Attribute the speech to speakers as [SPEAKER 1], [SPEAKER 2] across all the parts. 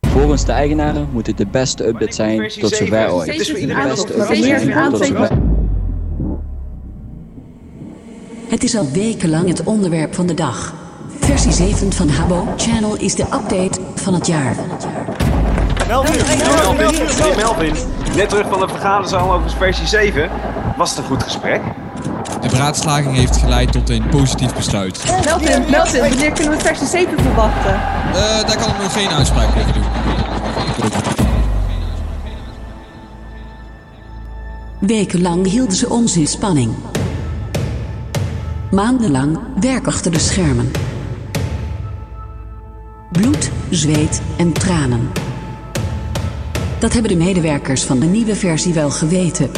[SPEAKER 1] Volgens de eigenaren moet dit de beste update zijn tot zover ooit.
[SPEAKER 2] Het is voor
[SPEAKER 1] De
[SPEAKER 2] iedereen
[SPEAKER 1] beste
[SPEAKER 2] toch?
[SPEAKER 1] update
[SPEAKER 2] Steeds
[SPEAKER 1] zijn
[SPEAKER 2] een
[SPEAKER 1] tot
[SPEAKER 2] aantal.
[SPEAKER 1] zover.
[SPEAKER 3] Het is al wekenlang het onderwerp van de dag. Versie 7 van Habo Channel is de update van het jaar.
[SPEAKER 4] Melvin,
[SPEAKER 2] Melvin, meneer Melvin, net terug van de vergaderzaal over versie 7. Was het een goed gesprek?
[SPEAKER 5] De beraadslaging heeft geleid tot een positief besluit.
[SPEAKER 6] Melvin, Melvin, wanneer kunnen we versie 7 verwachten?
[SPEAKER 5] Eh, daar kan ik nog geen uitspraak over doen.
[SPEAKER 3] Wekenlang hielden ze ons in spanning. Maandenlang werk achter de schermen. Bloed, zweet en tranen. Dat hebben de medewerkers van de nieuwe versie wel geweten.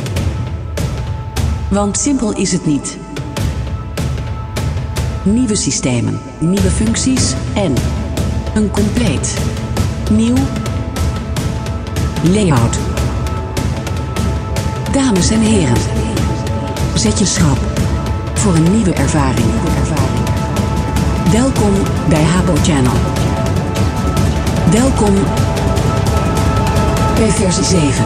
[SPEAKER 3] Want simpel is het niet. Nieuwe systemen, nieuwe functies en een compleet nieuw layout. Dames en heren, zet je schrap voor een nieuwe ervaring. Welkom bij Habo Channel. Welkom bij versie 7.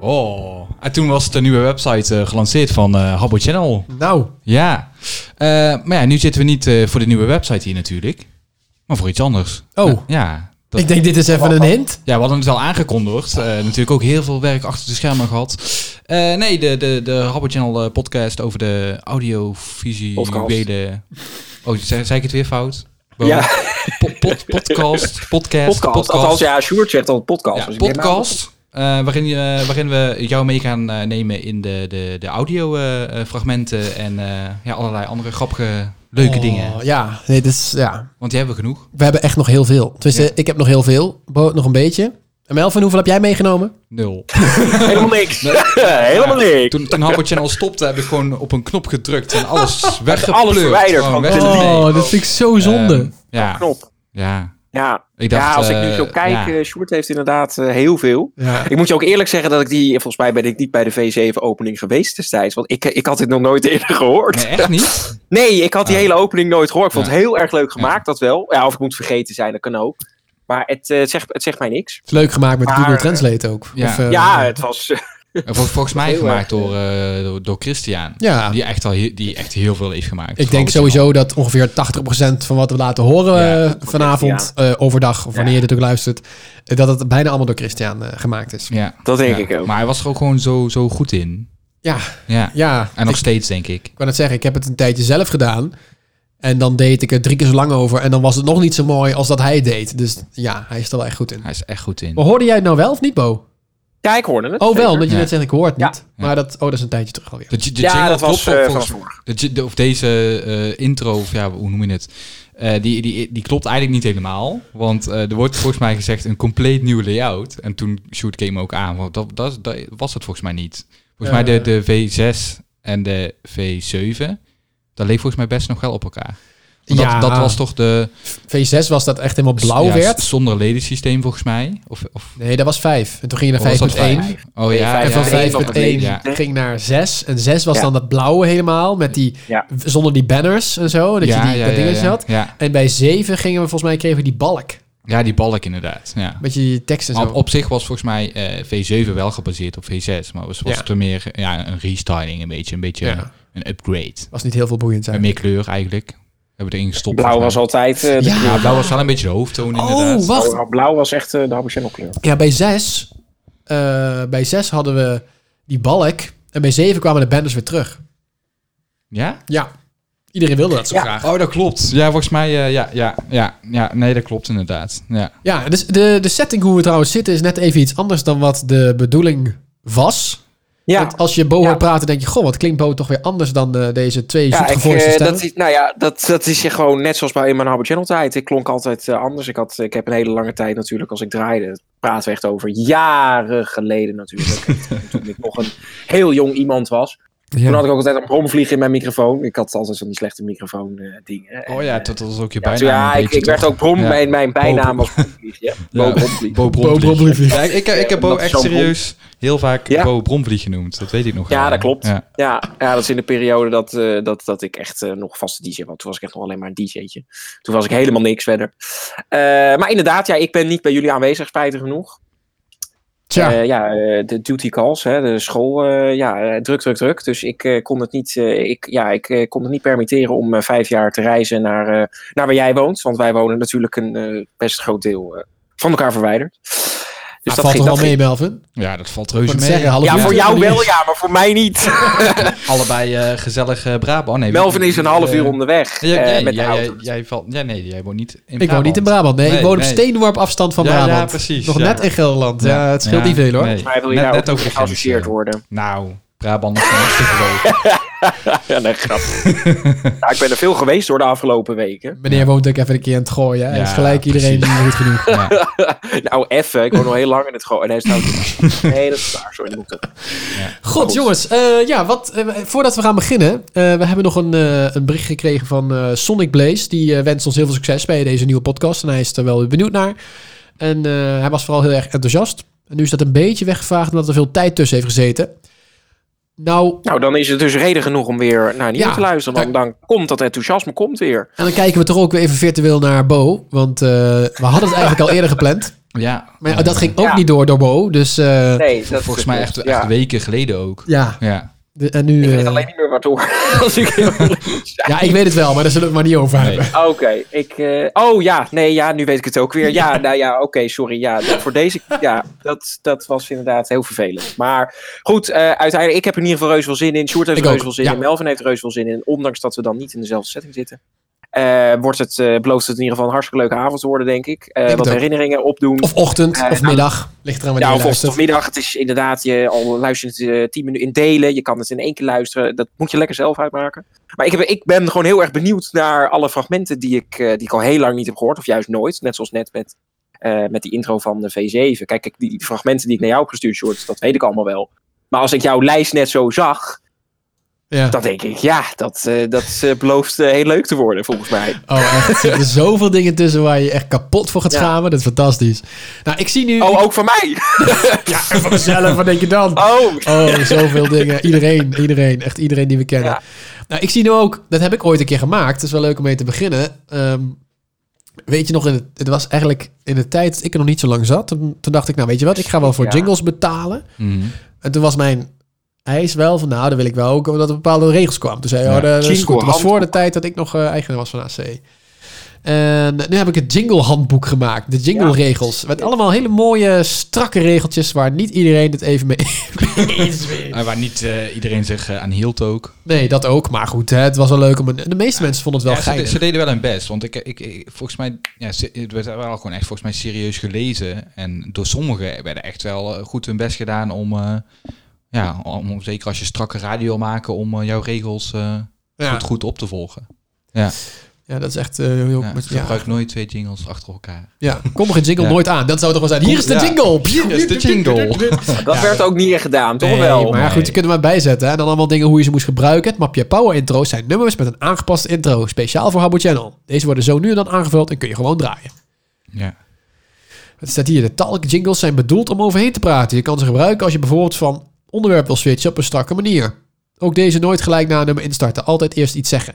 [SPEAKER 5] Oh, en toen was de nieuwe website eh, gelanceerd van eh Habbo Channel.
[SPEAKER 4] Nou,
[SPEAKER 5] Ja. Eh, maar ja, nu zitten we niet eh, voor de nieuwe website hier natuurlijk. Maar voor iets anders.
[SPEAKER 4] Oh.
[SPEAKER 5] Nou, ja. Dat-
[SPEAKER 4] ik denk dit is even een hint.
[SPEAKER 5] Ja, we hadden het wel aangekondigd. Eh, natuurlijk ook heel veel werk achter de schermen gehad. Eh, nee, de, de, de Habbo Channel eh, podcast over de audiovisuele... Oh, zei, zei ik het weer fout? Bo-
[SPEAKER 7] Ja.
[SPEAKER 5] Po- pod- podcast, podcast,
[SPEAKER 7] podcast. Althans, ja, Sjoerd zegt al podcast.
[SPEAKER 5] Ja,
[SPEAKER 7] dus ik denk, nou,
[SPEAKER 5] podcast. eh, waarin, je- eh, waarin we jou mee gaan eh, nemen in de, de, de audiofragmenten en eh, ja, allerlei andere grappige, leuke
[SPEAKER 4] Oh,
[SPEAKER 5] dingen.
[SPEAKER 4] Ja, nee, dus, ja,
[SPEAKER 5] Want die hebben we genoeg.
[SPEAKER 4] we hebben echt nog heel veel. Dus
[SPEAKER 5] Ja.
[SPEAKER 4] ik heb nog heel veel. Bo heeft nog een beetje. En Melvin, hoeveel heb jij meegenomen?
[SPEAKER 5] Nul.
[SPEAKER 7] helemaal niks. helemaal niks.
[SPEAKER 5] Toen, toen Habbo Channel stopte, heb ik gewoon op een knop gedrukt en alles weggepleurd.
[SPEAKER 7] alles verwijderd
[SPEAKER 5] Gewoon
[SPEAKER 7] van
[SPEAKER 5] weg-
[SPEAKER 7] Oh,
[SPEAKER 5] nee.
[SPEAKER 4] dat vind ik zo
[SPEAKER 5] Ehm, ja,
[SPEAKER 7] Knop.
[SPEAKER 5] ja.
[SPEAKER 7] Ja.
[SPEAKER 5] Ik dacht,
[SPEAKER 7] ja, als ik nu
[SPEAKER 5] eh,
[SPEAKER 7] zo kijk,
[SPEAKER 5] ja.
[SPEAKER 7] eh, Sjoerd heeft inderdaad eh, heel veel.
[SPEAKER 4] ja.
[SPEAKER 7] Ik moet je ook eerlijk zeggen dat ik die, volgens mij ben ik niet bij de V7-opening geweest destijds. Want ik, ik had dit nog nooit eerder gehoord.
[SPEAKER 5] Nee, echt niet? Oh.
[SPEAKER 7] Nee, ik had die hele opening nooit gehoord. Ik vond het heel erg leuk
[SPEAKER 5] Ja.
[SPEAKER 7] gemaakt, dat wel. Ja, of ik moet vergeten zijn, dat kan ook. Maar het, eh, zegt, het zegt mij niks.
[SPEAKER 4] Het is leuk gemaakt met
[SPEAKER 7] Maar,
[SPEAKER 4] Google
[SPEAKER 7] eh,
[SPEAKER 4] Translate ook.
[SPEAKER 5] ja.
[SPEAKER 4] eh,
[SPEAKER 7] ja, het was... eh,
[SPEAKER 5] En vol- volgens mij
[SPEAKER 7] Heel erg.
[SPEAKER 5] gemaakt door, eh, door, door Christian.
[SPEAKER 4] ja.
[SPEAKER 5] Die, echt al, he- die echt heel veel heeft gemaakt.
[SPEAKER 4] Ik denk
[SPEAKER 5] Habbo Channel.
[SPEAKER 4] sowieso dat ongeveer 80% van wat we laten horen
[SPEAKER 5] Ja,
[SPEAKER 4] eh, vanavond, eh, overdag, of wanneer je dit ook luistert, eh, dat het bijna allemaal door Christian eh, gemaakt is.
[SPEAKER 5] Ja.
[SPEAKER 7] dat denk
[SPEAKER 5] Ja.
[SPEAKER 7] ik ook.
[SPEAKER 5] Maar hij was er ook gewoon zo, zo goed in.
[SPEAKER 4] Ja,
[SPEAKER 5] Ja.
[SPEAKER 4] ja.
[SPEAKER 5] En nog
[SPEAKER 4] ik
[SPEAKER 5] steeds, denk ik.
[SPEAKER 4] kan het zeggen, ik heb het een tijdje zelf gedaan. En dan deed ik er drie keer zo lang over. En dan was het nog niet zo mooi als dat hij het deed. Dus ja, hij is er wel echt goed in.
[SPEAKER 5] Hij is echt goed in.
[SPEAKER 4] Maar hoorde jij het nou wel of niet, Bo?
[SPEAKER 7] Ja, ik hoorde het.
[SPEAKER 4] Oh, wel,
[SPEAKER 7] zeker.
[SPEAKER 4] omdat je
[SPEAKER 5] Ja.
[SPEAKER 4] net zegt, ik hoor het
[SPEAKER 7] Ja.
[SPEAKER 4] niet. Maar dat, oh, dat is een tijdje terug alweer.
[SPEAKER 5] De, j- de
[SPEAKER 7] Ja,
[SPEAKER 5] jingle
[SPEAKER 7] dat was
[SPEAKER 5] klopt ook
[SPEAKER 7] eh, van
[SPEAKER 5] volgens-
[SPEAKER 7] vorig.
[SPEAKER 5] de j- de- Of deze eh, intro, of ja, hoe noem je het? Eh, die, die, die klopt eigenlijk niet helemaal. Want eh, er wordt volgens mij gezegd een compleet nieuw layout. En toen shoot ik hem ook aan. Want dat, dat, dat was het volgens mij niet. Volgens mij de, de V6 en de V7. Dat leek volgens mij best nog wel op elkaar. Want
[SPEAKER 4] Ja.
[SPEAKER 5] dat, dat was toch de...
[SPEAKER 4] V6 was dat echt helemaal blauw
[SPEAKER 5] ja,
[SPEAKER 4] werd.
[SPEAKER 5] Zonder ledensysteem volgens mij. Of, of
[SPEAKER 4] Nee, dat was 5. En toen ging je
[SPEAKER 5] of was dat
[SPEAKER 4] naar 5.1.
[SPEAKER 5] vijf? Oh ja.
[SPEAKER 4] En
[SPEAKER 7] vijf
[SPEAKER 4] van
[SPEAKER 7] Ja,
[SPEAKER 5] ja,
[SPEAKER 7] vijf. één
[SPEAKER 4] 5.1
[SPEAKER 7] op het
[SPEAKER 5] Ja.
[SPEAKER 4] ging naar 6. En 6 was
[SPEAKER 7] Ja.
[SPEAKER 4] dan dat blauwe helemaal, met die,
[SPEAKER 7] Ja.
[SPEAKER 4] w- zonder die banners en zo. Dat je die dat dingetje
[SPEAKER 5] ja.
[SPEAKER 4] had.
[SPEAKER 5] Ja.
[SPEAKER 4] En bij 7 gingen we volgens mij kregen we die balk.
[SPEAKER 5] ja, die balk inderdaad. Ja.
[SPEAKER 4] Met die tekst en zo.
[SPEAKER 5] Maar op, op zich was volgens mij eh, V7 wel gebaseerd op V6. Maar was, was
[SPEAKER 4] Ja.
[SPEAKER 5] het er meer ja, een restyling, een beetje. Een beetje
[SPEAKER 4] Ja.
[SPEAKER 5] een upgrade.
[SPEAKER 4] was niet heel veel boeiend
[SPEAKER 5] En
[SPEAKER 4] zijn.
[SPEAKER 5] meer kleur eigenlijk. We hebben erin gestopt.
[SPEAKER 7] Blauw was
[SPEAKER 5] volgens
[SPEAKER 7] altijd... eh, de
[SPEAKER 4] Ja.
[SPEAKER 7] kleur.
[SPEAKER 5] mij. Ja, blauw was wel een beetje de hoofdtoon
[SPEAKER 4] Oh,
[SPEAKER 5] inderdaad.
[SPEAKER 4] wacht.
[SPEAKER 7] Blauw was echt eh, de Habbo Channel kleur.
[SPEAKER 4] Ja, bij 6 eh, bij 6 hadden we die balk. En bij 7 kwamen de banners weer terug.
[SPEAKER 5] Ja?
[SPEAKER 4] Ja. Iedereen wilde dat zo graag.
[SPEAKER 5] Oh, dat klopt. Ja, volgens mij, eh, ja, ja, ja, ja. Nee, dat klopt inderdaad. Ja.
[SPEAKER 4] Ja, dus de, de setting hoe we trouwens zitten is net even iets anders dan wat de bedoeling was.
[SPEAKER 7] Ja,
[SPEAKER 4] Want als je Bo
[SPEAKER 7] Ja.
[SPEAKER 4] hoort praten, denk je, goh, wat klinkt Bo toch weer anders dan eh, deze twee ja,
[SPEAKER 7] ja ik,
[SPEAKER 4] zoetgevoelige
[SPEAKER 7] eh,
[SPEAKER 4] stemmen.
[SPEAKER 7] dat is, nou ja, dat, dat is gewoon net zoals bij in mijn Habbo Channel tijd. Ik klonk altijd eh, anders. Ik, had, ik heb een hele lange tijd natuurlijk, als ik draaide, praten we echt over jaren geleden natuurlijk. toen ik nog een heel jong iemand was. Toen had ik ook altijd een bromvlieg in mijn microfoon. Ik had altijd zo'n slechte microfoon eh dingen.
[SPEAKER 5] Oh ja, dat was ook je
[SPEAKER 7] Ja,
[SPEAKER 5] bijnaam.
[SPEAKER 7] toen- ja,
[SPEAKER 5] een
[SPEAKER 7] ik,
[SPEAKER 5] beetje,
[SPEAKER 7] ik werd
[SPEAKER 5] toch?
[SPEAKER 7] ook brom.
[SPEAKER 5] Ja.
[SPEAKER 7] Mijn, mijn bijnaam was bromvlieg. Ja,
[SPEAKER 5] Ja.
[SPEAKER 7] Bo Bromvlieg.
[SPEAKER 5] Bo
[SPEAKER 4] Bo
[SPEAKER 5] Bromvlieg.
[SPEAKER 4] Bromvlieg.
[SPEAKER 5] Ja, ik, ik, ik heb Bo
[SPEAKER 7] Dat is
[SPEAKER 5] echt
[SPEAKER 7] zo'n bom.
[SPEAKER 5] serieus heel vaak
[SPEAKER 7] Ja.
[SPEAKER 5] Bo Bromvlieg genoemd. Dat weet ik nog.
[SPEAKER 7] Ja,
[SPEAKER 5] wel.
[SPEAKER 7] dat klopt.
[SPEAKER 5] Ja.
[SPEAKER 7] Ja. Ja, dat is in de periode dat, eh, dat, dat ik echt eh, nog vaste DJ was. Toen was ik echt nog alleen maar een DJ'tje. Toen was ik helemaal niks verder. Eh, maar inderdaad, ja, ik ben niet bij jullie aanwezig, spijtig genoeg.
[SPEAKER 4] Tja,
[SPEAKER 7] Eh, ja, eh, de duty calls, hè, de school, eh, ja, eh, druk, druk, druk. Dus ik, eh, kon, het niet, eh, ik, ja, ik eh, kon het niet permitteren om eh, vijf jaar te reizen naar, eh, naar waar jij woont. Want wij wonen natuurlijk een eh, best groot deel eh, van elkaar verwijderd. Dus
[SPEAKER 4] dat valt toch
[SPEAKER 7] ging-
[SPEAKER 4] wel mee,
[SPEAKER 7] ging-
[SPEAKER 4] Melvin?
[SPEAKER 5] ja, dat valt
[SPEAKER 4] Ik
[SPEAKER 5] reuze
[SPEAKER 4] wou
[SPEAKER 5] mee.
[SPEAKER 4] zeggen, half
[SPEAKER 7] Ja,
[SPEAKER 4] uur
[SPEAKER 7] voor
[SPEAKER 4] is
[SPEAKER 7] jou
[SPEAKER 4] niet.
[SPEAKER 7] wel, ja, maar voor mij niet.
[SPEAKER 5] Allebei eh, gezellig eh,
[SPEAKER 4] Oh,
[SPEAKER 5] Brabant. Nee,
[SPEAKER 7] Melvin is een half uur
[SPEAKER 5] eh,
[SPEAKER 7] onderweg
[SPEAKER 5] Ja,
[SPEAKER 7] eh,
[SPEAKER 5] ja,
[SPEAKER 7] met de
[SPEAKER 5] ja,
[SPEAKER 7] auto.
[SPEAKER 5] ja, jij valt, ja, nee, jij woont niet in Brabant.
[SPEAKER 4] Ik woon niet in Brabant. Nee, ik
[SPEAKER 5] Nee,
[SPEAKER 4] woon op
[SPEAKER 5] nee.
[SPEAKER 4] steenworp afstand van
[SPEAKER 5] Ja, ja,
[SPEAKER 4] Brabant.
[SPEAKER 5] precies,
[SPEAKER 4] Nog
[SPEAKER 5] ja.
[SPEAKER 4] net in Gelderland. Ja, het scheelt niet veel hoor.
[SPEAKER 5] nee.
[SPEAKER 7] Maar hij wil je
[SPEAKER 5] Net-
[SPEAKER 7] daar
[SPEAKER 5] net
[SPEAKER 7] ook
[SPEAKER 5] over de
[SPEAKER 7] geassocieerd
[SPEAKER 5] grens, ja.
[SPEAKER 7] worden.
[SPEAKER 5] Nou, Brabant is een stuk groot.
[SPEAKER 7] Ja, nee, grap. nou, ik ben er veel geweest door de afgelopen weken.
[SPEAKER 4] Meneer woont ook even een keer aan het gooien. Hij
[SPEAKER 5] Ja,
[SPEAKER 4] is gelijk iedereen
[SPEAKER 5] precies.
[SPEAKER 4] goed genoeg.
[SPEAKER 5] Ja.
[SPEAKER 7] Nou, even. Ik woon al heel lang in het gewoon. Nee, dat is trouwens- nee, dat is waar. Sorry, dat moet ik terug.
[SPEAKER 4] Goed, jongens. eh, ja, wat, eh, voordat we gaan beginnen. eh, we hebben nog een, eh, een bericht gekregen van eh, Sonic Blaze. Die eh, wenst ons heel veel succes bij deze nieuwe podcast. En hij is er wel weer benieuwd naar. En eh, hij was vooral heel erg enthousiast. En nu is dat een beetje weggevaagd omdat er veel tijd tussen heeft gezeten. Nou,
[SPEAKER 7] Nou, dan is het dus reden genoeg om weer naar nieuws
[SPEAKER 4] Ja,
[SPEAKER 7] te luisteren. Dan, dan komt dat enthousiasme komt weer.
[SPEAKER 4] en dan kijken we toch ook weer even virtueel naar Bo. Want eh, we hadden het eigenlijk al eerder gepland.
[SPEAKER 5] ja.
[SPEAKER 4] Maar ja,
[SPEAKER 5] eh,
[SPEAKER 4] dat ging ook
[SPEAKER 7] Ja.
[SPEAKER 4] niet door door Bo. Dus eh,
[SPEAKER 7] Nee, dat
[SPEAKER 5] Volgens mij echt, echt
[SPEAKER 7] Ja.
[SPEAKER 5] weken geleden ook.
[SPEAKER 4] ja,
[SPEAKER 5] Ja.
[SPEAKER 4] de- en nu...
[SPEAKER 7] Ik weet
[SPEAKER 4] eh,
[SPEAKER 7] alleen niet meer wat door. Als ik heel eerlijk moet zijn.
[SPEAKER 4] ja, ik weet het wel, maar daar zullen we het maar niet over hebben.
[SPEAKER 7] Ah, Oké, ik. eh, oh ja, nee, ja, nu weet ik het ook weer. Ja, nou ja, oké, sorry. Ja, dat- voor deze. Ja, dat, dat was inderdaad heel vervelend. Maar goed, eh, uiteindelijk, ik heb er in ieder geval reus veel zin in. Sjoerd heeft
[SPEAKER 4] Ik
[SPEAKER 7] er
[SPEAKER 4] ook,
[SPEAKER 7] reus veel zin
[SPEAKER 4] ja.
[SPEAKER 7] in. Melvin heeft er reus veel zin in. Ondanks dat we dan niet in dezelfde setting zitten. eh, wordt het, eh belooft het in ieder geval een hartstikke leuke avond te worden, denk ik. Eh,
[SPEAKER 4] het
[SPEAKER 7] wat
[SPEAKER 4] ook.
[SPEAKER 7] herinneringen opdoen.
[SPEAKER 4] Of ochtend,
[SPEAKER 7] Eh,
[SPEAKER 4] of
[SPEAKER 7] nou,
[SPEAKER 4] middag. Ligt eraan wanneer
[SPEAKER 7] ja,
[SPEAKER 4] je
[SPEAKER 7] of ochtend
[SPEAKER 4] luistert.
[SPEAKER 7] of middag. Het is inderdaad, je, al luister je het eh, tien minuten in delen. Je kan het in één keer luisteren. Dat moet je lekker zelf uitmaken. Maar ik, heb, ik ben gewoon heel erg benieuwd naar alle fragmenten die ik, eh, die ik al heel lang niet heb gehoord. Of juist nooit. Net zoals net met, eh, met die intro van de V7. Kijk, kijk, die, die fragmenten die ik naar jou heb gestuurd, Short, dat weet ik allemaal wel. Maar als ik jouw lijst net zo zag,
[SPEAKER 4] Ja.
[SPEAKER 7] dan denk ik, ja, dat, eh, dat eh, belooft eh, heel leuk te worden, volgens mij.
[SPEAKER 4] Oh, echt. Er zitten zoveel dingen tussen waar je echt kapot voor gaat
[SPEAKER 7] Ja.
[SPEAKER 4] schamen. Dat is fantastisch. Nou, ik zie nu...
[SPEAKER 7] Oh, ook van mij!
[SPEAKER 4] van mezelf, wat denk je dan?
[SPEAKER 7] Oh!
[SPEAKER 4] Oh, zoveel dingen. Iedereen, iedereen. Echt iedereen die we kennen.
[SPEAKER 7] Ja.
[SPEAKER 4] Nou, ik zie nu ook... Dat heb ik ooit een keer gemaakt. Dat is wel leuk om mee te beginnen. Ehm, weet je nog, in het, het was eigenlijk in de tijd dat ik er nog niet zo lang zat. Toen, toen dacht ik, nou weet je wat, ik ga wel voor
[SPEAKER 7] Ja.
[SPEAKER 4] jingles betalen.
[SPEAKER 5] Mhm.
[SPEAKER 4] En toen was mijn eis wel van, nou, dat wil ik wel ook, omdat er bepaalde regels kwamen. Toen zei je,
[SPEAKER 5] Ja.
[SPEAKER 4] oh, dat is
[SPEAKER 7] Jingle
[SPEAKER 4] goed. Dat was voor de
[SPEAKER 7] handboek.
[SPEAKER 4] tijd dat ik nog eh, eigenaar was van AC. En eh, nu heb ik het jingle handboek gemaakt. De jingle regels. Met allemaal hele mooie, strakke regeltjes waar niet iedereen het even mee eens is.
[SPEAKER 5] Eh, waar niet eh, iedereen zich eh, aan hield ook.
[SPEAKER 4] Nee, dat ook. Maar goed, hè, het was wel leuk om... Een, de meeste mensen vonden het wel
[SPEAKER 5] Ja, ze,
[SPEAKER 4] geinig.
[SPEAKER 5] ze deden wel hun best. Want ik, ik, ik- volgens mij, ja, se- het werd wel gewoon echt volgens mij serieus gelezen. En door sommigen werden echt wel eh, goed hun best gedaan om, eh, ja, om, om zeker als je strakke radio wil maken, om eh, jouw regels eh,
[SPEAKER 4] ja.
[SPEAKER 5] goed, goed op te volgen.
[SPEAKER 4] ja, dat is echt eh, heel...
[SPEAKER 5] Ja,
[SPEAKER 4] Ja,
[SPEAKER 5] dus gebruik nooit twee jingles achter elkaar.
[SPEAKER 4] ja. kom geen jingle
[SPEAKER 5] Ja.
[SPEAKER 4] nooit aan. Dat zou toch wel zijn. Hier is de
[SPEAKER 5] Ja.
[SPEAKER 4] jingle!
[SPEAKER 5] Hier is de jingle.
[SPEAKER 7] Dat werd ook niet echt gedaan, toch
[SPEAKER 4] Nee,
[SPEAKER 7] wel?
[SPEAKER 4] maar ja, goed, je kunt er maar bijzetten. hè. En dan allemaal dingen hoe je ze moest gebruiken. Het mapje Power Intro's zijn nummers met een aangepaste intro. Speciaal voor Habbo Channel. Deze worden zo nu en dan aangevuld en kun je gewoon draaien.
[SPEAKER 5] Ja.
[SPEAKER 4] Het staat hier, de talk jingles zijn bedoeld om overheen te praten. Je kan ze gebruiken als je bijvoorbeeld van onderwerp wil switchen op een strakke manier. Ook deze nooit gelijk na een nummer instarten. Altijd eerst iets zeggen.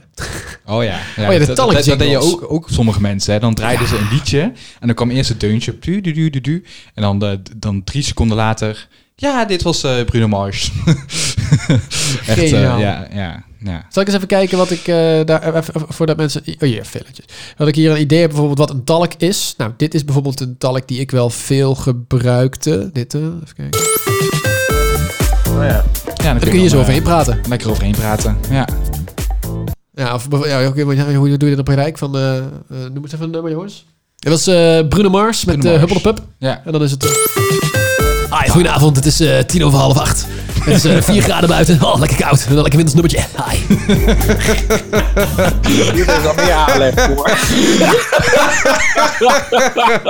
[SPEAKER 5] Oh ja, ja, dat-
[SPEAKER 4] de
[SPEAKER 5] dat, dat,
[SPEAKER 4] talkjingles.
[SPEAKER 5] dat deden ook, ook sommige mensen. Hè. Dan draaiden ze een liedje en dan kwam eerst het deuntje. Du, du, du, du, du. en dan, eh, d- dan drie seconden later... Ja, dit was eh, Bruno Mars. Echt, eh,
[SPEAKER 4] Geniaal.
[SPEAKER 5] ja, ja, ja.
[SPEAKER 4] Zal ik eens even kijken wat ik eh, daar even, even- voordat mensen. Oh hier, filmpjes. Dat ik hier een idee heb bijvoorbeeld wat een talk is. Nou, dit is bijvoorbeeld een talk die ik wel veel gebruikte. Dit, eh, even kijken.
[SPEAKER 5] Oh,
[SPEAKER 7] Oh
[SPEAKER 5] Ja,
[SPEAKER 4] Daar kun je
[SPEAKER 5] dan,
[SPEAKER 4] zo
[SPEAKER 5] eh,
[SPEAKER 4] overheen praten.
[SPEAKER 5] Lekker overheen praten. Ja.
[SPEAKER 4] Ja, of bijvo- ja, oké, maar ja, hoe doe je dat op Rijk? Van, eh, eh, noem eens even een nummer, jongens. Dat was eh, Bruno Mars met
[SPEAKER 5] Bruno
[SPEAKER 4] eh
[SPEAKER 5] Mars.
[SPEAKER 4] Huppel de Pup.
[SPEAKER 5] Ja.
[SPEAKER 4] En dan is het...
[SPEAKER 2] Hi.
[SPEAKER 4] Goedenavond, het is eh, tien over half acht. Het is eh, vier graden buiten. Oh, lekker koud. En dan lekker winters nummertje. Hi.
[SPEAKER 7] Hier is al meer aanleg voor.
[SPEAKER 5] Ja.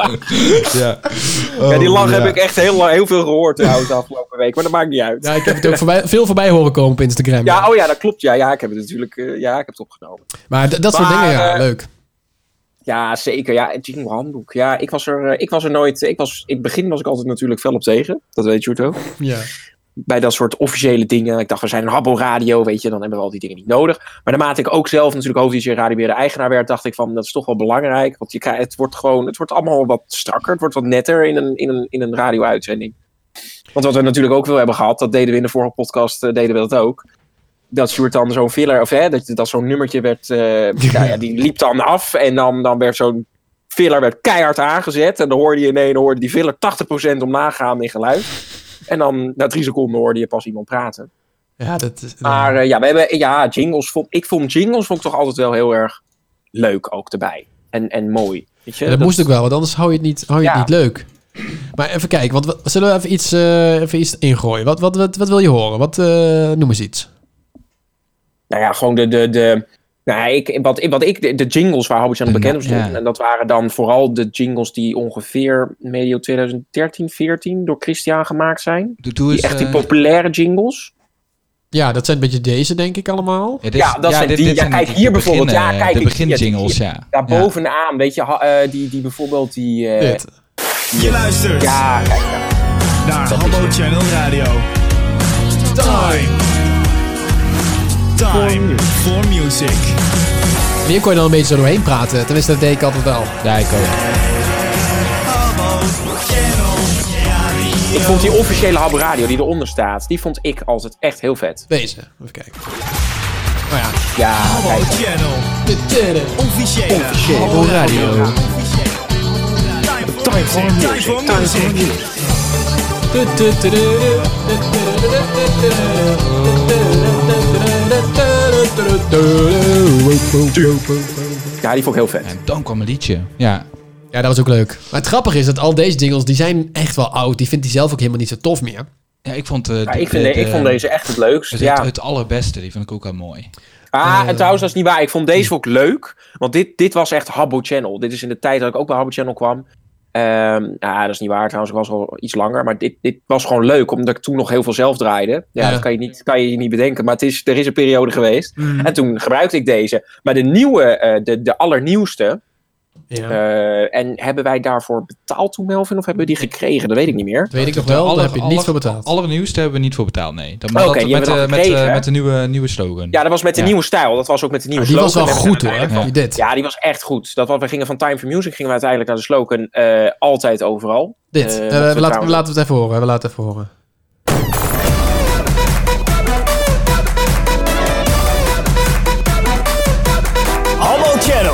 [SPEAKER 5] Oh,
[SPEAKER 7] ja,
[SPEAKER 4] Oh,
[SPEAKER 7] die lach heb ik echt heel, lang- heel veel gehoord trouwens de afgelopen week, maar dat maakt niet uit.
[SPEAKER 4] Ja, ik heb het ook voorbij, veel voorbij horen komen op Instagram.
[SPEAKER 7] Ja, oh ja, dat klopt. Ja, ja ik heb het natuurlijk eh, ja, ik heb het opgenomen.
[SPEAKER 4] Maar d- dat soort
[SPEAKER 7] Maar,
[SPEAKER 4] dingen, ja,
[SPEAKER 7] eh,
[SPEAKER 4] leuk.
[SPEAKER 7] Ja, zeker. Ja, en Tino Handboek. Ja, ik was er, eh, ik was er nooit... Ik was, in het begin was ik altijd natuurlijk fel op tegen. Dat weet je ook.
[SPEAKER 4] Ja.
[SPEAKER 7] bij dat soort officiële dingen. Ik dacht, we zijn een Habbo-radio, weet je, dan hebben we al die dingen niet nodig. Maar naarmate ik ook zelf natuurlijk hoofd radio weer de eigenaar werd, dacht ik van, dat is toch wel belangrijk. Want je krijgt, het wordt gewoon, het wordt allemaal wat strakker, het wordt wat netter in een, in een, in een radio-uitzending. Want wat we natuurlijk ook wel hebben gehad, dat deden we in de vorige podcast, eh, deden we dat ook. Dat Sjoerd dan zo'n filler, of hè, dat, dat zo'n nummertje werd, eh, nou ja, die liep dan af en dan, dan werd zo'n filler werd keihard aangezet. En dan hoorde je ineens, dan hoorde die filler 80% omlaag gaan in geluid. En dan na drie seconden hoorde je pas iemand praten.
[SPEAKER 4] Ja, dat is...
[SPEAKER 7] Maar eh, ja, we hebben, ja, jingles vond ik vond jingles vond ik toch altijd wel heel erg leuk ook erbij. En, en mooi. Weet je?
[SPEAKER 4] Ja, dat, moest ook wel, want anders hou je het niet, hou je
[SPEAKER 7] Ja.
[SPEAKER 4] het niet leuk. Maar even kijken, want we- zullen we even iets, eh, even iets ingooien? Wat, wat, wat, wat wil je horen? Wat, eh, noem eens iets.
[SPEAKER 7] Nou ja, gewoon de. de, de nou, ja, ik, wat, ik- wat ik, de, de jingles waar Hobbit aan
[SPEAKER 5] De
[SPEAKER 7] bekend
[SPEAKER 5] na-
[SPEAKER 7] om stond.
[SPEAKER 5] ja.
[SPEAKER 7] En dat waren dan vooral de jingles die ongeveer medio 2013, 14 door Christian gemaakt zijn.
[SPEAKER 5] Doe, doe
[SPEAKER 7] Die
[SPEAKER 5] eens...
[SPEAKER 7] echt die
[SPEAKER 5] eh,
[SPEAKER 7] populaire jingles.
[SPEAKER 4] Ja, dat zijn een beetje deze, denk ik, allemaal.
[SPEAKER 5] dit is-
[SPEAKER 7] Ja, dat zijn die- ja,
[SPEAKER 5] zijn
[SPEAKER 7] kijk,
[SPEAKER 5] de-
[SPEAKER 7] hier
[SPEAKER 5] de
[SPEAKER 7] bijvoorbeeld.
[SPEAKER 5] beginnen-
[SPEAKER 7] Ja, kijk,
[SPEAKER 5] De
[SPEAKER 7] ik zie het.
[SPEAKER 5] beginjingles, ja.
[SPEAKER 7] Daar bovenaan, weet je, ha- eh, die, die bijvoorbeeld die. eh,
[SPEAKER 4] Dit.
[SPEAKER 8] Je luistert
[SPEAKER 7] ja, kijk, ja.
[SPEAKER 8] naar Habbo Channel Radio. Time. Time for music.
[SPEAKER 4] En hier kon je dan een beetje zo doorheen praten. Tenminste, dat deed ik altijd wel.
[SPEAKER 5] Ja, ik ook.
[SPEAKER 8] Habbo Channel Radio.
[SPEAKER 7] Ik vond die officiële Habbo Radio die eronder staat, die vond ik altijd echt heel vet.
[SPEAKER 4] Deze. Even kijken. Oh ja.
[SPEAKER 7] Ja,
[SPEAKER 8] Habbo Channel. Officiële.
[SPEAKER 4] Habbo Radio.
[SPEAKER 8] Time for music. Time for music.
[SPEAKER 7] ja die vond ik heel vet.
[SPEAKER 5] En dan kwam een liedje. Ja.
[SPEAKER 4] Ja, dat was ook leuk. Maar het grappige is dat al deze dingels, die zijn echt wel oud. Die vindt hij zelf ook helemaal niet zo tof meer.
[SPEAKER 5] Ja, ik vond, eh,
[SPEAKER 7] Ja,
[SPEAKER 5] de-
[SPEAKER 7] ik, vind,
[SPEAKER 5] de-
[SPEAKER 7] ik vond deze echt het leukst.
[SPEAKER 5] Het,
[SPEAKER 7] Ja.
[SPEAKER 5] het allerbeste, die vond ik ook wel mooi.
[SPEAKER 7] Ah,
[SPEAKER 4] Eh,
[SPEAKER 7] en trouwens, dat is niet waar. Ik vond deze ook leuk. Want dit, dit was echt Habbo Channel. Dit is in de tijd dat ik ook bij Habbo Channel kwam. Ehm ja, dat is niet waar trouwens. Ik was al iets langer. Maar dit, dit was gewoon leuk, omdat ik toen nog heel veel zelf draaide. Ja,
[SPEAKER 4] Ja.
[SPEAKER 7] dat kan je, niet, kan je niet bedenken. Maar het is, er is een periode geweest.
[SPEAKER 4] Mm.
[SPEAKER 7] En toen gebruikte ik deze. Maar de nieuwe, eh, de, de allernieuwste.
[SPEAKER 4] Ja.
[SPEAKER 7] eh, en hebben wij daarvoor betaald toen, Melvin? Of hebben we die gekregen? Dat weet ik niet meer.
[SPEAKER 4] Dat weet ik nog wel,
[SPEAKER 5] Alle-
[SPEAKER 4] daar heb je
[SPEAKER 5] alle-
[SPEAKER 4] niet voor betaald.
[SPEAKER 5] Allernieuwste hebben we niet voor betaald, nee. Dat,
[SPEAKER 7] Oké,
[SPEAKER 5] maar dat,
[SPEAKER 7] die
[SPEAKER 5] met,
[SPEAKER 7] hebben we
[SPEAKER 5] eh,
[SPEAKER 7] dan
[SPEAKER 5] met, eh,
[SPEAKER 7] gekregen, hè?
[SPEAKER 5] met de nieuwe, nieuwe slogan.
[SPEAKER 7] Ja, dat was met de
[SPEAKER 5] Ja.
[SPEAKER 7] nieuwe stijl. Dat was ook met de nieuwe
[SPEAKER 4] Ah, Die was wel
[SPEAKER 7] slogan. En we
[SPEAKER 4] goed
[SPEAKER 7] hebben
[SPEAKER 4] hoor,
[SPEAKER 7] uiteindelijk-
[SPEAKER 5] Ja.
[SPEAKER 4] dit.
[SPEAKER 7] Ja, die was echt goed. Dat wat we gingen van Time for Music, gingen we uiteindelijk naar de slogan eh, altijd overal.
[SPEAKER 4] Dit.
[SPEAKER 7] Eh, wat
[SPEAKER 4] Eh, we, laten, we
[SPEAKER 7] trouwens-
[SPEAKER 4] laten het even horen. We laten het even horen.
[SPEAKER 8] Habbo Channel.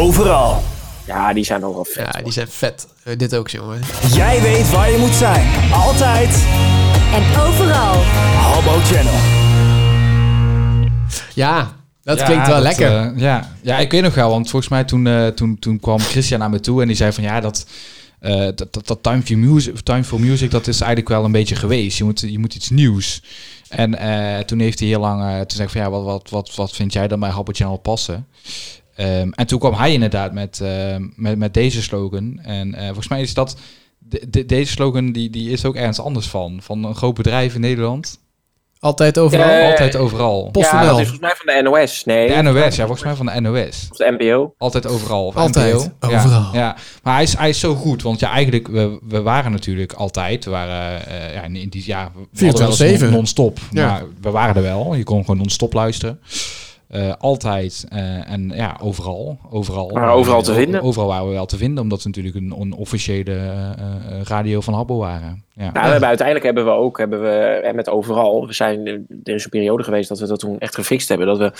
[SPEAKER 8] Overal.
[SPEAKER 7] Ja, die zijn ook wel vet.
[SPEAKER 4] Ja, die zijn vet. Eh, dit ook, jongen.
[SPEAKER 8] Jij weet waar je moet zijn. Altijd
[SPEAKER 9] En overal.
[SPEAKER 8] Habbo Channel.
[SPEAKER 4] Ja, dat
[SPEAKER 5] Ja,
[SPEAKER 4] klinkt wel
[SPEAKER 5] dat,
[SPEAKER 4] lekker.
[SPEAKER 5] eh, ja. ja, ik weet nog wel, want volgens mij toen, eh, toen, toen kwam Christian naar me toe en die zei van ja, dat, eh, dat, dat, dat time, for music, time for Music, dat is eigenlijk wel een beetje geweest. Je moet, je moet iets nieuws. En eh, toen heeft hij heel lang, eh, toen zei ik van ja, wat, wat, wat, wat vind jij dan bij Habbo Channel passen? Ehm, en toen kwam hij inderdaad met, ehm, met, met deze slogan. En eh, volgens mij is dat, de, de- deze slogan die, die is ook ergens anders van. Van een groot bedrijf in Nederland.
[SPEAKER 4] Altijd overal.
[SPEAKER 7] Eh,
[SPEAKER 5] Altijd overal.
[SPEAKER 7] Ja,
[SPEAKER 4] Post- PostNL.
[SPEAKER 7] dat is volgens mij van de NOS. Nee,
[SPEAKER 5] De NOS, ja, volgens mij van de NOS.
[SPEAKER 7] of de NPO.
[SPEAKER 5] Altijd overal. of
[SPEAKER 4] Altijd
[SPEAKER 5] NPO.
[SPEAKER 4] overal.
[SPEAKER 5] Ja, ja. Maar hij is, hij is zo goed. Want ja, eigenlijk, we, we waren natuurlijk altijd. We waren eh, ja, in in die ja, we hadden wel eens
[SPEAKER 4] 24/7.
[SPEAKER 5] non- Non-stop.
[SPEAKER 4] Ja.
[SPEAKER 5] Maar we waren er wel. Je kon gewoon non-stop luisteren. Eh, altijd eh, en ja, overal. Overal.
[SPEAKER 7] Maar overal te
[SPEAKER 5] O-
[SPEAKER 7] vinden.
[SPEAKER 5] Overal waren we wel te vinden, omdat we natuurlijk een onofficiële eh, eh, radio van Habbo waren. Ja.
[SPEAKER 7] Nou, we hebben, uiteindelijk hebben we ook, hebben we, en met overal, we zijn, eh, er is een periode geweest dat we dat toen echt gefixt hebben. Dat we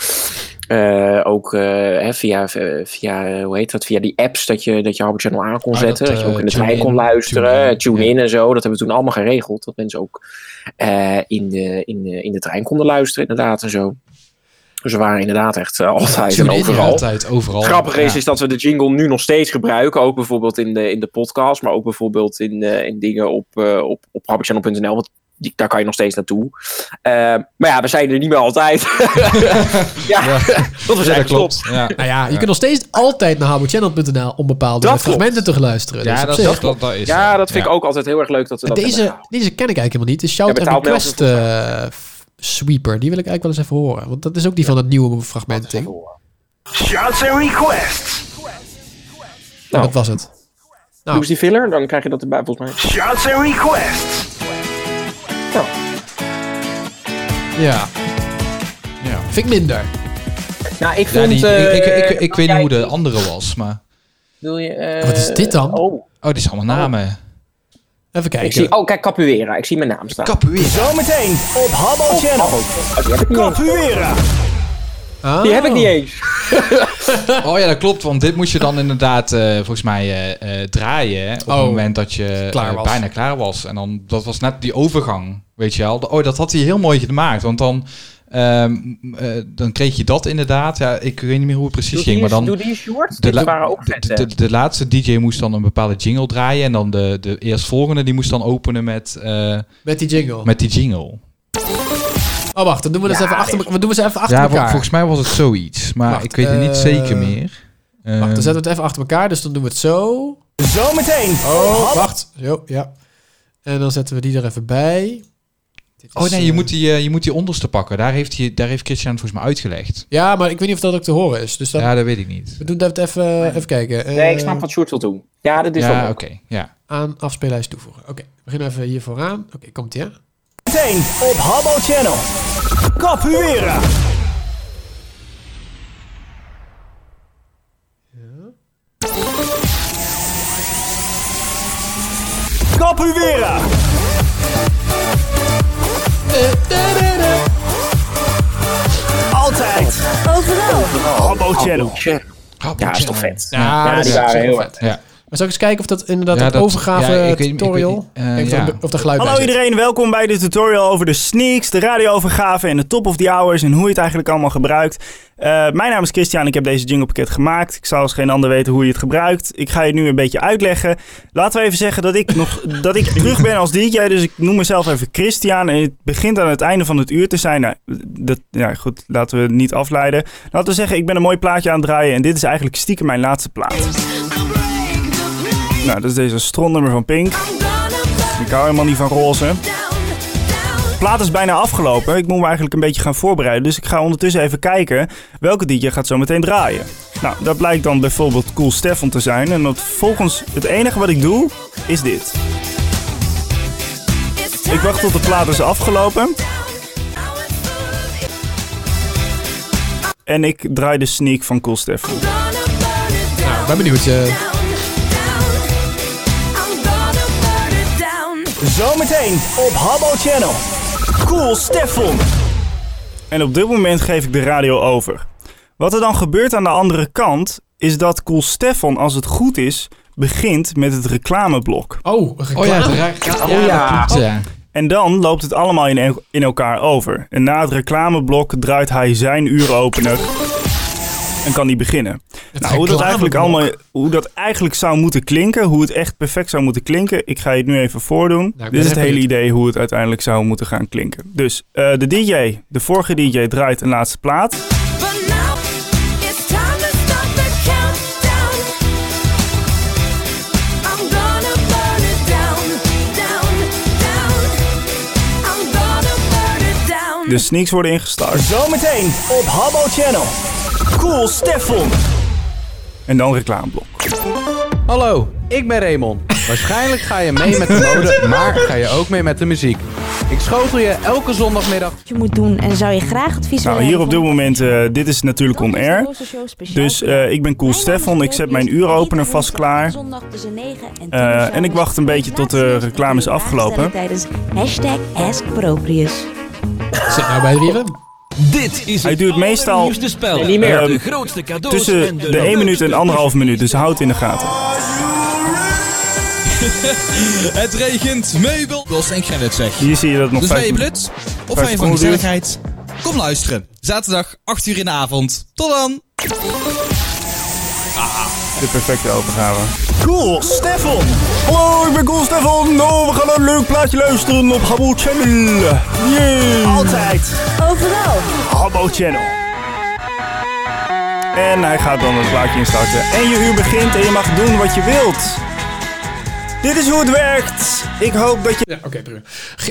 [SPEAKER 7] eh, ook eh, hè, via, eh, via, eh, hoe heet dat, via die apps dat je, dat je Habbo Channel aan kon
[SPEAKER 5] Ah,
[SPEAKER 7] zetten.
[SPEAKER 5] dat,
[SPEAKER 7] Dat, je ook
[SPEAKER 5] eh,
[SPEAKER 7] in de trein
[SPEAKER 5] TuneIn,
[SPEAKER 7] kon luisteren, eh,
[SPEAKER 5] TuneIn,
[SPEAKER 7] tune in en zo. Dat hebben we toen allemaal geregeld. Dat mensen ook eh, in, de, in, de, in de trein konden luisteren inderdaad en zo. Ze waren inderdaad echt eh, altijd en
[SPEAKER 5] Tune in, ja,
[SPEAKER 7] overal.
[SPEAKER 5] Altijd, overal.
[SPEAKER 7] Grappig is,
[SPEAKER 5] Ja.
[SPEAKER 7] is dat we de jingle nu nog steeds gebruiken. Ook bijvoorbeeld in de, in de podcast, maar ook bijvoorbeeld in, eh, in dingen op, eh op, op happichannel.nl. Want die, daar kan je nog steeds naartoe. Eh, maar ja, we zijn er niet meer altijd. ja,
[SPEAKER 5] Ja.
[SPEAKER 7] want we
[SPEAKER 5] Ja,
[SPEAKER 7] zijn
[SPEAKER 5] dat
[SPEAKER 7] gestopt.
[SPEAKER 5] klopt. Ja.
[SPEAKER 4] Nou ja, je kunt nog steeds altijd naar habochannel.nl om bepaalde
[SPEAKER 7] Dat klopt.
[SPEAKER 4] fragmenten te gaan luisteren. Dus
[SPEAKER 5] Ja,
[SPEAKER 4] op
[SPEAKER 5] dat,
[SPEAKER 4] zich-
[SPEAKER 5] dat, dat, dat is
[SPEAKER 7] Ja, dat vind ik ook altijd heel erg leuk dat we dat
[SPEAKER 4] Deze,
[SPEAKER 7] hebben.
[SPEAKER 4] deze ken ik eigenlijk helemaal niet. De Shout
[SPEAKER 7] Ja,
[SPEAKER 4] and
[SPEAKER 7] betaalt
[SPEAKER 4] Request
[SPEAKER 7] Nelson
[SPEAKER 4] eh, f- Sweeper. Die wil ik eigenlijk wel eens even horen. Want dat is ook die van het nieuwe fragmenting. Nou,
[SPEAKER 8] Shouts and requests.
[SPEAKER 4] dat was het.
[SPEAKER 5] Nou.
[SPEAKER 7] Doe eens Nou. die filler, dan krijg je dat erbij volgens mij. Nou,
[SPEAKER 8] Shouts and requests.
[SPEAKER 4] Ja.
[SPEAKER 5] Ja.
[SPEAKER 4] Vind ik minder.
[SPEAKER 7] Nou, ik
[SPEAKER 5] Ja,
[SPEAKER 7] vond...
[SPEAKER 5] die,
[SPEAKER 7] eh,
[SPEAKER 5] ik, ik, ik, ik weet niet
[SPEAKER 7] jij-
[SPEAKER 5] hoe de andere was, maar...
[SPEAKER 7] wil je, eh,
[SPEAKER 4] Wat is dit dan?
[SPEAKER 7] Oh,
[SPEAKER 5] Oh, dit zijn allemaal namen.
[SPEAKER 4] Even
[SPEAKER 7] ik
[SPEAKER 4] kijken.
[SPEAKER 5] eh,
[SPEAKER 7] zie, oh, kijk, Capoeira. Ik zie mijn naam staan.
[SPEAKER 5] Capoeira.
[SPEAKER 8] Zometeen op Habbo Channel.
[SPEAKER 7] Oh, die heb ik niet eens.
[SPEAKER 8] Capoeira.
[SPEAKER 4] Ah.
[SPEAKER 7] Die heb ik niet eens.
[SPEAKER 5] Oh ja, dat klopt, want dit moest je dan inderdaad eh, volgens mij eh, eh, draaien. hè, Op
[SPEAKER 4] Oh,
[SPEAKER 5] het moment dat je
[SPEAKER 4] klaar
[SPEAKER 5] eh,
[SPEAKER 4] was.
[SPEAKER 5] bijna klaar was. En dan, dat was net die overgang, weet je wel. Oh, dat had hij heel mooi gemaakt, want dan... ehm, eh, dan kreeg je dat inderdaad. Ja, ik weet niet meer hoe het precies
[SPEAKER 7] Doe
[SPEAKER 5] ging.
[SPEAKER 7] die,
[SPEAKER 5] Maar dan
[SPEAKER 7] doe die shorts.
[SPEAKER 5] De,
[SPEAKER 7] Dit
[SPEAKER 5] la-
[SPEAKER 7] waren ook
[SPEAKER 5] de-
[SPEAKER 7] vet, hè?
[SPEAKER 5] de, de laatste DJ moest dan een bepaalde jingle draaien. En dan de, de eerstvolgende die moest dan openen met, eh,
[SPEAKER 4] Met die jingle.
[SPEAKER 5] met die jingle.
[SPEAKER 4] Oh, wacht. Dan doen we, dat even achter, we doen we ze even achter
[SPEAKER 5] ja,
[SPEAKER 4] elkaar.
[SPEAKER 5] volgens mij was het zoiets. Maar
[SPEAKER 4] Wacht,
[SPEAKER 5] ik weet het niet
[SPEAKER 4] eh,
[SPEAKER 5] zeker meer. Ehm,
[SPEAKER 4] Wacht, dan zetten we het even achter elkaar. Dus dan doen we het zo.
[SPEAKER 8] Zometeen.
[SPEAKER 4] Oh, wacht. Zo, ja. En dan zetten we die er even bij. Dit
[SPEAKER 5] Oh
[SPEAKER 4] is,
[SPEAKER 5] nee, je
[SPEAKER 4] eh,
[SPEAKER 5] moet, die, eh, je moet die onderste pakken. Daar heeft, hij, daar heeft Christian volgens mij uitgelegd.
[SPEAKER 4] Ja, maar ik weet niet of dat ook te horen is. Dus dan,
[SPEAKER 5] Ja, dat weet ik niet.
[SPEAKER 4] we doen dat even, even kijken.
[SPEAKER 7] Nee, ik
[SPEAKER 4] Eh,
[SPEAKER 7] snap wat Sjoerd wil doen. Ja, dat is wel
[SPEAKER 5] Ja,
[SPEAKER 7] mooi.
[SPEAKER 5] oké. ja.
[SPEAKER 4] Aan afspeellijst toevoegen. Oké, we beginnen even hier vooraan. Oké, komt ie, hè?
[SPEAKER 8] Zometeen op Habbo Channel. Capoeira. Capoeira. Altijd.
[SPEAKER 9] Overal.
[SPEAKER 8] Habbo Channel.
[SPEAKER 7] Ja, is toch vet.
[SPEAKER 5] Ja,
[SPEAKER 7] Ja, die
[SPEAKER 4] dat is
[SPEAKER 7] waren
[SPEAKER 4] heel
[SPEAKER 7] heel
[SPEAKER 4] vet.
[SPEAKER 7] vet.
[SPEAKER 5] ja.
[SPEAKER 4] Maar zal ik eens kijken of dat inderdaad
[SPEAKER 5] Ja,
[SPEAKER 4] een
[SPEAKER 5] dat-
[SPEAKER 4] overgave
[SPEAKER 5] ja, ik weet- ik
[SPEAKER 4] tutorial...
[SPEAKER 5] weet- eh,
[SPEAKER 4] Kijken
[SPEAKER 5] ja.
[SPEAKER 4] of er- of er geluid
[SPEAKER 8] Hallo
[SPEAKER 4] bij zit.
[SPEAKER 8] iedereen, welkom bij de tutorial over de sneaks, de radiovergave en de top of the hours en hoe je het eigenlijk allemaal gebruikt. Eh, mijn naam is Christian, ik heb deze jinglepakket gemaakt. Ik zou als geen ander weten hoe je het gebruikt. Ik ga je nu een beetje uitleggen. Laten we even zeggen dat ik, nog, dat ik terug ben als DJ, dus ik noem mezelf even Christian. En het begint aan het einde van het uur te zijn. Nou, dat, ja, goed, laten we het niet afleiden. Laten we zeggen, ik ben een mooi plaatje aan het draaien en dit is eigenlijk stiekem mijn laatste plaat. Nou, dat is deze stronnummer van Pink. Ik hou helemaal niet van roze. plaat is bijna afgelopen. Ik moet me eigenlijk een beetje gaan voorbereiden. Dus ik ga ondertussen even kijken welke DJ gaat zo meteen draaien. Nou, dat blijkt dan bijvoorbeeld Cool Stefan te zijn. En dat volgens het enige wat ik doe, is dit. Ik wacht tot de plaat is afgelopen. En ik draai de sneak van Cool Stefan.
[SPEAKER 4] Ik ben benieuwd. eh,
[SPEAKER 8] Zometeen op Habbo Channel. Cool Stefan. En op dit moment geef ik de radio over. Wat er dan gebeurt aan de andere kant is dat Cool Stefan, als het goed is, begint met het reclameblok.
[SPEAKER 4] oh, een
[SPEAKER 5] Oh ja,
[SPEAKER 4] reclame.
[SPEAKER 5] het raakt- ja, dat klopt, ja.
[SPEAKER 8] En dan loopt het allemaal in, el- in elkaar over. En na het reclameblok draait hij zijn uuropener. En kan die beginnen. Nou, hoe dat, eigenlijk
[SPEAKER 4] reclameblok.
[SPEAKER 8] allemaal, hoe dat eigenlijk zou moeten klinken, hoe het echt perfect zou moeten klinken, ik ga je het nu even voordoen.
[SPEAKER 4] Nou, ben
[SPEAKER 8] Dit is het
[SPEAKER 4] even
[SPEAKER 8] hele
[SPEAKER 4] benieuwd.
[SPEAKER 8] idee hoe het uiteindelijk zou moeten gaan klinken. Dus eh, de DJ, de vorige DJ, draait een laatste plaat. De sneaks worden ingestart. Zometeen op Habbo Channel. Cool Stefan. En dan reclameblok.
[SPEAKER 10] Hallo, ik ben Raymond. Waarschijnlijk ga je mee met de mode, maar ga je ook mee met de muziek. Ik schotel je elke zondagmiddag
[SPEAKER 9] Je moet doen en zou je graag advies
[SPEAKER 8] Nou, hier op dit moment, eh, dit is natuurlijk on air. Dus eh, ik ben Cool Stefan, ik zet mijn uuropener vast klaar. Eh, en ik wacht een beetje tot de reclame is afgelopen.
[SPEAKER 9] Tijdens hashtag AskProprius.
[SPEAKER 4] Zit nou bij de riem.
[SPEAKER 11] Dit is
[SPEAKER 8] Hij duurt meestal
[SPEAKER 11] spel.
[SPEAKER 7] niet meer.
[SPEAKER 8] ehm,
[SPEAKER 11] grootste cadeaus
[SPEAKER 8] tussen de 1 minuut en 1,5 minuut, dus houd het in de gaten.
[SPEAKER 11] Het regent meubels en Gerrit zeg.
[SPEAKER 8] Hier zie je dat het nog
[SPEAKER 11] Dus ben je
[SPEAKER 8] vijf
[SPEAKER 11] blut? Of ben je
[SPEAKER 8] vijf
[SPEAKER 11] van
[SPEAKER 8] seconden
[SPEAKER 11] gezelligheid? Kom luisteren. Zaterdag 8 uur in de avond. Tot dan.
[SPEAKER 8] De perfecte overgave. Cool, Stefan! Hallo, ik ben Cool Stefan. Nou, we gaan naar een leuk plaatje luisteren op Habbo Channel. Yeah. Altijd.
[SPEAKER 12] Nou.
[SPEAKER 6] Overal.
[SPEAKER 8] Habbo Channel. En hij gaat dan het plaatje instarten. En je uur begint en je mag doen wat je wilt. Dit is hoe het werkt. Ik hoop dat je...
[SPEAKER 4] Ja, oké,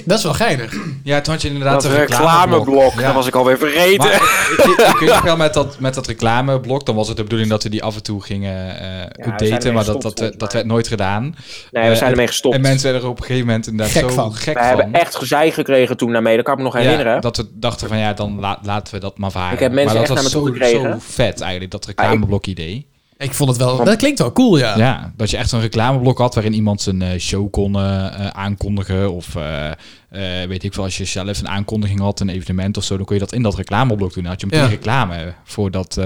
[SPEAKER 4] Dat is wel geinig.
[SPEAKER 5] Ja, toen had je inderdaad
[SPEAKER 7] Dat
[SPEAKER 5] een
[SPEAKER 7] reclameblok.
[SPEAKER 5] reclameblok.
[SPEAKER 7] Dat was ik alweer vergeten.
[SPEAKER 5] Maar ik- ik- ik weet nog wel met dat, met dat reclameblok, dan was het de bedoeling dat we die af en toe gingen eh,
[SPEAKER 7] ermee
[SPEAKER 5] updaten, maar dat,
[SPEAKER 7] gestopt,
[SPEAKER 5] dat,
[SPEAKER 7] volgens
[SPEAKER 5] dat werd nooit gedaan.
[SPEAKER 7] Nee, we
[SPEAKER 5] Eh,
[SPEAKER 7] zijn ermee
[SPEAKER 5] en-
[SPEAKER 7] gestopt.
[SPEAKER 5] En mensen werden er op een gegeven moment inderdaad
[SPEAKER 7] Gek
[SPEAKER 5] zo
[SPEAKER 7] van.
[SPEAKER 5] gek
[SPEAKER 7] we
[SPEAKER 5] van.
[SPEAKER 7] hebben echt gezeik gekregen toen daarmee. Dat kan ik me nog herinneren.
[SPEAKER 5] Ja, dat we dachten van ja, dan la- laten we dat maar varen.
[SPEAKER 7] Ik heb mensen
[SPEAKER 5] maar dat
[SPEAKER 7] echt
[SPEAKER 5] was
[SPEAKER 7] naar me
[SPEAKER 5] zo,
[SPEAKER 7] toe gekregen. Ah,
[SPEAKER 5] zo vet eigenlijk, dat reclameblok idee.
[SPEAKER 4] Ik vond het wel... Dat klinkt wel cool, ja.
[SPEAKER 5] Ja, dat je echt zo'n reclameblok had waarin iemand zijn eh, show kon eh, eh, aankondigen. Of eh, eh, weet ik veel, als je zelf een aankondiging had, een evenement of zo, dan kon je dat in dat reclameblok doen. Dan had je meteen
[SPEAKER 4] Ja.
[SPEAKER 5] reclame voor, dat, eh,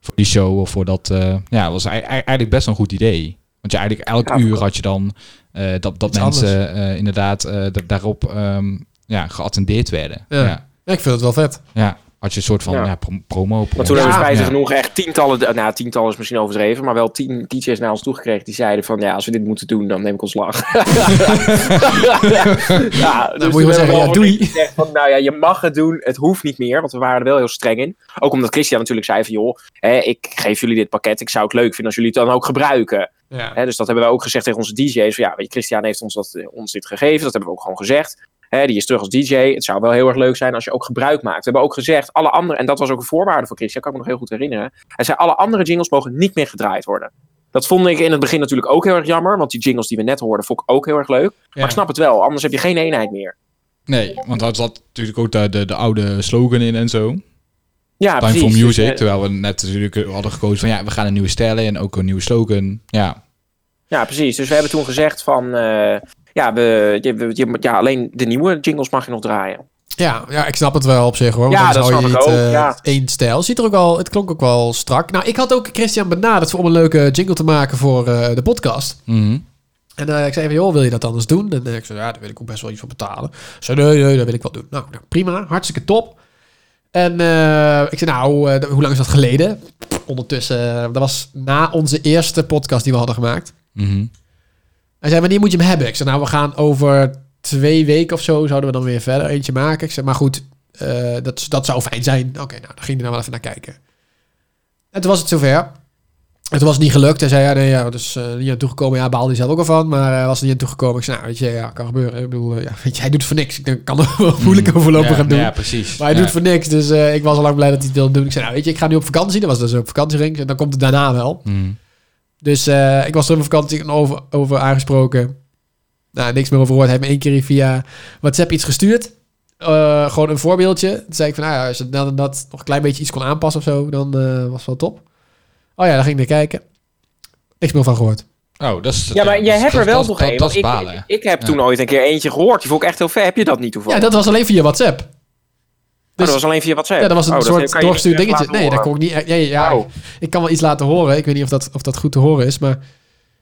[SPEAKER 5] voor die show of voor dat... eh, ja, dat was ei- ei- eigenlijk best wel een goed idee. Want je eigenlijk elk
[SPEAKER 7] Ja,
[SPEAKER 5] uur had je dan eh, dat, dat
[SPEAKER 4] Iets
[SPEAKER 5] mensen eh, inderdaad eh, da- daarop ehm, ja, geattendeerd werden.
[SPEAKER 4] Ja.
[SPEAKER 5] Ja.
[SPEAKER 4] Ja, ik vind het wel vet.
[SPEAKER 5] Ja, had je een soort van
[SPEAKER 7] Ja.
[SPEAKER 5] ja. prom- promo.
[SPEAKER 7] Maar toen hebben we spijtig
[SPEAKER 5] ja.
[SPEAKER 7] genoeg echt tientallen, nou tientallen is misschien overdreven, maar wel tien DJ's naar ons toegekregen die zeiden van ja, als we dit moeten doen, dan neem ik ontslag. ja,
[SPEAKER 4] Nou, moet je
[SPEAKER 7] dus toen hebben
[SPEAKER 4] wel zeggen,
[SPEAKER 7] we
[SPEAKER 4] ja,
[SPEAKER 7] al
[SPEAKER 4] doei.
[SPEAKER 7] gezegd van, nou ja, je mag het doen, het hoeft niet meer, want we waren er wel heel streng in. Ook omdat Christian natuurlijk zei van joh, hè, ik geef jullie dit pakket, ik zou het leuk vinden als jullie het dan ook gebruiken.
[SPEAKER 4] Ja.
[SPEAKER 7] Hè, dus dat hebben we ook gezegd tegen onze DJ's. Van, ja, weet je, Christian heeft ons, dat, eh, ons dit gegeven. Dat hebben we ook gewoon gezegd. Hè, die is terug als DJ. Het zou wel heel erg leuk zijn als je ook gebruik maakt. We hebben ook gezegd, alle andere, en dat was ook een voorwaarde voor Christian, kan ik me nog heel goed herinneren. Hij zei, alle andere jingles mogen niet meer gedraaid worden. Dat vond ik in het begin natuurlijk ook heel erg jammer, want die jingles die we net hoorden, vond ik ook heel erg leuk. Maar ik snap het wel, anders heb je geen eenheid meer.
[SPEAKER 5] Nee, want daar zat natuurlijk ook de, de, de oude slogan in en zo.
[SPEAKER 7] Ja,
[SPEAKER 5] Time
[SPEAKER 7] precies.
[SPEAKER 5] for
[SPEAKER 7] Dus,
[SPEAKER 5] Music.
[SPEAKER 7] eh,
[SPEAKER 5] terwijl we net natuurlijk hadden gekozen van ja, we gaan een nieuwe stijl en ook een nieuwe slogan. Ja,
[SPEAKER 7] Ja, precies. Dus we hebben toen gezegd van, eh, ja, we, je- we- je- ja, alleen de nieuwe jingles mag je nog draaien.
[SPEAKER 4] Ja, ja, ik snap het wel op zich hoor. Want
[SPEAKER 7] Ja,
[SPEAKER 4] dan
[SPEAKER 7] dat
[SPEAKER 4] zou je
[SPEAKER 7] snap ik
[SPEAKER 4] niet
[SPEAKER 7] ook,
[SPEAKER 4] eh,
[SPEAKER 7] ja.
[SPEAKER 4] één stijl. Ziet er ook al, het klonk ook wel strak. Nou, ik had ook Christian benaderd voor om een leuke jingle te maken voor eh, de podcast. En eh, ik zei van, joh, wil je dat anders doen? En eh, ik zei, ja, daar wil ik ook best wel iets voor betalen. Ze zei, nee, nee, dat wil ik wel doen. Nou, nou, prima, hartstikke top. En eh, ik zei, nou, eh, hoe lang is dat geleden? Ondertussen, eh, dat was na onze eerste podcast die we hadden gemaakt.
[SPEAKER 5] Mhm.
[SPEAKER 4] Hij zei, wanneer moet je hem hebben? Ik zei, nou, we gaan over twee weken of zo zouden we dan weer verder eentje maken. Ik zei, maar goed, eh, dat, dat zou fijn zijn. Oké, nou, dan ging hij nou wel even naar kijken. En toen was het zover. En toen was het niet gelukt. Hij zei, ja, nee, ja, dus eh, niet aan toegekomen. Ja, baalde hij zelf ook al van, maar eh, was er niet aan toegekomen. Ik zei, nou, weet je, ja, kan gebeuren. Ik bedoel, eh, ja, weet je, hij doet het voor niks. Ik denk, kan er wel moeilijk
[SPEAKER 5] Mm,
[SPEAKER 4] overlopen
[SPEAKER 5] ja,
[SPEAKER 4] gaan doen.
[SPEAKER 5] ja, precies.
[SPEAKER 4] Maar hij
[SPEAKER 5] Ja.
[SPEAKER 4] doet het voor niks, dus eh, ik was al lang blij dat hij het wilde doen. Ik zei, nou, weet je, ik ga nu op vakantie. Dat was dus op vakantiering. En dan komt het daarna wel.
[SPEAKER 7] Mm.
[SPEAKER 4] Dus eh, ik was er op vakantie over, over aangesproken. Nou, niks meer over gehoord. Hij heeft me één keer via WhatsApp iets gestuurd. Eh, gewoon een voorbeeldje. Toen zei ik van, nou ja, als je dan en dat nog een klein beetje iets kon aanpassen of zo, dan eh, was het wel top. Oh ja, dan ging ik naar kijken. Niks meer van gehoord.
[SPEAKER 5] Oh, dat is.
[SPEAKER 7] Ja, maar jij hebt er wel nog één.
[SPEAKER 5] Dat, dat
[SPEAKER 7] want
[SPEAKER 5] is
[SPEAKER 7] ik,
[SPEAKER 5] balen.
[SPEAKER 7] ik, ik heb toen ooit een keer eentje gehoord. Die vond ik echt heel ver. Heb je dat niet
[SPEAKER 4] Ja,
[SPEAKER 7] toevallig?
[SPEAKER 4] dat was alleen via WhatsApp.
[SPEAKER 7] Oh, dat was alleen via WhatsApp.
[SPEAKER 4] Ja, dat was een
[SPEAKER 7] Oh, kan
[SPEAKER 4] soort
[SPEAKER 7] je
[SPEAKER 4] doorgestuurd
[SPEAKER 7] niet echt
[SPEAKER 4] dingetje.
[SPEAKER 7] laten
[SPEAKER 4] Nee, dat kon
[SPEAKER 7] horen.
[SPEAKER 4] ik niet. Ja, ja, ja, Ik kan wel iets laten horen. Ik weet niet of dat, of dat goed te horen is, maar...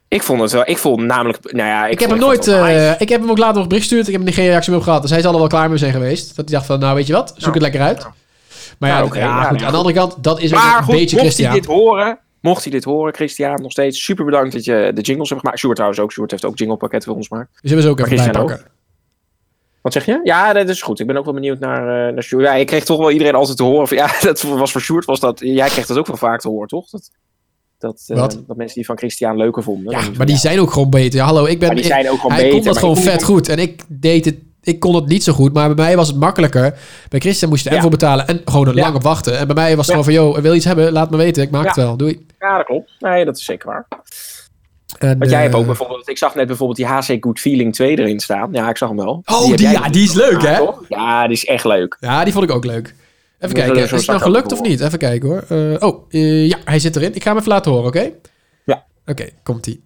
[SPEAKER 7] Ik vond het wel. Ik vond namelijk. Nou ja, ik,
[SPEAKER 4] Ik heb hem
[SPEAKER 7] vond-
[SPEAKER 4] nooit.
[SPEAKER 7] vond het wel nice.
[SPEAKER 4] eh, ik heb hem ook later nog een bericht gestuurd. Ik heb er geen reactie meer op gehad. Dus hij zal er wel klaar mee zijn geweest. Dat hij dacht van, nou weet je wat, zoek het lekker uit. Maar ja,
[SPEAKER 7] Nou,
[SPEAKER 4] dat-
[SPEAKER 7] oké,
[SPEAKER 4] ja,
[SPEAKER 7] ja,
[SPEAKER 4] goed.
[SPEAKER 7] ja,
[SPEAKER 4] Aan de
[SPEAKER 7] goed.
[SPEAKER 4] andere kant, dat is ook
[SPEAKER 7] maar
[SPEAKER 4] een
[SPEAKER 7] goed,
[SPEAKER 4] beetje
[SPEAKER 7] mocht
[SPEAKER 4] Christian.
[SPEAKER 7] hij dit horen. Mocht hij dit horen, Christian, nog steeds super bedankt dat je de jingles hebt gemaakt. Sjoerd trouwens ook. Sjoerd heeft ook jinglepakketten voor ons gemaakt.
[SPEAKER 4] Dus hebben ze ook
[SPEAKER 7] Maar
[SPEAKER 4] even
[SPEAKER 7] Christian
[SPEAKER 4] bijpakken.
[SPEAKER 7] Wat zeg je? Ja, dat is goed. Ik ben ook wel benieuwd naar, eh naar Sjoerd. Ja, ik kreeg toch wel iedereen altijd te horen. Van, ja, dat was voor Sjoerd. Was dat, jij kreeg dat ook wel vaak te horen, toch? Dat, dat, eh,
[SPEAKER 4] Wat?
[SPEAKER 7] dat mensen die van Christian leuker vonden. Dan
[SPEAKER 4] Ja,
[SPEAKER 7] van,
[SPEAKER 4] maar die zijn ook gewoon beter. Ja, hallo, ik ben.
[SPEAKER 7] Maar die
[SPEAKER 4] ik-
[SPEAKER 7] zijn ook gewoon
[SPEAKER 4] hij
[SPEAKER 7] beter,
[SPEAKER 4] kon dat
[SPEAKER 7] maar
[SPEAKER 4] gewoon
[SPEAKER 7] ik-
[SPEAKER 4] vet goed. En ik deed het. Ik kon het niet zo goed, maar bij mij was het makkelijker. Bij Christian moest je er en
[SPEAKER 7] Ja.
[SPEAKER 4] voor betalen en gewoon er
[SPEAKER 7] Ja.
[SPEAKER 4] lang op wachten. En bij mij was het gewoon van, joh, wil je iets hebben? Laat me weten, ik maak
[SPEAKER 7] Ja.
[SPEAKER 4] het wel. Doei.
[SPEAKER 7] Ja, dat klopt. Nee, dat is zeker waar.
[SPEAKER 4] En,
[SPEAKER 7] Want jij hebt
[SPEAKER 4] eh,
[SPEAKER 7] ook bijvoorbeeld, ik zag net bijvoorbeeld die HC Good Feeling 2 erin staan. Ja, ik zag hem wel.
[SPEAKER 4] Oh,
[SPEAKER 7] heb
[SPEAKER 4] die-
[SPEAKER 7] jij
[SPEAKER 4] ja,
[SPEAKER 7] niet
[SPEAKER 4] die is leuk,
[SPEAKER 7] gedaan,
[SPEAKER 4] hè?
[SPEAKER 7] toch? Ja, die is echt leuk.
[SPEAKER 4] Ja, die vond ik ook leuk. Even
[SPEAKER 7] Moet
[SPEAKER 4] kijken,
[SPEAKER 7] er
[SPEAKER 4] is
[SPEAKER 7] zo
[SPEAKER 4] het nou
[SPEAKER 7] zakken
[SPEAKER 4] gelukt of
[SPEAKER 7] voor.
[SPEAKER 4] niet? Even kijken hoor. Eh, oh, eh, ja, hij zit erin. Ik ga hem even laten horen, oké?
[SPEAKER 7] Ja.
[SPEAKER 4] Oké, komt-ie.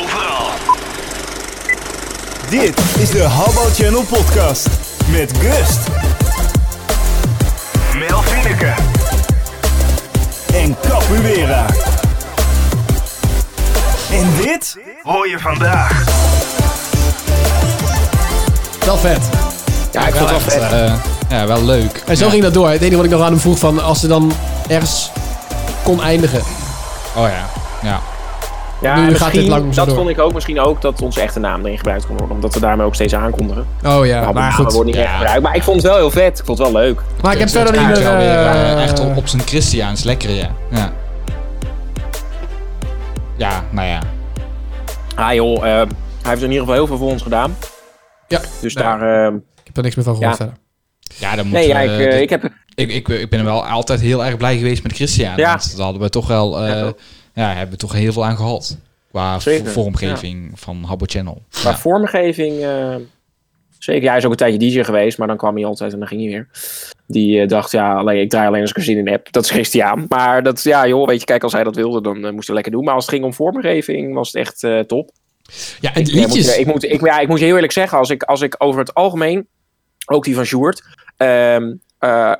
[SPEAKER 13] Overal.
[SPEAKER 8] Dit is de Habbo Channel podcast met Gust
[SPEAKER 13] Mel Finneke.
[SPEAKER 8] en Capoeira. En dit hoor je vandaag.
[SPEAKER 4] Wel vet.
[SPEAKER 7] Ja, ik vond het wel vet.
[SPEAKER 5] ja, wel leuk.
[SPEAKER 4] En zo
[SPEAKER 5] Ja.
[SPEAKER 4] ging dat door. Het enige wat ik nog aan hem vroeg van als ze dan ergens kon eindigen.
[SPEAKER 5] Oh ja, ja.
[SPEAKER 7] Ja,
[SPEAKER 4] Nu gaat
[SPEAKER 7] misschien-
[SPEAKER 4] dit lang zo
[SPEAKER 7] dat
[SPEAKER 4] door.
[SPEAKER 7] vond ik ook misschien ook dat onze echte naam erin gebruikt kon worden. Omdat we daarmee ook steeds aankondigen.
[SPEAKER 4] Oh ja,
[SPEAKER 7] Nou,
[SPEAKER 4] maar
[SPEAKER 7] namen worden
[SPEAKER 4] goed.
[SPEAKER 7] niet echt gebruikt. Maar ik vond het wel heel vet. Ik vond het wel leuk.
[SPEAKER 4] Maar ik heb
[SPEAKER 5] Het
[SPEAKER 4] verder niet
[SPEAKER 5] kaart
[SPEAKER 4] meer...
[SPEAKER 5] wel weer,
[SPEAKER 4] eh,
[SPEAKER 5] eh, echt op, op zijn Christiaans, lekker ja. Ja, ja nou ja.
[SPEAKER 7] Ah joh, eh, hij heeft in ieder geval heel veel voor ons gedaan.
[SPEAKER 4] Ja. nou,
[SPEAKER 7] Dus daar... eh,
[SPEAKER 4] Ik heb er niks meer van gehoord
[SPEAKER 7] Ja.
[SPEAKER 4] verder.
[SPEAKER 5] Ja, dan moet
[SPEAKER 7] nee,
[SPEAKER 5] je,
[SPEAKER 7] ja, ik,
[SPEAKER 5] eh,
[SPEAKER 7] eh,
[SPEAKER 5] dit-
[SPEAKER 7] ik heb...
[SPEAKER 5] ik, ik, ik ben wel altijd heel erg blij geweest met Christian.
[SPEAKER 7] Ja.
[SPEAKER 5] Want daar hadden we toch wel, eh,
[SPEAKER 7] Ja,
[SPEAKER 5] ja,
[SPEAKER 7] toch?
[SPEAKER 5] hebben we toch heel veel aan gehad. Qua
[SPEAKER 7] Zeker,
[SPEAKER 5] vormgeving van Habbo Channel.
[SPEAKER 7] Maar
[SPEAKER 5] Ja.
[SPEAKER 7] vormgeving... eh, zeker, ja, hij is ook een tijdje DJ geweest. Maar dan kwam hij altijd en dan ging hij weer. Die eh, dacht, ja, alleen, ik draai alleen als ik er zin in heb. Dat is Christian. Maar dat, ja joh, weet je, kijk, als hij dat wilde, dan eh, moest hij lekker doen. Maar als het ging om vormgeving, was het echt eh, top.
[SPEAKER 4] Ja, en
[SPEAKER 7] Ja, moet je-
[SPEAKER 4] liedjes.
[SPEAKER 7] ik, moet, ik, ja, ik moet je heel eerlijk zeggen, als ik, als ik over het algemeen, ook die van Sjoerd, ehm, eh,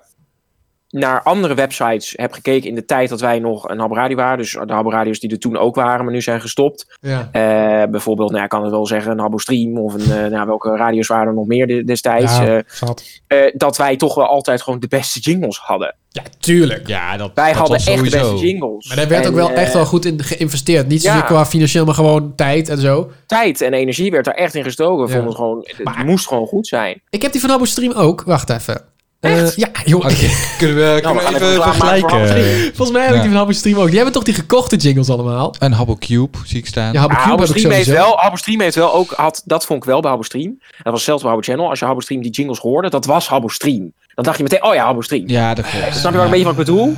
[SPEAKER 7] naar andere websites heb gekeken in de tijd dat wij nog een habradio waren. Dus de habradio's die er toen ook waren, maar nu zijn gestopt.
[SPEAKER 4] Ja.
[SPEAKER 7] Eh, bijvoorbeeld, nou, ja, ik kan het wel zeggen, een Habbo Stream of een, eh, nou, welke radio's waren er nog meer de- destijds.
[SPEAKER 4] Ja,
[SPEAKER 7] eh,
[SPEAKER 4] schat.
[SPEAKER 7] eh, dat wij toch wel altijd gewoon de beste jingles hadden.
[SPEAKER 4] Ja, tuurlijk.
[SPEAKER 5] Ja, dat,
[SPEAKER 7] Wij
[SPEAKER 5] dat
[SPEAKER 7] hadden
[SPEAKER 5] was
[SPEAKER 7] echt de
[SPEAKER 5] sowieso.
[SPEAKER 7] beste jingles.
[SPEAKER 4] Maar daar werd
[SPEAKER 7] En,
[SPEAKER 4] ook wel
[SPEAKER 7] eh,
[SPEAKER 4] echt wel goed in geïnvesteerd. Niet zozeer
[SPEAKER 7] ja.
[SPEAKER 4] qua financieel, maar gewoon tijd en zo.
[SPEAKER 7] Tijd en energie werd daar echt in gestoken. We
[SPEAKER 4] Ja.
[SPEAKER 7] vonden het, gewoon, het
[SPEAKER 4] Maar-
[SPEAKER 7] moest gewoon goed zijn.
[SPEAKER 4] Ik heb die van Abo Stream ook. Wacht even. Eh,
[SPEAKER 7] Echt?
[SPEAKER 4] ja, joh.
[SPEAKER 5] Kunnen we,
[SPEAKER 7] Nou, we
[SPEAKER 5] kunnen
[SPEAKER 7] gaan
[SPEAKER 5] we
[SPEAKER 7] even
[SPEAKER 5] even
[SPEAKER 7] reclame maken voor Habbo
[SPEAKER 5] vergelijken?
[SPEAKER 4] Volgens mij heb ik
[SPEAKER 5] Ja.
[SPEAKER 4] die van Habbo Stream ook. Die hebben toch die gekochte jingles allemaal?
[SPEAKER 5] Een Habbo Cube zie ik staan.
[SPEAKER 4] Ja, Habbo
[SPEAKER 7] Ja,
[SPEAKER 4] Cube
[SPEAKER 7] Habbo
[SPEAKER 4] heb ik
[SPEAKER 7] Stream Ah, heeft
[SPEAKER 4] sowieso.
[SPEAKER 7] wel, Habbo Stream heeft wel ook, had, dat vond ik wel bij Habbo Stream. Dat was zelfs bij Habbo Channel. Als je Habbo Stream die jingles hoorde, dat was Habbo Stream. Dan dacht je meteen, oh ja, Habbo Stream.
[SPEAKER 5] Ja, dat klopt.
[SPEAKER 7] Eh, Snap je wel een beetje wat ik bedoel?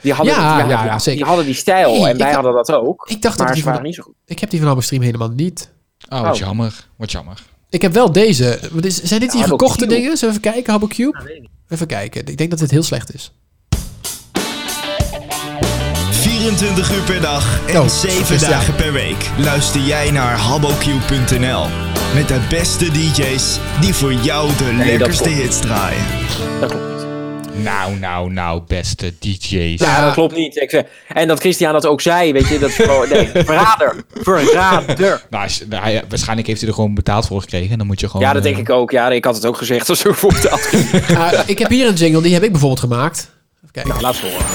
[SPEAKER 7] Die hadden,
[SPEAKER 4] Ja,
[SPEAKER 7] die, hadden,
[SPEAKER 4] ja, ja, zeker.
[SPEAKER 7] die hadden die stijl
[SPEAKER 4] Nee,
[SPEAKER 7] en
[SPEAKER 4] ik
[SPEAKER 7] wij
[SPEAKER 4] dacht-
[SPEAKER 7] hadden dat ook.
[SPEAKER 4] Ik dacht
[SPEAKER 7] Maar
[SPEAKER 4] dat die
[SPEAKER 7] ze
[SPEAKER 4] van-
[SPEAKER 7] waren niet zo goed.
[SPEAKER 4] Ik heb die van Habbo Stream helemaal niet.
[SPEAKER 5] Oh, wat
[SPEAKER 7] Oh.
[SPEAKER 5] jammer. Wat jammer.
[SPEAKER 4] Ik heb wel deze. Wat is- Zijn dit die
[SPEAKER 7] Ah, Habbo
[SPEAKER 4] gekochte
[SPEAKER 7] Cube. Ah,
[SPEAKER 4] dingen? Zullen we even kijken? Habbo Cube?
[SPEAKER 7] weet ik niet.
[SPEAKER 4] Even kijken. Ik denk dat dit heel slecht is.
[SPEAKER 13] 24 uur per dag en
[SPEAKER 4] Oh,
[SPEAKER 13] 7
[SPEAKER 4] dus ja.
[SPEAKER 13] dagen per week luister jij naar habboq.nl met de beste DJ's die voor jou de
[SPEAKER 7] dat
[SPEAKER 13] lekkerste
[SPEAKER 7] klopt.
[SPEAKER 13] hits draaien.
[SPEAKER 7] Dat klopt niet.
[SPEAKER 5] Nou, nou, nou, beste DJ's.
[SPEAKER 7] Ja, dat klopt niet. Ik zeg- en dat Christian dat ook zei, weet je, dat is gewoon, nee, verrader. Verrader.
[SPEAKER 5] Nou, als- nou, hij- waarschijnlijk heeft hij er gewoon betaald voor gekregen. En dan moet je gewoon...
[SPEAKER 7] Ja, dat
[SPEAKER 5] eh,
[SPEAKER 7] denk ik ook. Ja, ik had het ook gezegd als er voorbetaald ging.
[SPEAKER 4] Ah, ik heb hier een jingle. Die heb ik bijvoorbeeld gemaakt. Even kijken.
[SPEAKER 7] Nou, laat ze horen.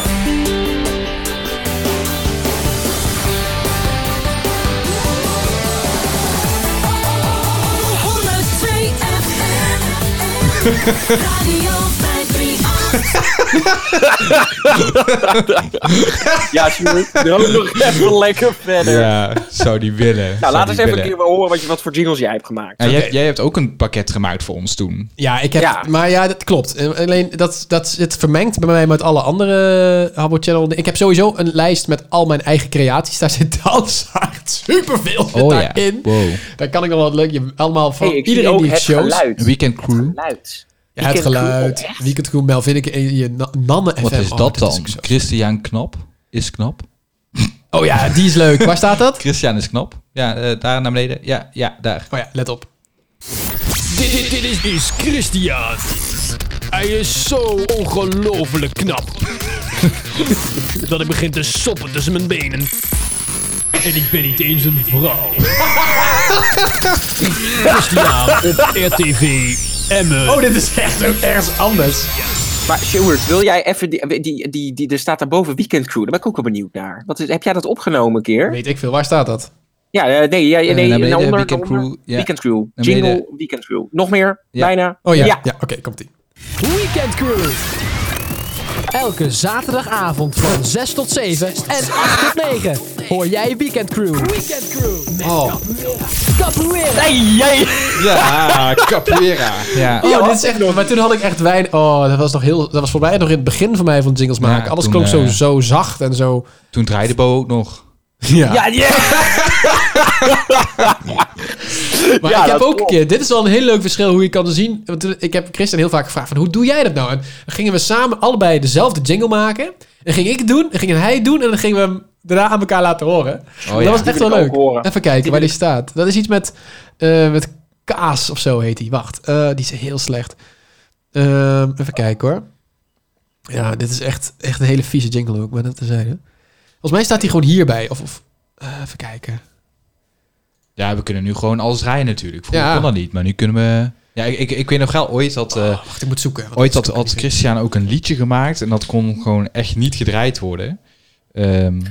[SPEAKER 7] Ja, Sjoerd, droom nog even lekker verder.
[SPEAKER 5] Ja, zou die willen.
[SPEAKER 7] Nou,
[SPEAKER 5] zou
[SPEAKER 7] laat
[SPEAKER 5] die
[SPEAKER 7] eens even
[SPEAKER 5] willen.
[SPEAKER 7] een keer horen wat, je, wat voor jingles jij hebt gemaakt.
[SPEAKER 5] Ja, jij, jij hebt ook een pakket gemaakt voor ons toen.
[SPEAKER 4] Ja, ik heb,
[SPEAKER 7] Ja.
[SPEAKER 4] maar ja, dat klopt. En Alleen dat, dat zit vermengd bij mij met alle andere eh, Habbo Channel. Ik heb sowieso een lijst met al mijn eigen creaties. Daar zit dansaard superveel zit daarin.
[SPEAKER 5] Oh, Wow.
[SPEAKER 4] Daar kan ik nog wat leuk. Je, allemaal van
[SPEAKER 7] Hey, ik zie
[SPEAKER 4] iedereen
[SPEAKER 7] ook
[SPEAKER 4] die heeft
[SPEAKER 7] het
[SPEAKER 4] shows.
[SPEAKER 7] geluid.
[SPEAKER 5] Weekend Crew.
[SPEAKER 7] Geluid.
[SPEAKER 4] Ja, het
[SPEAKER 7] Weekend Crew,
[SPEAKER 4] geluid.
[SPEAKER 7] oh, echt?
[SPEAKER 4] Weekend Crew, Melvin, ik, eh, je na- Nanne
[SPEAKER 5] Wat
[SPEAKER 4] FM.
[SPEAKER 5] is
[SPEAKER 4] Oh,
[SPEAKER 5] dat
[SPEAKER 4] is
[SPEAKER 5] dan?
[SPEAKER 4] ook zo-
[SPEAKER 5] Christian Knap is knap.
[SPEAKER 4] oh ja, die is leuk. Waar staat dat?
[SPEAKER 5] Christian is knap. Ja, eh, daar naar beneden. Ja, ja, daar.
[SPEAKER 4] Oh ja, let op.
[SPEAKER 14] Dit, dit, dit is dus Christian. Hij is zo ongelooflijk knap. dat ik begin te soppen tussen mijn benen. En ik ben niet eens een vrouw. Christian op RTV Emmen.
[SPEAKER 4] Oh, dit is echt ook ergens anders.
[SPEAKER 7] Maar Sjoerd, wil jij even die, die, die, die... Er staat daarboven Weekend Crew. Daar ben ik ook wel benieuwd naar. Wat is, heb jij dat opgenomen een keer?
[SPEAKER 4] Weet ik veel. Waar staat dat?
[SPEAKER 7] Ja, eh, nee. Ja, nee,
[SPEAKER 5] naar beneden,
[SPEAKER 7] daaronder,
[SPEAKER 5] Weekend
[SPEAKER 7] daaronder.
[SPEAKER 5] Crew, ja.
[SPEAKER 7] Weekend Crew.
[SPEAKER 5] Naar
[SPEAKER 7] Jingle,
[SPEAKER 5] beneden.
[SPEAKER 7] Weekend Crew. Nog meer?
[SPEAKER 5] Ja.
[SPEAKER 7] Bijna?
[SPEAKER 4] Oh ja, ja. oké, komt ie.
[SPEAKER 14] Weekend Crew. Elke zaterdagavond van 6 tot 7 en 8 tot 9 hoor jij Weekend Crew. Weekend Crew.
[SPEAKER 4] Oh,
[SPEAKER 14] Capoeira.
[SPEAKER 7] Nee, jij...
[SPEAKER 5] Ja, capoeira. Ja.
[SPEAKER 4] Oh, dit is echt Maar toen had ik echt wijn. Oh, dat was nog heel. Dat was voor mij nog in het begin van mij van jingles
[SPEAKER 5] Ja,
[SPEAKER 4] maken. Alles
[SPEAKER 5] toen,
[SPEAKER 4] klonk zo,
[SPEAKER 5] eh,
[SPEAKER 4] zo zacht en zo.
[SPEAKER 5] Toen draaide Bo Oh, ook nog.
[SPEAKER 4] Ja.
[SPEAKER 7] Ja, ja.
[SPEAKER 4] maar
[SPEAKER 7] ja,
[SPEAKER 4] ik heb
[SPEAKER 7] dat
[SPEAKER 4] ook een
[SPEAKER 7] klopt.
[SPEAKER 4] keer. Dit is wel een heel leuk verschil hoe je kan zien. Want toen- ik heb Christian heel vaak gevraagd van hoe doe jij dat nou? En dan gingen we samen allebei dezelfde jingle maken. En ging ik het doen, en ging hij het doen en dan gingen we hem daarna aan elkaar laten horen.
[SPEAKER 5] Oh,
[SPEAKER 4] dat
[SPEAKER 5] ja.
[SPEAKER 4] was
[SPEAKER 5] Die
[SPEAKER 4] echt
[SPEAKER 7] wil
[SPEAKER 4] wel
[SPEAKER 7] ik ook
[SPEAKER 4] leuk.
[SPEAKER 7] horen.
[SPEAKER 4] Even kijken waar die staat. Dat is iets met, eh, met kaas of zo heet die. Wacht, eh, die is heel slecht. Ehm, even kijken hoor. Ja, dit is echt, echt een hele vieze jingle ook, maar dat te zeggen. Volgens mij staat hij gewoon hierbij. Of, of eh, even kijken.
[SPEAKER 5] Ja, we kunnen nu gewoon alles draaien natuurlijk. Vroeger
[SPEAKER 4] Ja. Oh,
[SPEAKER 5] kon dat niet, maar nu kunnen we... Ja, ik, ik, ik weet nog wel, ooit had... eh,
[SPEAKER 4] ik moet zoeken. want
[SPEAKER 5] ooit
[SPEAKER 4] dat
[SPEAKER 5] had, had Christian ook een liedje gemaakt en dat kon gewoon echt niet gedraaid worden. Ehm,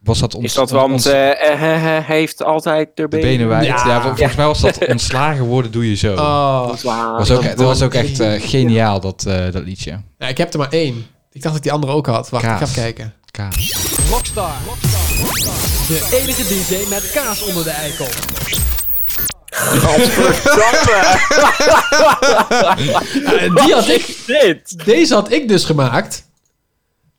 [SPEAKER 5] was dat ons,
[SPEAKER 7] Is dat
[SPEAKER 5] ons-
[SPEAKER 7] want eh, eh, eh, eh, heeft altijd de
[SPEAKER 5] de
[SPEAKER 7] benen,
[SPEAKER 5] benen wijd. Ja, vol- volgens mij was dat
[SPEAKER 7] Ja.
[SPEAKER 5] ontslagen worden doe je zo.
[SPEAKER 4] Oh.
[SPEAKER 5] was ook, dat was ook
[SPEAKER 4] Ontslagen.
[SPEAKER 5] echt eh, geniaal, dat, eh, dat liedje.
[SPEAKER 4] Ja, ik heb er maar één. Ik dacht dat ik die andere ook had. Wacht, ik ga
[SPEAKER 5] Kaas.
[SPEAKER 4] even kijken.
[SPEAKER 5] Kaas.
[SPEAKER 11] Rockstar. De enige DJ met kaas onder de eikel.
[SPEAKER 4] Ja, en die had ik, deze had ik dus gemaakt.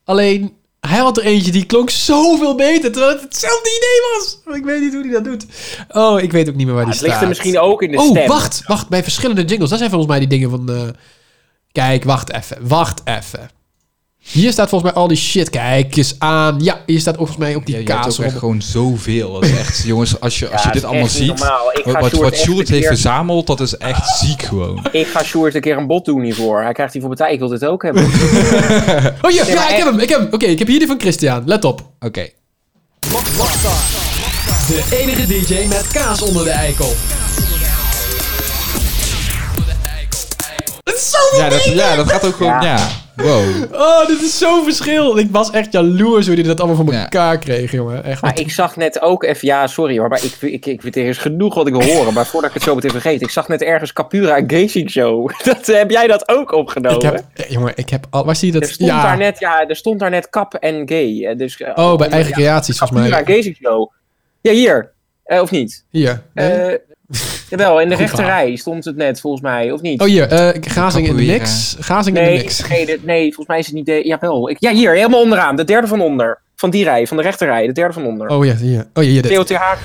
[SPEAKER 4] Alleen, hij had er eentje die klonk zoveel beter, terwijl het hetzelfde idee was. Ik weet niet hoe hij dat doet. Oh, ik weet ook niet meer waar die
[SPEAKER 7] het
[SPEAKER 4] staat.
[SPEAKER 7] ligt er misschien ook in de
[SPEAKER 4] oh,
[SPEAKER 7] stem.
[SPEAKER 4] wacht, wacht. Bij verschillende jingles, dat zijn volgens mij die dingen van... eh, Kijk, wacht even, wacht even. Hier staat volgens mij al die shit. Kijk eens aan. Ja, hier staat ook volgens mij op die
[SPEAKER 5] Ja, je had
[SPEAKER 4] kaas.
[SPEAKER 5] ook echt
[SPEAKER 4] eronder.
[SPEAKER 5] gewoon zoveel. Dat is echt, jongens, als je, als
[SPEAKER 7] Ja,
[SPEAKER 5] je
[SPEAKER 7] dat
[SPEAKER 5] dit
[SPEAKER 7] is
[SPEAKER 5] allemaal
[SPEAKER 7] echt niet
[SPEAKER 5] ziet,
[SPEAKER 7] normaal. Ik ga
[SPEAKER 5] wat,
[SPEAKER 7] Sjoerd
[SPEAKER 5] wat
[SPEAKER 7] echt
[SPEAKER 5] Sjoerd
[SPEAKER 7] een
[SPEAKER 5] heeft
[SPEAKER 7] keer-
[SPEAKER 5] verzameld, dat is echt ziek gewoon.
[SPEAKER 7] Ik ga Sjoerd een keer een bot doen hiervoor. Hij krijgt die voor betaald. Ik wil dit ook hebben.
[SPEAKER 4] Oh ja, ja, ik heb hem. Ik heb hem. Oké, ik heb hier die van Christian. Let op. Oké. De enige DJ met kaas onder de eikel. Dat is zoveel
[SPEAKER 5] Ja, dat,
[SPEAKER 4] beter!
[SPEAKER 5] ja, dat gaat ook gewoon, ja. Wow.
[SPEAKER 4] Oh, dit is zo'n verschil. Ik was echt jaloers hoe die dat allemaal voor elkaar kreeg, jongen. Echt.
[SPEAKER 7] Maar ik zag net ook even, ja, sorry hoor, maar ik, ik, ik, ik, er is genoeg wat ik wil horen. Maar voordat ik het zo meteen vergeet, ik zag net ergens Capura en Gazing Show. Dat, eh, heb jij dat ook opgenomen?
[SPEAKER 4] Ik heb, eh, jongen, ik heb al... Waar zie je
[SPEAKER 7] Er
[SPEAKER 4] dat?
[SPEAKER 7] stond,
[SPEAKER 4] Ja.
[SPEAKER 7] daar net, ja, er stond daar net kap en gay. eh, Dus, eh,
[SPEAKER 4] Oh, bij
[SPEAKER 7] onder-
[SPEAKER 4] eigen creaties, volgens
[SPEAKER 7] Capura
[SPEAKER 4] mij.
[SPEAKER 7] en Gazing Show. Ja, hier. Eh, of niet?
[SPEAKER 4] Hier.
[SPEAKER 7] Eh jawel, in de
[SPEAKER 4] Goed
[SPEAKER 7] rechterrij stond het net, volgens mij. Of niet?
[SPEAKER 4] Oh, hier. eh, gazing in de
[SPEAKER 7] Capoeira.
[SPEAKER 4] mix. Gazing in de
[SPEAKER 7] eh. nee,
[SPEAKER 4] mix.
[SPEAKER 7] nee, dit- nee, volgens mij is het niet... De, jawel. Ik, ja, hier, helemaal onderaan. De derde van onder. Van die rij, van de rechterrij. De derde van onder.
[SPEAKER 4] Oh ja, hier. Oh ja, hier dit.
[SPEAKER 7] TOTH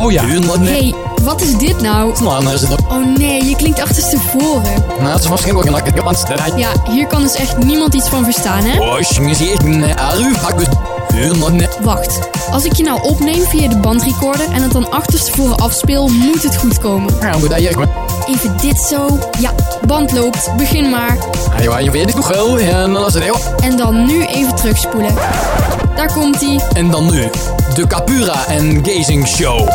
[SPEAKER 11] Oh ja.
[SPEAKER 15] Hey, wat is dit nou? Oh nee, je klinkt achterstevoren. Ja, hier kan dus echt niemand iets van verstaan, hè? Wacht, als ik je nou opneem via de bandrecorder en het dan achterstevoren afspeel, moet het goed komen. Even dit zo. Ja, band loopt, begin maar. En dan nu even terugspoelen. Daar komt ie.
[SPEAKER 11] En dan nu, de Capura en Gazing Show.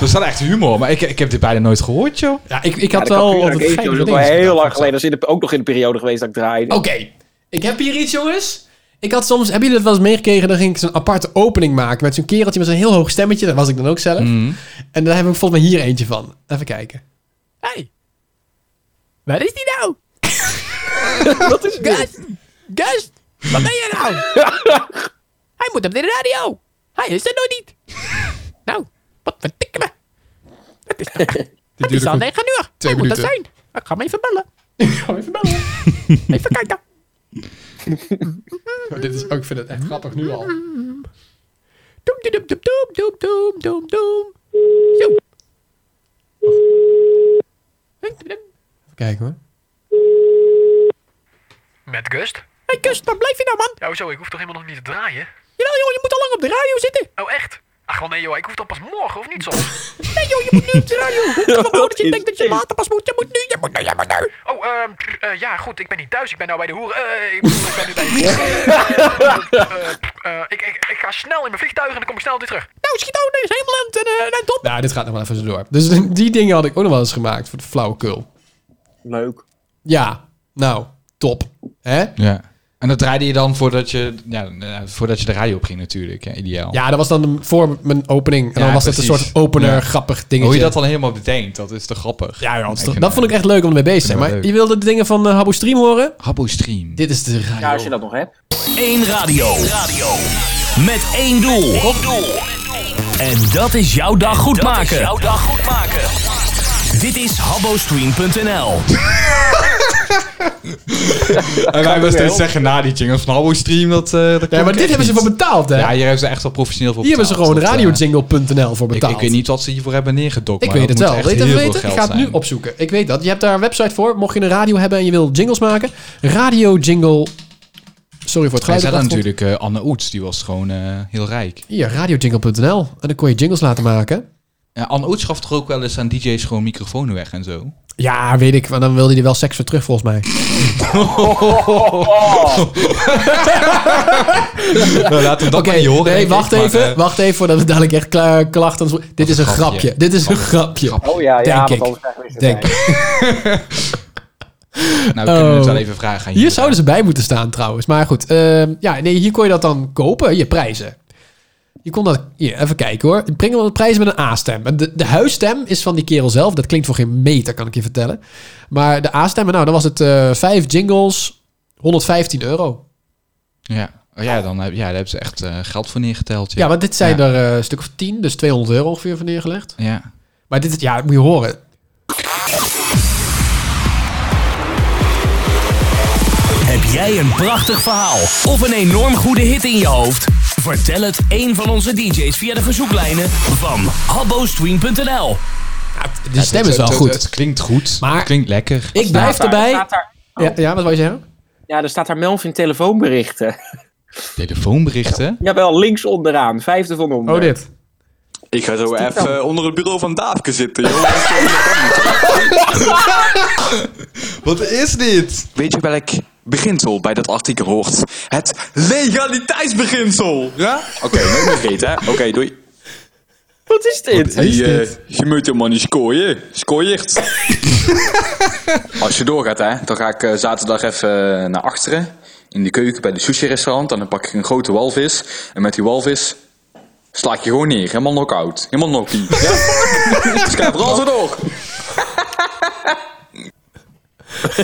[SPEAKER 5] Er staat echt humor, maar ik, ik heb dit bijna nooit gehoord, joh.
[SPEAKER 4] Ja, ik, ik
[SPEAKER 7] Ja, de Capura Gate Show is ook al heel lang geleden. Dat is in de- ook nog in de periode geweest dat ik draaide.
[SPEAKER 4] Oké, ik heb hier iets, jongens. Ik had soms, hebben jullie dat wel eens meegekregen? Dan ging ik zo'n aparte opening maken met zo'n kereltje met zo'n heel hoog stemmetje. Dat was ik dan ook zelf.
[SPEAKER 7] Mm.
[SPEAKER 4] En daar heb ik volgens mij hier eentje van. Even kijken. Hey. Waar is die nou?
[SPEAKER 11] Wat is dit? Gast, wat ben jij nou? Hij moet op de radio. Hij is er nog niet. nou, wat vertikken me. Het is, nog- het is
[SPEAKER 4] duurde
[SPEAKER 11] al
[SPEAKER 4] goed
[SPEAKER 11] 9 uur.
[SPEAKER 4] twee
[SPEAKER 11] Hij moet er
[SPEAKER 4] minuten.
[SPEAKER 11] zijn. Ik ga hem even bellen.
[SPEAKER 4] Oh, dit is ook, ik vind het echt grappig nu al.
[SPEAKER 11] Doem, doem, doem, doem, doem, doem, doem, doem.
[SPEAKER 4] Even kijken hoor.
[SPEAKER 11] Met Gust? Hey Gust, waar blijf je nou man? Ja, hoezo? Ik hoef toch helemaal nog niet te draaien? Jawel joh, je moet al lang op de radio zitten. Oh echt? Ach wel nee joh, ik hoef dan pas morgen of niet soms? nee joh, je moet nu op de radio. Hoe kan het nou dat je denkt dat je later pas moet? Je moet nu, je moet nu, je moet nu. Oh, ehm, eh, ja goed, ik ben niet thuis. Ik ben nou bij de hoeren. Eh, ik bedoel, ik ben nu bij de Eh, eh, ik, ik, ik ga snel in mijn vliegtuig en dan kom ik snel weer terug. Nou, schiet ook eens helemaal aan en eh, nou, top.
[SPEAKER 4] Nou, dit gaat nog wel even zo door. Dus die dingen had ik ook nog wel eens gemaakt voor de flauwekul.
[SPEAKER 7] Leuk.
[SPEAKER 4] Ja, nou, top. Hè?
[SPEAKER 5] Ja. En dat draaide je dan voordat je, ja, eh, voordat je de radio op ging natuurlijk, hè, ideaal.
[SPEAKER 4] Ja, dat was dan de- voor mijn opening. En dan
[SPEAKER 5] Ja,
[SPEAKER 4] was dat een
[SPEAKER 5] precies.
[SPEAKER 4] soort opener,
[SPEAKER 5] Ja.
[SPEAKER 4] grappig dingetje.
[SPEAKER 5] Hoe je dat dan helemaal bedenkt, dat is te grappig.
[SPEAKER 4] Ja, ja dat, dat vond ik echt leuk om ermee bezig te zijn.
[SPEAKER 5] Vind ik
[SPEAKER 4] Maar
[SPEAKER 5] wel
[SPEAKER 4] je wilde de dingen van eh, Habbo Stream horen?
[SPEAKER 5] Habbo Stream.
[SPEAKER 4] Dit is de radio.
[SPEAKER 7] Ja, als je dat nog hebt.
[SPEAKER 12] Eén radio. Met één doel. En dat is jouw dag goed maken. Dit is habbostream.nl.
[SPEAKER 5] En wij
[SPEAKER 12] Kan
[SPEAKER 5] willen
[SPEAKER 12] wel.
[SPEAKER 5] steeds zeggen na die jingles van Habbo Stream, dat... eh, dat
[SPEAKER 4] maar dit hebben ze voor betaald, hè?
[SPEAKER 5] Ja, hier hebben ze echt wel professioneel voor
[SPEAKER 4] Hier hebben ze
[SPEAKER 5] betaald.
[SPEAKER 4] gewoon
[SPEAKER 5] Dat, eh,
[SPEAKER 4] radiojingle.nl voor betaald.
[SPEAKER 5] Ik, ik weet niet wat ze hiervoor hebben neergedokt,
[SPEAKER 4] Ik
[SPEAKER 5] maar
[SPEAKER 4] weet
[SPEAKER 5] dat
[SPEAKER 4] het
[SPEAKER 5] moet
[SPEAKER 4] wel.
[SPEAKER 5] echt
[SPEAKER 4] Weet dat
[SPEAKER 5] heel veel
[SPEAKER 4] weten? Ik
[SPEAKER 5] geld
[SPEAKER 4] ga het nu
[SPEAKER 5] zijn.
[SPEAKER 4] opzoeken. Ik weet dat. Je hebt daar een website voor. Mocht je een radio hebben en je wil jingles maken. Radio Jingle... Sorry voor het
[SPEAKER 5] Hij zei
[SPEAKER 4] geluid. op de
[SPEAKER 5] dat
[SPEAKER 4] achtergrond.
[SPEAKER 5] natuurlijk, eh, Anne Oets, die was gewoon eh, heel rijk.
[SPEAKER 4] Hier, radiojingle.nl. En dan kon je jingles laten maken.
[SPEAKER 5] Ja, Anne Oets gaf toch ook wel eens aan DJ's gewoon microfoons weg en zo?
[SPEAKER 4] Ja, weet ik. Maar dan wilde hij er wel seks voor terug, volgens mij.
[SPEAKER 5] Nou, laten we dat
[SPEAKER 4] Oké,
[SPEAKER 5] maar niet horen.
[SPEAKER 4] nee,
[SPEAKER 5] denk ik,
[SPEAKER 4] wacht
[SPEAKER 5] maar,
[SPEAKER 4] even.
[SPEAKER 5] eh,
[SPEAKER 4] wacht even, voordat we dadelijk echt kla- klachten... Dit is een grapje.
[SPEAKER 5] grapje.
[SPEAKER 4] Dit is een grapje.
[SPEAKER 7] Oh ja, ja,
[SPEAKER 4] Denk
[SPEAKER 7] want
[SPEAKER 4] ik.
[SPEAKER 7] anders krijgen we eens
[SPEAKER 4] Denk
[SPEAKER 7] erbij.
[SPEAKER 5] Nou, we kunnen het
[SPEAKER 4] Oh.
[SPEAKER 5] wel even vragen aan
[SPEAKER 4] Hier zouden ze bij moeten staan trouwens. Maar goed, ehm, ja, nee, hier kon je dat dan kopen, je prijzen. Je kon dat, hier, even kijken hoor. Breng wel de prijzen met een A-stem. En De, de huisstem is van die kerel zelf. Dat klinkt voor geen meter, kan ik je vertellen. Maar de A-stem, nou, dan was het eh vijf jingles, 115 euro.
[SPEAKER 5] Ja. Oh, ja, dan heb, ja, daar hebben ze echt eh, geld voor neergeteld.
[SPEAKER 4] Ja, want dit zijn er eh, een stuk of 10, dus 200 euro ongeveer van neergelegd.
[SPEAKER 5] Ja.
[SPEAKER 4] Maar dit is, ja, dat moet je horen.
[SPEAKER 12] Heb jij een prachtig verhaal of een enorm goede hit in je hoofd? Vertel het een van onze DJ's via de verzoeklijnen van habbostream.nl.
[SPEAKER 4] De stem is wel goed.
[SPEAKER 5] klinkt goed.
[SPEAKER 4] Maar
[SPEAKER 5] klinkt lekker.
[SPEAKER 4] Ik blijf
[SPEAKER 7] staat daar?
[SPEAKER 4] erbij.
[SPEAKER 7] Staat daar-
[SPEAKER 4] Ja, ja, wat wou je zeggen?
[SPEAKER 7] Ja, er staat daar Melvin telefoonberichten.
[SPEAKER 5] Telefoonberichten.
[SPEAKER 7] Jawel, links onderaan. Vijfde van onder.
[SPEAKER 4] Oh, dit.
[SPEAKER 15] Ik ga zo even eh, onder het bureau van Daapke zitten, joh. Wat is dit? Weet je welk beginsel bij dat artikel hoort? Het legaliteitsbeginsel! Ja? Oké, nooit meer vergeten, hè? Oké, doei.
[SPEAKER 7] Wat is dit?
[SPEAKER 15] Hey, eh, je moet je man niet skooien. Skooiert. Als je doorgaat, hè, dan ga ik eh, zaterdag even eh, naar achteren. In de keuken bij de sushi-restaurant. En dan pak ik een grote walvis. En met die walvis sla ik je gewoon neer. Helemaal knock-out. Helemaal knokkie. Ja? dus ik ga vooral zo door.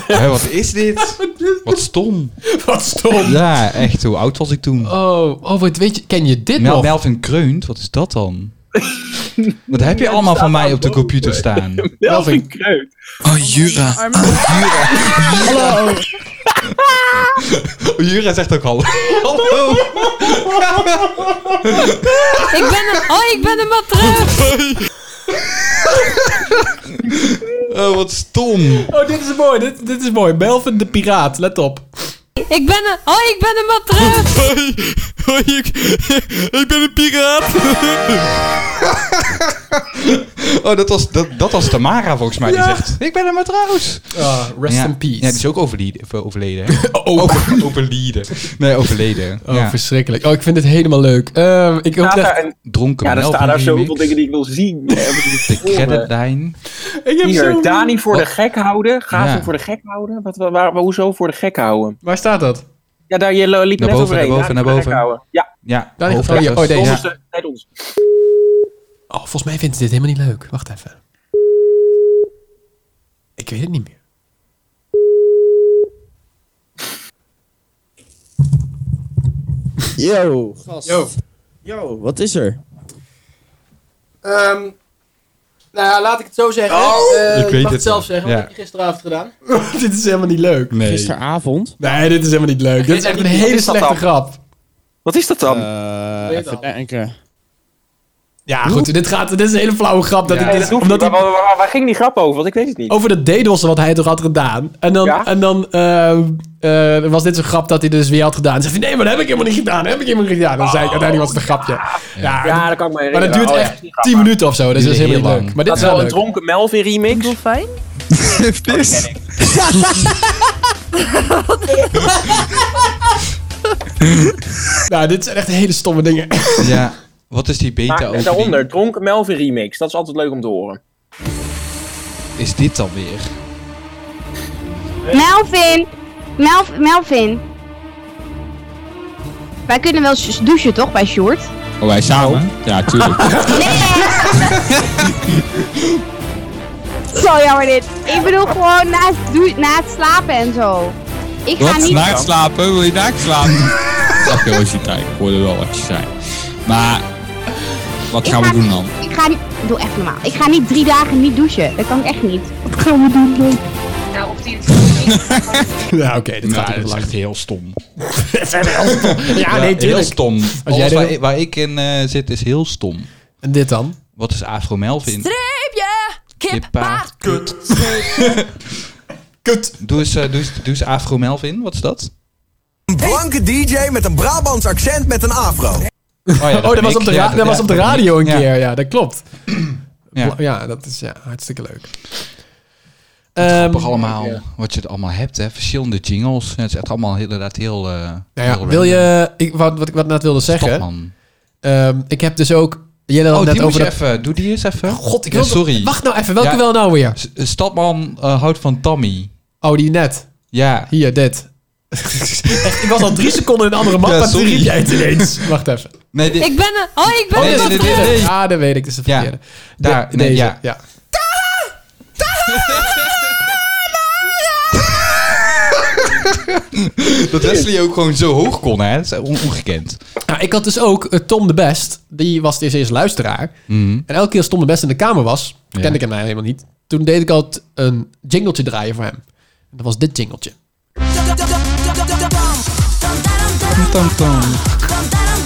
[SPEAKER 5] Hé, wat is dit? Wat stom.
[SPEAKER 4] Wat stom.
[SPEAKER 5] Ja, echt. Hoe oud was ik toen?
[SPEAKER 4] Oh, oh wat weet je, ken je dit
[SPEAKER 5] Mel-
[SPEAKER 4] nog?
[SPEAKER 5] Melvin Kreunt, wat is dat dan? Wat heb je allemaal van mij op de computer staan?
[SPEAKER 7] Melvin Kreut.
[SPEAKER 5] Oh, Jura.
[SPEAKER 4] Hallo.
[SPEAKER 5] Oh, Jura zegt ook al.
[SPEAKER 14] Hallo.
[SPEAKER 16] Ik ben een... Oh, ik ben een matroos.
[SPEAKER 5] Oh, wat stom.
[SPEAKER 4] Oh, dit is mooi. Dit, dit is mooi. Melvin de Piraat. Let op.
[SPEAKER 16] Ik ben een... Oh, ik ben een matroos.
[SPEAKER 14] Hoi, hoi, ik, ik ben een piraat.
[SPEAKER 5] Oh, dat was, dat, dat was Tamara volgens mij. Die
[SPEAKER 14] Ja.
[SPEAKER 5] zegt, ik ben een matroos.
[SPEAKER 4] Ah, rest
[SPEAKER 5] Ja.
[SPEAKER 4] in peace.
[SPEAKER 5] Ja, die is ook overleden. of overleden hè? Over- overleden. Nee, overleden.
[SPEAKER 4] Oh,
[SPEAKER 5] ja.
[SPEAKER 4] verschrikkelijk. Oh, ik vind dit helemaal leuk. Ehm, ik hoop
[SPEAKER 7] Staat
[SPEAKER 4] echt-
[SPEAKER 7] daar een-
[SPEAKER 5] Dronken
[SPEAKER 7] Ja, er
[SPEAKER 5] Melvin
[SPEAKER 7] staan daar
[SPEAKER 5] remix.
[SPEAKER 7] zoveel dingen die ik wil zien. De
[SPEAKER 5] Creditline.
[SPEAKER 4] Ik heb
[SPEAKER 7] Hier,
[SPEAKER 4] zo'n-
[SPEAKER 7] Dani voor de gek houden. Gaaf
[SPEAKER 5] Ja.
[SPEAKER 7] hem voor de gek houden. Wat, waar, waar- hoezo voor de gek houden?
[SPEAKER 4] Waar staat dat?
[SPEAKER 7] Ja, daar je liep
[SPEAKER 5] Naar
[SPEAKER 7] net
[SPEAKER 5] boven,
[SPEAKER 7] overheen.
[SPEAKER 5] naar boven,
[SPEAKER 7] Dani
[SPEAKER 5] naar
[SPEAKER 7] voor de gek
[SPEAKER 5] boven.
[SPEAKER 7] houden. Ja.
[SPEAKER 5] Ja,
[SPEAKER 4] Daar ligt- oh,
[SPEAKER 5] hoofdletters.
[SPEAKER 4] ja, oh, deze.
[SPEAKER 7] Onderste, tijd ons.
[SPEAKER 4] Oh, volgens mij vindt ze dit helemaal niet leuk. Wacht even. Ik weet het niet meer.
[SPEAKER 17] Yo.
[SPEAKER 18] Gast.
[SPEAKER 17] Yo.
[SPEAKER 18] Yo.
[SPEAKER 17] Wat is er?
[SPEAKER 18] Ehm, nou ja, laat ik het zo zeggen.
[SPEAKER 5] Oh!
[SPEAKER 18] Eh,
[SPEAKER 4] Ik
[SPEAKER 18] je
[SPEAKER 4] weet
[SPEAKER 18] mag
[SPEAKER 4] het
[SPEAKER 18] het zelf
[SPEAKER 4] wel.
[SPEAKER 18] zeggen.
[SPEAKER 4] Ja.
[SPEAKER 18] Wat heb je gisteravond gedaan?
[SPEAKER 4] dit is helemaal niet leuk.
[SPEAKER 5] Nee.
[SPEAKER 17] Gisteravond?
[SPEAKER 4] Nee, dit is helemaal niet leuk. Dit is echt een hele slechte grap. Eh,
[SPEAKER 7] Wat is dat dan?
[SPEAKER 17] even denken.
[SPEAKER 4] Ja, goed. Dit, gaat, dit is een hele flauwe grap. Dat
[SPEAKER 7] Ja,
[SPEAKER 4] ik
[SPEAKER 7] nee, dat
[SPEAKER 4] dit,
[SPEAKER 7] hoeft
[SPEAKER 4] omdat
[SPEAKER 7] niet.
[SPEAKER 4] hij-
[SPEAKER 7] Waar, waar- waar- waar ging die grap over? Want ik weet het niet.
[SPEAKER 4] Over dat dedossen wat hij toch had gedaan. En dan, en dan eh, eh, was dit zo'n grap dat hij dus weer had gedaan. Dan zegt hij, nee, maar dat heb ik helemaal niet gedaan. Dat heb ik helemaal niet gedaan. Dan zei ik, uiteindelijk was het een grapje. Ja,
[SPEAKER 7] Ja, dat kan ik me
[SPEAKER 4] Maar dat
[SPEAKER 7] herinneren.
[SPEAKER 4] duurt
[SPEAKER 7] Oh, ja.
[SPEAKER 4] echt 10 minuten of zo. Dus dat is
[SPEAKER 5] Duurde heel
[SPEAKER 4] helemaal niet
[SPEAKER 5] lang.
[SPEAKER 4] leuk. Maar dit
[SPEAKER 7] dat
[SPEAKER 4] is
[SPEAKER 7] is wel
[SPEAKER 4] wel
[SPEAKER 7] een
[SPEAKER 4] leuk.
[SPEAKER 7] dronken Melvin remix. Dolfijn?
[SPEAKER 17] Pis.
[SPEAKER 4] Nou, dit zijn echt hele stomme dingen.
[SPEAKER 5] Ja, wat is die beta
[SPEAKER 7] En
[SPEAKER 5] overleden?
[SPEAKER 7] daaronder, dronken Melvin remix. Dat is altijd leuk om te horen.
[SPEAKER 5] Is dit dan weer?
[SPEAKER 9] Melvin! Melv- Melvin! Wij kunnen wel eens douchen toch bij Short?
[SPEAKER 5] Oh, wij samen? Ja, tuurlijk.
[SPEAKER 9] Zo jammer dit. Ik bedoel gewoon na het, dou- na het slapen en zo. Ik ga
[SPEAKER 5] Wat?
[SPEAKER 9] niet...
[SPEAKER 5] Naakt slapen? Wil je naakt slapen? Ach, joh, als je tijd. Ik hoorde wel wat je zei. Maar, wat gaan we doen dan?
[SPEAKER 9] Ik ga niet... Doe even normaal. Ik ga niet drie dagen niet douchen. Dat kan ik echt niet. Wat gaan we doen? Nou, of die
[SPEAKER 4] Ja, oké, dit
[SPEAKER 5] gaat Nou, is echt heel stom.
[SPEAKER 4] Ja, nee,
[SPEAKER 5] Heel
[SPEAKER 4] tuurlijk.
[SPEAKER 5] stom. Alles
[SPEAKER 4] jij er-
[SPEAKER 5] waar, ik- waar ik in eh, zit is heel stom.
[SPEAKER 4] En dit dan?
[SPEAKER 5] Wat is Afro Melvin?
[SPEAKER 16] Streepje. Kip, paard.
[SPEAKER 5] kut.
[SPEAKER 4] Kut.
[SPEAKER 5] Doe eens, eh, doe, eens, doe eens Afro Melvin, wat is dat?
[SPEAKER 19] Een blanke DJ met een Brabants accent met een afro.
[SPEAKER 5] Oh, ja,
[SPEAKER 4] Oh, dat
[SPEAKER 5] ben
[SPEAKER 4] was
[SPEAKER 5] ik.
[SPEAKER 4] op de,
[SPEAKER 5] Ja,
[SPEAKER 4] ra-
[SPEAKER 5] dat-
[SPEAKER 4] dat
[SPEAKER 5] ja,
[SPEAKER 4] was op de
[SPEAKER 5] ben ik.
[SPEAKER 4] radio een
[SPEAKER 5] Ja.
[SPEAKER 4] keer. Ja, Ehm, dat klopt.
[SPEAKER 5] Ja.
[SPEAKER 4] Ja, dat is ja, hartstikke leuk.
[SPEAKER 5] Grappig allemaal, wat je er allemaal hebt, hè. Verschillende jingles. Het is echt allemaal heel- inderdaad heel... eh, heel
[SPEAKER 4] Nou ja,
[SPEAKER 5] random.
[SPEAKER 4] wil je, ik, wat, wat ik wat net wilde zeggen. Ehm, ik heb dus ook. Jij had
[SPEAKER 5] Oh,
[SPEAKER 4] het net
[SPEAKER 5] die
[SPEAKER 4] over
[SPEAKER 5] moet je
[SPEAKER 4] dat-
[SPEAKER 5] even. Doe die eens even.
[SPEAKER 4] God, ik
[SPEAKER 5] Ja,
[SPEAKER 4] wilde-
[SPEAKER 5] sorry.
[SPEAKER 4] Wacht nou even, welke wel nou weer?
[SPEAKER 5] S- Stadman eh, houdt van Tammy.
[SPEAKER 4] Oh, die net.
[SPEAKER 5] Ja.
[SPEAKER 4] Hier, dit. ik was al drie seconden in een andere map,
[SPEAKER 5] Ja,
[SPEAKER 4] maar toen
[SPEAKER 5] sorry.
[SPEAKER 4] riep jij het ineens. Wacht even.
[SPEAKER 5] Nee, dit-
[SPEAKER 16] Ik ben er. Oh, ik ben
[SPEAKER 4] Oh,
[SPEAKER 16] er.
[SPEAKER 4] dit is de
[SPEAKER 16] wat terug.
[SPEAKER 4] verkeerde. Ja, dat weet ik. Dit is de
[SPEAKER 5] Ja.
[SPEAKER 4] verkeerde.
[SPEAKER 5] Daar,
[SPEAKER 4] De-
[SPEAKER 5] nee,
[SPEAKER 4] deze,
[SPEAKER 5] ja.
[SPEAKER 4] ja.
[SPEAKER 5] Dat Wesley ook gewoon zo hoog kon, hè. Dat is on- ongekend.
[SPEAKER 4] Nou, ik had dus ook eh, Tom de Best. Die was dus eerst luisteraar.
[SPEAKER 13] Mhm.
[SPEAKER 4] En elke keer als Tom de Best in de kamer was, kende ik hem eigenlijk helemaal niet. Toen deed ik altijd een jingletje draaien voor hem. En dat was dit jingletje.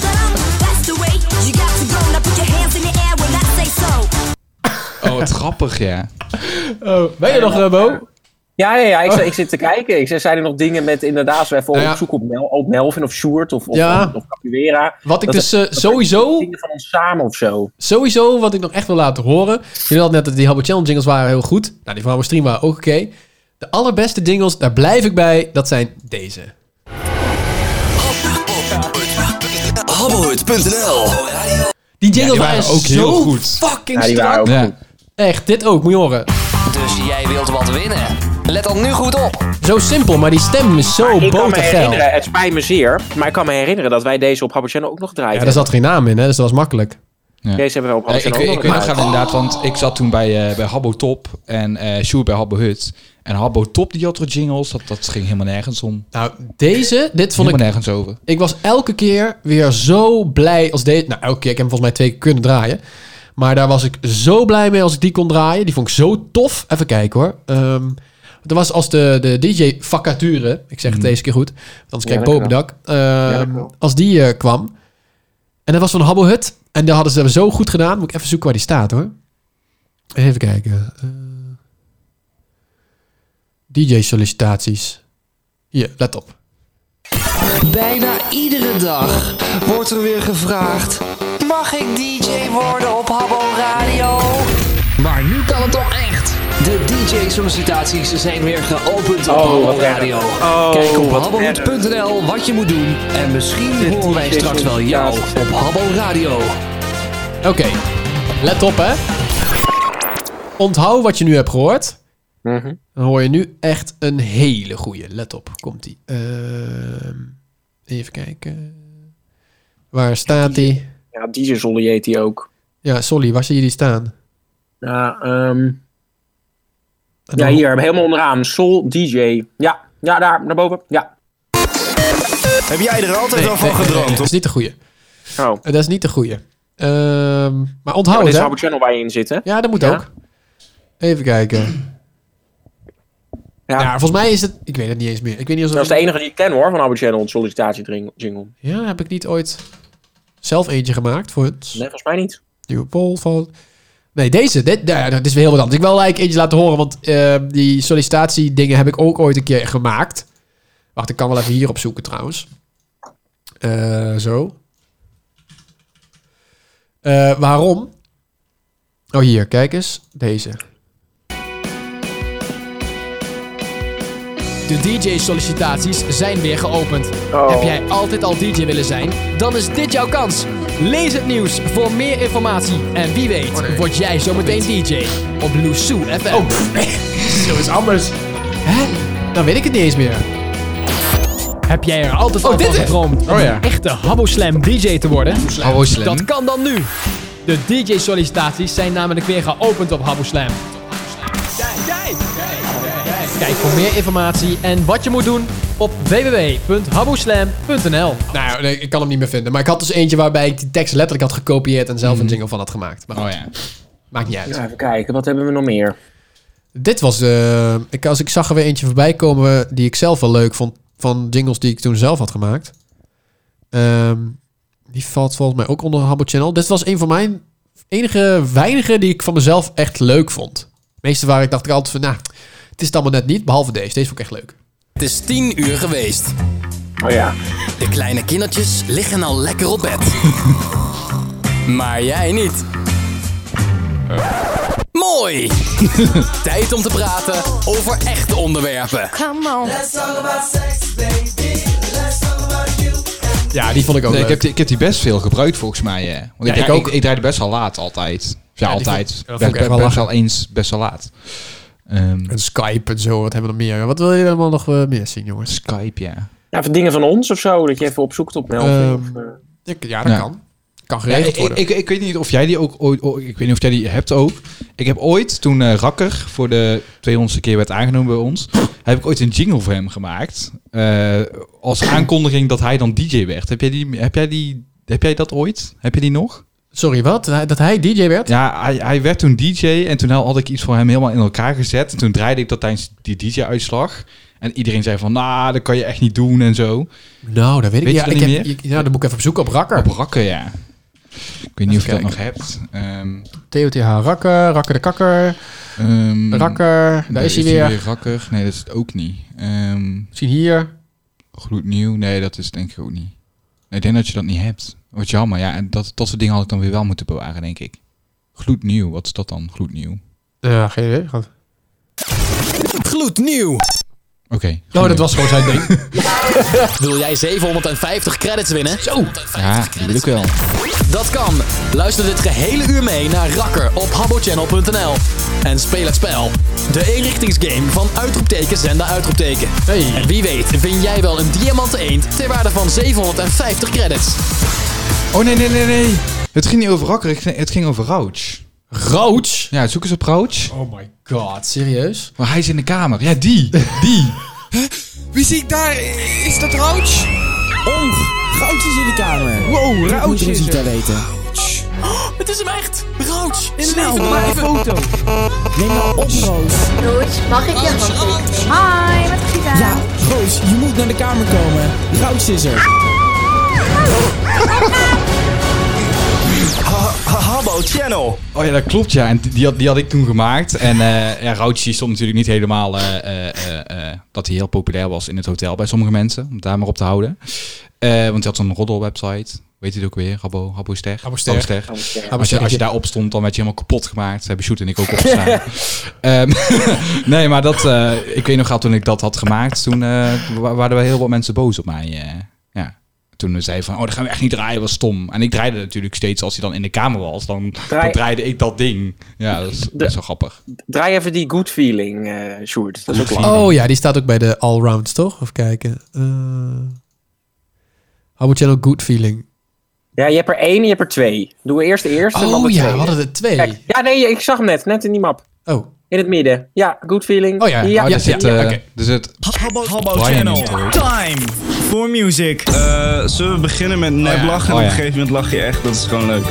[SPEAKER 5] Oh, wat grappig, ja.
[SPEAKER 4] Oh, ben je nog, eh, Bo?
[SPEAKER 7] Ja, ja, ja ik, zit- ik zit te kijken. Ik, zei, zijn er nog dingen met inderdaad, zo even
[SPEAKER 4] Nou Ja.
[SPEAKER 7] op zoek op, Mel, op Melvin of Sjoerd of, of,
[SPEAKER 4] Ja.
[SPEAKER 7] of, of Capoeira.
[SPEAKER 4] Wat ik
[SPEAKER 7] Dat
[SPEAKER 4] dus
[SPEAKER 7] er-
[SPEAKER 4] eh,
[SPEAKER 7] dat er
[SPEAKER 4] sowieso...
[SPEAKER 7] Dingen van ons samen of zo.
[SPEAKER 4] Sowieso, wat ik nog echt wil laten horen. Jullie hadden net dat die Habbo Channel jingles waren heel goed. Nou, die van Habbo Stream waren ook oké. De allerbeste jingles, daar blijf ik bij, dat zijn deze.
[SPEAKER 19] Habbohut.nl
[SPEAKER 4] Die jingles
[SPEAKER 19] Ja, die waren
[SPEAKER 4] waren
[SPEAKER 19] ook
[SPEAKER 4] zo
[SPEAKER 19] heel goed.
[SPEAKER 4] fucking
[SPEAKER 19] Ja, die waren
[SPEAKER 4] strak.
[SPEAKER 19] ook Ja. goed.
[SPEAKER 4] Echt, dit ook, moet je horen.
[SPEAKER 12] Dus jij wilt wat winnen? Let dan nu goed op.
[SPEAKER 4] Zo simpel, maar die stem is zo
[SPEAKER 7] Ik kan me
[SPEAKER 4] botergeil.
[SPEAKER 7] herinneren, het spijt me zeer, maar ik kan me herinneren dat wij deze op Habbo Channel ook nog draaien.
[SPEAKER 4] Ja, daar zat geen naam in, hè, dus dat was makkelijk.
[SPEAKER 7] Deze hebben we op
[SPEAKER 5] Nee,
[SPEAKER 7] Habbo
[SPEAKER 5] ik,
[SPEAKER 7] Channel ook
[SPEAKER 5] ik
[SPEAKER 7] nog
[SPEAKER 5] weet nog
[SPEAKER 7] draaien.
[SPEAKER 5] gaan inderdaad, want ik zat toen bij, eh, bij Habbo Top en eh Sjoerd bij Habbo Hut. En Habbo Top die had er jingles, dat, dat ging helemaal nergens om.
[SPEAKER 4] Nou, deze, dit vond ik...
[SPEAKER 5] helemaal nergens over.
[SPEAKER 4] Ik was elke keer weer zo blij als deze. Nou, elke keer. Ik heb hem volgens mij twee keer kunnen draaien. Maar daar was ik zo blij mee als ik die kon draaien. Die vond ik zo tof. Even kijken hoor. Ehm er was als de, de DJ Vacature. Ik zeg het deze keer goed. want Anders
[SPEAKER 17] Ja,
[SPEAKER 4] krijg ik
[SPEAKER 17] lekker wel.
[SPEAKER 4] bovendak. Ehm, als die eh, kwam. En dat was van Habbo Hut. En daar hadden ze dat zo goed gedaan. Moet ik even zoeken waar die staat hoor. Even kijken. Eh, DJ sollicitaties. Hier, let op.
[SPEAKER 12] Bijna iedere dag wordt er weer gevraagd: Mag ik DJ worden op Habbo Radio? Maar nu kan het toch echt. De DJ-sollicitaties zijn weer geopend op
[SPEAKER 7] Oh,
[SPEAKER 12] Habbo
[SPEAKER 7] wat erg.
[SPEAKER 12] Radio.
[SPEAKER 7] Oh,
[SPEAKER 12] Kijk op
[SPEAKER 7] wat
[SPEAKER 12] habbohoed.nl wat je moet doen. En misschien horen wij straks wel jou op Habbo Radio.
[SPEAKER 4] Oké, let op hè. Onthoud wat je nu hebt gehoord. Dan hoor je nu echt een hele goeie. Let op, komt die. even kijken. Waar staat die?
[SPEAKER 7] Ja, DJ Zolly heet die ook.
[SPEAKER 4] Ja, sorry, waar zie je die staan?
[SPEAKER 7] Ja, ehm,
[SPEAKER 4] En
[SPEAKER 7] ja
[SPEAKER 4] dan-
[SPEAKER 7] hier, helemaal onderaan. Soul DJ. Ja, ja daar, naar boven. Ja.
[SPEAKER 19] Heb jij er altijd
[SPEAKER 4] Nee,
[SPEAKER 19] al van
[SPEAKER 4] nee, nee, nee,
[SPEAKER 19] gedroomd?
[SPEAKER 4] Dat is niet de goeie.
[SPEAKER 7] Oh.
[SPEAKER 4] Eh, Dat is niet de goeie. Ehm,
[SPEAKER 7] Ja,
[SPEAKER 4] maar onthoud
[SPEAKER 7] dit
[SPEAKER 4] het
[SPEAKER 7] is
[SPEAKER 4] hè.
[SPEAKER 7] Habbo Channel waar je in zit, hè?
[SPEAKER 4] Ja, dat moet
[SPEAKER 7] Ja.
[SPEAKER 4] ook. Even kijken. Ja. volgens mij is het... Ik weet het niet eens meer. Ik weet niet of
[SPEAKER 7] Dat is de enige die ik ken hoor, van Habbo Channel, een sollicitatie jingle.
[SPEAKER 4] Ja, heb ik niet ooit zelf eentje gemaakt voor het...
[SPEAKER 7] Nee, volgens mij niet.
[SPEAKER 4] Nieuwe poll van... Nee, deze. Dit, nou ja, dat is weer heel wat anders. Ik wil eigenlijk eentje laten horen, want eh, die sollicitatiedingen heb ik ook ooit een keer gemaakt. Wacht, ik kan wel even hierop zoeken trouwens. Eh, zo. Eh, waarom? Oh, hier, kijk eens. Deze.
[SPEAKER 12] De DJ-sollicitaties zijn weer geopend.
[SPEAKER 4] Oh.
[SPEAKER 12] Heb jij altijd al DJ willen zijn? Dan is dit jouw kans. Lees het nieuws voor meer informatie. En wie weet, word jij zometeen DJ op Loesoe FM. Oh,
[SPEAKER 4] zo is anders. Hè? Dan weet ik het niet eens meer.
[SPEAKER 12] Heb jij er altijd
[SPEAKER 4] Oh,
[SPEAKER 12] al
[SPEAKER 4] dit
[SPEAKER 12] van
[SPEAKER 4] is-
[SPEAKER 12] gedroomd om
[SPEAKER 4] Oh, ja.
[SPEAKER 12] een echte Habbo Slam DJ te worden?
[SPEAKER 5] Habbo Slam.
[SPEAKER 12] Dat kan dan nu. De DJ-sollicitaties zijn namelijk weer geopend op Habbo Slam. Kijk voor meer informatie en wat je moet doen op www.haboslam.nl.
[SPEAKER 4] Nou, nee, ik kan hem niet meer vinden. Maar ik had dus eentje waarbij ik die tekst letterlijk had gekopieerd en zelf een jingle van had gemaakt. Maar
[SPEAKER 5] Mhm. oh ja.
[SPEAKER 4] Maakt niet uit.
[SPEAKER 7] Ja, even kijken, wat hebben we nog meer?
[SPEAKER 4] Dit was, eh, ik, als ik zag er weer eentje voorbij komen die ik zelf wel leuk vond. Van jingles die ik toen zelf had gemaakt. Ehm, die valt volgens mij ook onder Habbo Channel. Dit was een van mijn enige weinige die ik van mezelf echt leuk vond. De meeste waar ik dacht ik altijd van, nou, het is het allemaal net niet. Behalve deze. Deze vond ik echt leuk.
[SPEAKER 12] Het is tien uur geweest.
[SPEAKER 7] Oh ja.
[SPEAKER 12] De kleine kindertjes liggen al lekker op bed. maar jij niet. Mol
[SPEAKER 11] Mooi! Tijd om te praten over echte onderwerpen.
[SPEAKER 16] Come on.
[SPEAKER 12] Let's talk about sex, baby. Let's talk about you.
[SPEAKER 4] Ja, die vond ik ook
[SPEAKER 5] Nee,
[SPEAKER 4] leuk.
[SPEAKER 5] ik, heb die, ik heb die best veel gebruikt volgens mij. eh. Want
[SPEAKER 4] Ja,
[SPEAKER 5] ik,
[SPEAKER 4] ik
[SPEAKER 5] ik,
[SPEAKER 4] ook.
[SPEAKER 5] ik, draaide best wel laat altijd. Ja,
[SPEAKER 4] Ja, die
[SPEAKER 5] altijd.
[SPEAKER 4] vond- dat
[SPEAKER 5] Ben-
[SPEAKER 4] vond ik echt
[SPEAKER 5] ben-
[SPEAKER 4] wel
[SPEAKER 5] best
[SPEAKER 4] lachen.
[SPEAKER 5] wel eens best wel laat.
[SPEAKER 4] en Skype en zo, wat hebben we nog meer? Wat wil je allemaal nog eh, meer zien, jongens?
[SPEAKER 5] Skype, ja.
[SPEAKER 7] Ja, van dingen van ons of zo, dat je even opzoekt op Melvin.
[SPEAKER 4] Ehm,
[SPEAKER 7] of, eh.
[SPEAKER 4] Ja, dat kan. Kan geregeld
[SPEAKER 5] Ja, ik-
[SPEAKER 4] worden.
[SPEAKER 5] Ik, ik, ik weet niet of jij die ook ooit... o- ik weet niet of jij die hebt ook. Ik heb ooit, toen eh, Rakker voor de 200ste keer werd aangenomen bij ons... heb ik ooit een jingle voor hem gemaakt. Eh, als aankondiging dat hij dan DJ werd. Heb jij, die, heb, jij die, heb jij dat ooit? Heb je die nog?
[SPEAKER 4] Sorry, wat? Dat hij DJ werd?
[SPEAKER 5] Ja, hij, hij werd toen DJ. En toen had ik iets voor hem helemaal in elkaar gezet. En toen draaide ik dat tijdens die DJ-uitslag. En iedereen zei van, nou, dat kan je echt niet doen en zo.
[SPEAKER 4] Nou, dat weet ik
[SPEAKER 5] je
[SPEAKER 4] niet.
[SPEAKER 5] dat
[SPEAKER 4] Ja, ik
[SPEAKER 5] niet
[SPEAKER 4] heb-
[SPEAKER 5] meer?
[SPEAKER 4] ik- nou, dan moet ik even op zoek op Rakker.
[SPEAKER 5] Op Rakker, ja. Ik weet niet of je dat nog hebt. Ehm,
[SPEAKER 4] TOTH Rakker, Rakker de Kakker.
[SPEAKER 5] Ehm,
[SPEAKER 4] Rakker, daar is hij weer.
[SPEAKER 5] Rakker. Nee, dat is het ook niet. Ehm,
[SPEAKER 4] Zie hier.
[SPEAKER 5] Gloednieuw. Nee, dat is het denk ik ook niet. Ik denk dat je dat niet hebt. Wat jammer. Ja, en dat, dat soort dingen had ik dan weer wel moeten bewaren, denk ik. Gloednieuw. Wat is dat dan? Gloednieuw.
[SPEAKER 4] Ja, geen idee. Gaat-
[SPEAKER 11] Gloednieuw.
[SPEAKER 5] Oké.
[SPEAKER 4] Oh, dat was gewoon zijn ding.
[SPEAKER 11] Wil jij 750 credits winnen? Zo.
[SPEAKER 5] Ja, die wil ik wel.
[SPEAKER 11] Dat kan. Luister dit gehele uur mee naar Rakker op habbochannel.nl. En speel het spel. De eenrichtingsgame van uitroepteken zender uitroepteken. En wie weet vind jij wel een diamanten eend ter waarde van 750 credits.
[SPEAKER 5] Oh, nee, nee, nee, nee. Het ging niet over Rakker. het ging- Het ging over Rauch.
[SPEAKER 4] Rauch?
[SPEAKER 5] Ja, zoek eens op Rauch.
[SPEAKER 4] Oh my god, serieus?
[SPEAKER 5] Maar hij is in de kamer. Ja, die. Die.
[SPEAKER 11] Wie zie ik daar? Is dat Rauch?
[SPEAKER 12] Oh, goud is in de kamer.
[SPEAKER 11] Wow,
[SPEAKER 12] Dat
[SPEAKER 11] Rauch
[SPEAKER 12] moet
[SPEAKER 11] is
[SPEAKER 12] Rosita
[SPEAKER 11] er.
[SPEAKER 12] weten.
[SPEAKER 11] Oh, Het is hem echt! Rood! In
[SPEAKER 12] Snel,
[SPEAKER 11] leven,
[SPEAKER 12] maak
[SPEAKER 11] even.
[SPEAKER 12] een foto. Neem nou op, Roos.
[SPEAKER 9] Roos, mag ik je handje? Hi, wat goed aan?
[SPEAKER 12] Ja, Roos, je moet naar de kamer komen. Roos is er.
[SPEAKER 8] Habbo Channel.
[SPEAKER 5] Oh ja, dat klopt ja. En die had, die had ik toen gemaakt. En eh ja, Rauwtje die stond natuurlijk niet helemaal eh, eh, eh, eh, dat hij heel populair was in het hotel bij sommige mensen. Om het daar maar op te houden. Eh, want hij had zo'n roddelwebsite. Weet je het ook weer? Habbo, Habbo Ster.
[SPEAKER 4] Habbo Ster.
[SPEAKER 5] Habbo
[SPEAKER 4] Habbo
[SPEAKER 5] Ster.
[SPEAKER 4] Ster.
[SPEAKER 5] Als, je, als je daarop stond, dan werd je helemaal kapot gemaakt. Daar hebben Shoot en ik ook opgestaan. Ehm, nee, maar dat, eh, ik weet nog wel, toen ik dat had gemaakt, toen eh, wa- waren er heel wat mensen boos op mij. eh. ja. Toen zei van, oh, dat gaan we echt niet draaien, was stom. En ik draaide natuurlijk steeds, als hij dan in de kamer was, dan,
[SPEAKER 7] Draai-
[SPEAKER 5] dan draaide ik dat ding. Ja, dat is best wel grappig.
[SPEAKER 7] Draai even die good feeling, eh Sjoerd. Dat is ook wel.
[SPEAKER 4] Oh ja, die staat ook bij de allrounds, toch? Even kijken. Eh How would channel good feeling?
[SPEAKER 7] Ja, je hebt er één en je hebt er twee. Doen we eerst de eerste en dan de
[SPEAKER 4] Oh ja, we
[SPEAKER 7] tweede.
[SPEAKER 4] hadden er twee.
[SPEAKER 7] Kijk, ja, nee, ik zag hem net. Net in die map.
[SPEAKER 4] Oh.
[SPEAKER 7] In het midden. Ja, good feeling.
[SPEAKER 5] Oh ja, ja, daar zit... eh daar zit
[SPEAKER 8] Habbo,
[SPEAKER 5] Brian
[SPEAKER 8] Channel.
[SPEAKER 5] niet hoor.
[SPEAKER 8] Time for music. Eh, zullen we beginnen met nep
[SPEAKER 5] Oh ja,
[SPEAKER 8] lachen?
[SPEAKER 5] oh
[SPEAKER 8] en
[SPEAKER 5] ja.
[SPEAKER 8] Op een gegeven moment lach je echt. Dat is gewoon leuk.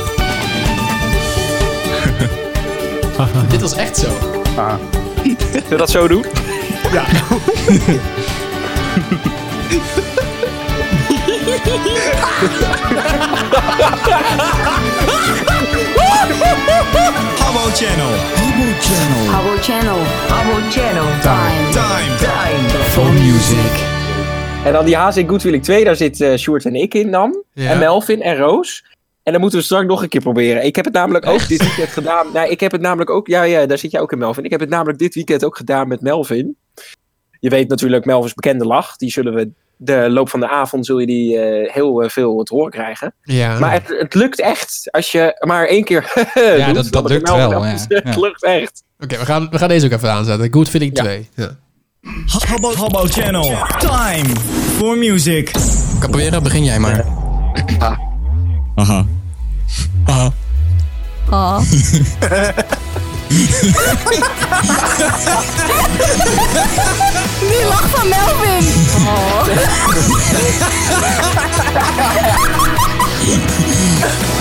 [SPEAKER 4] Dit was echt zo.
[SPEAKER 8] Ah.
[SPEAKER 7] Zullen we dat zo doen?
[SPEAKER 8] Ja. Habbo Channel. Habbo Channel.
[SPEAKER 12] Habbo Channel. Habbo Channel.
[SPEAKER 7] Time.
[SPEAKER 8] Time. Time.
[SPEAKER 7] For music. En dan die HC Good Feeling 2, daar zit eh Sjoerd en ik in dan.
[SPEAKER 4] Ja.
[SPEAKER 7] En Melvin en Roos. En dan moeten we straks nog een keer proberen. Ik heb het namelijk ook dit weekend gedaan. Nou, ik heb het namelijk ook. Ja, ja, daar zit jij ook in, Melvin. Ik heb het namelijk dit weekend ook gedaan met Melvin. Je weet natuurlijk Melvins bekende lach. Die zullen we. De loop van de avond zul je die eh, heel eh, veel te horen krijgen.
[SPEAKER 4] Ja.
[SPEAKER 7] Maar het, het lukt echt. Als je maar één keer. doet, dan
[SPEAKER 4] dat- dat
[SPEAKER 7] het
[SPEAKER 4] lukt
[SPEAKER 7] Melvin
[SPEAKER 4] wel,
[SPEAKER 7] af.
[SPEAKER 4] ja.
[SPEAKER 7] Dus Het
[SPEAKER 4] Ja.
[SPEAKER 7] lukt echt.
[SPEAKER 4] Oké, we, gaan, we gaan deze ook even aanzetten. Good feeling 2. Ja.
[SPEAKER 8] Habbo, Habbo Channel. Time for music.
[SPEAKER 11] Capoeira, begin jij maar.
[SPEAKER 8] Ah. Aha. Aha.
[SPEAKER 16] Oh. Die lach van Melvin.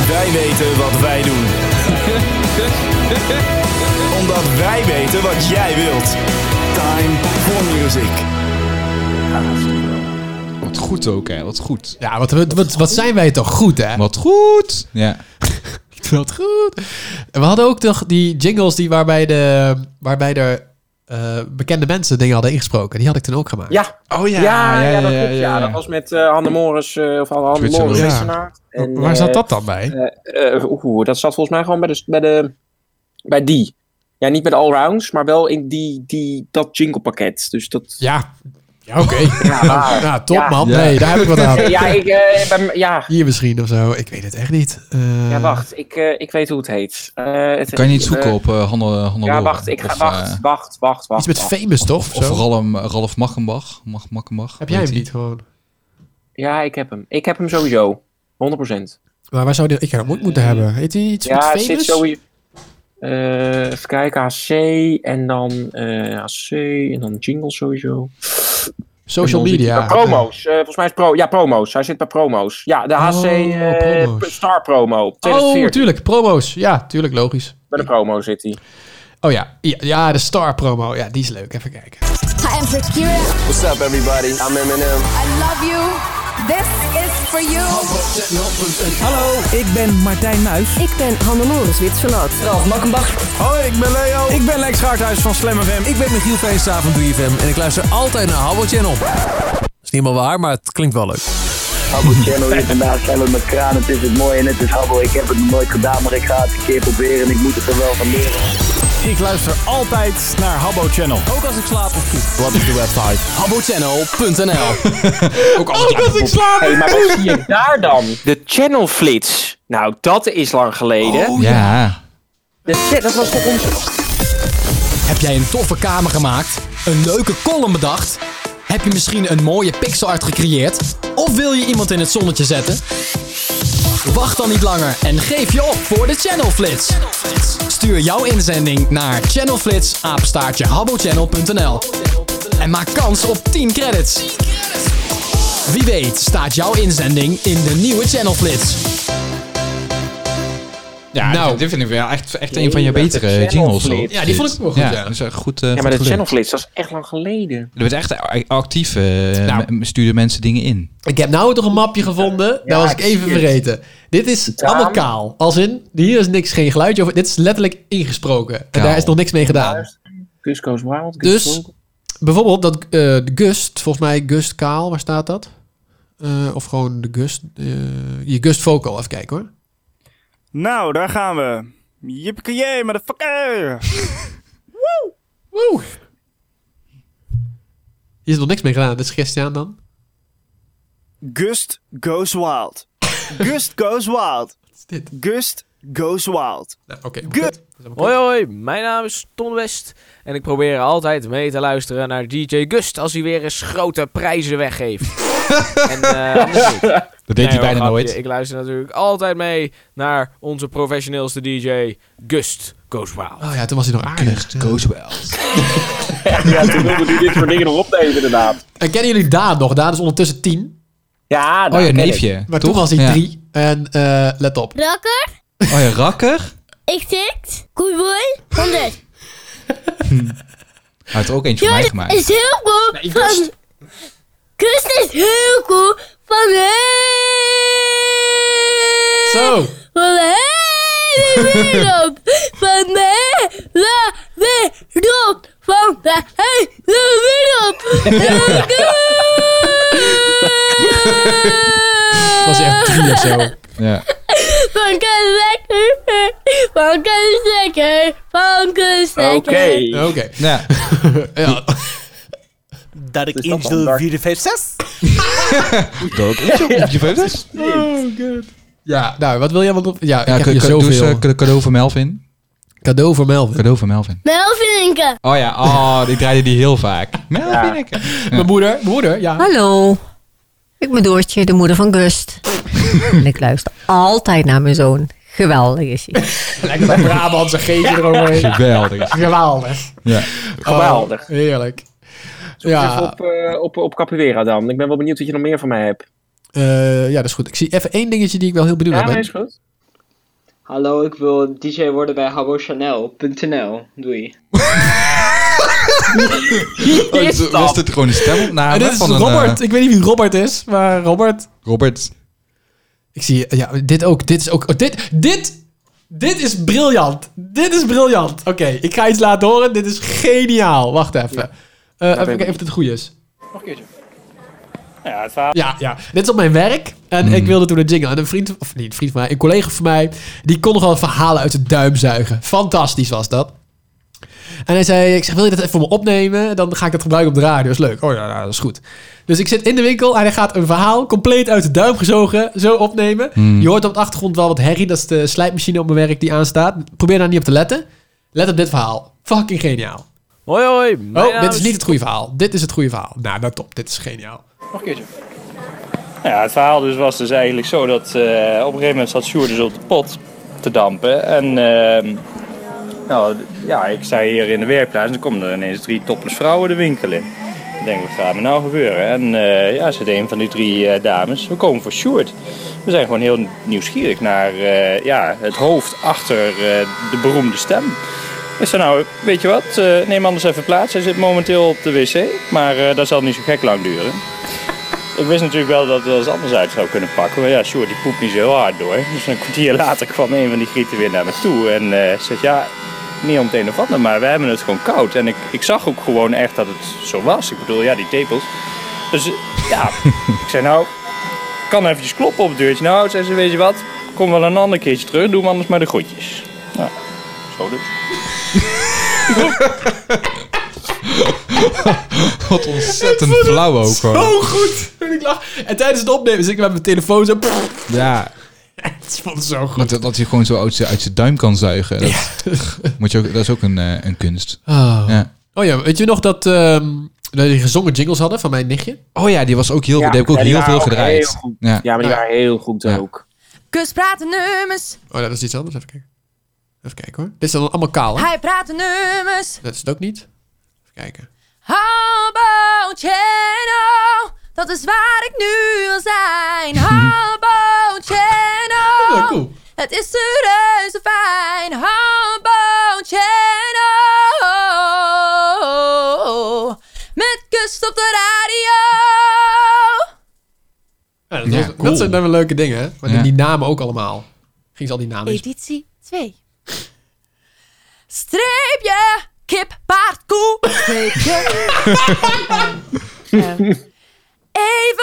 [SPEAKER 8] Wij weten wat wij doen. Omdat wij weten wat jij wilt. Time for music.
[SPEAKER 5] Wat goed ook, hè. Wat goed.
[SPEAKER 4] Ja, wat, wat, wat, wat zijn wij toch goed, hè?
[SPEAKER 5] Wat goed. Ja.
[SPEAKER 4] Wat goed. En we hadden ook toch die jingles die waarbij, de, waarbij er eh, bekende mensen dingen hadden ingesproken. Die had ik toen ook gemaakt.
[SPEAKER 7] Ja.
[SPEAKER 5] Oh
[SPEAKER 4] ja,
[SPEAKER 7] Ja,
[SPEAKER 4] ja,
[SPEAKER 7] ja, dat
[SPEAKER 4] ja,
[SPEAKER 7] klopt.
[SPEAKER 4] ja,
[SPEAKER 7] Ja,
[SPEAKER 4] ja.
[SPEAKER 7] dat was met eh Hanne Morris. eh, of Hanne
[SPEAKER 4] Twitsen
[SPEAKER 7] Morris.
[SPEAKER 4] wel. Ja.
[SPEAKER 7] Wassenaar. En,
[SPEAKER 4] Waar
[SPEAKER 7] eh,
[SPEAKER 4] zat dat dan bij?
[SPEAKER 7] Eh, eh, Oeh, dat zat volgens mij gewoon bij, de, bij, de, bij die. Ja, niet met allrounds, maar wel in die, die, dat jinglepakket. Dus dat...
[SPEAKER 4] Ja, ja oké.
[SPEAKER 7] waar.
[SPEAKER 4] Nou, top
[SPEAKER 7] Ja.
[SPEAKER 4] man. Nee, daar heb ik wat aan.
[SPEAKER 7] Ja, ik, eh, ben- ja.
[SPEAKER 4] Hier misschien of zo. Ik weet het echt niet. Eh,
[SPEAKER 7] ja wacht. Ik, eh, ik weet hoe het heet. Eh, het-
[SPEAKER 5] Kan je niet zoeken
[SPEAKER 7] eh,
[SPEAKER 5] op eh Hanne, Hanne
[SPEAKER 7] Ja,
[SPEAKER 5] Loren?
[SPEAKER 7] wacht. Ik ga,
[SPEAKER 5] Of,
[SPEAKER 7] wacht,
[SPEAKER 5] eh,
[SPEAKER 7] wacht, wacht, wacht,
[SPEAKER 5] Iets met
[SPEAKER 7] wacht.
[SPEAKER 4] famous toch?
[SPEAKER 5] Of
[SPEAKER 4] Zo?
[SPEAKER 5] Ralm, Ralf Machenbach. Mag, Machenbach.
[SPEAKER 4] Heb jij hem niet gewoon?
[SPEAKER 7] Ja, ik heb hem. Ik heb hem sowieso. 100%.
[SPEAKER 4] Maar waar zou die, ik hem ook moeten hebben? Heet hij iets
[SPEAKER 7] Eh, ja,
[SPEAKER 4] met
[SPEAKER 7] het zit
[SPEAKER 4] famous?
[SPEAKER 7] zo hier. Eh, even kijken, HC en dan eh, HC en dan jingle sowieso.
[SPEAKER 4] Social
[SPEAKER 7] En dan zit
[SPEAKER 4] media.
[SPEAKER 7] hij bij promo's. Eh, volgens mij is pro. Ja, promo's. Hij zit bij promo's. Ja, de HC eh, Star Promo.
[SPEAKER 4] Oh,
[SPEAKER 7] 2014.
[SPEAKER 4] tuurlijk. Promo's. Ja, tuurlijk. Logisch.
[SPEAKER 7] Bij de promo zit hij.
[SPEAKER 4] Oh ja. Ja, ja, de star promo. Ja, die is leuk. Even kijken.
[SPEAKER 18] I am Shakira.
[SPEAKER 20] What's up everybody? I'm Eminem.
[SPEAKER 18] I love you. This is for you.
[SPEAKER 21] Hallo, ik ben Martijn Muis. Ik ben Hannelore Zwitserland. Ralf Makkenbach. Hoi, ik ben Leo.
[SPEAKER 11] Ik ben Lex Gaarthuis van Slam FM. Ik ben Michiel Veenstra van 3FM. En ik luister altijd naar Habbo Channel. is niet helemaal waar, maar het klinkt wel leuk.
[SPEAKER 12] Habbo Channel hier vandaag zijn we met kraan. Het is het mooie en het is Habbo. Ik heb het nog nooit gedaan, maar ik ga het een keer proberen. en Ik moet het er wel van leren.
[SPEAKER 11] Ik luister altijd naar Habbo Channel. Ook als ik slaap of fiets. Wat is de website? habbochannel.nl Ook
[SPEAKER 4] Oh,
[SPEAKER 11] als ik, slaap
[SPEAKER 7] Hey, maar wat zie je daar dan? De Channel Flits. Nou, dat is lang geleden.
[SPEAKER 11] Oh, ja.
[SPEAKER 7] De chat, dat was toch ons...
[SPEAKER 11] Heb jij een toffe kamer gemaakt? Een leuke column bedacht? Heb je misschien een mooie pixelart gecreëerd? Of wil je iemand in het zonnetje zetten? Wacht dan niet langer en geef je op voor de Channel Flits. Stuur jouw inzending naar channelflits@habbochannel.nl en maak kans op 10 credits. Wie weet staat jouw inzending in de nieuwe Channel Flits.
[SPEAKER 5] Ja,
[SPEAKER 4] Nou.
[SPEAKER 5] dit- dit vind ik wel echt, echt een van je betere jingles. hoor.
[SPEAKER 11] Ja, die vond ik ook wel goed, ja.
[SPEAKER 5] dat is echt goed, eh,
[SPEAKER 7] ja,
[SPEAKER 5] goed
[SPEAKER 7] maar de
[SPEAKER 5] gelukt.
[SPEAKER 7] Channel Flits, dat is echt lang geleden.
[SPEAKER 5] Er werd echt a- actief. eh,
[SPEAKER 11] Nou.
[SPEAKER 5] m- stuurden mensen dingen in.
[SPEAKER 4] Ik heb nou toch een mapje gevonden. dat was ik even vergeten. Dit is allemaal kaal. Als in, hier is niks, geen geluidje over. Dit is letterlijk ingesproken. En
[SPEAKER 7] Kaal.
[SPEAKER 4] daar is nog niks mee gedaan.
[SPEAKER 7] Cusco's Wild.
[SPEAKER 4] Dus, bijvoorbeeld dat eh, de Gust, volgens mij Gust Kaal, waar staat dat? Eh, of gewoon de Gust, eh, je Gust Vocal, even kijken hoor.
[SPEAKER 8] Nou, daar gaan we. Yippie-ki-yay, motherfucker! Woe!
[SPEAKER 4] Woe! Hier is nog niks mee gedaan, dit is Christian dan.
[SPEAKER 8] Gust goes wild. Gust goes wild. Wat is
[SPEAKER 4] dit?
[SPEAKER 8] Gust goes wild.
[SPEAKER 4] Oké.
[SPEAKER 8] Gust.
[SPEAKER 22] Hoi hoi, mijn naam is Ton West en ik probeer altijd mee te luisteren naar DJ Gust als hij weer eens grote prijzen weggeeft. en, eh, anders niet.
[SPEAKER 5] Dat deed hij
[SPEAKER 22] hoor,
[SPEAKER 5] bijna
[SPEAKER 22] grapje.
[SPEAKER 5] nooit.
[SPEAKER 22] Ik luister natuurlijk altijd mee naar onze professioneelste DJ Gust Goes Wild.
[SPEAKER 4] Oh ja, toen was hij nog aardig.
[SPEAKER 5] Goes wel.
[SPEAKER 7] ja, toen wilde hij dit soort dingen nog opnemen, inderdaad.
[SPEAKER 4] En kennen jullie Daan nog? Daan is ondertussen tien.
[SPEAKER 7] Ja,
[SPEAKER 5] Daan Oh ja, ken neefje, ik.
[SPEAKER 4] Maar
[SPEAKER 5] toch?
[SPEAKER 4] toen was hij
[SPEAKER 5] Ja.
[SPEAKER 4] drie. En eh, let op.
[SPEAKER 17] Rakker,
[SPEAKER 5] Oh ja, rakker.
[SPEAKER 17] ik zit. Goed boy, 100.
[SPEAKER 5] Hij had er ook eentje van mij gemaakt.
[SPEAKER 17] is heel cool. van... Kust is heel cool. Van heel...
[SPEAKER 4] Zo.
[SPEAKER 17] Van de hele wereld. Van de hele wereld. Van de hele wereld.
[SPEAKER 4] was hij echt drie of zo.
[SPEAKER 5] Ja.
[SPEAKER 17] Van kust lekker. Van kust lekker. Van kust lekker.
[SPEAKER 4] Oké.
[SPEAKER 5] Ja.
[SPEAKER 4] ja.
[SPEAKER 23] Dat ik iets doe 456.
[SPEAKER 5] Dat ook eentje op je vijfdes?
[SPEAKER 4] Oh, god. Ja, nou, wat wil jij? Want, ja, ik
[SPEAKER 5] Ja,
[SPEAKER 4] heb
[SPEAKER 5] ca-
[SPEAKER 4] hier
[SPEAKER 5] ca- doe eens,
[SPEAKER 4] zoveel.
[SPEAKER 5] eh, ca- cadeau voor Melvin.
[SPEAKER 4] Cadeau voor Melvin.
[SPEAKER 5] Cadeau voor Melvin.
[SPEAKER 17] Melvinke.
[SPEAKER 5] Oh ja, oh, ik draaide die heel vaak. Melvin, ik.
[SPEAKER 4] Mijn moeder, mijn moeder, ja.
[SPEAKER 3] Hallo, ik ben Doortje, de moeder van Gust. en ik luister altijd naar mijn zoon. Geweldig is hij.
[SPEAKER 4] Lekker bij Brabantse geetje eroverheen.
[SPEAKER 5] Geweldig.
[SPEAKER 4] Geweldig.
[SPEAKER 5] Ja.
[SPEAKER 7] Geweldig.
[SPEAKER 4] Oh, heerlijk.
[SPEAKER 7] Ja.
[SPEAKER 4] Ja,
[SPEAKER 7] Op, eh, op, op Capoeira dan. Ik ben wel benieuwd wat je nog meer van mij hebt.
[SPEAKER 4] eh, ja, dat is goed. Ik zie even één dingetje die ik wel heel benieuwd naar ben.
[SPEAKER 7] goed.
[SPEAKER 24] Hallo, ik wil DJ worden bij HabboChanel.nl. Doei.
[SPEAKER 5] Oh, was dit gewoon een stemopname?
[SPEAKER 4] En dit is
[SPEAKER 5] van een,
[SPEAKER 4] Robert.
[SPEAKER 5] eh,
[SPEAKER 4] Ik weet niet wie Robert is, maar Robert.
[SPEAKER 5] Robert.
[SPEAKER 4] Ik zie, ja, dit ook. Dit is ook. oh, dit, dit, dit is briljant. Dit is briljant. Oké, ik ga iets laten horen. Dit is geniaal. Wacht even. Eh, even
[SPEAKER 25] ben ik.
[SPEAKER 4] kijken of dit goed is.
[SPEAKER 25] Nog een keertje. Nou Ja, het verhaal.
[SPEAKER 4] Ja, ja. Dit is op mijn werk. En ik wilde toen een jingle. En een vriend, of niet een vriend van mij, een collega van mij, die kon nogal verhalen uit de duim zuigen. Fantastisch was dat. En hij zei, ik zeg, wil je dat even voor me opnemen? Dan ga ik dat gebruiken op de radio. is leuk. Oh ja, ja, dat is goed. Dus ik zit in de winkel en hij gaat een verhaal compleet uit de duim gezogen zo opnemen.
[SPEAKER 5] Hmm.
[SPEAKER 4] Je hoort op de achtergrond wel wat herrie. Dat is de slijpmachine op mijn werk die aanstaat. Probeer daar niet op te letten. Let op dit verhaal. Fucking geniaal.
[SPEAKER 26] Hoi hoi.
[SPEAKER 25] Nou
[SPEAKER 26] mijn
[SPEAKER 4] Oh,
[SPEAKER 26] naam
[SPEAKER 4] dit
[SPEAKER 25] dus-
[SPEAKER 4] is niet het goede verhaal. Dit is het goede verhaal. Nou, nou top. Dit is geniaal.
[SPEAKER 27] Nog een keertje. Nou ja, het verhaal dus was dus eigenlijk zo dat eh, op een gegeven moment zat Sjoerd dus op de pot te dampen. En ehm, nou, d- ja, ik sta hier in de werkplaats en dan komen er ineens drie topless vrouwen de winkel in. Ik denk, wat gaat er nou gebeuren? En eh, ja, zit een van die drie eh, dames, we komen voor Sjoerd. We zijn gewoon heel nieuwsgierig naar eh, ja, het hoofd achter eh, de beroemde stem. Ik zei, nou, weet je wat, eh, neem anders even plaats. Hij zit momenteel op de wc, maar eh, dat zal niet zo gek lang duren. Ik wist natuurlijk wel dat het wel eens anders uit zou kunnen pakken. Maar ja, Sjoerd die poept niet zo heel hard door. Dus een kwartier later kwam een van die grieten weer naar me toe. En eh zegt, ja, niet om het een of ander, maar we hebben het gewoon koud. En ik, ik zag ook gewoon echt dat het zo was. Ik bedoel, ja, die tepels. Dus eh, ja, ik zei, nou, ik kan eventjes kloppen op het deurtje. Nou, zei ze, weet je wat, kom wel een ander keertje terug. Doe hem anders maar de groetjes. Nou, zo dus.
[SPEAKER 5] Wat ontzettend flauw ook
[SPEAKER 4] Zo
[SPEAKER 5] hoor.
[SPEAKER 4] goed. En ik lach. En tijdens het opnemen zit ik met mijn telefoon zo...
[SPEAKER 5] Ja.
[SPEAKER 4] Het is van zo goed.
[SPEAKER 5] Dat, dat hij gewoon zo uit zijn, uit zijn duim kan zuigen. Dat, moet je ook, dat is ook een, eh, een kunst.
[SPEAKER 4] Oh.
[SPEAKER 5] Ja.
[SPEAKER 4] Oh ja, weet je nog dat, ehm, dat die gezongen jingles hadden van mijn nichtje?
[SPEAKER 5] Oh ja, die was ook heel... die heb ik ook
[SPEAKER 4] en die
[SPEAKER 5] heel veel
[SPEAKER 4] waren ook
[SPEAKER 5] gedraaid.
[SPEAKER 4] heel goed.
[SPEAKER 5] Ja.
[SPEAKER 4] Ja, maar die waren
[SPEAKER 7] heel goed ook.
[SPEAKER 17] Kus praat de nummers.
[SPEAKER 4] Oh, dat is iets anders. Even kijken. Even kijken hoor. Dit is dan allemaal kaal, hè?
[SPEAKER 17] Hij praat de nummers.
[SPEAKER 4] Dat is het ook niet. Even kijken.
[SPEAKER 17] Hobo Channel. Dat is waar ik nu wil zijn. Hobo Channel.
[SPEAKER 4] Ja, cool.
[SPEAKER 17] Het is reuze fijn. Hobo Channel. Met kust op de radio.
[SPEAKER 4] Ja, dat,
[SPEAKER 5] Ja,
[SPEAKER 4] was- dat
[SPEAKER 5] cool.
[SPEAKER 4] zijn dan wel leuke dingen, hè? Maar
[SPEAKER 5] Ja.
[SPEAKER 4] die namen ook allemaal. Ging ze al die namen eens-
[SPEAKER 17] Editie 2. Streepje, kip, paard, koe. Streepje. Eh,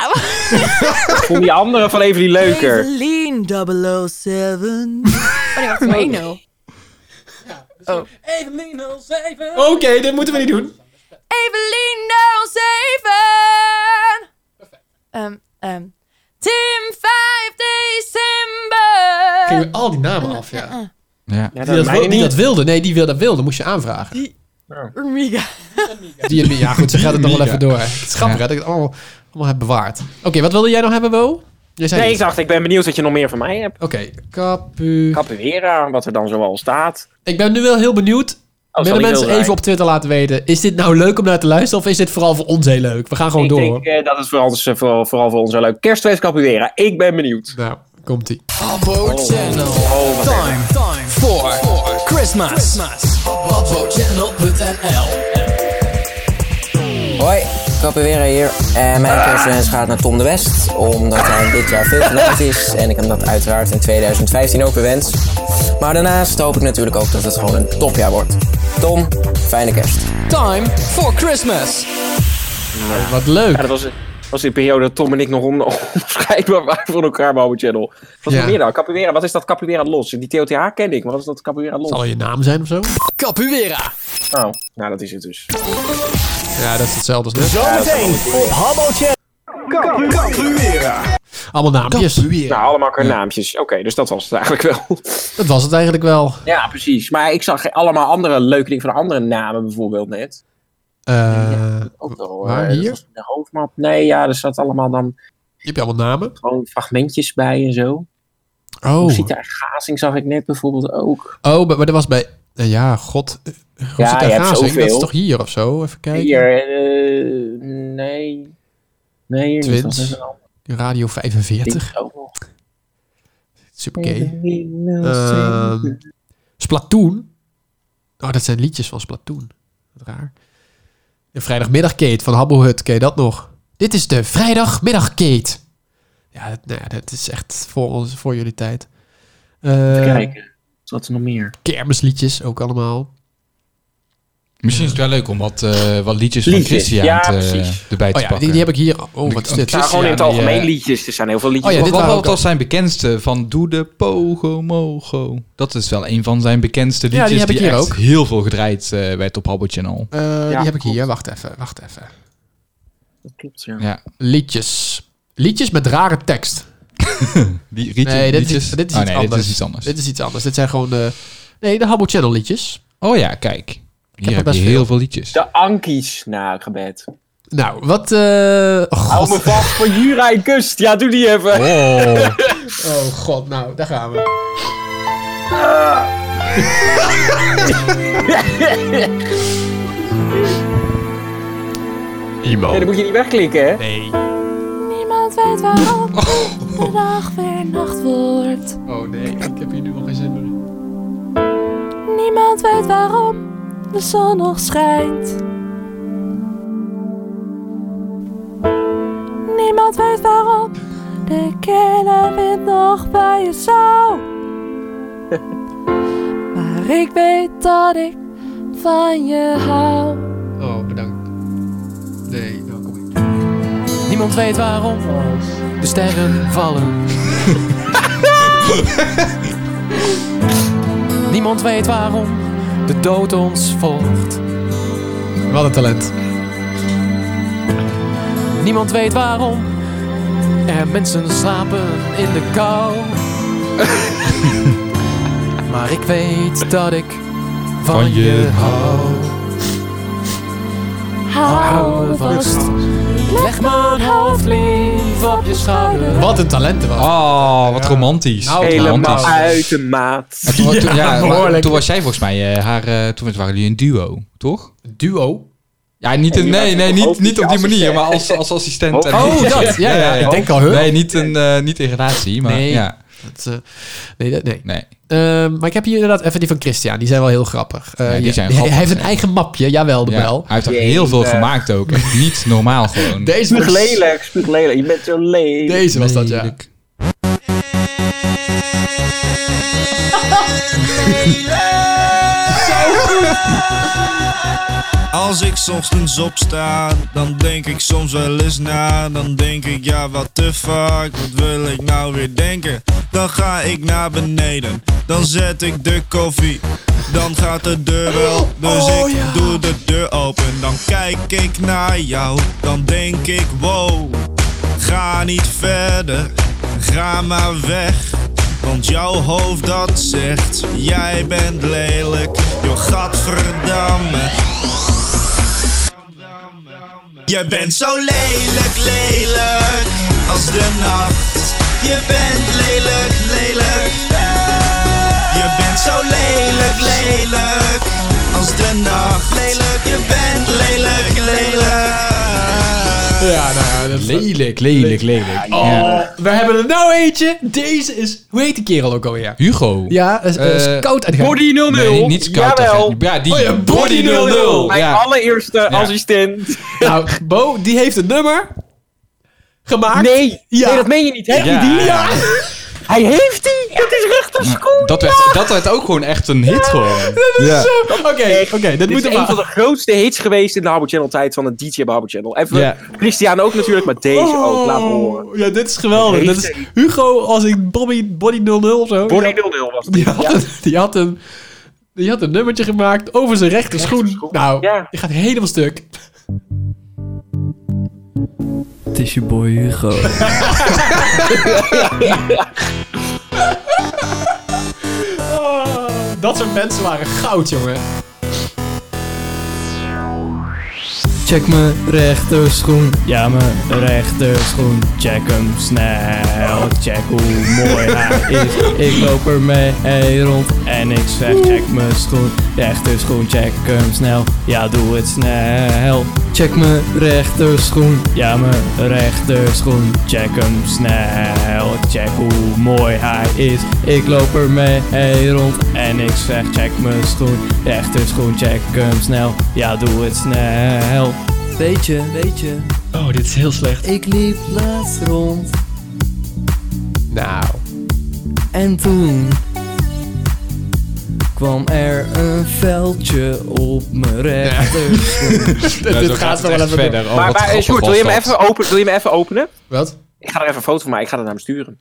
[SPEAKER 17] Evelien.
[SPEAKER 7] Ik vond die andere van even die leuker.
[SPEAKER 17] Evelien 007. Oh nee, wacht, maar 1 Oh. Evelien 07.
[SPEAKER 4] Oké, dit moeten we niet doen.
[SPEAKER 17] Evelien 07. Ehm, ehm. Tim 5 december.
[SPEAKER 4] Gingen we al die namen af, ja.
[SPEAKER 5] Ja.
[SPEAKER 4] die dat, wil- die dat wilde. Nee, die wil, dat wilde. Moest je aanvragen.
[SPEAKER 17] Amiga.
[SPEAKER 4] Die, hebben- ja, goed, ze gaat het nog wel
[SPEAKER 5] Mega.
[SPEAKER 4] even door. Het is grappig, hè? Dat ik het allemaal, allemaal heb bewaard. Oké, wat wilde jij nou hebben, Bo? Jij zei
[SPEAKER 7] Nee, ik
[SPEAKER 4] iets.
[SPEAKER 7] dacht, ik ben benieuwd wat je nog meer van mij hebt.
[SPEAKER 4] Oké, Capu...
[SPEAKER 7] Capoeira, wat er dan zoal staat.
[SPEAKER 4] Ik ben nu wel heel benieuwd.
[SPEAKER 7] zal
[SPEAKER 4] Willen
[SPEAKER 7] niet
[SPEAKER 4] mensen
[SPEAKER 7] Oh, heel
[SPEAKER 4] even
[SPEAKER 7] zijn.
[SPEAKER 4] op Twitter laten weten... is dit nou leuk om naar te luisteren... of is dit vooral voor ons heel leuk? We gaan gewoon
[SPEAKER 7] ik
[SPEAKER 4] door,
[SPEAKER 7] denk
[SPEAKER 4] hoor.
[SPEAKER 7] eh, dat is vooral, dus, eh, vooral, vooral voor ons een leuk kerstfeest capoeira. Ik ben benieuwd.
[SPEAKER 4] Nou, komt-ie.
[SPEAKER 11] Habbo Channel.
[SPEAKER 7] wat
[SPEAKER 11] time, Oh, time for, Christmas. HabboChannel.nl
[SPEAKER 28] Hoi, Capoeira hier. En mijn kerstwens gaat naar Tom de West, omdat hij dit jaar veel genoemd is. En ik hem dat uiteraard in 2015 ook weer wens. Maar daarnaast hoop ik natuurlijk ook dat het gewoon een topjaar wordt. Tom, fijne kerst.
[SPEAKER 11] Time for Christmas.
[SPEAKER 4] wat leuk.
[SPEAKER 7] dat was, was die periode dat Tom en ik nog on- onafscheidbaar waren van elkaar bij Hobo Channel. Wat is
[SPEAKER 4] Ja.
[SPEAKER 7] nog meer nou? Capoeira, wat is dat Capoeira los? Die TOTH ken ik, maar wat is dat Capoeira los?
[SPEAKER 4] Zal je naam zijn of zo?
[SPEAKER 11] Capoeira.
[SPEAKER 7] Oh, nou dat is het dus.
[SPEAKER 4] Ja, dat is hetzelfde als net.
[SPEAKER 7] Zometeen op
[SPEAKER 8] Habbo
[SPEAKER 7] Capoeira.
[SPEAKER 4] Allemaal naampjes.
[SPEAKER 7] Nou, allemaal naamjes. Oké, dus dat was het eigenlijk wel.
[SPEAKER 4] Dat was het eigenlijk wel.
[SPEAKER 7] Ja, precies. Maar ik zag allemaal andere leuke dingen van andere namen bijvoorbeeld net.
[SPEAKER 4] Eh,
[SPEAKER 7] Ook wel,
[SPEAKER 4] waar,
[SPEAKER 7] eh, dat
[SPEAKER 4] hier?
[SPEAKER 7] was in De hoofdmap. Nee, ja, er zat allemaal dan...
[SPEAKER 4] Je hebt allemaal namen?
[SPEAKER 7] Gewoon fragmentjes bij en zo.
[SPEAKER 4] oh.
[SPEAKER 7] Rosita Gazing zag ik net bijvoorbeeld ook.
[SPEAKER 4] Oh, maar maar dat was bij... nou ja, god. eh, Rosita
[SPEAKER 7] je hebt
[SPEAKER 4] Gazing, dat is
[SPEAKER 7] zoveel.
[SPEAKER 4] toch hier of zo? Even kijken.
[SPEAKER 7] Hier, eh, nee. Nee, hier niet. Dat is
[SPEAKER 4] Twins.
[SPEAKER 7] een ander.
[SPEAKER 4] Radio 45.
[SPEAKER 7] Ook nog.
[SPEAKER 4] Super gay. Ehm, Splatoon. Oh, dat zijn liedjes van Splatoon. Wat raar. De vrijdagmiddagkate van Habbo Hut. Ken je dat nog? Dit is de vrijdagmiddagkate. Ja, dat, nou ja, dat is echt voor, ons, voor jullie tijd. Eh,
[SPEAKER 7] Even kijken. Wat is er nog meer?
[SPEAKER 4] Kermisliedjes ook allemaal.
[SPEAKER 5] Misschien is het wel leuk om wat, eh, wat liedjes van
[SPEAKER 7] Liedjes,
[SPEAKER 5] Christian
[SPEAKER 7] ja,
[SPEAKER 5] te- eh,
[SPEAKER 7] precies.
[SPEAKER 5] erbij te
[SPEAKER 4] Oh ja, die-
[SPEAKER 5] pakken.
[SPEAKER 4] die heb ik hier. Oh,
[SPEAKER 5] De-
[SPEAKER 4] wat is
[SPEAKER 5] een
[SPEAKER 4] dit?
[SPEAKER 5] Christian
[SPEAKER 7] Nou, gewoon in het
[SPEAKER 5] die, eh,
[SPEAKER 7] algemeen liedjes. Er zijn heel veel
[SPEAKER 5] Oh
[SPEAKER 7] liedjes.
[SPEAKER 5] ja, dit
[SPEAKER 7] op-
[SPEAKER 5] waren wel zijn bekendste van Doe de Pogo Mogo. Dat is wel een van zijn bekendste
[SPEAKER 4] Ja, die
[SPEAKER 5] liedjes
[SPEAKER 4] heb ik
[SPEAKER 5] die
[SPEAKER 4] hier
[SPEAKER 5] echt
[SPEAKER 4] ook.
[SPEAKER 5] heel veel gedraaid eh, werd op Habbo Channel.
[SPEAKER 4] Eh,
[SPEAKER 5] Ja,
[SPEAKER 4] die heb ik hier. Wacht even, wacht even.
[SPEAKER 7] Klopt, ja.
[SPEAKER 5] Ja.
[SPEAKER 4] Liedjes. Liedjes met rare tekst.
[SPEAKER 5] Die rietje-
[SPEAKER 4] nee, dit
[SPEAKER 5] liedjes?
[SPEAKER 4] is, dit is
[SPEAKER 5] Oh,
[SPEAKER 4] iets
[SPEAKER 5] nee, dit
[SPEAKER 4] anders.
[SPEAKER 5] is iets anders.
[SPEAKER 4] Dit is iets anders. Dit zijn gewoon de... Nee, de Habbo Channel liedjes.
[SPEAKER 5] Oh ja, kijk.
[SPEAKER 4] Ik
[SPEAKER 5] Hier
[SPEAKER 4] heb er
[SPEAKER 5] heb
[SPEAKER 4] best
[SPEAKER 5] je
[SPEAKER 4] veel.
[SPEAKER 5] heel veel liedjes.
[SPEAKER 7] De Ankies. Nou, gebed.
[SPEAKER 4] Nou, wat... eh oh,
[SPEAKER 7] Hou me
[SPEAKER 4] god.
[SPEAKER 7] vast voor Jura en Kust. Ja, doe die even.
[SPEAKER 5] Oh.
[SPEAKER 4] oh god, nou, daar gaan we.
[SPEAKER 7] Nee, dat moet je niet wegklikken, hè? Nee.
[SPEAKER 17] Niemand weet waarom de dag weer nacht wordt.
[SPEAKER 4] Oh nee, ik heb hier nu al geen zin meer in.
[SPEAKER 17] Niemand weet waarom de zon nog schijnt. Niemand weet waarom de kille wind nog bij je zou. Maar ik weet dat ik van je hou.
[SPEAKER 4] Oh, bedankt. Nee, nou kom ik.
[SPEAKER 11] Niemand weet waarom de sterren vallen. Niemand weet waarom de dood ons volgt.
[SPEAKER 4] Wat een talent.
[SPEAKER 11] Niemand weet waarom er mensen slapen in de kou. maar ik weet dat ik van,
[SPEAKER 5] Van je
[SPEAKER 11] je hou.
[SPEAKER 17] Hou me vast.
[SPEAKER 11] Leg mijn hoofd lief op je schouder.
[SPEAKER 4] Wat een talent was.
[SPEAKER 5] Oh, wat romantisch.
[SPEAKER 7] Nou,
[SPEAKER 5] Wat
[SPEAKER 7] Helemaal
[SPEAKER 5] romantisch.
[SPEAKER 7] uit de maat.
[SPEAKER 5] En toen- toen- ja, maar toen was jij volgens mij eh, haar. eh, toen waren jullie een duo, toch?
[SPEAKER 4] Duo?
[SPEAKER 5] Ja, niet een,
[SPEAKER 4] Nee,
[SPEAKER 5] nee,
[SPEAKER 4] je
[SPEAKER 5] nee,
[SPEAKER 4] was
[SPEAKER 5] niet,
[SPEAKER 4] hoofd-
[SPEAKER 5] niet op die manier,
[SPEAKER 4] assistent.
[SPEAKER 5] maar als, als assistent. en-
[SPEAKER 4] Oh, dat. Ja, ja, ik denk al, huh?
[SPEAKER 5] Nee, niet, een, eh, niet in relatie, maar
[SPEAKER 4] Nee.
[SPEAKER 5] ja.
[SPEAKER 4] Dat, eh, nee, dat, nee.
[SPEAKER 5] Nee.
[SPEAKER 4] Ehm, maar ik heb hier inderdaad even die van Christian. Die zijn wel heel grappig. Eh,
[SPEAKER 5] Ja, die
[SPEAKER 4] ja,
[SPEAKER 5] zijn
[SPEAKER 4] hij-
[SPEAKER 5] grappig,
[SPEAKER 4] Hij heeft
[SPEAKER 5] ja.
[SPEAKER 4] een eigen mapje. Jawel, de
[SPEAKER 5] Ja,
[SPEAKER 4] bel.
[SPEAKER 5] Hij heeft er heel veel gemaakt ook. Echt Niet normaal gewoon.
[SPEAKER 4] Deze
[SPEAKER 7] Spuug
[SPEAKER 4] was,
[SPEAKER 7] lelijk, spuug lelijk. Je bent zo lelijk.
[SPEAKER 4] deze was dat, ja.
[SPEAKER 28] Als ik ochtends opsta, dan denk ik soms wel eens na. Dan denk ik, ja, wat te vaak, wat wil ik nou weer denken? Dan ga ik naar beneden, dan zet ik de koffie. Dan gaat de deur wel, dus ik doe de deur open. Dan kijk ik naar jou, dan denk ik, wow. Ga niet verder, ga maar weg. Want jouw hoofd dat zegt, jij bent lelijk, joh gadverdamme. Je bent zo lelijk, lelijk, als de nacht. Je bent lelijk, lelijk. Je bent zo lelijk, lelijk, als de nacht. Lelijk, je bent lelijk, lelijk.
[SPEAKER 4] Ja, nou ja, dat
[SPEAKER 5] Lelijk, lelijk, lelijk.
[SPEAKER 4] Oh,
[SPEAKER 5] Ja.
[SPEAKER 4] we hebben er nou eentje. Deze is... Hoe heet die kerel ook alweer?
[SPEAKER 5] Hugo.
[SPEAKER 4] Ja, is, is
[SPEAKER 5] Eh,
[SPEAKER 4] koud en
[SPEAKER 7] Body 00.
[SPEAKER 5] Nee, niet Scout
[SPEAKER 7] Jawel.
[SPEAKER 5] Ja, die.
[SPEAKER 4] Oh ja, Body
[SPEAKER 5] Body 00.
[SPEAKER 7] Mijn
[SPEAKER 5] Ja.
[SPEAKER 7] allereerste assistent.
[SPEAKER 4] Nou, Bo, Eh, die heeft een nummer gemaakt.
[SPEAKER 7] Nee,
[SPEAKER 4] Ja.
[SPEAKER 7] nee dat meen je niet. Heeft
[SPEAKER 5] Ja.
[SPEAKER 7] hij die?
[SPEAKER 5] Ja.
[SPEAKER 7] Hij heeft die! Dat is rechter schoen!
[SPEAKER 5] Dat werd, dat werd ook gewoon echt een hit gewoon. Ja.
[SPEAKER 4] Oké, oké, dat
[SPEAKER 7] Dit
[SPEAKER 4] moet
[SPEAKER 7] is
[SPEAKER 4] er
[SPEAKER 7] een van
[SPEAKER 4] maar.
[SPEAKER 7] de grootste hits geweest in de Harbour Channel tijd van een DJ bij Harbour Channel. En voor
[SPEAKER 5] Ja.
[SPEAKER 7] Christian ook natuurlijk, maar deze
[SPEAKER 4] Oh.
[SPEAKER 7] ook. Laat me horen.
[SPEAKER 4] Ja, dit is geweldig. Dat is Hugo als ik Bobby Body 00 of zo.
[SPEAKER 7] Body 00 was het.
[SPEAKER 4] Die had, een, die, had een, die had een nummertje gemaakt over zijn rechter schoen. Nou, die gaat helemaal stuk.
[SPEAKER 28] Het is je boy Hugo.
[SPEAKER 4] Oh,
[SPEAKER 7] Ah.
[SPEAKER 4] dat soort mensen waren goud, jongen.
[SPEAKER 28] Check mijn rechter schoen. Ja, mijn rechter schoen. Check hem snel. Check hoe mooi hij is. Ik loop ermee rond en ik zeg: check mijn schoen. Rechter schoen, check hem snel. Ja, doe het snel. Check mijn rechter schoen. Ja, mijn rechter schoen. Check hem snel. Check hoe mooi hij is. Ik loop ermee rond en ik zeg: check mijn schoen. Rechter schoen, check hem snel. Ja, doe het snel. Weet je, weet je.
[SPEAKER 4] Oh, dit is heel slecht.
[SPEAKER 28] Ik liep laatst rond
[SPEAKER 4] Nou.
[SPEAKER 28] en toen
[SPEAKER 3] kwam er een veldje op mijn rechterschoen.
[SPEAKER 5] Ja, zo gaat het echt verder. Oh,
[SPEAKER 7] maar
[SPEAKER 5] wat
[SPEAKER 7] maar eh,
[SPEAKER 5] grappig
[SPEAKER 7] Sjoerd, wil
[SPEAKER 5] was
[SPEAKER 7] je, me
[SPEAKER 5] dat.
[SPEAKER 7] even open, wil je me even openen?
[SPEAKER 4] Wat?
[SPEAKER 7] Ik ga er even een foto van maken. Ik ga dat naar hem sturen.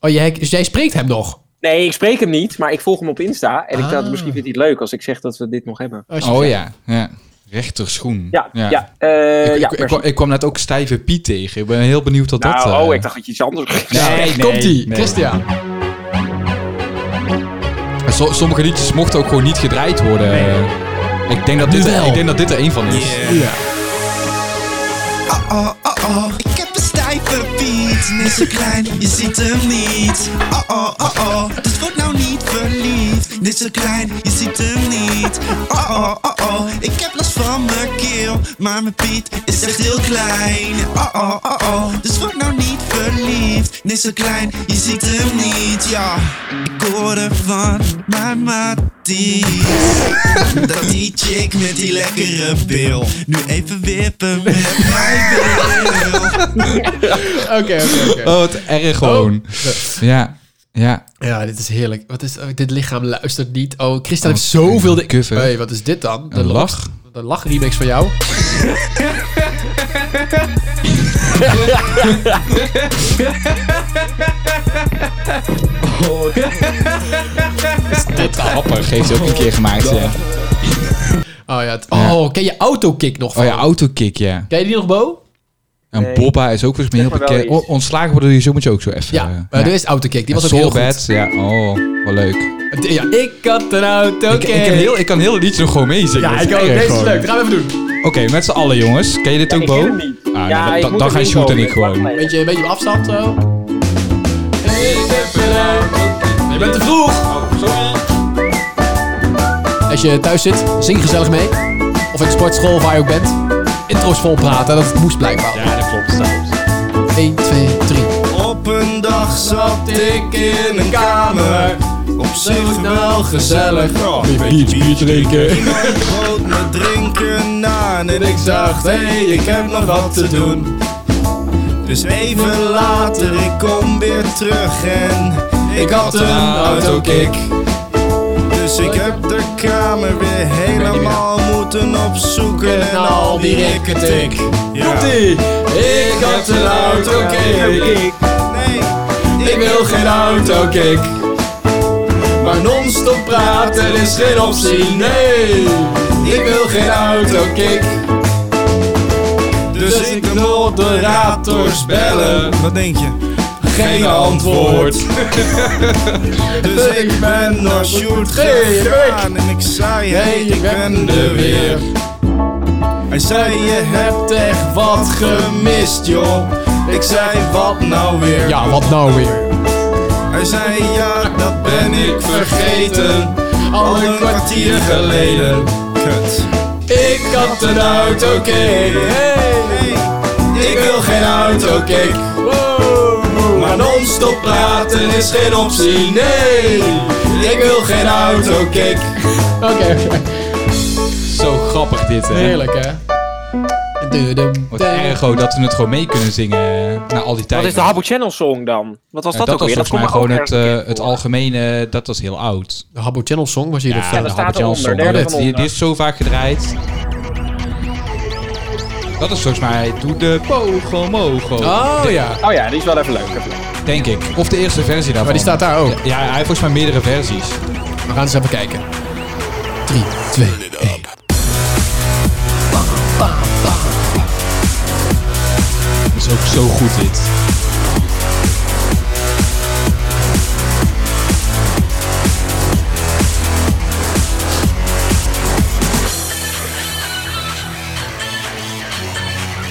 [SPEAKER 4] Oh, jij, dus jij spreekt hem nog?
[SPEAKER 7] Nee, ik spreek hem niet, maar ik volg hem op Insta. En
[SPEAKER 4] Ah.
[SPEAKER 7] ik dacht, misschien vindt hij het leuk als ik zeg dat we dit nog hebben.
[SPEAKER 5] Oh ja, ja. Rechterschoen.
[SPEAKER 7] Ja, ja,
[SPEAKER 5] ik,
[SPEAKER 7] eh, ja,
[SPEAKER 5] ik, ik,
[SPEAKER 7] precies.
[SPEAKER 5] kwam- ik kwam net ook stijve Piet tegen. Ik ben heel benieuwd wat
[SPEAKER 7] Nou,
[SPEAKER 5] dat... eh,
[SPEAKER 7] oh, ik dacht dat je iets anders...
[SPEAKER 5] Nee, nee,
[SPEAKER 7] Komt-ie,
[SPEAKER 5] nee.
[SPEAKER 4] Christian.
[SPEAKER 5] So- sommige liedjes mochten ook gewoon niet gedraaid worden. Ik, denk dat dit er, ik denk dat dit er één van is.
[SPEAKER 28] Oh, oh, oh, ik heb een stijve piet. Net zo klein, je ziet hem niet. Oh, oh, oh, oh, dus word nou niet verliefd. Net zo klein, je ziet hem niet. Oh, oh, oh, oh, ik heb last van mijn keel. Maar mijn piet is echt heel klein. Oh, oh, oh, oh, dus word nou niet verliefd. Net zo klein, je ziet hem niet, ja. Ik hoor ervan, maar Matties. Dat die chick met die lekkere bil. Nu even wippen met
[SPEAKER 4] Oké, oké, oké.
[SPEAKER 5] Oh, wat erg gewoon.
[SPEAKER 4] Oh.
[SPEAKER 5] Ja, ja.
[SPEAKER 4] Ja, dit is heerlijk. Wat is, oh, dit lichaam luistert niet. Oh, Christian
[SPEAKER 5] Oh,
[SPEAKER 4] heeft zoveel... De...
[SPEAKER 5] kuffer.
[SPEAKER 4] Hey, wat is dit dan?
[SPEAKER 5] Een lach.
[SPEAKER 4] lach- De lachremix van jou.
[SPEAKER 5] Dit happer heeft ze ook een keer gemaakt, ja.
[SPEAKER 4] Oh ja, het- oh, ken je Autokick nog van?
[SPEAKER 5] Oh ja, autokick, ja.
[SPEAKER 4] Ken je die nog, Bo?
[SPEAKER 5] En
[SPEAKER 4] Nee.
[SPEAKER 5] Bobba is ook volgens mij heel
[SPEAKER 4] Zeg maar wel
[SPEAKER 5] bekend. O- ontslagen worden die zo moet je ook zo even. eh.
[SPEAKER 4] Ja, maar er is Autokick, die was
[SPEAKER 5] En
[SPEAKER 4] ook heel
[SPEAKER 5] Soul Bad,
[SPEAKER 4] goed.
[SPEAKER 5] ja. Oh, wat leuk.
[SPEAKER 4] D- Ja, ik had een Autokick.
[SPEAKER 5] Ik, ik, kan heel, ik kan heel het liedje nog gewoon meezingen.
[SPEAKER 4] Ja,
[SPEAKER 5] Dat
[SPEAKER 4] ik ook.
[SPEAKER 5] erg
[SPEAKER 4] Deze is
[SPEAKER 5] gewoon.
[SPEAKER 4] leuk. Dat gaan we even doen.
[SPEAKER 5] Oké, met z'n allen jongens. Ken je dit ook,
[SPEAKER 4] ik
[SPEAKER 5] Bo?
[SPEAKER 4] ken hem niet.
[SPEAKER 5] Ah, nou,
[SPEAKER 4] Ja,
[SPEAKER 5] dan-
[SPEAKER 4] ik
[SPEAKER 5] dan
[SPEAKER 4] moet
[SPEAKER 5] dan
[SPEAKER 4] er
[SPEAKER 5] gaan
[SPEAKER 4] niet
[SPEAKER 5] Sjoerd en
[SPEAKER 4] komen.
[SPEAKER 5] ik gewoon.
[SPEAKER 4] Beetje, een beetje op afstand zo. Je bent te vroeg. Als je thuis zit, zing gezellig mee. Of in de sportschool waar je ook bent. Intro's vol praten, dat moest blijkbaar. Ja, dat klopt. 1, 2, 3.
[SPEAKER 28] Op een dag zat ik in een kamer. Op zich wel gezellig. Oh, een beetje
[SPEAKER 5] bier drinken.
[SPEAKER 28] Iemand bood me drinken aan en ik dacht, hé, hey, ik heb nog wat te doen. Dus even later, ik kom weer terug en ik had een autokick. Dus ik heb de kamer weer helemaal moeten opzoeken en al die rikketik. Ja. Ik had een autokick. Nee, ik wil geen autokick. Maar non-stop praten is geen optie, nee. Ik wil geen autokick. Dus ik de moderators bellen. Eh, Wat denk je? Geen antwoord. dus ik ben naar Sjoerd gegaan en ik zei, hey, ik ben er weer. Hij zei, je hebt echt wat gemist, joh. Ik zei, wat nou weer?
[SPEAKER 4] Ja, wat nou weer?
[SPEAKER 28] Hij zei ja, dat ben ik vergeten. Al een kwartier geleden. Kut. Ik had een autokick. Hey. Ik wil geen autokick. Maar non-stop praten is geen optie. Nee. Ik wil geen autokick.
[SPEAKER 4] Oké.
[SPEAKER 5] Zo grappig dit, hè?
[SPEAKER 4] Heerlijk, hè? Dudum,
[SPEAKER 5] Wat
[SPEAKER 4] dum.
[SPEAKER 5] erg ook dat we het gewoon mee kunnen zingen eh, na al die tijd.
[SPEAKER 7] Wat is de Habbo Channel song dan? Wat was
[SPEAKER 5] Eh,
[SPEAKER 7] dat, ook weer?
[SPEAKER 5] was volgens mij gewoon
[SPEAKER 7] ook
[SPEAKER 5] het,
[SPEAKER 7] ergens-
[SPEAKER 5] eh, het algemene, dat was heel oud.
[SPEAKER 4] De Habbo Channel Song was hier
[SPEAKER 5] Ja,
[SPEAKER 4] de
[SPEAKER 5] de
[SPEAKER 4] volgende.
[SPEAKER 5] Habbo Channel Song.
[SPEAKER 4] derde
[SPEAKER 5] Oh, dat-
[SPEAKER 4] van
[SPEAKER 5] die,
[SPEAKER 4] onder.
[SPEAKER 5] die is zo vaak gedraaid. Dat is volgens mij Doe de Pogomogo.
[SPEAKER 4] Oh, ja.
[SPEAKER 7] Oh ja, die is wel even leuk. even leuk.
[SPEAKER 5] Denk ik. Of de eerste versie daarvan.
[SPEAKER 4] Maar die staat daar ook.
[SPEAKER 5] Ja, hij heeft volgens mij meerdere versies.
[SPEAKER 4] We gaan eens even kijken. 3, 2, 1.
[SPEAKER 5] Dat is ook zo goed dit.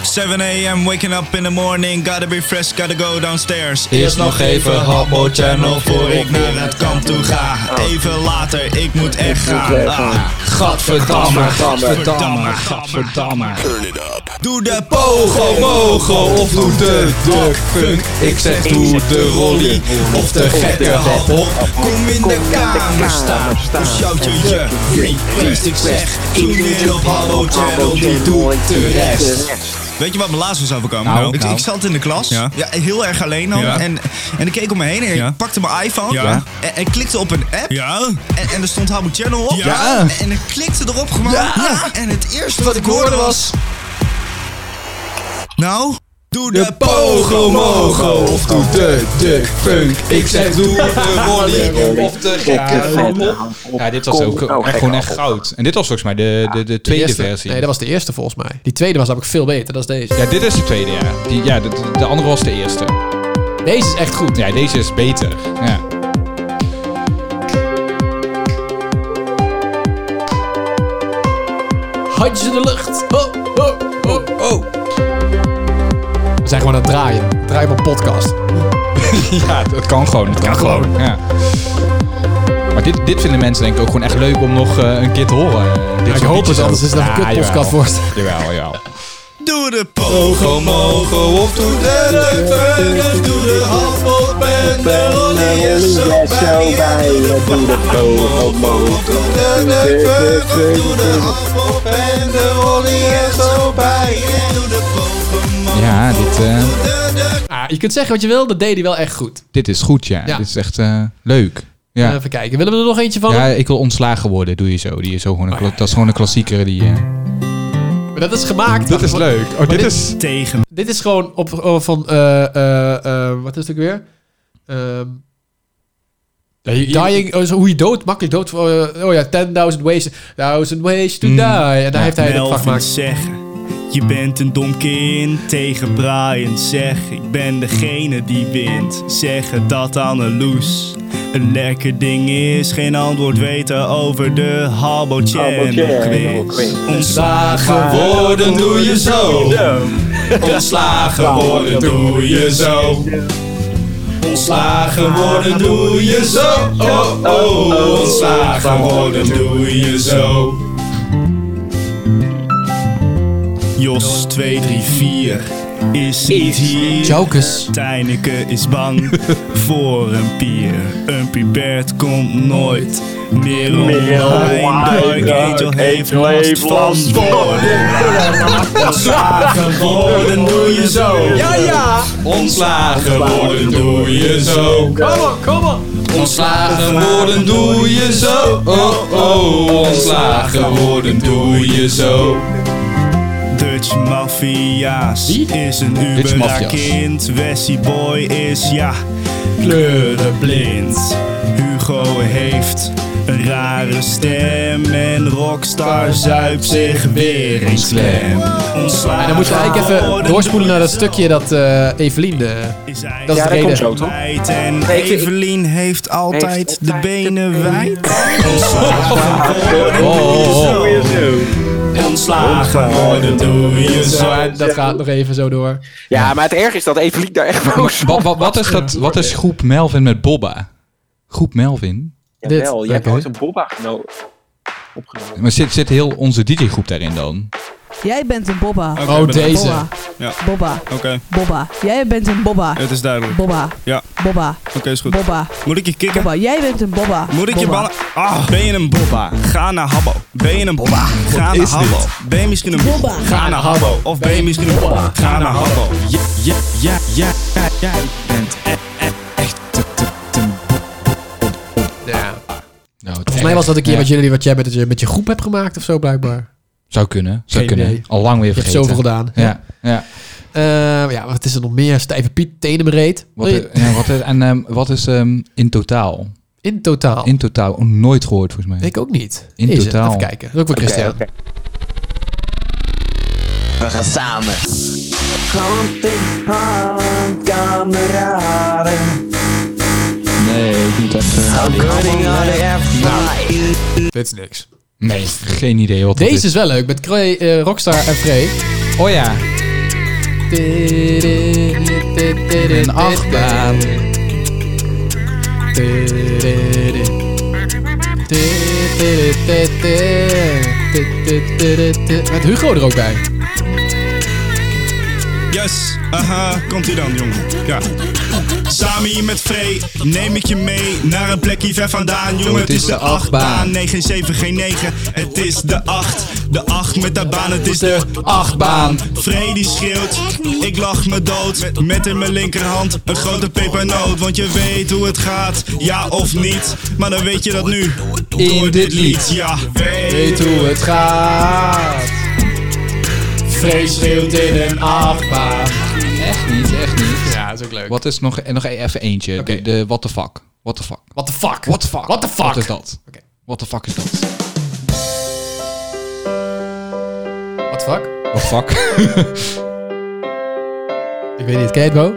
[SPEAKER 28] Seven a.m. waking up in the morning. Gotta be fresh, gotta go downstairs.
[SPEAKER 27] Eerst nog even Habbo Channel voor
[SPEAKER 28] ik naar het kamp toe ga. Even later, ik moet echt gaan. Ah.
[SPEAKER 27] Gadverdamme, gadverdamme,
[SPEAKER 28] gadverdamme. Doe de pogo, mogo of doe de duckfunk. Ik zeg doe de rolly of de gekke hop. Kom in de kamer staan, of shout je je repeat. Ik zeg, doe weer op Habbo Channel, die doet de rest.
[SPEAKER 6] Weet je wat me laatst was overkomen?
[SPEAKER 9] Nou,
[SPEAKER 6] ik,
[SPEAKER 9] nou.
[SPEAKER 6] ik zat in de klas, ja.
[SPEAKER 9] Ja.
[SPEAKER 6] heel erg alleen dan.
[SPEAKER 9] Ja.
[SPEAKER 6] En, en ik keek om me heen en
[SPEAKER 9] Ja.
[SPEAKER 6] ik pakte mijn iPhone
[SPEAKER 9] Ja.
[SPEAKER 6] en, en klikte op een app. En, en er stond Habu Channel op.
[SPEAKER 9] Ja.
[SPEAKER 6] En, en ik klikte erop gewoon.
[SPEAKER 9] Ja.
[SPEAKER 6] En het eerste wat ik hoorde was... Nou? Doe de
[SPEAKER 9] Pogo Mogo of doe de Duck Punk.
[SPEAKER 5] Ik zeg doe de Molly of de gekke Ja, dit was ook
[SPEAKER 4] Oh,
[SPEAKER 5] echt gewoon
[SPEAKER 4] gekke
[SPEAKER 5] echt
[SPEAKER 4] appel.
[SPEAKER 5] goud. En dit was volgens mij de, de, de tweede
[SPEAKER 4] eerste-
[SPEAKER 5] versie.
[SPEAKER 4] Nee, dat was de eerste volgens mij. Die tweede was namelijk veel beter, dat is deze.
[SPEAKER 5] Ja, dit is de tweede, ja. Die, ja, de, de andere was de eerste.
[SPEAKER 4] Deze is echt goed.
[SPEAKER 5] Ja, deze is beter. Ja.
[SPEAKER 4] Handjes in de lucht. Oh, oh, oh, oh. We zijn gewoon aan het draaien. Draaien op een podcast.
[SPEAKER 5] ja, dat kan gewoon. Dat kan gewoon. Ja. Maar dit, dit vinden mensen denk ik ook gewoon echt leuk om nog eh, een keer te horen. Eh, dit
[SPEAKER 4] ik
[SPEAKER 5] soort
[SPEAKER 4] hoop
[SPEAKER 5] liedjes
[SPEAKER 4] het, anders
[SPEAKER 5] ook.
[SPEAKER 4] is het een
[SPEAKER 5] Ja,
[SPEAKER 4] kutpodcast
[SPEAKER 5] jawel.
[SPEAKER 4] wordt.
[SPEAKER 5] Jawel, jawel.
[SPEAKER 6] Doe de
[SPEAKER 5] Pogo Mogo of doe
[SPEAKER 6] de Duck Punk of doe de appel en de Rolly is zo bij. Doe de Pogo Mogo of doe de Duck Punk of doe de appel en de Rolly is zo bij.
[SPEAKER 5] Ja, dit, eh,
[SPEAKER 4] Ah, je kunt zeggen wat je wil, dat deed hij wel echt goed.
[SPEAKER 5] dit is goed, ja.
[SPEAKER 4] Ja.
[SPEAKER 5] Dit is echt eh, leuk. Ja.
[SPEAKER 4] Even kijken, willen we er nog eentje van?
[SPEAKER 5] ja, ik wil ontslagen worden, doe je zo. Die is zo
[SPEAKER 4] Oh,
[SPEAKER 5] gewoon een, kla- Dat is gewoon een klassieker. Die, eh,
[SPEAKER 4] Maar dat is gemaakt.
[SPEAKER 5] Dit is leuk. Oh,
[SPEAKER 4] Maar
[SPEAKER 5] dit is- Tegen.
[SPEAKER 4] Dit is gewoon op, op- van, eh, eh, eh, wat is het ook weer? Ehm, dying, oh, zo hoe je dood, makkelijk dood. eh, oh ja, 10.000 ways, 1000 ways
[SPEAKER 5] Mm.
[SPEAKER 4] to die. En daar heeft hij het
[SPEAKER 8] Melvin
[SPEAKER 4] vak gemaakt.
[SPEAKER 8] zeggen, je bent een dom kind tegen Brian. Zeg, ik ben degene die wint. Zeg het dat aan een loes. Een lekker ding is geen antwoord weten over de Habbo Channel quiz. Ontslagen
[SPEAKER 28] worden doe je zo.
[SPEAKER 8] Ontslagen
[SPEAKER 28] worden doe je zo. Ontslagen worden doe je zo. Oh oh, ontslagen worden doe je zo.
[SPEAKER 8] Jos 234 is niet hier. Tijneke is bang voor een pier. Een pubert komt nooit meer
[SPEAKER 28] Merel
[SPEAKER 8] online. Dark
[SPEAKER 28] Heinduik
[SPEAKER 8] Angel heeft last van
[SPEAKER 28] last van
[SPEAKER 8] woorden.
[SPEAKER 28] Ontslagen worden doe je zo. Ontslagen worden doe je zo.
[SPEAKER 4] Kom op, kom op.
[SPEAKER 28] Ontslagen worden doe je zo. Oh oh, ontslagen worden doe je zo.
[SPEAKER 8] Dutch Mafia's is een
[SPEAKER 28] Dutch
[SPEAKER 8] Uber
[SPEAKER 28] Mafia's.
[SPEAKER 8] kind. Wessie Boy is ja, kleurenblind. Hugo heeft een rare stem en Rockstar zuipt zich weer eens klem. Ontslagen
[SPEAKER 4] En dan moeten we eigenlijk even doorspoelen naar dat stukje dat eh Evelien... eh, dat is de reden.
[SPEAKER 8] Meid En Evelien heeft altijd de benen wijd.
[SPEAKER 28] Oh, oh, oh.
[SPEAKER 8] Ontslagen
[SPEAKER 28] worden doe je zo.
[SPEAKER 4] Dat gaat nog even zo door.
[SPEAKER 7] Ja, maar het erg is dat Evelien daar echt boos
[SPEAKER 5] Wat, wat, wat, is dat, wat is groep Melvin met Bobba? Groep Melvin?
[SPEAKER 7] Jawel, jij hebt
[SPEAKER 5] oké.
[SPEAKER 7] ooit een Bobba geno- opgenomen.
[SPEAKER 5] Maar zit, zit heel onze DJ-groep daarin dan?
[SPEAKER 10] Jij bent een Bobba.
[SPEAKER 5] Oké, Oh, bedankt. deze.
[SPEAKER 10] Bobba.
[SPEAKER 5] Ja.
[SPEAKER 10] Bobba.
[SPEAKER 5] Oké.
[SPEAKER 10] Bobba. Jij bent een Bobba.
[SPEAKER 5] Het is duidelijk.
[SPEAKER 10] Bobba.
[SPEAKER 8] Ja.
[SPEAKER 10] Bobba.
[SPEAKER 8] Oké, is goed.
[SPEAKER 10] Bobba.
[SPEAKER 8] Moet ik je kicken?
[SPEAKER 10] Bobba. Jij bent een Bobba.
[SPEAKER 8] Moet ik je
[SPEAKER 10] Bobba.
[SPEAKER 8] ballen... Ah, ben je een bobba? Ga naar Habbo. Ben je een bobba? Ga
[SPEAKER 28] Wat
[SPEAKER 8] naar
[SPEAKER 28] is
[SPEAKER 8] Habbo.
[SPEAKER 28] dit?
[SPEAKER 8] Ben je misschien een bobba? Ga naar Habbo. Of ben je misschien een bobba? Ga naar Habbo.
[SPEAKER 28] Ja, ja, ja, ja, ja, jij bent e- e- echt te- te- te-
[SPEAKER 4] Ja.
[SPEAKER 5] Nou, het
[SPEAKER 4] Volgens mij was dat een keer
[SPEAKER 5] Ja.
[SPEAKER 4] wat, jullie, wat jij met, je- met je groep hebt gemaakt of zo blijkbaar.
[SPEAKER 5] Zou kunnen. Zou
[SPEAKER 4] Geen
[SPEAKER 5] kunnen.
[SPEAKER 4] idee.
[SPEAKER 5] Al lang weer
[SPEAKER 4] Je hebt
[SPEAKER 5] vergeten.
[SPEAKER 4] zoveel gedaan.
[SPEAKER 5] Ja. ja.
[SPEAKER 4] Eh, ja, wat is er nog meer? Stijve Piet, Tenemereed.
[SPEAKER 5] Wat, eh, ja, wat is, en ehm, wat is ehm, in totaal?
[SPEAKER 4] In totaal?
[SPEAKER 5] In totaal. Oh, nooit gehoord volgens mij.
[SPEAKER 4] Ik ook niet.
[SPEAKER 5] In
[SPEAKER 4] Is het?
[SPEAKER 5] totaal.
[SPEAKER 4] Even kijken. Dat is ook weer Christian.
[SPEAKER 13] We gaan samen. Hand in hand, kameraden.
[SPEAKER 5] Nee, niet
[SPEAKER 4] Nou, Dit is niks.
[SPEAKER 5] Nee, geen idee wat
[SPEAKER 4] Deze
[SPEAKER 5] dat
[SPEAKER 4] is wel leuk met Cray, eh, Rockstar en Frey.
[SPEAKER 5] Oh ja.
[SPEAKER 4] Een achtbaan. Met Hugo er ook bij.
[SPEAKER 28] Yes, aha, komt ie dan, jongen. Ja. Samen hier met Free neem ik je mee naar een plekje ver vandaan, jongen. Het is de achtbaan. 9, geen 7, geen 9. Het is de 8. De 8 met de baan, het is de achtbaan. Free die schreeuwt, ik lach me dood. Met- Met in mijn linkerhand een grote pepernoot. Want je weet hoe het gaat, ja of niet. Maar dan weet je dat nu. In dit lied, ja.
[SPEAKER 3] Weet hoe het gaat. Vrees schreeuwt in een achtbaan.
[SPEAKER 5] Echt niet, echt niet.
[SPEAKER 3] Ja, dat is ook leuk.
[SPEAKER 5] Wat is nog, en nog even eentje. De, de what the fuck. What the fuck.
[SPEAKER 3] What the fuck?
[SPEAKER 5] What the fuck?
[SPEAKER 3] What the fuck?
[SPEAKER 5] Wat is dat? What the fuck is dat?
[SPEAKER 4] What the fuck?
[SPEAKER 5] What the fuck?
[SPEAKER 4] Ik weet niet, ken je het, Bo?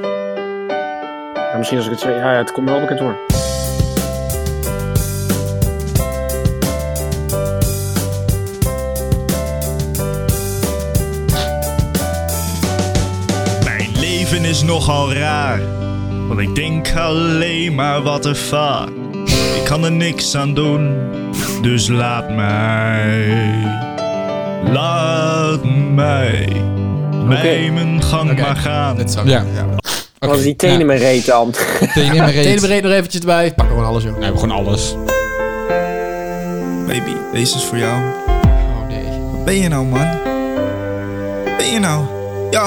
[SPEAKER 7] Ja, misschien als ik het zeg. Ja, het komt me wel bekend voor.
[SPEAKER 28] Mijn leven is nogal raar, want ik denk alleen maar wat de fuck. Ik kan er niks aan doen, dus laat mij. Laat mij. Mij mijn gang maar gaan.
[SPEAKER 5] Ja.
[SPEAKER 7] Was die tenen in mijn reet dan?
[SPEAKER 5] Tenen in mijn reet.
[SPEAKER 4] Tenen breed nog eventjes erbij. Pak gewoon alles, joh.
[SPEAKER 5] Nee, we gewoon alles.
[SPEAKER 28] Baby, deze is voor jou. Oh nee. Wat ben je nou, man? Wat ben je nou? Ja.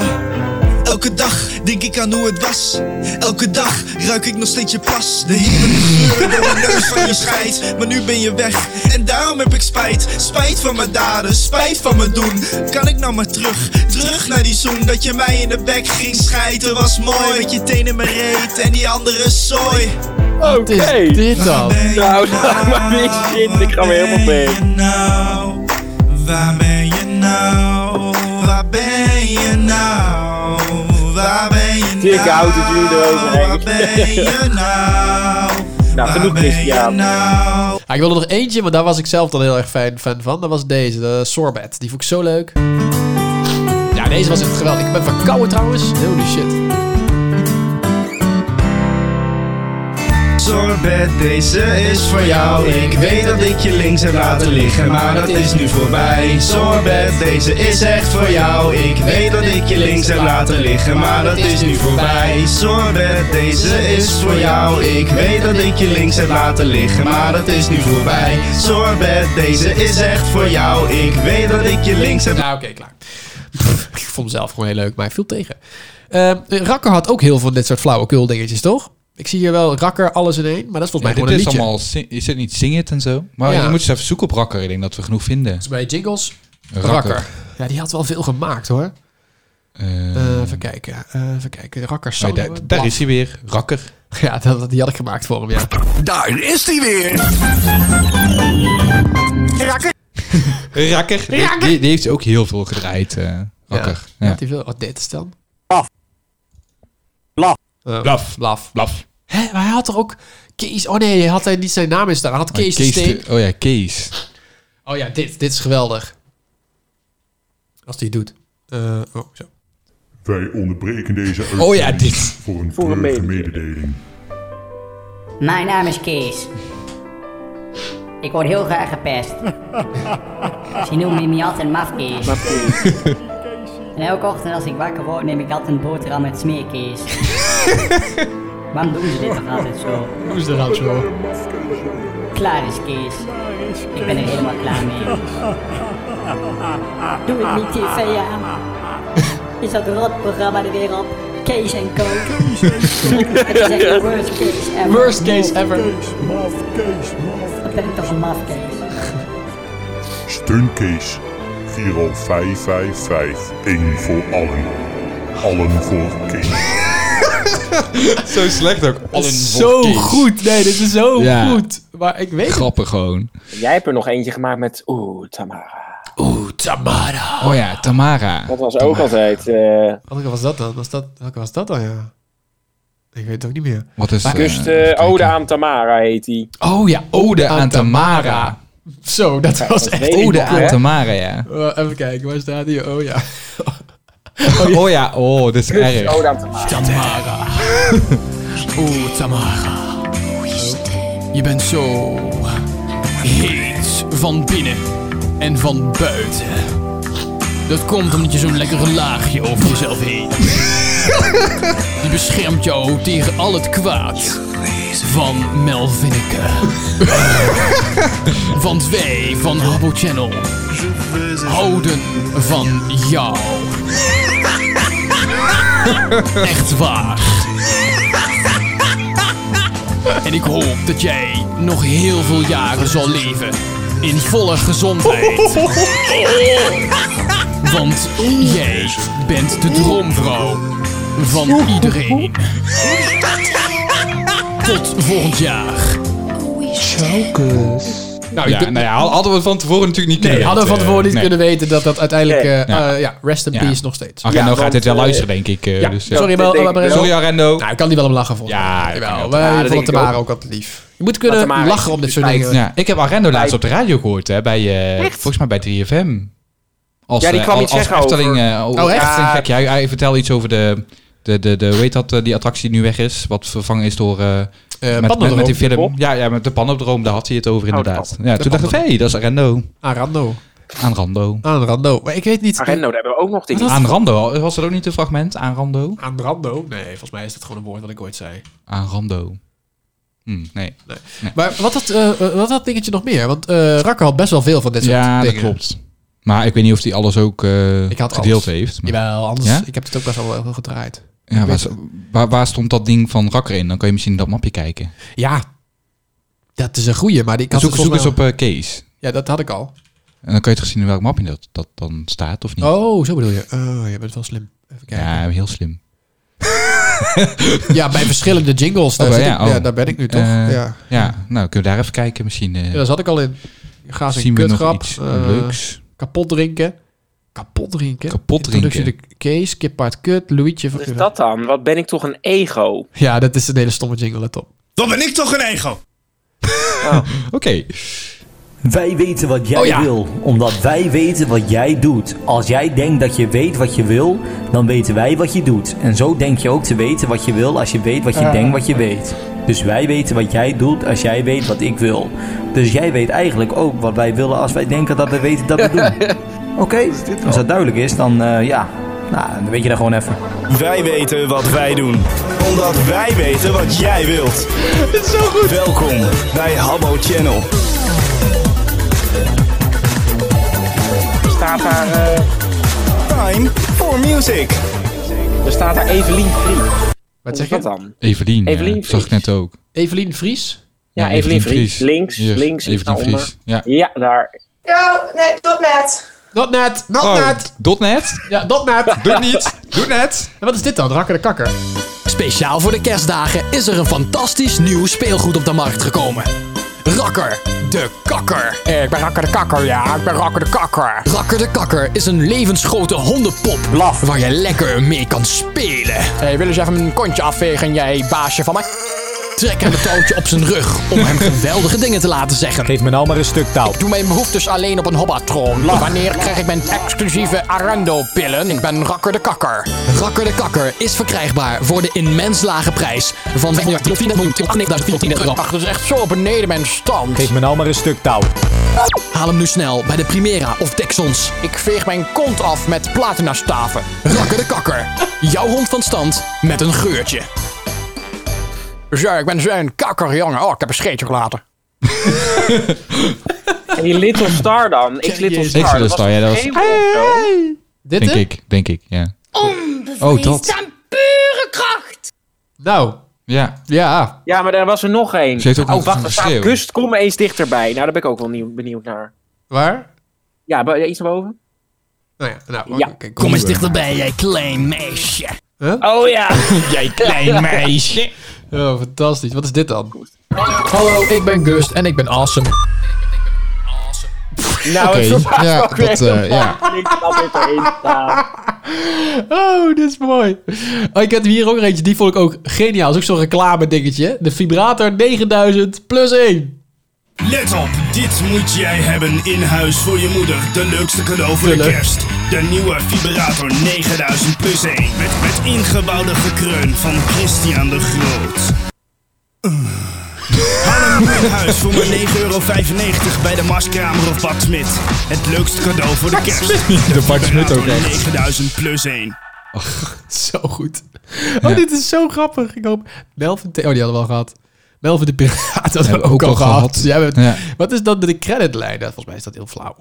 [SPEAKER 28] Elke dag denk ik aan hoe het was. Elke dag ruik ik nog steeds je pas. De hitte geur door de neus van je scheidt. Maar nu ben je weg en daarom heb ik spijt. Spijt van mijn daden, spijt van mijn doen. Kan ik nou maar terug, terug naar die zoen. Dat je mij in de bek ging schijten was mooi. Met je tenen in mijn reet en die andere zooi.
[SPEAKER 7] Oké.
[SPEAKER 4] dit
[SPEAKER 28] dan?
[SPEAKER 7] Nou, nou, maar wie shit, ik ga weer helemaal mee.
[SPEAKER 28] nou? Waar ben je nou? Waar ben je nou? Waar ben je nou?
[SPEAKER 7] Ik houd het jullie erover, Henk. Nou, genoeg Christian.
[SPEAKER 28] nou?
[SPEAKER 4] Ah, ik wilde nog eentje, maar daar was ik zelf dan heel erg fan, fan van. Dat was deze, de Sorbet. Die vond ik zo leuk. Ja, deze was echt geweldig. Ik ben verkouden trouwens. Holy shit.
[SPEAKER 28] Sorbet, deze is voor jou. Ik weet dat ik je links heb laten liggen, maar dat is nu voorbij. Sorbet, deze is echt voor jou. Ik weet dat ik je links heb laten liggen, maar dat is nu voorbij. Sorbet, deze is voor jou. Ik weet dat ik je links heb laten liggen, maar dat is nu voorbij. Sorbet, deze is echt voor jou. Ik weet dat ik je links heb.
[SPEAKER 4] Nou, oké, klaar. ik vond hem zelf gewoon heel leuk, maar hij viel tegen. Ehm, Rakker had ook heel veel dit soort flauwekul dingetjes, toch? Ik zie hier wel Rakker alles in één, maar dat is volgens mij
[SPEAKER 5] Ja,
[SPEAKER 4] gewoon
[SPEAKER 5] dit
[SPEAKER 4] een
[SPEAKER 5] is
[SPEAKER 4] liedje.
[SPEAKER 5] allemaal, sing- is dit niet Sing It en zo? Maar
[SPEAKER 4] Ja.
[SPEAKER 5] je moet eens even zoeken op rakker. Ik denk dat we genoeg vinden.
[SPEAKER 4] Dus bij Jingles,
[SPEAKER 5] Rakker.
[SPEAKER 4] Rakker. Ja, die had wel veel gemaakt hoor. Eh, even kijken, eh, even kijken. Rakker
[SPEAKER 5] Oh,
[SPEAKER 4] solo.
[SPEAKER 5] daar, daar is hij weer. Rakker.
[SPEAKER 4] Ja, dat, die had ik gemaakt voor hem, ja.
[SPEAKER 6] Daar is hij weer. Rakker.
[SPEAKER 5] Rakker. Die, die- die heeft ook heel veel gedraaid. eh, rakker. Ja.
[SPEAKER 4] Had hij veel? Wat dit is dan?
[SPEAKER 5] Blaf.
[SPEAKER 4] Eh,
[SPEAKER 5] Blaf.
[SPEAKER 4] Blaf. Hè, maar hij had toch ook Kees... Oh nee, hij had hij niet zijn naam in staan. Hij had Kees, de
[SPEAKER 5] Kees de-
[SPEAKER 4] Steen.
[SPEAKER 5] oh ja, Kees.
[SPEAKER 4] Oh ja, dit, dit is geweldig. Als die het doet. Eh, oh, zo.
[SPEAKER 14] Wij onderbreken deze uitzending
[SPEAKER 4] Oh ja, dit.
[SPEAKER 14] voor een
[SPEAKER 4] Voor een
[SPEAKER 14] treurige mededeling.
[SPEAKER 29] Mijn naam is Kees. Ik word heel graag gepest. Ze noemen me altijd mafkees. En elke ochtend als ik wakker word, neem ik altijd een boterham met smeerkees. Waarom doen ze dit toch altijd zo?
[SPEAKER 4] Hoe is dat nou zo?
[SPEAKER 29] Klaar is Kees. Ik ben er helemaal klaar mee. Doe het niet TV aan. Is dat rotprogramma er weer op? Kees en Co. Het is echt de worst case ever.
[SPEAKER 4] Worst case ever.
[SPEAKER 29] Wat ben ik toch een mafkees.
[SPEAKER 14] Steunkees. Giro 555. Eén voor allen. Allen voor Kees.
[SPEAKER 5] zo slecht ook. Allen
[SPEAKER 4] Zo goed. Nee, dit is zo
[SPEAKER 5] Ja.
[SPEAKER 4] goed. Maar ik weet het.
[SPEAKER 5] Grappig gewoon.
[SPEAKER 7] Jij hebt er nog eentje gemaakt met Oeh, Tamara.
[SPEAKER 4] Oeh, Tamara.
[SPEAKER 5] Oh ja, Tamara.
[SPEAKER 7] Dat was ook altijd... eh
[SPEAKER 4] Welke was dat dan? Was dat, welke was dat dan, ja? Ik weet het ook niet meer.
[SPEAKER 5] Wat is eh,
[SPEAKER 4] Maar-
[SPEAKER 7] dus de Ode aan Tamara heet die.
[SPEAKER 4] Oh ja, Ode aan Tamara. Zo, dat
[SPEAKER 7] Ja,
[SPEAKER 4] was
[SPEAKER 7] dat
[SPEAKER 4] echt... Oh,
[SPEAKER 7] weet ik
[SPEAKER 5] Ode
[SPEAKER 7] nog,
[SPEAKER 5] Oh, aan
[SPEAKER 7] hè?
[SPEAKER 5] Tamara, ja.
[SPEAKER 4] Eh, even kijken, waar staat die? Oh ja.
[SPEAKER 5] Oh ja, oh, dit is erg.
[SPEAKER 7] Ode aan Tamara.
[SPEAKER 3] Tamara.
[SPEAKER 4] Oh,
[SPEAKER 3] Oeh, Tamara. Je bent zo heet van binnen en van buiten.
[SPEAKER 17] Dat komt omdat je zo'n lekkere laagje over jezelf heen. hebt. Die beschermt jou tegen al het kwaad. Van Melvinneke.
[SPEAKER 4] eh,
[SPEAKER 17] Want wij van Habbo Channel houden van jou. Echt waar. En ik hoop dat jij nog heel veel jaren zal leven in volle gezondheid. Want jij bent de droomvrouw van iedereen. Tot volgend jaar.
[SPEAKER 5] Nou ja, nou ja, hadden we het van tevoren natuurlijk niet kunnen
[SPEAKER 4] Nee, hadden we van
[SPEAKER 5] weten.
[SPEAKER 4] tevoren niet
[SPEAKER 5] Nee.
[SPEAKER 4] kunnen weten dat dat uiteindelijk... eh,
[SPEAKER 5] Ja.
[SPEAKER 4] eh, ja, rest in
[SPEAKER 5] Ja.
[SPEAKER 4] peace nog steeds.
[SPEAKER 5] Arendo gaat dit wel luisteren, denk ik. eh,
[SPEAKER 4] ja,
[SPEAKER 5] dus,
[SPEAKER 4] sorry, wel, Arendo.
[SPEAKER 5] Sorry, Arendo.
[SPEAKER 4] Nou, ik kan die wel om lachen, volgens
[SPEAKER 5] Ja,
[SPEAKER 4] Jawel, wij vonden Tamara ook altijd lief. Je moet kunnen lachen om dit
[SPEAKER 7] dus
[SPEAKER 4] soort dingen.
[SPEAKER 5] Ja, ik heb Arendo laatst op de radio gehoord, hè, bij, eh, volgens mij bij 3FM. Als,
[SPEAKER 7] Ja, die
[SPEAKER 5] eh,
[SPEAKER 7] kwam
[SPEAKER 5] als,
[SPEAKER 7] iets zeggen
[SPEAKER 5] als Efteling,
[SPEAKER 7] over-
[SPEAKER 5] eh,
[SPEAKER 7] Oh, echt?
[SPEAKER 5] Efteling
[SPEAKER 7] Ja.
[SPEAKER 5] gekje. Hij, hij vertelde iets over de, de, de, de, hoe heet dat, eh, die attractie die nu weg is, wat vervangen is door... eh, met, met,
[SPEAKER 4] Pandodroom.
[SPEAKER 5] met die film.
[SPEAKER 4] Bob?
[SPEAKER 5] Ja, ja, met de panopdroom, daar had hij het over
[SPEAKER 4] Oh, de
[SPEAKER 5] inderdaad.
[SPEAKER 4] pan-
[SPEAKER 5] ja,
[SPEAKER 4] de
[SPEAKER 5] toen dacht ik, hé,
[SPEAKER 4] pandodroom.
[SPEAKER 5] hey, dat is Arendo.
[SPEAKER 4] Arando.
[SPEAKER 5] Aanrando.
[SPEAKER 4] Aanrando. Maar ik weet niet...
[SPEAKER 7] Arendo, daar hebben we ook nog dingen.
[SPEAKER 5] Aanrando, was dat ook niet een fragment? Aanrando?
[SPEAKER 4] Aanrando? Nee, volgens mij is dat gewoon een woord wat ik ooit zei.
[SPEAKER 5] Aanrando. Hm, nee. nee.
[SPEAKER 4] Maar wat had, eh, eh, wat had dingetje nog meer? Want eh Rakker had best wel veel van dit soort
[SPEAKER 5] Ja, dat
[SPEAKER 4] dingen.
[SPEAKER 5] klopt. Maar ik weet niet of hij alles ook eh,
[SPEAKER 4] Ik had
[SPEAKER 5] gedeeld
[SPEAKER 4] alles.
[SPEAKER 5] heeft. Maar-
[SPEAKER 4] Jawel, anders...
[SPEAKER 5] Ja?
[SPEAKER 4] Ik heb dit ook best wel heel veel gedraaid.
[SPEAKER 5] Ja,
[SPEAKER 4] Ik
[SPEAKER 5] waar,
[SPEAKER 4] weet het.
[SPEAKER 5] waar, waar stond dat ding van Rakker in? Dan kan je misschien in dat mapje kijken.
[SPEAKER 4] Ja. Dat is een goeie, maar ik had
[SPEAKER 5] zoek
[SPEAKER 4] het
[SPEAKER 5] zoek
[SPEAKER 4] volgens
[SPEAKER 5] eens
[SPEAKER 4] mij
[SPEAKER 5] op eh, Kees.
[SPEAKER 4] Ja, dat had ik al.
[SPEAKER 5] En dan kan je toch zien in welk mapje dat, dat dan staat of niet.
[SPEAKER 4] Oh, zo bedoel je. Oh, je bent wel slim. Even kijken.
[SPEAKER 5] ja, heel slim.
[SPEAKER 4] Ja, bij verschillende jingles. Daar,
[SPEAKER 5] Oh,
[SPEAKER 4] zit
[SPEAKER 5] ja,
[SPEAKER 4] ik- ja,
[SPEAKER 5] oh.
[SPEAKER 4] daar ben ik nu toch.
[SPEAKER 5] Eh,
[SPEAKER 4] ja.
[SPEAKER 5] ja, nou kunnen we daar even kijken misschien. eh,
[SPEAKER 4] ja, daar zat ik al in. Ga eens een
[SPEAKER 5] zien we nog
[SPEAKER 4] kutgrap.
[SPEAKER 5] iets
[SPEAKER 4] eh,
[SPEAKER 5] leuks?
[SPEAKER 4] Kapot drinken. Kapot drinken.
[SPEAKER 5] Kapot
[SPEAKER 4] Introductie de Kees, Kippaard Kut, Luietje.
[SPEAKER 7] Wat is dat dan? Wat ben ik toch een ego?
[SPEAKER 4] Ja, dat is een hele stomme jingle, let op.
[SPEAKER 8] Dan ben ik toch een ego.
[SPEAKER 4] Ah,
[SPEAKER 5] Oké.
[SPEAKER 19] Wij weten wat jij
[SPEAKER 4] Oh ja.
[SPEAKER 19] wil, omdat wij weten wat jij doet. Als jij denkt dat je weet wat je wil, dan weten wij wat je doet. En zo denk je ook te weten wat je wil als je weet wat je
[SPEAKER 12] Ja.
[SPEAKER 19] denkt wat je weet. Dus wij weten wat jij doet als jij weet wat ik wil. Dus jij weet eigenlijk ook wat wij willen als wij denken dat we weten dat we doen. Oké, als dat duidelijk is, dan eh, ja, nou, dan weet je dat gewoon even.
[SPEAKER 8] Wij weten wat wij doen. Omdat wij weten wat jij wilt. Het is zo goed. Welkom bij Habbo Channel.
[SPEAKER 7] Staat daar... eh,
[SPEAKER 8] Time for music.
[SPEAKER 7] Er staat daar Evelien Vries.
[SPEAKER 4] Wat zeg
[SPEAKER 7] je? dat dan?
[SPEAKER 5] Evelien. ja,
[SPEAKER 7] Evelien
[SPEAKER 5] dat zag ik net ook.
[SPEAKER 4] Evelien Vries?
[SPEAKER 7] Ja, Evelien Vries. Links,
[SPEAKER 5] Hier,
[SPEAKER 7] links. iets
[SPEAKER 5] Evelien
[SPEAKER 7] daaronder.
[SPEAKER 5] Vries. Ja.
[SPEAKER 7] Ja, daar.
[SPEAKER 30] Yo, nee, tot net.
[SPEAKER 4] Dot net, dot
[SPEAKER 5] Oh,
[SPEAKER 4] net.
[SPEAKER 5] dot net?
[SPEAKER 4] Ja, dot net.
[SPEAKER 5] Doe het niet. Doe het net.
[SPEAKER 4] En wat is dit dan? Rakker de kakker.
[SPEAKER 11] Speciaal voor de kerstdagen is er een fantastisch nieuw speelgoed op de markt gekomen. Rakker de Kakker. Ik ben Rakker de Kakker, ja. Ik ben Rakker de Kakker. Rakker de Kakker is een levensgrote hondenpop. Waar je lekker mee kan spelen. hey, wil eens even een kontje afvegen, jij baasje van mij? Trek hem een touwtje op zijn rug om hem geweldige dingen te laten zeggen. Geef me nou maar een stuk touw. Ik doe mijn behoeftes alleen op een hobbatron. Wanneer krijg ik mijn exclusieve Arendo-pillen? Ik ben Rakker de Kakker. Rakker de Kakker is verkrijgbaar voor de immens lage prijs van 5.410 euro. Ach, dat is echt zo beneden mijn stand. Geef me nou maar een stuk touw. Haal hem nu snel bij de Primera of Texons. Ik veeg mijn kont af met platinastaven. Rakker de Kakker. Jouw hond van stand met een geurtje. Zo, ik ben zo'n kakker, jongen. Oh, ik heb een scheetje gelaten.
[SPEAKER 7] En die Little Star dan. X Little Star.
[SPEAKER 5] Little Star, ja, dat was-
[SPEAKER 4] Dit,
[SPEAKER 5] denk
[SPEAKER 4] hè?
[SPEAKER 5] ik, denk ik, ja.
[SPEAKER 30] Onbevreesd
[SPEAKER 5] Oh, dat.
[SPEAKER 30] aan pure kracht.
[SPEAKER 4] Nou.
[SPEAKER 5] Ja.
[SPEAKER 4] Ja.
[SPEAKER 7] Ja, maar daar was er nog één.
[SPEAKER 5] Ze heeft ook
[SPEAKER 7] oh,
[SPEAKER 5] nog
[SPEAKER 7] wacht,
[SPEAKER 5] een
[SPEAKER 7] er staat
[SPEAKER 5] schreeuw.
[SPEAKER 7] Kust, kom eens dichterbij. Nou, daar ben ik ook wel nieuw- benieuwd naar.
[SPEAKER 4] Waar?
[SPEAKER 7] Ja, bo- iets naar boven.
[SPEAKER 4] Nou ja, nou,
[SPEAKER 7] Ja.
[SPEAKER 4] oké,
[SPEAKER 11] Kom eens dichterbij, jij klein meisje.
[SPEAKER 7] Oh ja.
[SPEAKER 11] jij klein meisje.
[SPEAKER 4] Oh, fantastisch. Wat is dit dan? Hallo, ik ben Gust en ik ben awesome.
[SPEAKER 7] Nou,
[SPEAKER 4] Oké,
[SPEAKER 7] het verbaast
[SPEAKER 4] ja,
[SPEAKER 7] me ook weer
[SPEAKER 4] dat, eh,
[SPEAKER 7] helemaal
[SPEAKER 4] ja.
[SPEAKER 7] niks dat dit erin staat.
[SPEAKER 4] Oh, dit is mooi. Oh, ik heb hier ook eentje, die vond ik ook geniaal. Dat is ook zo'n reclame dingetje. De vibrator 9000 plus 1.
[SPEAKER 8] Let op, dit moet jij hebben in huis voor je moeder. De leukste cadeau voor de
[SPEAKER 4] Tuurlijk.
[SPEAKER 8] kerst. De nieuwe Vibrator 9000 plus 1. Met, met
[SPEAKER 4] Ah.
[SPEAKER 8] ingebouwde gekreun van Christian de Groot. Haal hem nu een huis voor maar 9,95 euro bij de Maskramer of Bart Smit. Het leukste cadeau voor de kerst.
[SPEAKER 5] De Bart Smit ook echt.
[SPEAKER 8] 9000 plus 1.
[SPEAKER 4] Zo goed. Oh, dit is zo grappig. Ik hoop... Melvin... T- Oh, die hadden we al gehad. Melvin de Piraat hadden we
[SPEAKER 5] Hebben
[SPEAKER 4] ook, al gehad. Jij bent-
[SPEAKER 5] Ja.
[SPEAKER 4] Wat is dan de creditlijn? Nou, Volgens mij is dat heel flauw.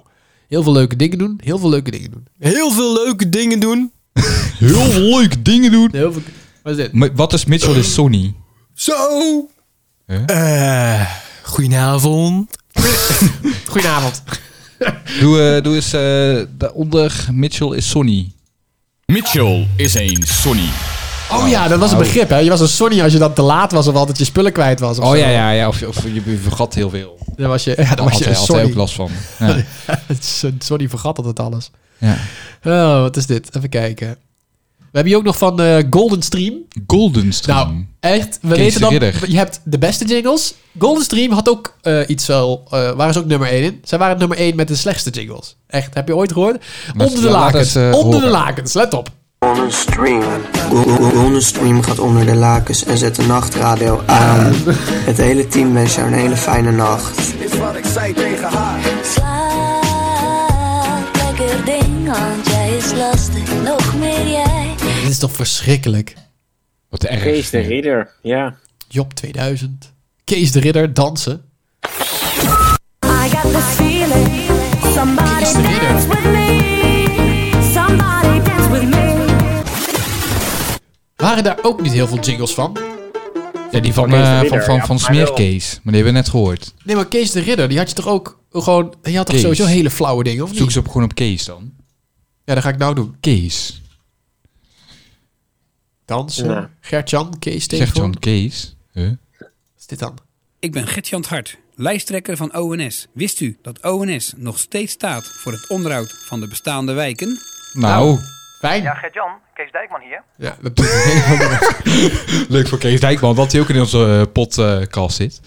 [SPEAKER 4] Heel veel leuke dingen doen. Heel veel leuke dingen doen.
[SPEAKER 5] Heel veel leuke dingen doen. Heel veel leuke dingen doen.
[SPEAKER 4] Heel veel... Wat is dit?
[SPEAKER 5] Wat is Mitchell de Sony?
[SPEAKER 31] Zo! Eh, goedenavond.
[SPEAKER 4] Goedenavond.
[SPEAKER 5] Doe, eh, doe eens eh, daaronder Mitchell is Sony.
[SPEAKER 31] Mitchell is een Sony.
[SPEAKER 4] Oh ja, dat was een
[SPEAKER 5] Oh.
[SPEAKER 4] begrip. Hè? Je was een Sony als je dan te laat was of altijd je spullen kwijt was. Of
[SPEAKER 5] Oh
[SPEAKER 4] zo.
[SPEAKER 5] ja, ja, ja. Of, je- of je, je vergat heel veel.
[SPEAKER 4] Dan was je, ja, dan was je
[SPEAKER 5] Had hij- had
[SPEAKER 4] een
[SPEAKER 5] hij
[SPEAKER 4] Sony.
[SPEAKER 5] ook last van. Ja.
[SPEAKER 4] Het is een Sony vergat altijd alles.
[SPEAKER 5] Ja.
[SPEAKER 4] Oh, wat is dit? Even kijken. We hebben hier ook nog van eh, Golden Stream.
[SPEAKER 5] Golden Stream.
[SPEAKER 4] Nou, echt. We
[SPEAKER 5] Kees de
[SPEAKER 4] weten dan,
[SPEAKER 5] Ridder.
[SPEAKER 4] je hebt de beste jingles. Golden Stream had ook eh, iets wel, eh waren ze ook nummer 1 in. Zij waren nummer 1 met de slechtste jingles. Echt, heb je ooit gehoord?
[SPEAKER 5] Laat-
[SPEAKER 4] onder de
[SPEAKER 5] laat
[SPEAKER 4] lakens.
[SPEAKER 5] eens, eh,
[SPEAKER 4] onder de
[SPEAKER 5] horen.
[SPEAKER 4] lakens, let op.
[SPEAKER 16] Golden Stream. Golden Stream gaat onder de lakens en zet de nachtradio aan. Het hele team wens jou een hele fijne nacht.
[SPEAKER 21] Is wat ik zei tegen haar. Slaap, lekker ding, want jij is lastig. Nog meer jij.
[SPEAKER 4] Dit is toch verschrikkelijk.
[SPEAKER 5] Wat erg.
[SPEAKER 7] Kees de Ridder, ja.
[SPEAKER 4] Job 2000. Kees de Ridder, dansen.
[SPEAKER 17] I got this feeling. Somebody dance with me. Somebody dance with me.
[SPEAKER 4] Waren daar ook niet heel veel jingles van?
[SPEAKER 5] Ja, die van,
[SPEAKER 4] Kees de
[SPEAKER 5] eh,
[SPEAKER 4] Ridder,
[SPEAKER 5] van, van,
[SPEAKER 4] ja,
[SPEAKER 5] van
[SPEAKER 4] maar wel.
[SPEAKER 5] Smeerkees. Maar die hebben we net gehoord.
[SPEAKER 4] Nee, maar Kees de Ridder, die had je toch ook gewoon... Je had toch
[SPEAKER 5] Kees.
[SPEAKER 4] sowieso hele flauwe dingen, of niet?
[SPEAKER 5] Zoek ze op, gewoon op Kees dan.
[SPEAKER 4] Ja, dat ga ik nou doen.
[SPEAKER 5] Kees.
[SPEAKER 4] Dansen.
[SPEAKER 5] Ja.
[SPEAKER 4] Gert-Jan, Kees
[SPEAKER 5] Zegt
[SPEAKER 4] tegenwoordig.
[SPEAKER 5] Jan Kees. Huh?
[SPEAKER 4] Wat is dit dan?
[SPEAKER 32] Ik ben Gert-Jan het Hart, lijsttrekker van ONS. Wist u dat ONS nog steeds staat voor het onderhoud van de bestaande wijken?
[SPEAKER 5] Nou.
[SPEAKER 4] Fijn.
[SPEAKER 32] Ja, Gert-Jan, Kees Dijkman hier.
[SPEAKER 4] Ja, dat doet het helemaal
[SPEAKER 5] Leuk voor Kees Dijkman, dat hij ook in onze eh, podcast zit.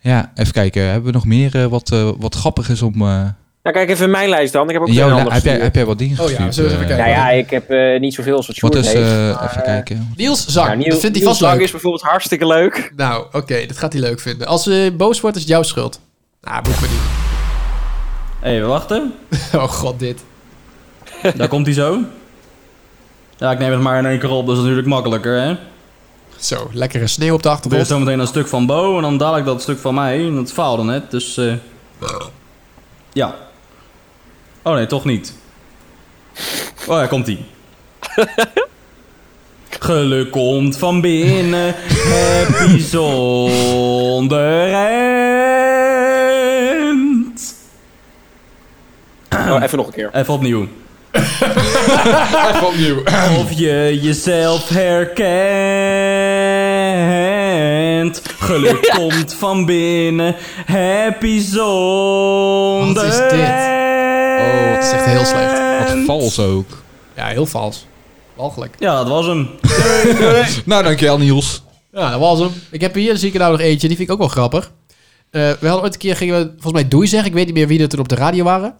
[SPEAKER 5] Ja, even kijken. Hebben we nog meer eh, wat, eh, wat grappig is om... eh,
[SPEAKER 7] Nou, kijk even in mijn lijst dan. Ik heb ook
[SPEAKER 5] in jouw
[SPEAKER 7] weer
[SPEAKER 5] la-
[SPEAKER 7] een ander
[SPEAKER 5] heb, jij,
[SPEAKER 7] gestuurd.
[SPEAKER 5] heb jij wat dingen gestuurd? eh,
[SPEAKER 7] Nou ja, ik heb eh, niet zoveel als wat
[SPEAKER 5] Wat
[SPEAKER 7] Sjoerd
[SPEAKER 5] is...
[SPEAKER 7] heeft.
[SPEAKER 5] eh,
[SPEAKER 7] maar,
[SPEAKER 5] even
[SPEAKER 7] eh,
[SPEAKER 5] kijken.
[SPEAKER 4] Niels Zang,
[SPEAKER 7] nou, Niels-
[SPEAKER 4] dat vindt hij
[SPEAKER 7] Niels
[SPEAKER 4] vast leuk.
[SPEAKER 7] Zang is bijvoorbeeld hartstikke leuk.
[SPEAKER 4] Nou, oké, dat gaat hij leuk vinden. Als ze boos wordt, is het jouw schuld. Ah, moet maar niet.
[SPEAKER 11] Hé, we wachten.
[SPEAKER 4] Oh god, dit.
[SPEAKER 11] Daar komt hij zo. Ja, ik neem het maar in één keer op, dus dat is natuurlijk makkelijker, hè?
[SPEAKER 4] Zo, Oh, lekkere sneeuw op de achtergrond.
[SPEAKER 11] Weer zometeen dat stuk van Bo en dan dadelijk dat stuk van mij. En dat faalde net, dus... eh, Ja. Oh nee, toch niet. Oh, daar komt hij. Geluk komt van binnen, het bijzonder eind.
[SPEAKER 7] Oh, even nog een keer.
[SPEAKER 11] Even opnieuw.
[SPEAKER 5] Even opnieuw.
[SPEAKER 11] Of je jezelf herkent. Geluk komt van binnen. Happy zonder.
[SPEAKER 4] Wat is dit? Oh, het is echt heel slecht.
[SPEAKER 5] Wat vals ook.
[SPEAKER 4] Ja, heel vals. Walgelijk.
[SPEAKER 11] Ja, dat was hem.
[SPEAKER 5] nou, dankjewel Niels.
[SPEAKER 4] Ja, dat was hem. Ik heb hier zie ik er nou nog eentje, die vind ik ook wel grappig. Eh, we hadden ooit een keer, gingen we volgens mij doei zeggen. Ik weet niet meer wie er toen op de radio waren.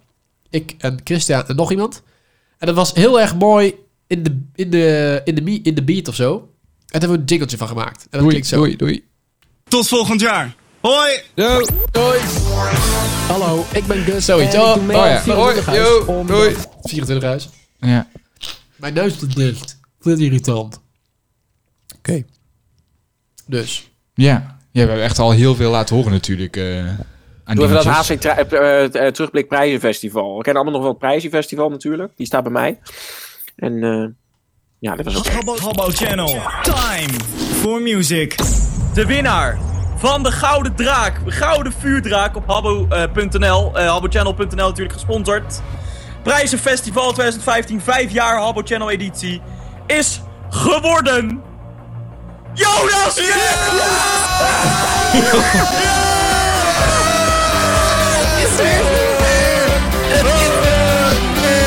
[SPEAKER 4] Ik en Christian en nog iemand. En dat was heel erg mooi in de, in de, in de, me- in de beat of zo. En daar hebben we een jingletje van gemaakt. En dat
[SPEAKER 5] Doei,
[SPEAKER 4] klinkt zo.
[SPEAKER 5] doei, doei.
[SPEAKER 8] Tot volgend jaar. Hoi.
[SPEAKER 5] Yo.
[SPEAKER 4] Hoi. Hallo, ik ben Gus. Zoiets.
[SPEAKER 5] En ik
[SPEAKER 4] Oh,
[SPEAKER 5] doe mee
[SPEAKER 4] oh
[SPEAKER 5] aan
[SPEAKER 4] ja.
[SPEAKER 5] 24
[SPEAKER 4] Hoi,
[SPEAKER 5] huis,
[SPEAKER 4] yo,
[SPEAKER 5] omdat-
[SPEAKER 4] doei. 24 huis.
[SPEAKER 5] Ja.
[SPEAKER 4] Mijn neus doet dicht. Vind irritant. Oké. Dus.
[SPEAKER 5] Ja. ja, we hebben echt al heel veel laten horen natuurlijk. eh, aan
[SPEAKER 7] Doe even dat
[SPEAKER 5] dingetjes.
[SPEAKER 7] HC tra- eh, eh, eh, Terugblik Prijzenfestival. We kennen allemaal nog wel het Prijzenfestival natuurlijk. Die staat bij mij. En eh, ja, dat was ook...
[SPEAKER 8] Habbo, Habbo Channel. Time for music. De winnaar van de Gouden Draak.
[SPEAKER 12] Gouden vuurdraak op habbo.nl. eh habbochannel.nl natuurlijk gesponsord. Prijzenfestival 2015, 5 jaar Habbo Channel editie. Is geworden. Jonas!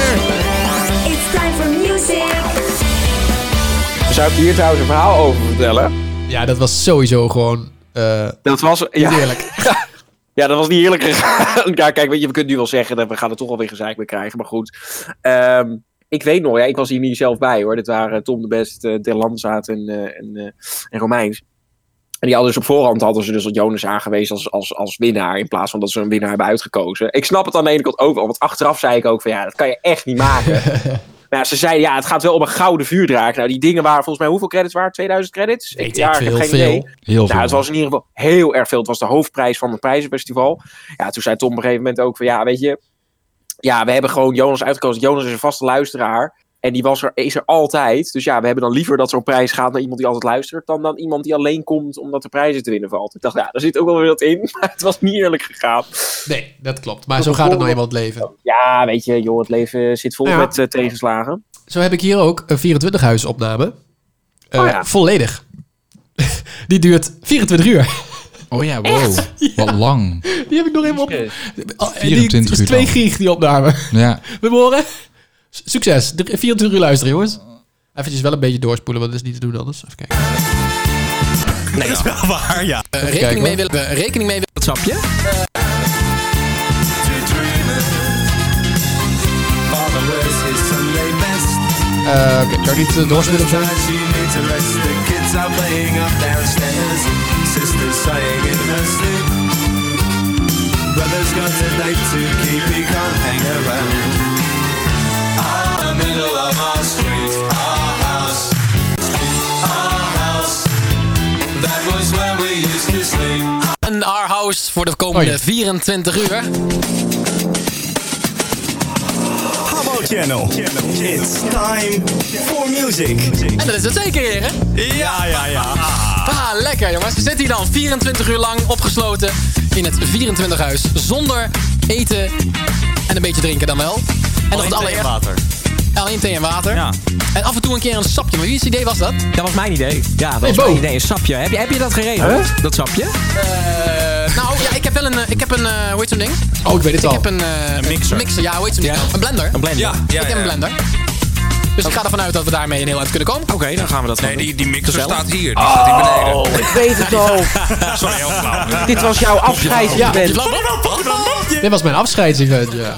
[SPEAKER 17] It's time for music.
[SPEAKER 7] Zou ik hier trouwens een verhaal over vertellen?
[SPEAKER 4] Ja, dat was sowieso gewoon... eh,
[SPEAKER 7] Dat was... Ja.
[SPEAKER 4] Heerlijk.
[SPEAKER 7] Ja, dat was niet eerlijk gegaan. Ja, kijk, weet je, we kunnen nu wel zeggen dat we gaan er toch alweer gezeik mee krijgen. Maar goed. Ehm, ik weet nog, ja, ik was hier niet zelf bij hoor. Dit waren Tom de Best, eh De Lanzaat en, eh, en, eh, en eh, Romeins. En die hadden dus op voorhand hadden ze dus al Jonas aangewezen als, als, als winnaar. In plaats van dat ze een winnaar hebben uitgekozen. Ik snap het aan de ene kant ook wel. Want achteraf zei ik ook van ja, dat kan je echt niet maken. Nou, ze zeiden ja, het gaat wel om een gouden vuurdraak. Nou, die dingen waren volgens mij hoeveel credits waren? het? 2000 credits?
[SPEAKER 5] Weet
[SPEAKER 7] ja,
[SPEAKER 5] ik veel, veel. Heel
[SPEAKER 7] nou,
[SPEAKER 5] veel.
[SPEAKER 7] het was in ieder geval heel erg veel. Het was de hoofdprijs van het prijzenfestival. Ja, toen zei Tom op een gegeven moment ook van ja, weet je, ja, we hebben gewoon Jonas uitgekozen. Jonas is een vaste luisteraar. En die was er, is er altijd. Dus ja, we hebben dan liever dat zo'n prijs gaat naar iemand die altijd luistert. dan dan iemand die alleen komt omdat de prijzen te winnen valt. Ik dacht, ja, daar zit ook wel weer wat in. Maar het was niet eerlijk gegaan.
[SPEAKER 4] Nee, dat klopt. Maar zo gaat het nou eenmaal het leven.
[SPEAKER 7] Ja, weet je, joh, het leven zit vol
[SPEAKER 4] Ja.
[SPEAKER 7] met eh, tegenslagen.
[SPEAKER 4] Zo heb ik hier ook een 24 huis opname.
[SPEAKER 11] Oh
[SPEAKER 4] Eh, Volledig. Die duurt 24 uur.
[SPEAKER 5] Oh ja, wow. Wat lang.
[SPEAKER 4] Die heb ik nog helemaal op. Oh, en die
[SPEAKER 5] 24
[SPEAKER 4] is
[SPEAKER 5] uur
[SPEAKER 4] 2
[SPEAKER 5] lang.
[SPEAKER 4] gig die opname.
[SPEAKER 5] Ja.
[SPEAKER 4] We horen. S- Succes. Drie- 24 uur luisteren, jongens. Eventjes wel een beetje doorspoelen, want dat is niet te doen anders. Even kijken.
[SPEAKER 11] Nee, dat is wel waar, ja. rekening,
[SPEAKER 4] kijken,
[SPEAKER 11] mee
[SPEAKER 4] hoor.
[SPEAKER 11] willen, eh, rekening mee willen, snap je?
[SPEAKER 4] Eh, Oké, zou ik niet eh, doorspelen of zo?
[SPEAKER 6] Brother's got a night to keep, he can't hang around. Ah, middle of our street, our house, our house. That was where we used to sleep.
[SPEAKER 11] Een our house voor de komende
[SPEAKER 4] Oh
[SPEAKER 11] 24 uur.
[SPEAKER 8] Habbo Channel. It's time for music.
[SPEAKER 11] En dat is het zeker, heren.
[SPEAKER 8] Ja, ja, ja.
[SPEAKER 11] Ah, lekker jongens. We zitten hier dan 24 uur lang opgesloten in het 24-huis. Zonder eten en een beetje drinken dan wel. En
[SPEAKER 33] Alleen thee en
[SPEAKER 11] water. Alleen thee en water. En af en toe een keer een sapje. Maar wie's idee was dat?
[SPEAKER 33] Dat was mijn idee. Ja, dat
[SPEAKER 11] Hey,
[SPEAKER 33] was
[SPEAKER 11] Bo.
[SPEAKER 33] mijn idee. Een sapje. Heb je, heb je dat geregeld? Dat sapje?
[SPEAKER 11] Eh, nou ja, ik heb wel een, eh, ik heb een eh, hoe heet zo'n ding?
[SPEAKER 4] Oh, ik weet het
[SPEAKER 11] ik
[SPEAKER 4] al.
[SPEAKER 11] heb een, eh,
[SPEAKER 33] Een mixer.
[SPEAKER 11] ja, hoe heet zo'n ding? Een blender. Een
[SPEAKER 33] blender. Ja, ja,
[SPEAKER 11] ik heb
[SPEAKER 33] ja.
[SPEAKER 11] een blender. Dus ik ga ervan uit dat we daarmee een heel eind kunnen komen. Oké, dan gaan we dat
[SPEAKER 33] Nee, die, die mixer
[SPEAKER 11] Gezellig.
[SPEAKER 33] staat hier. Die staat hier beneden.
[SPEAKER 11] ik weet het al.
[SPEAKER 33] Sorry, heel flauw.
[SPEAKER 7] Dit was jouw afscheid.
[SPEAKER 4] Ja.
[SPEAKER 7] Ja.
[SPEAKER 4] Dit was mijn afscheidsevent, ja.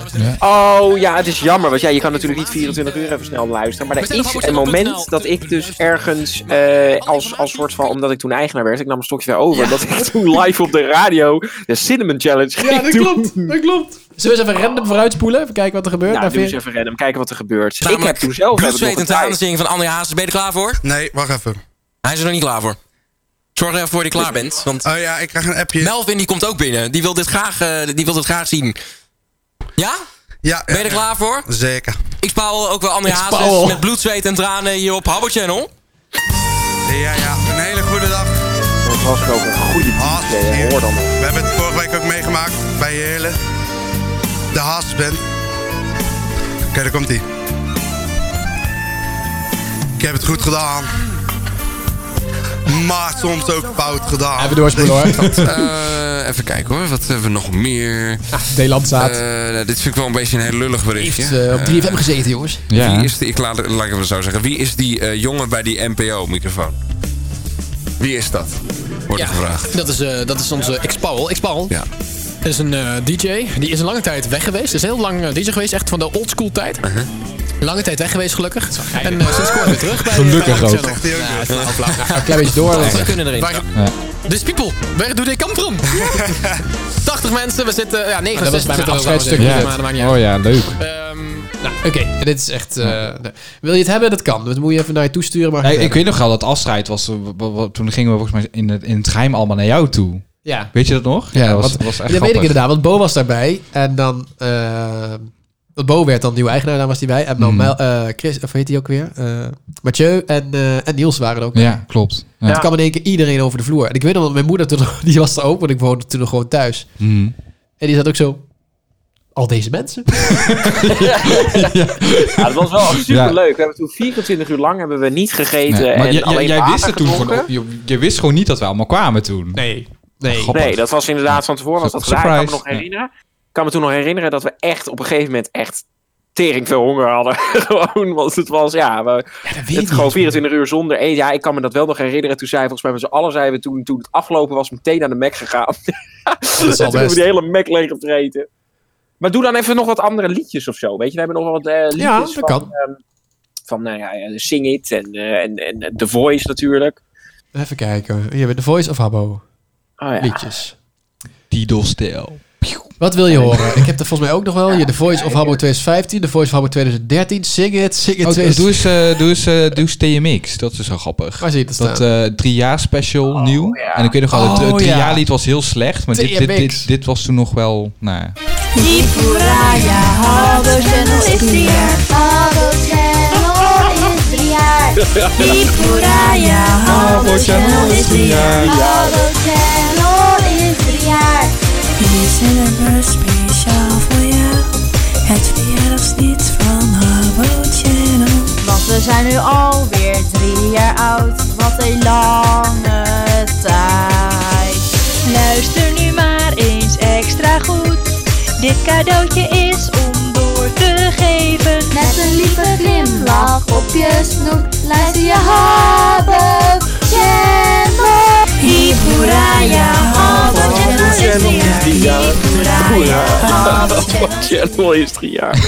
[SPEAKER 7] Oh ja, het is jammer. Want ja, je kan natuurlijk niet 24 uur even snel luisteren. Maar er
[SPEAKER 11] nou
[SPEAKER 7] is een moment dat ik dus ergens eh, als, als soort van, omdat ik toen eigenaar werd, ik nam een stokje weer over. Dat ik toen live op de radio de Cinnamon Challenge ging
[SPEAKER 4] Ja, dat
[SPEAKER 7] doen.
[SPEAKER 4] klopt. Dat klopt. Zullen we eens even random vooruitspoelen? Even kijken wat er gebeurt.
[SPEAKER 7] Nou,
[SPEAKER 4] Naar
[SPEAKER 7] doe eens
[SPEAKER 4] veer-
[SPEAKER 7] even random. Kijken wat er gebeurt. ik heb
[SPEAKER 11] Namelijk
[SPEAKER 7] toen zelf...
[SPEAKER 11] bloed,
[SPEAKER 7] heb ik nog
[SPEAKER 11] zweet en
[SPEAKER 7] gedraaid.
[SPEAKER 11] tranen zingen van André Hazes. Ben je er klaar voor?
[SPEAKER 1] Nee, wacht even.
[SPEAKER 11] Hij is er nog niet klaar voor. Zorg er even voor dat je klaar bent. Want
[SPEAKER 1] oh ja, ik krijg een appje.
[SPEAKER 11] Melvin die komt ook binnen. Die wil dit graag, eh, die wil dit graag zien. Ja?
[SPEAKER 1] Ja.
[SPEAKER 11] Ben je er klaar voor?
[SPEAKER 1] Zeker.
[SPEAKER 11] Ik spouw ook wel André
[SPEAKER 1] Ik
[SPEAKER 11] Hazes
[SPEAKER 1] spouw.
[SPEAKER 11] met bloed, zweet en tranen hier op Habbo Channel.
[SPEAKER 1] Ja, ja, een hele goede dag.
[SPEAKER 7] Dat was ook een goede
[SPEAKER 1] DJ, hoor dan. We hebben het vorige week ook meegemaakt bij Jelle. De Haas Band. Oké, daar komt ie. Ik heb het goed gedaan. Maar soms ook fout gedaan.
[SPEAKER 4] Even doorspoelen, hoor.
[SPEAKER 2] Eh, even kijken hoor, wat hebben we nog meer?
[SPEAKER 4] Ah, Delandzaad.
[SPEAKER 2] Eh, nou, dit vind ik wel een beetje een heel lullig berichtje.
[SPEAKER 4] Heeft eh, op 3FM gezeten, jongens.
[SPEAKER 2] Eh, wie is die, ik laat, laat ik het maar zo zeggen. Wie is die eh, jongen bij die NPO-microfoon? Wie is dat? Wordt er gevraagd.
[SPEAKER 11] Dat is, eh, dat is onze X-Paul. X-Paul is een eh, DJ. Die is een lange tijd weg geweest. Is heel lang eh, DJ geweest. Echt van de oldschool tijd.
[SPEAKER 4] Uh-huh.
[SPEAKER 11] Lange tijd weg geweest, gelukkig. En eh, sinds kort weer terug bij
[SPEAKER 5] Gelukkig
[SPEAKER 11] bij
[SPEAKER 5] ook.
[SPEAKER 11] Channel.
[SPEAKER 5] Zegt hij ook
[SPEAKER 11] Ja,
[SPEAKER 5] weer.
[SPEAKER 11] het is wel flauw.
[SPEAKER 5] Ga een klein beetje door.
[SPEAKER 11] Want We
[SPEAKER 5] Ja.
[SPEAKER 11] kunnen erin.
[SPEAKER 5] Waar-
[SPEAKER 4] Oh,
[SPEAKER 11] Ja. Dus people, waar doet dit kamp om? 80 mensen, we zitten... Ja, 69
[SPEAKER 4] Maar
[SPEAKER 11] zitten er ook
[SPEAKER 4] dat was bij mijn
[SPEAKER 11] wel
[SPEAKER 4] afscheidsstukje.
[SPEAKER 11] weer, maar dat maakt niet uit.
[SPEAKER 5] Oh ja, leuk.
[SPEAKER 4] Nou, oké. Dit is echt... eh, nee. Wil je het hebben? Dat kan. Dat moet je even naar je toesturen. Maar
[SPEAKER 5] Nee, ik weet nog wel dat afscheid was. eh, wa- wa- Toen gingen we volgens mij in het, in het geheim allemaal naar jou toe.
[SPEAKER 4] Ja.
[SPEAKER 5] Weet je dat nog?
[SPEAKER 4] Ja,
[SPEAKER 5] dat was,
[SPEAKER 4] want-
[SPEAKER 5] was echt
[SPEAKER 4] ja, dat weet ik
[SPEAKER 5] grappig.
[SPEAKER 4] inderdaad, want Bo was daarbij. En dan... eh, want Bo werd dan nieuwe eigenaar, daar was hij bij. En dan
[SPEAKER 5] Mm.
[SPEAKER 4] Mel- eh, Chris, of heet hij ook weer? Eh, Mathieu en, eh, en Niels waren er ook.
[SPEAKER 5] Ja, klopt.
[SPEAKER 4] En
[SPEAKER 5] Ja.
[SPEAKER 4] toen kwam in één keer iedereen over de vloer. En ik weet nog, dat mijn moeder toen, nog- die was er ook, want ik woonde toen nog gewoon thuis.
[SPEAKER 5] Mhm.
[SPEAKER 4] En die zat ook zo... Al deze mensen?
[SPEAKER 7] Ja, dat was wel
[SPEAKER 5] Ja.
[SPEAKER 7] superleuk. We hebben toen 24 uur lang hebben we niet gegeten
[SPEAKER 5] Nee, maar
[SPEAKER 7] en
[SPEAKER 5] j- j-
[SPEAKER 7] alleen
[SPEAKER 5] jij
[SPEAKER 7] water
[SPEAKER 5] wist het toen
[SPEAKER 7] gedronken.
[SPEAKER 5] gewoon, je, je wist gewoon niet dat we allemaal kwamen toen.
[SPEAKER 4] Nee. Nee,
[SPEAKER 5] Grappig.
[SPEAKER 7] Nee, dat was inderdaad van tevoren was dat gedaan. Ik kan me
[SPEAKER 5] Surprise.
[SPEAKER 7] nog herinneren. Ik kan me toen nog herinneren dat we echt op een gegeven moment echt tering veel honger hadden. gewoon, want het was, ja, we,
[SPEAKER 4] het
[SPEAKER 7] gewoon 24 uur zonder eten. Ja, ik kan me dat wel nog herinneren. Toen zei volgens mij met z'n allen zijn we toen, toen het afgelopen was meteen naar de Mac gegaan. Dus
[SPEAKER 4] al
[SPEAKER 7] toen hebben we
[SPEAKER 4] best.
[SPEAKER 7] de hele Mac leeg gevreten. Maar doe dan even nog wat andere liedjes of zo. Weet je, we hebben nog wel wat eh, liedjes
[SPEAKER 4] Ja, dat
[SPEAKER 7] van,
[SPEAKER 4] kan.
[SPEAKER 7] eh, ehm, van nou ja, Sing It en, eh, en, en The Voice natuurlijk.
[SPEAKER 4] Even kijken. Hier bij The Voice of Habbo.
[SPEAKER 7] ja.
[SPEAKER 4] Liedjes.
[SPEAKER 5] Didelstel.
[SPEAKER 4] Wat wil je horen? Ik heb er volgens mij ook nog wel. Hier, The Voice of Habbo 2015, The Voice of Habbo 2013. Sing it, sing it.
[SPEAKER 5] Oh, doe
[SPEAKER 4] 20...
[SPEAKER 5] eens, eh, doe eens, eh, doe eens TMX. Dat is zo grappig.
[SPEAKER 4] Waar zit het
[SPEAKER 5] Dat
[SPEAKER 4] staan?
[SPEAKER 5] eh drie jaar special, nieuw. En ik weet nog wel, het eh,
[SPEAKER 4] Oh,
[SPEAKER 5] drie
[SPEAKER 4] ja.
[SPEAKER 5] jaar lied was heel slecht. Maar dit, dit,
[SPEAKER 4] TMX.
[SPEAKER 5] dit, dit was toen nog wel... Nou, ja.
[SPEAKER 17] Die Poeraya Habbo Channel is drie jaar. Habbo Channel is drie jaar. Die Poeraya
[SPEAKER 4] Oh,
[SPEAKER 17] Habbo Channel is drie jaar. Habbo Channel is drie jaar. Die zijn er speciaal voor jou. Het verjaardagslied van Habbo Channel. Want we zijn nu alweer drie jaar oud. Wat een lange tijd. Luister nu maar eens extra goed. Dit cadeautje is om door te geven. Met een lieve glimlach op je snoet. Luister je Habbo Channel. Hiep hoera, ja, Habbo Channel is weer.
[SPEAKER 7] Channel is drie jaar.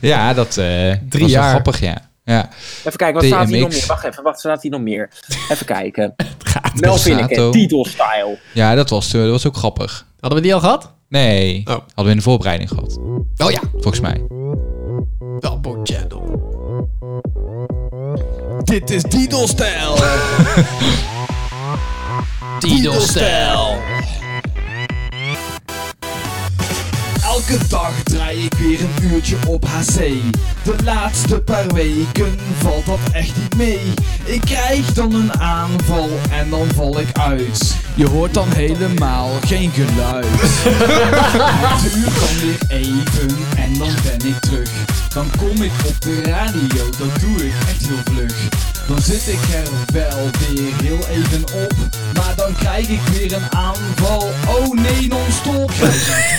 [SPEAKER 5] ja, dat eh was wel
[SPEAKER 7] jaar.
[SPEAKER 5] grappig, ja. ja.
[SPEAKER 7] Even kijken, wat staat hier nog
[SPEAKER 5] TMX.
[SPEAKER 7] meer? Wacht even, wat staat hier nog meer? Even kijken.
[SPEAKER 5] om
[SPEAKER 7] Mel Vinneke,
[SPEAKER 5] Sato.
[SPEAKER 7] titelstyle.
[SPEAKER 5] Ja, dat was, eh, dat was ook grappig.
[SPEAKER 4] Hadden we die al gehad?
[SPEAKER 5] Nee, hadden we in de voorbereiding gehad.
[SPEAKER 4] Oh ja.
[SPEAKER 5] Volgens mij.
[SPEAKER 4] Habbo Channel.
[SPEAKER 11] Dit is Didel-stijl. Didel-stijl. Elke dag draai ik weer een uurtje op HC. De laatste paar weken valt dat echt niet mee. Ik krijg dan een aanval en dan val ik uit. Je hoort dan helemaal geen geluid. Het uur kan weer even en dan ben ik terug. Dan kom ik op de radio, dat doe ik echt heel vlug. Dan zit ik er wel weer heel even op. Maar dan krijg ik weer een aanval. Oh nee, non-stop.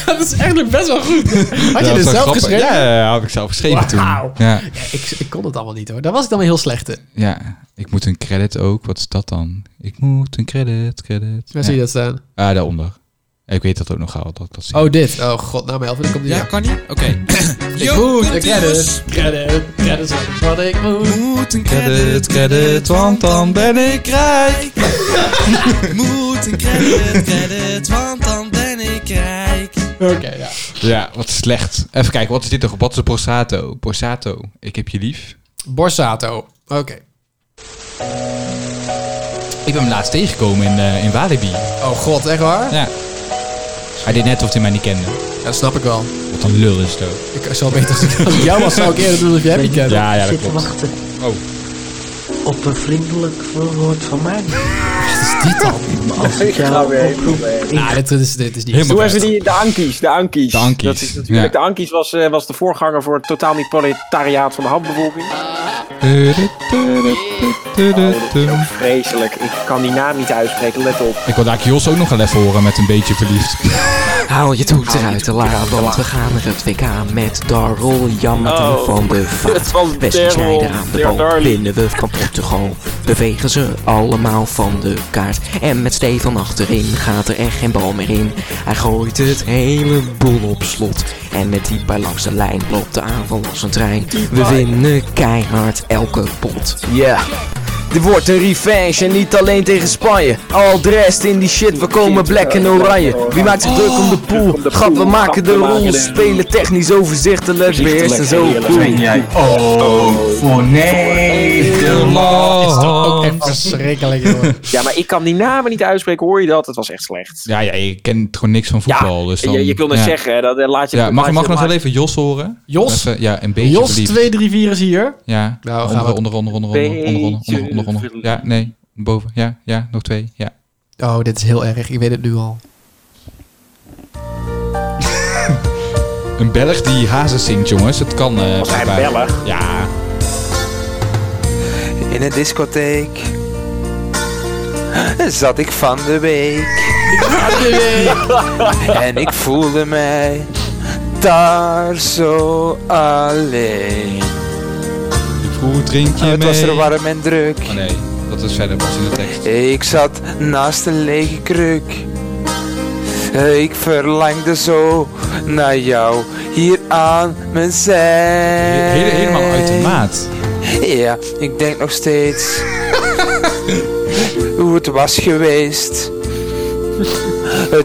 [SPEAKER 4] dat is eigenlijk best wel goed. Had
[SPEAKER 5] Ja,
[SPEAKER 4] je
[SPEAKER 5] dat
[SPEAKER 4] dit
[SPEAKER 5] is wel
[SPEAKER 4] zelf
[SPEAKER 5] grappig.
[SPEAKER 4] geschreven?
[SPEAKER 5] Ja, ja, ja, heb ik zelf geschreven toen.
[SPEAKER 4] Wauw.
[SPEAKER 5] Ja.
[SPEAKER 4] Ja, ik, ik kon het allemaal niet hoor. Daar was ik dan weer heel slecht in.
[SPEAKER 5] Ja, ik moet een credit ook. Wat is dat dan? Ik moet een credit, credit.
[SPEAKER 4] Waar zie je dat staan?
[SPEAKER 5] Ah, daaronder. Ik weet dat ook nog wel. Dat, ik dat zie.
[SPEAKER 4] Oh, dit. Oh, god, nou, mijn helft. Dan komt die. Ja,
[SPEAKER 5] kan niet? Oké.
[SPEAKER 4] ik moet een credit. Credit. Credit is wat ik moet.
[SPEAKER 11] Moet een
[SPEAKER 5] Credit, credit, want dan ben ik rijk.
[SPEAKER 11] Moet een credit, credit, want dan ben ik rijk.
[SPEAKER 4] Oké, ja.
[SPEAKER 5] Ja, wat slecht. Even kijken, wat is dit toch? Wat is Borsato? Borsato, ik heb je lief.
[SPEAKER 4] Borsato, oké.
[SPEAKER 5] Ik ben hem laatst tegengekomen in, eh, in Walibi.
[SPEAKER 4] Oh god, echt waar?
[SPEAKER 5] Ja. Hij deed net of hij mij niet kende.
[SPEAKER 4] Dat snap ik wel.
[SPEAKER 5] Wat een lul is het ook.
[SPEAKER 4] Ik zou beter als ik jou was, zou ik eerder doen of jij niet kent.
[SPEAKER 5] Ja, ja, dat
[SPEAKER 4] Zit te
[SPEAKER 5] klopt.
[SPEAKER 4] wachten.
[SPEAKER 5] Oh.
[SPEAKER 12] Op een vriendelijk voorwoord van mij.
[SPEAKER 7] Als ik jou
[SPEAKER 11] Nou,
[SPEAKER 4] Ja, dit, is, dit is niet
[SPEAKER 7] Hoe even die, de Ankies, de Ankies. Dat is natuurlijk,
[SPEAKER 4] ja.
[SPEAKER 7] de Ankies was, eh, was de voorganger voor het totaal niet proletariaat van de handbevolking. Oh, Vreselijk, ik kan die naam niet uitspreken, let op.
[SPEAKER 5] Ik wil daar Jos ook nog een lef horen met een beetje verliefd.
[SPEAKER 12] Haal je toet eruit, Lara, want we gaan naar het WK met Darol Janmaten
[SPEAKER 7] Oh.
[SPEAKER 12] van de
[SPEAKER 7] Het
[SPEAKER 12] Vaart.
[SPEAKER 7] was
[SPEAKER 12] Wesley
[SPEAKER 7] Darryl,
[SPEAKER 12] Sneijder aan de
[SPEAKER 7] Darryl
[SPEAKER 12] bal.
[SPEAKER 7] Darling.
[SPEAKER 12] Winnen we van Portugal. Bewegen ze allemaal van de kaart. En met Stefan achterin gaat er echt geen bal meer in. Hij gooit het hele boel op slot. En met die bij langs de lijn loopt de aanval als een trein. We winnen keihard elke pot.
[SPEAKER 9] Ja. Dit wordt een revenge en niet alleen tegen Spanje. Al de rest in die shit, we komen black en oranje. Wie maakt zich druk om de pool? Gat, we maken de rol. Spelen technisch overzichtelijk, beheerst en zo cool.
[SPEAKER 11] Oh, voor
[SPEAKER 5] Nederland.
[SPEAKER 4] ook echt verschrikkelijk, joh.
[SPEAKER 7] Ja, maar ik kan die namen niet uitspreken, hoor je dat? Het was echt slecht.
[SPEAKER 5] Ja, ja, je kent gewoon niks van voetbal. dus dan,
[SPEAKER 7] je, je wil net
[SPEAKER 5] ja.
[SPEAKER 7] zeggen, hè, dat eh, laat je...
[SPEAKER 5] Ja, mag
[SPEAKER 7] laat
[SPEAKER 5] ik
[SPEAKER 7] je-
[SPEAKER 5] nog
[SPEAKER 7] laat-
[SPEAKER 5] wel even Jos horen?
[SPEAKER 4] Jos?
[SPEAKER 5] Even, ja, een beetje
[SPEAKER 4] Jos
[SPEAKER 5] verliefd.
[SPEAKER 4] 234 is hier.
[SPEAKER 5] Ja,
[SPEAKER 4] Nou, gaan we-
[SPEAKER 5] onder, onder, onder, onder, onder, onder, onder, onder, onder, onder, onder. Ja, nee, boven. Ja, ja, nog twee. Ja.
[SPEAKER 4] Oh, dit is heel erg. Ik weet het nu al.
[SPEAKER 5] Een Belg die hazen zingt, jongens. Het kan. eh
[SPEAKER 9] hij
[SPEAKER 5] blijkbaar.
[SPEAKER 9] Belg?
[SPEAKER 5] Ja.
[SPEAKER 9] In een discotheek zat ik van de week. en ik voelde mij daar zo alleen.
[SPEAKER 5] Hoe drink je
[SPEAKER 9] het was er
[SPEAKER 5] mee?
[SPEAKER 9] warm en druk.
[SPEAKER 5] Oh, nee, dat is verder pas in de tekst.
[SPEAKER 9] Ik zat naast een lege kruk. Ik verlangde zo naar jou hier aan mijn zij.
[SPEAKER 5] Hele- helemaal uit de maat.
[SPEAKER 9] Ja, ik denk nog steeds
[SPEAKER 10] goed was geweest.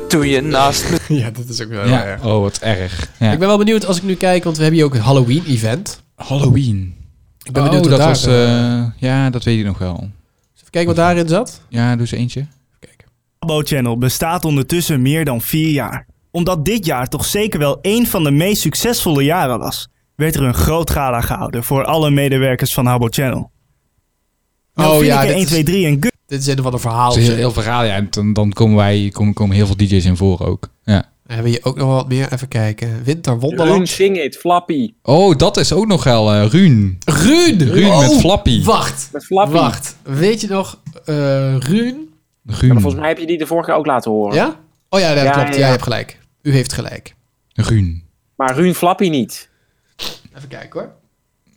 [SPEAKER 10] Toen je naast me...
[SPEAKER 4] Ja, dit is ook wel
[SPEAKER 5] Ja. Oh, wat erg. Ja.
[SPEAKER 4] Ik ben wel benieuwd als ik nu kijk, want we hebben hier ook een Halloween-event.
[SPEAKER 5] Halloween.
[SPEAKER 4] Ik ben benieuwd
[SPEAKER 5] oh, dat
[SPEAKER 4] wat daar...
[SPEAKER 5] was...
[SPEAKER 4] eh,
[SPEAKER 5] eh, ja, dat weet ik nog wel.
[SPEAKER 4] even kijken wat daarin zat.
[SPEAKER 5] Ja, doe eens eentje.
[SPEAKER 8] Habbo Channel bestaat ondertussen meer dan vier jaar. Omdat dit jaar toch zeker wel één van de meest succesvolle jaren was, werd er een groot gala gehouden voor alle medewerkers van Habbo Channel.
[SPEAKER 4] Oh
[SPEAKER 8] Nou, vind ik er 1, 2, 3 en
[SPEAKER 4] Dit is een van de
[SPEAKER 5] Het
[SPEAKER 4] verhaal.
[SPEAKER 5] is een heel verhaal, ja. En dan, dan komen, wij, komen, komen heel veel DJ's in voor ook. Ja.
[SPEAKER 4] Hebben we hier ook nog wat meer? Even kijken. Winter
[SPEAKER 7] Run
[SPEAKER 4] Wonderland.
[SPEAKER 7] Sing It, Flappy.
[SPEAKER 5] Oh, dat is ook nog wel eh Ruun.
[SPEAKER 4] Ruun!
[SPEAKER 5] Ruun
[SPEAKER 4] Oh,
[SPEAKER 5] met Flappy.
[SPEAKER 4] Wacht.
[SPEAKER 7] Met Flappy.
[SPEAKER 4] Wacht. Weet je nog, eh Ruun?
[SPEAKER 7] Ja, maar volgens mij heb je die de vorige keer ook laten horen.
[SPEAKER 4] Ja? Oh ja, dat klopt. Jij hebt gelijk. U heeft gelijk.
[SPEAKER 5] Ruun.
[SPEAKER 7] Maar Ruun Flappy niet.
[SPEAKER 4] Even kijken hoor.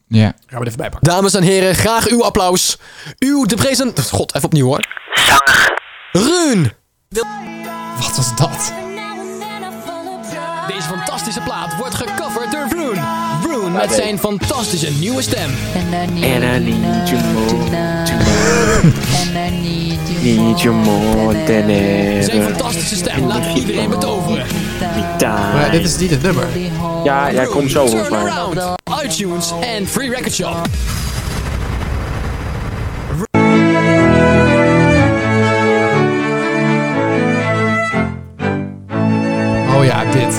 [SPEAKER 5] Ja.
[SPEAKER 4] Gaan we er even bij pakken.
[SPEAKER 11] Dames en heren, graag uw applaus. Uw de present... God, even opnieuw hoor. Ruun.
[SPEAKER 4] Wat was dat?
[SPEAKER 11] Deze fantastische plaat wordt gecoverd door Ruun. Ruun met zijn fantastische nieuwe stem.
[SPEAKER 10] En I need you more tonight. Need you more than
[SPEAKER 11] Zijn
[SPEAKER 10] ever.
[SPEAKER 11] fantastische stem laat iedereen betoveren.
[SPEAKER 4] Maar dit is niet het nummer.
[SPEAKER 7] Ja, jij komt zo volgens mij.
[SPEAKER 11] Turnaround, iTunes en Free Record Shop.
[SPEAKER 4] Oh ja, dit.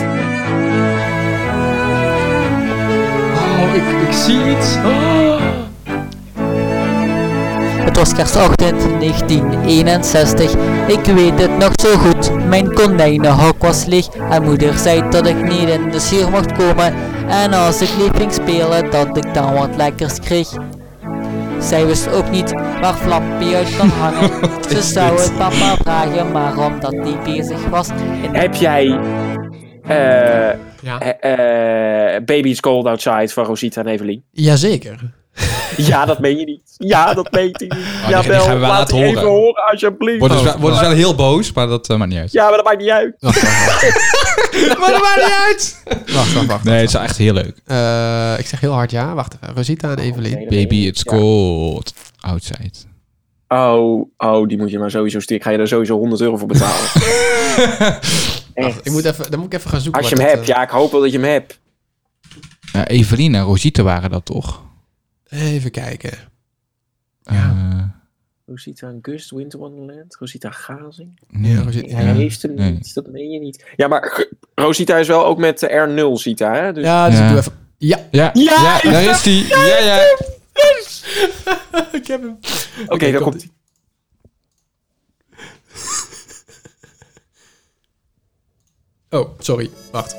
[SPEAKER 4] Oh, ik, ik zie iets.
[SPEAKER 13] Ah. Het was kerstochtend 1961. Ik weet het nog zo goed. Mijn konijnenhok was leeg en moeder zei dat ik niet in de schuur mocht komen. En als ik liep ging spelen, dat ik dan wat lekkers kreeg. Zij wist ook niet waar Flappy uit kon hangen. Ze zou het papa vragen, maar omdat die bezig was. in-
[SPEAKER 7] Heb jij eh, eh, eh, Baby's Cold Outside van Rosita en Evelien?
[SPEAKER 4] Jazeker.
[SPEAKER 7] Ja, dat meen je niet. Ja, dat meent hij
[SPEAKER 4] Oh,
[SPEAKER 7] niet.
[SPEAKER 5] Oh, die-
[SPEAKER 7] ja,
[SPEAKER 5] die
[SPEAKER 7] wel,
[SPEAKER 5] gaan we wel
[SPEAKER 7] laat
[SPEAKER 5] laten
[SPEAKER 7] die even
[SPEAKER 5] horen.
[SPEAKER 7] horen alsjeblieft.
[SPEAKER 5] Worden ze wel, worden ze wel heel boos, maar dat eh, maakt niet uit.
[SPEAKER 7] Ja, maar dat maakt niet uit.
[SPEAKER 4] maar Oh, dat maakt niet uit.
[SPEAKER 5] Wacht, wacht, wacht. Nee, het is echt heel leuk.
[SPEAKER 4] Eh, ik zeg heel hard ja. Wacht even. Rosita en Evelien.
[SPEAKER 5] Baby, it's cold. Outside.
[SPEAKER 7] Oh, oh, die moet je maar sowieso sturen. Ik ga je daar sowieso 100 euro voor betalen. Echt.
[SPEAKER 4] Ik moet even, dan moet ik even gaan zoeken.
[SPEAKER 7] Als je
[SPEAKER 4] wat
[SPEAKER 7] hem
[SPEAKER 4] dat,
[SPEAKER 7] hebt,
[SPEAKER 4] eh,
[SPEAKER 7] ja, ik hoop wel dat je hem hebt.
[SPEAKER 5] Ja, Evelien en Rosita waren dat toch?
[SPEAKER 4] eh, Even kijken. Eh,
[SPEAKER 7] Rosita en Gust, Winter Wonderland, Rosita Gazing.
[SPEAKER 5] Nee,
[SPEAKER 4] ja, Rosita,
[SPEAKER 7] Hij heeft hem niet, dat meen je niet. Ja, maar Rosita is wel ook met eh, R0 Sita, hè? Dus...
[SPEAKER 4] Ja, dus ik doe even... Ja.
[SPEAKER 5] Ja,
[SPEAKER 7] Ja,
[SPEAKER 5] ja, daar is die. Ja, ja.
[SPEAKER 4] ik heb hem.
[SPEAKER 7] Oké, daar komt hij.
[SPEAKER 4] Oh, sorry. Wacht.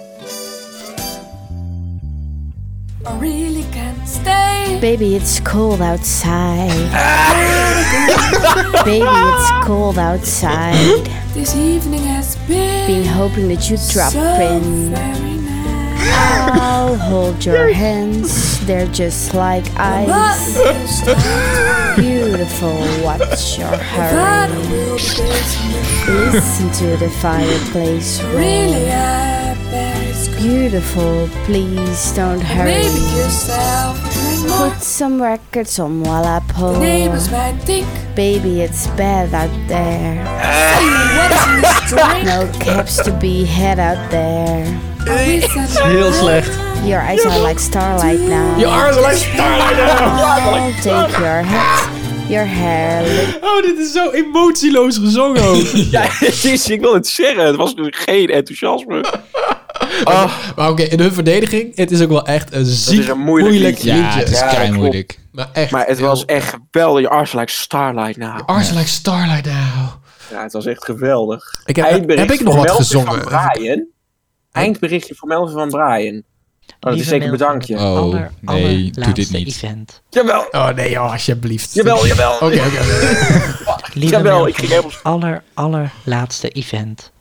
[SPEAKER 17] I really can't stay.
[SPEAKER 18] Baby, it's cold outside. Baby, it's cold outside.
[SPEAKER 17] This evening has been,
[SPEAKER 18] Been hoping that you drop
[SPEAKER 17] so
[SPEAKER 18] in.
[SPEAKER 17] very nice.
[SPEAKER 18] I'll hold your hands. They're just like ice. Beautiful, what's your hurry? Listen to the fireplace
[SPEAKER 17] Really uh,
[SPEAKER 18] roar. Beautiful, please don't hurry.
[SPEAKER 17] Maybe yourself.
[SPEAKER 18] Put some records on while I pull.
[SPEAKER 17] neighbors might think.
[SPEAKER 18] Baby, it's bad out there. no caps to be had out there.
[SPEAKER 17] Heel
[SPEAKER 4] slecht.
[SPEAKER 18] Your eyes are like starlight now.
[SPEAKER 17] Your eyes are like starlight now.
[SPEAKER 18] I'll take your hat, your hair.
[SPEAKER 4] Oh, dit is zo emotieloos gezongen ook.
[SPEAKER 7] ja, het is, ik wil het zeggen. Het was geen enthousiasme.
[SPEAKER 4] Maar oké, in hun verdediging, het is ook wel echt een ziek
[SPEAKER 7] Ah. is een moeilijk liedje.
[SPEAKER 4] liedje.
[SPEAKER 7] Ja, het is Ja, dat keimoeilijk.
[SPEAKER 4] Maar echt.
[SPEAKER 7] Maar het was echt geweldig. Your eyes like starlight now.
[SPEAKER 4] Ars like starlight now.
[SPEAKER 7] Ja, het was echt geweldig.
[SPEAKER 4] Ik heb-
[SPEAKER 7] Eindbericht
[SPEAKER 4] heb ik nog
[SPEAKER 7] voor
[SPEAKER 4] wat
[SPEAKER 7] Melvin
[SPEAKER 4] gezongen?
[SPEAKER 7] Van Brian. Eindberichtje voor Melvin van Brian. Oh, dat is
[SPEAKER 4] Lieve
[SPEAKER 7] zeker
[SPEAKER 4] Melvin,
[SPEAKER 7] bedankje.
[SPEAKER 4] het Oh, aller, nee, allerlaatste doe dit niet. event.
[SPEAKER 7] Jawel.
[SPEAKER 4] Oh nee, joh, alsjeblieft.
[SPEAKER 7] Jawel, jawel.
[SPEAKER 4] Oké, oké.
[SPEAKER 13] Lieve
[SPEAKER 7] Jawel,
[SPEAKER 13] Melvin,
[SPEAKER 7] ik ging helemaal-
[SPEAKER 13] aller, allerlaatste event.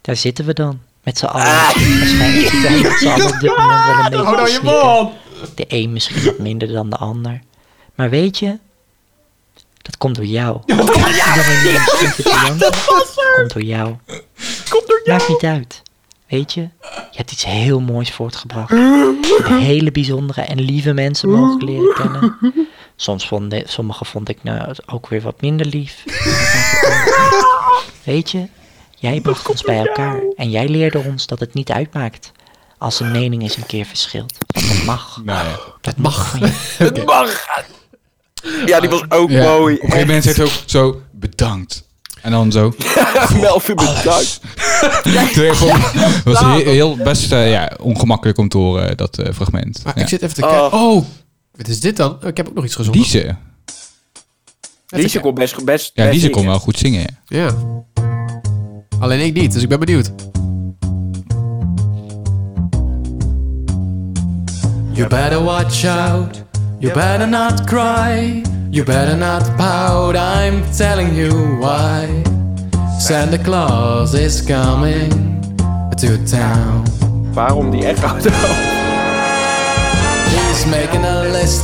[SPEAKER 13] Daar zitten we dan, met z'n allen.
[SPEAKER 7] Ah.
[SPEAKER 13] Waarschijnlijk zitten we met z'n allen op dit moment wel een beetje
[SPEAKER 4] Hou nou je
[SPEAKER 13] te snikken. De een misschien wat minder dan de ander. Maar weet je, dat komt door jou. Iedereen die een stukje te janken, komt door jou. Komt door jou. Maakt niet uit. Weet je, je hebt iets heel moois voortgebracht. Je hebt hele bijzondere en lieve mensen mogen leren kennen. Soms vond ik, sommige vond ik nou ook weer wat minder lief. Weet je, jij bracht ons bij elkaar en jij leerde ons dat het niet uitmaakt als een mening eens een keer verschilt. Want dat mag. dat mag. van je.
[SPEAKER 7] Het mag! Ja, die was ook
[SPEAKER 5] Ja.
[SPEAKER 7] mooi.
[SPEAKER 5] Op een gegeven moment zegt hij ook zo, bedankt. En dan zo.
[SPEAKER 7] Melvin
[SPEAKER 21] Oh,
[SPEAKER 7] bedankt.
[SPEAKER 5] Twee gewoon- Het was heel, heel best eh, ja, ongemakkelijk om te horen, dat eh, fragment.
[SPEAKER 4] Maar
[SPEAKER 5] Ja.
[SPEAKER 4] ik zit even te kijken. Oh, wat is dit dan? Oh, Ik heb ook nog iets gezongen.
[SPEAKER 5] Lize.
[SPEAKER 7] Liesje kon best, best
[SPEAKER 5] Ja,
[SPEAKER 7] best
[SPEAKER 5] Lize
[SPEAKER 7] zingen.
[SPEAKER 5] kon wel goed zingen. ja.
[SPEAKER 4] Ja. Alleen ik niet, dus ik ben benieuwd.
[SPEAKER 11] You better watch out. You better not cry. You better not pout. I'm telling you why. Santa Claus is coming to town.
[SPEAKER 7] Waarom die echo
[SPEAKER 11] He's making a list.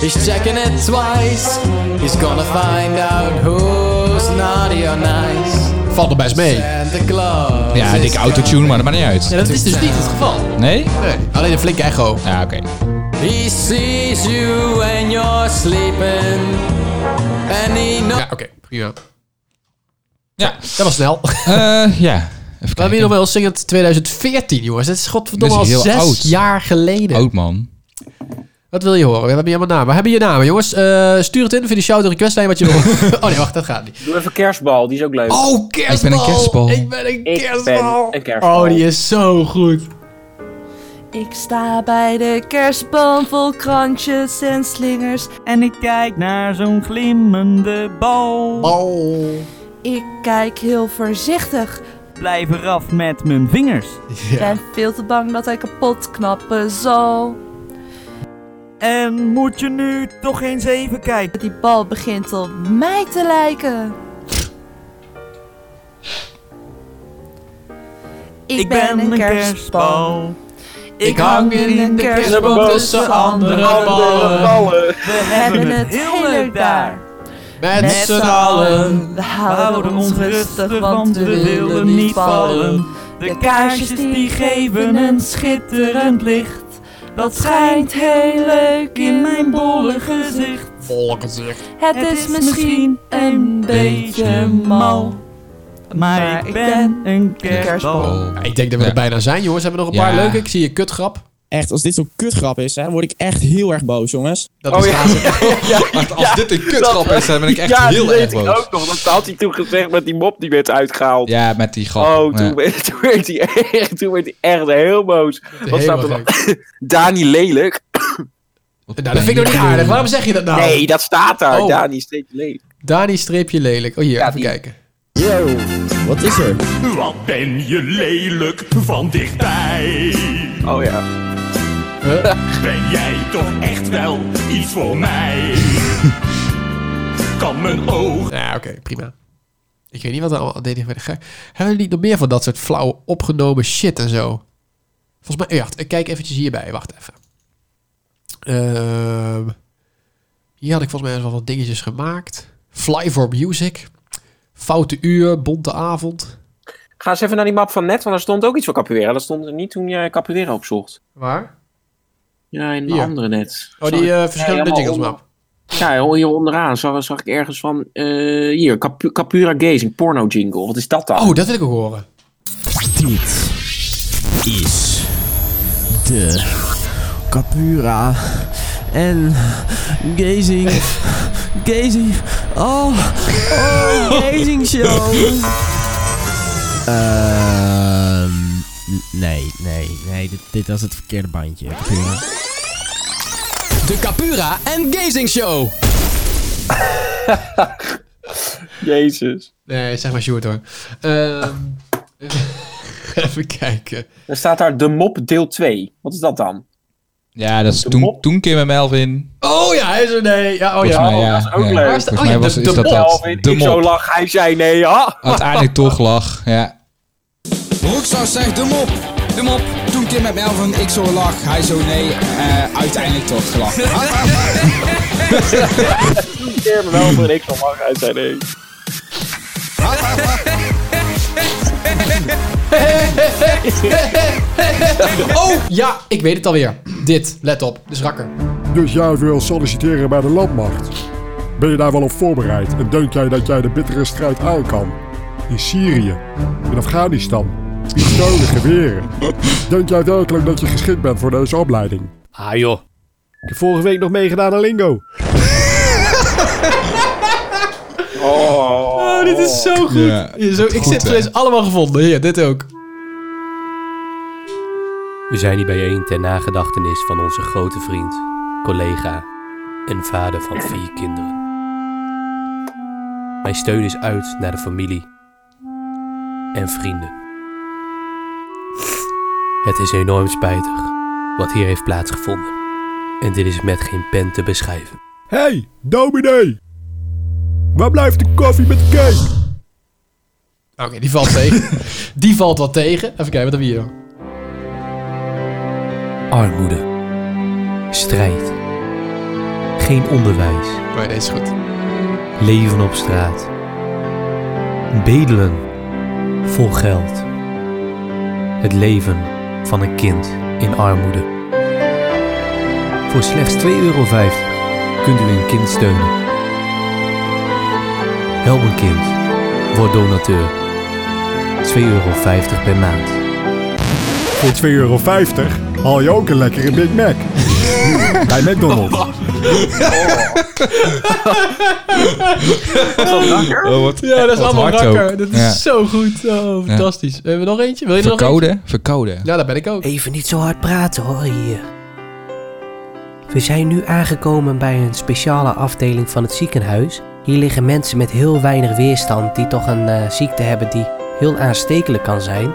[SPEAKER 11] He's checking it twice. He's gonna find out who's naughty or nice.
[SPEAKER 4] Valt er best mee.
[SPEAKER 11] Santa Claus.
[SPEAKER 5] Ja,
[SPEAKER 11] is
[SPEAKER 5] dikke autotune, maar dat maakt niet uit.
[SPEAKER 4] Ja, dat is dus niet het geval.
[SPEAKER 5] Nee?
[SPEAKER 4] Nee, alleen een flinke echo.
[SPEAKER 5] Ja, oké.
[SPEAKER 11] He sees you when you're sleeping. And he knows.
[SPEAKER 4] Ja, oké, prima.
[SPEAKER 5] Ja,
[SPEAKER 4] dat was snel.
[SPEAKER 5] ja. We
[SPEAKER 4] hebben hier nog wel zingend 2014, jongens. Dat is godverdomme
[SPEAKER 5] Dat is
[SPEAKER 4] al
[SPEAKER 5] heel
[SPEAKER 4] zes
[SPEAKER 5] oud.
[SPEAKER 4] jaar geleden.
[SPEAKER 5] Oud man.
[SPEAKER 4] Wat wil je horen? We hebben je allemaal namen. We hebben je namen, jongens. Eh, stuur het in via de shout requestlijn wat je wil. oh nee, wacht, dat gaat niet.
[SPEAKER 7] Doe even kerstbal, die is ook leuk.
[SPEAKER 4] Oh, kerstbal! Ik ben een kerstbal. Ik ben een
[SPEAKER 7] kerstbal. een kerstbal.
[SPEAKER 4] Oh, die is zo goed.
[SPEAKER 12] Ik sta bij de kerstboom vol krantjes en slingers en ik kijk naar zo'n glimmende bal. Ik kijk heel voorzichtig.
[SPEAKER 28] Blijf eraf met mijn vingers.
[SPEAKER 12] Ben veel te bang dat hij kapot knappen zal. En moet je nu toch eens even kijken? Die bal begint op mij te lijken. Ik, ben, een kerstbal.
[SPEAKER 11] Ik hang in een kerstboom tussen andere ballen.
[SPEAKER 12] We hebben het heel leuk daar.
[SPEAKER 11] Met z'n allen.
[SPEAKER 12] We houden ons rustig, want we willen niet vallen. De kaarsjes die geven een schitterend licht. Dat schijnt heel leuk in mijn bolle gezicht.
[SPEAKER 4] Volle gezicht.
[SPEAKER 12] Het is misschien een beetje mal. Maar ik ben een
[SPEAKER 5] Oh.
[SPEAKER 12] kerstbal.
[SPEAKER 4] Ja, ik denk dat we er bijna zijn, jongens. Hebben we nog een paar
[SPEAKER 21] Ja.
[SPEAKER 4] leuke? Ik zie je kutgrap.
[SPEAKER 21] Echt, als dit zo'n kutgrap is, hè, dan word ik echt heel erg boos, jongens.
[SPEAKER 4] Dat is Oh, ja. laatste.
[SPEAKER 5] Als dit een kutgrap is, dan ben ik echt
[SPEAKER 7] ja,
[SPEAKER 5] heel
[SPEAKER 7] dat
[SPEAKER 5] erg
[SPEAKER 7] weet ik
[SPEAKER 5] boos.
[SPEAKER 7] ook nog. Dat had hij toen gezegd met die mop die werd uitgehaald.
[SPEAKER 5] Ja, met die grap.
[SPEAKER 7] Oh, toen,
[SPEAKER 5] Ja.
[SPEAKER 7] werd, toen, werd hij echt, toen werd hij echt heel boos. Wat staat er dan? Dani Lelijk.
[SPEAKER 4] Nou, dat vind ik nog niet aardig. Waarom zeg je dat nou?
[SPEAKER 7] Nee, dat staat daar.
[SPEAKER 4] Oh.
[SPEAKER 7] Dani is steeds lelijk.
[SPEAKER 4] Dani streepje lelijk. Oh, hier, even kijken.
[SPEAKER 21] Yo, wat is er?
[SPEAKER 34] Wat ben je lelijk van dichtbij?
[SPEAKER 7] Oh ja.
[SPEAKER 34] Ben jij toch echt wel iets voor mij? kan mijn oog.
[SPEAKER 4] Ja, oké, prima. Ik weet niet wat er allemaal deed. ik weet het gek. Hebben jullie nog meer van dat soort flauwe opgenomen shit en zo? Volgens mij... eh, Wacht, ik kijk eventjes hierbij. Wacht even. Ehm, hier had ik volgens mij wel wat dingetjes gemaakt. Fly for Music. Foute uur, bonte avond.
[SPEAKER 7] Ga eens even naar die map van net, want daar stond ook iets voor Capoeira. Dat stond er niet toen je Capoeira opzocht.
[SPEAKER 4] Waar?
[SPEAKER 7] Ja, in de
[SPEAKER 4] Hier.
[SPEAKER 7] andere net.
[SPEAKER 4] Oh, die eh,
[SPEAKER 7] Zag ik-
[SPEAKER 4] verschillende
[SPEAKER 7] helemaal
[SPEAKER 4] jingles
[SPEAKER 7] onder-
[SPEAKER 4] map.
[SPEAKER 7] Ja, hier onderaan zag, zag ik ergens van... eh, hier, Capu- Capoeira Gazing, porno jingle. Wat is dat dan?
[SPEAKER 4] Oh, dat wil ik ook horen.
[SPEAKER 21] Dit is de Eh, Capura en Gazing. Gazing. Oh, oh, Gazing Show. Ehm, n- nee, nee, nee, dit, dit was het verkeerde bandje.
[SPEAKER 35] De Capura en Gazing Show.
[SPEAKER 7] Jezus.
[SPEAKER 4] Nee, zeg maar Sjoerd hoor. Ehm, even kijken.
[SPEAKER 7] Er staat daar de mop deel 2. Wat is dat dan?
[SPEAKER 5] Ja, dat is toen, toen keer met Melvin.
[SPEAKER 4] Oh ja, hij is er nee. Ja, oh
[SPEAKER 5] Volgens
[SPEAKER 4] ja.
[SPEAKER 5] mij, ja,
[SPEAKER 4] oh, dat is ook
[SPEAKER 5] ja.
[SPEAKER 4] leuk.
[SPEAKER 5] Volgens mij was- is dat dat.
[SPEAKER 7] Weet
[SPEAKER 5] De
[SPEAKER 7] ik zo
[SPEAKER 5] mop.
[SPEAKER 7] lach, hij zei nee, ja.
[SPEAKER 5] Uiteindelijk toch lach. Ja.
[SPEAKER 9] Broeksaus zegt de mop. De mop. Toen Kim met Melvin, ik zo lach, hij zo nee. Eh, uiteindelijk toch gelachen.
[SPEAKER 7] Keer me wel voor ik van lach, hij zei nee.
[SPEAKER 4] Oh ja, ik weet het alweer. Dit, let op, dit is rakker.
[SPEAKER 12] Dus jij wil solliciteren bij de landmacht. Ben je daar wel op voorbereid en denk jij dat jij de bittere strijd aan kan? In Syrië, in Afghanistan, pistolen, geweren. Denk jij werkelijk dat je geschikt bent voor deze opleiding?
[SPEAKER 36] Ah joh, ik heb vorige week nog meegedaan aan Lingo.
[SPEAKER 4] Oh, dit is zo goed.
[SPEAKER 5] Ja,
[SPEAKER 4] Ja, zo,
[SPEAKER 5] wat
[SPEAKER 4] ik
[SPEAKER 5] goed,
[SPEAKER 4] zit
[SPEAKER 5] hè?
[SPEAKER 4] deze allemaal gevonden. Hier, dit ook.
[SPEAKER 19] We zijn hier bijeen ter nagedachtenis van onze grote vriend, collega en vader van vier kinderen. Mijn steun is uit naar de familie en vrienden. Het is enorm spijtig wat hier heeft plaatsgevonden. En dit is met geen pen te beschrijven.
[SPEAKER 12] Hé, hey, dominee! Waar blijft de koffie met cake?
[SPEAKER 4] Oké, die valt tegen. die valt wat tegen. Even kijken, wat hebben we hier? dan?
[SPEAKER 19] Armoede. Strijd. Geen onderwijs.
[SPEAKER 4] Nee, deze is goed.
[SPEAKER 19] Leven op straat. Bedelen. Vol geld. Het leven van een kind in armoede. Voor slechts 2,50 euro kunt u een kind steunen. Help een kind. Word donateur. 2,50 euro per maand.
[SPEAKER 12] Voor 2,50 euro haal je ook een lekkere Big Mac. Bij McDonald's.
[SPEAKER 5] Oh, wat,
[SPEAKER 4] Ja, dat is
[SPEAKER 5] wat
[SPEAKER 4] allemaal
[SPEAKER 5] hard
[SPEAKER 4] rakker.
[SPEAKER 5] ook.
[SPEAKER 4] Dat is
[SPEAKER 5] Ja.
[SPEAKER 4] zo goed.
[SPEAKER 5] Ja.
[SPEAKER 4] Oh, fantastisch. Hebben we nog eentje? Wil je er nog eentje?
[SPEAKER 5] Verkouden? Verkouden.
[SPEAKER 4] Ja, daar ben ik ook.
[SPEAKER 16] eh, Even niet zo hard praten hoor hier. We zijn nu aangekomen bij een speciale afdeling van het ziekenhuis. Hier liggen mensen met heel weinig weerstand die toch een eh, ziekte hebben die heel aanstekelijk kan zijn.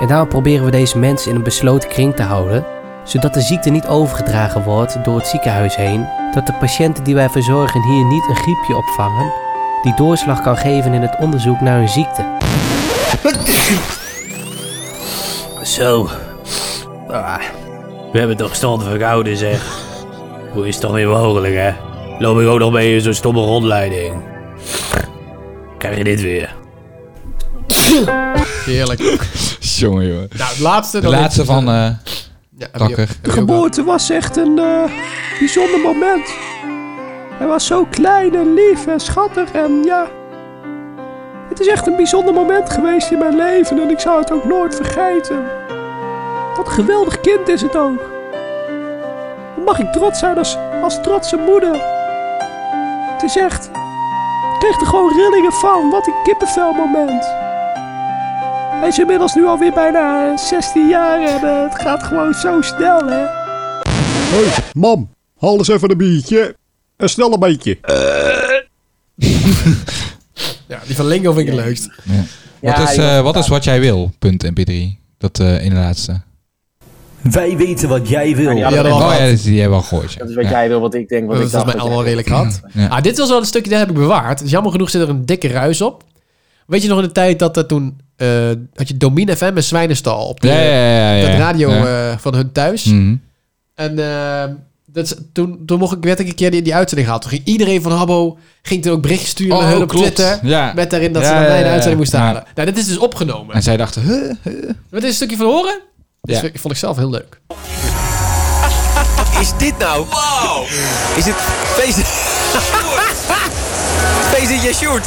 [SPEAKER 16] En daarom proberen we deze mensen in een besloten kring te houden, zodat de ziekte niet overgedragen wordt door het ziekenhuis heen. Dat de patiënten die wij verzorgen hier niet een griepje opvangen, die doorslag kan geven in het onderzoek naar hun ziekte.
[SPEAKER 37] Zo. Ah, we hebben toch stand verkouden, zeg. Hoe is het toch weer mogelijk, hè? Loop ik ook nog mee in zo'n stomme rondleiding. Krijg je dit weer.
[SPEAKER 4] Heerlijk.
[SPEAKER 5] Jongen, jongen.
[SPEAKER 4] Nou, het laatste.
[SPEAKER 5] De
[SPEAKER 4] dan
[SPEAKER 5] laatste
[SPEAKER 4] is-
[SPEAKER 5] van eh Rakker.
[SPEAKER 38] De geboorte was echt een eh, bijzonder moment. Hij was zo klein en lief en schattig en ja. Het is echt een bijzonder moment geweest in mijn leven en ik zou het ook nooit vergeten. Wat een geweldig kind is het ook. Wat mag ik trots zijn als, als trotse moeder? Het is echt. Ik kreeg er gewoon rillingen van. Wat een kippenvel moment. Hij is inmiddels nu alweer bijna eh, 16 jaar en eh, het gaat gewoon zo snel, hè?
[SPEAKER 4] Eh,
[SPEAKER 12] Hé, hey, mam, haal eens even een biertje. En snel een beetje.
[SPEAKER 4] Eh. Ja, die van Lingo vind ik het leukst.
[SPEAKER 5] Wat, is, eh, wat is wat jij wil? Punt mp3. Dat eh in de laatste.
[SPEAKER 37] Wij weten wat jij wil.
[SPEAKER 5] Ja, oh, ja, die, die hebben we al gehoord. ja.
[SPEAKER 39] Dat is wat
[SPEAKER 5] Ja.
[SPEAKER 39] jij wil, wat ik denk. Wat
[SPEAKER 5] Dat
[SPEAKER 39] ik
[SPEAKER 5] is volgens mij
[SPEAKER 39] dacht.
[SPEAKER 5] allemaal redelijk
[SPEAKER 4] gehad.
[SPEAKER 5] Ja.
[SPEAKER 4] Ah, dit was wel een stukje, dat heb ik bewaard. Dus jammer genoeg zit er een dikke ruis op. Weet je nog in de tijd dat er toen... eh, had je Domine FM en Zwijnenstal op de,
[SPEAKER 5] Ja, ja, ja, ja, ja.
[SPEAKER 4] dat radio
[SPEAKER 5] Ja.
[SPEAKER 4] eh, van hun thuis.
[SPEAKER 5] Mhm.
[SPEAKER 4] En eh, dat is- toen, toen mocht ik, werd ik een keer die, die uitzending gehaald. Toen ging iedereen van Habbo ging toen ook berichtjes sturen
[SPEAKER 5] Oh,
[SPEAKER 4] naar hun op
[SPEAKER 5] klopt.
[SPEAKER 4] Twitter.
[SPEAKER 5] Ja.
[SPEAKER 4] Met daarin dat
[SPEAKER 5] Ja,
[SPEAKER 4] ze naar
[SPEAKER 5] ja,
[SPEAKER 4] mij een
[SPEAKER 5] ja,
[SPEAKER 4] uitzending moesten
[SPEAKER 5] ja.
[SPEAKER 4] halen. Nou, dit is dus opgenomen.
[SPEAKER 5] En zij dachten, huh?
[SPEAKER 4] Wil je dit een stukje van horen? Dat
[SPEAKER 5] Ja.
[SPEAKER 4] vind- vond ik zelf heel leuk.
[SPEAKER 11] Wat is dit nou? Wow! Is het Face Face it, je shoot.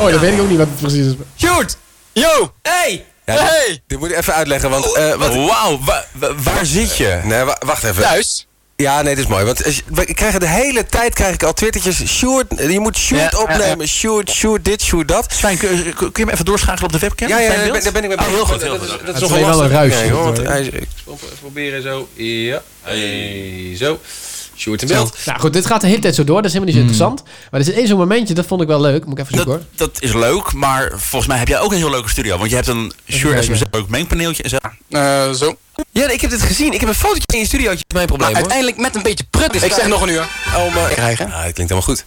[SPEAKER 4] Oh, dat weet ik ook niet wat het precies is.
[SPEAKER 11] Shoot! Yo! Hey!
[SPEAKER 21] Ja, dit- Dit moet ik even uitleggen, want... eh, wat- Eh,
[SPEAKER 11] Wauw, wa- wa- waar zit je?
[SPEAKER 21] Nee, wa- wacht even.
[SPEAKER 11] Thuis?
[SPEAKER 21] Ja, nee, dit is mooi. Want eh, we krijgen de hele tijd krijg ik al twittertjes. Sjoerd, eh, je moet Sjoerd
[SPEAKER 11] Ja,
[SPEAKER 21] opnemen.
[SPEAKER 11] ja,
[SPEAKER 21] Sjoerd, Sjoerd, dit, Sjoerd, dat.
[SPEAKER 11] Stijn, kun, kun- kun je hem even doorschakelen op de webcam?
[SPEAKER 21] Ja,
[SPEAKER 11] Fijn
[SPEAKER 21] ja, daar ben,
[SPEAKER 11] beeld?
[SPEAKER 21] daar ben ik mee
[SPEAKER 11] Oh, heel
[SPEAKER 21] bezig.
[SPEAKER 11] goed, heel
[SPEAKER 21] Dat-
[SPEAKER 11] goed.
[SPEAKER 21] dat- Dat
[SPEAKER 11] Het
[SPEAKER 21] is wel
[SPEAKER 11] alleen wel
[SPEAKER 21] lastig.
[SPEAKER 11] een ruis,
[SPEAKER 21] Nee,
[SPEAKER 11] dat
[SPEAKER 21] hoor, want
[SPEAKER 11] hoor.
[SPEAKER 21] hij is- ik pro- proberen zo. Ja. Hey, zo. Sjoerd in beeld.
[SPEAKER 4] Nou goed, dit gaat de hele tijd zo door. Dat is helemaal niet zo
[SPEAKER 5] Mhm.
[SPEAKER 4] interessant. Maar er zit één zo'n momentje, dat vond ik wel leuk. Moet ik even zoeken hoor.
[SPEAKER 11] Dat is leuk, maar volgens mij heb jij ook een heel leuke studio. Want je hebt een Shure
[SPEAKER 4] kijken.
[SPEAKER 11] SMZ ook mengpaneeltje en zo.
[SPEAKER 21] Eh,
[SPEAKER 11] zo. Ja, ik heb dit gezien. Ik heb een fotootje in je studio. Dat is mijn probleem hoor.
[SPEAKER 40] uiteindelijk met een beetje prut is
[SPEAKER 11] Ik zeg nog een uur. Oh, maar...
[SPEAKER 21] Nou, Krijgen? Nou, dat klinkt helemaal goed.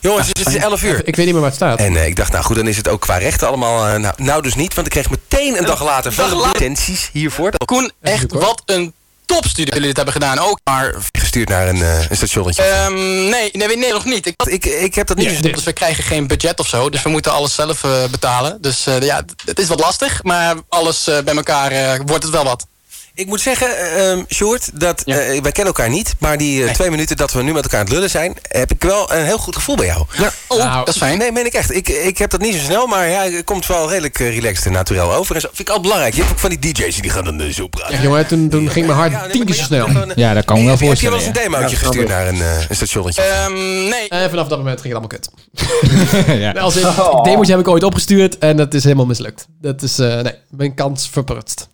[SPEAKER 21] Jongens, het is 11 uur.
[SPEAKER 4] Ik weet niet meer waar het staat.
[SPEAKER 21] En eh, ik dacht, nou goed, dan is het ook qua rechten allemaal... eh, nou, nou dus niet, want ik kreeg meteen een dag later van
[SPEAKER 40] dag
[SPEAKER 21] de
[SPEAKER 40] later.
[SPEAKER 21] licenties hiervoor. Dat
[SPEAKER 40] Koen, echt wat een topstudie dat jullie dit hebben gedaan. Ook maar...
[SPEAKER 21] gestuurd naar een, eh, een stationnetje.
[SPEAKER 40] Ehm, nee, nee, nee, nog niet. Ik, ik, ik heb dat niet. gezien. dus we krijgen geen budget of zo. Dus we moeten alles zelf eh, betalen. Dus eh, ja, het is wat lastig. Maar alles eh, bij elkaar eh, wordt het wel wat.
[SPEAKER 21] Ik moet zeggen, ehm Sjoerd, dat, eh, wij kennen elkaar niet. Maar die eh, twee minuten dat we nu met elkaar aan het lullen zijn... heb ik wel een heel goed gevoel bij jou. Ja. Oh,
[SPEAKER 11] Nou,
[SPEAKER 4] Nou,
[SPEAKER 21] dat is fijn. Nee, meen ik echt. Ik, ik heb dat niet zo snel, maar ja, het komt wel redelijk eh, relaxed en naturel over. En zo. Vind ik al belangrijk. Je hebt ook van die DJ's die gaan dan eh, zo praten.
[SPEAKER 4] Ja, jongen, toen, toen ging mijn hart tien keer zo snel.
[SPEAKER 5] Ja, dat kan ik me wel
[SPEAKER 21] heb, je- heb je
[SPEAKER 5] voorstellen.
[SPEAKER 21] wel eens een
[SPEAKER 5] ja.
[SPEAKER 21] demootje
[SPEAKER 4] Ja,
[SPEAKER 21] gestuurd naar een, eh, een stationnetje?
[SPEAKER 40] ehm,
[SPEAKER 4] nee.
[SPEAKER 11] Eh,
[SPEAKER 4] En vanaf dat moment ging het allemaal kut.
[SPEAKER 5] Ja.
[SPEAKER 4] Als in,
[SPEAKER 11] Oh.
[SPEAKER 4] het demootje heb ik ooit opgestuurd en dat is helemaal mislukt. Dat is, eh, nee, mijn kans verprutst.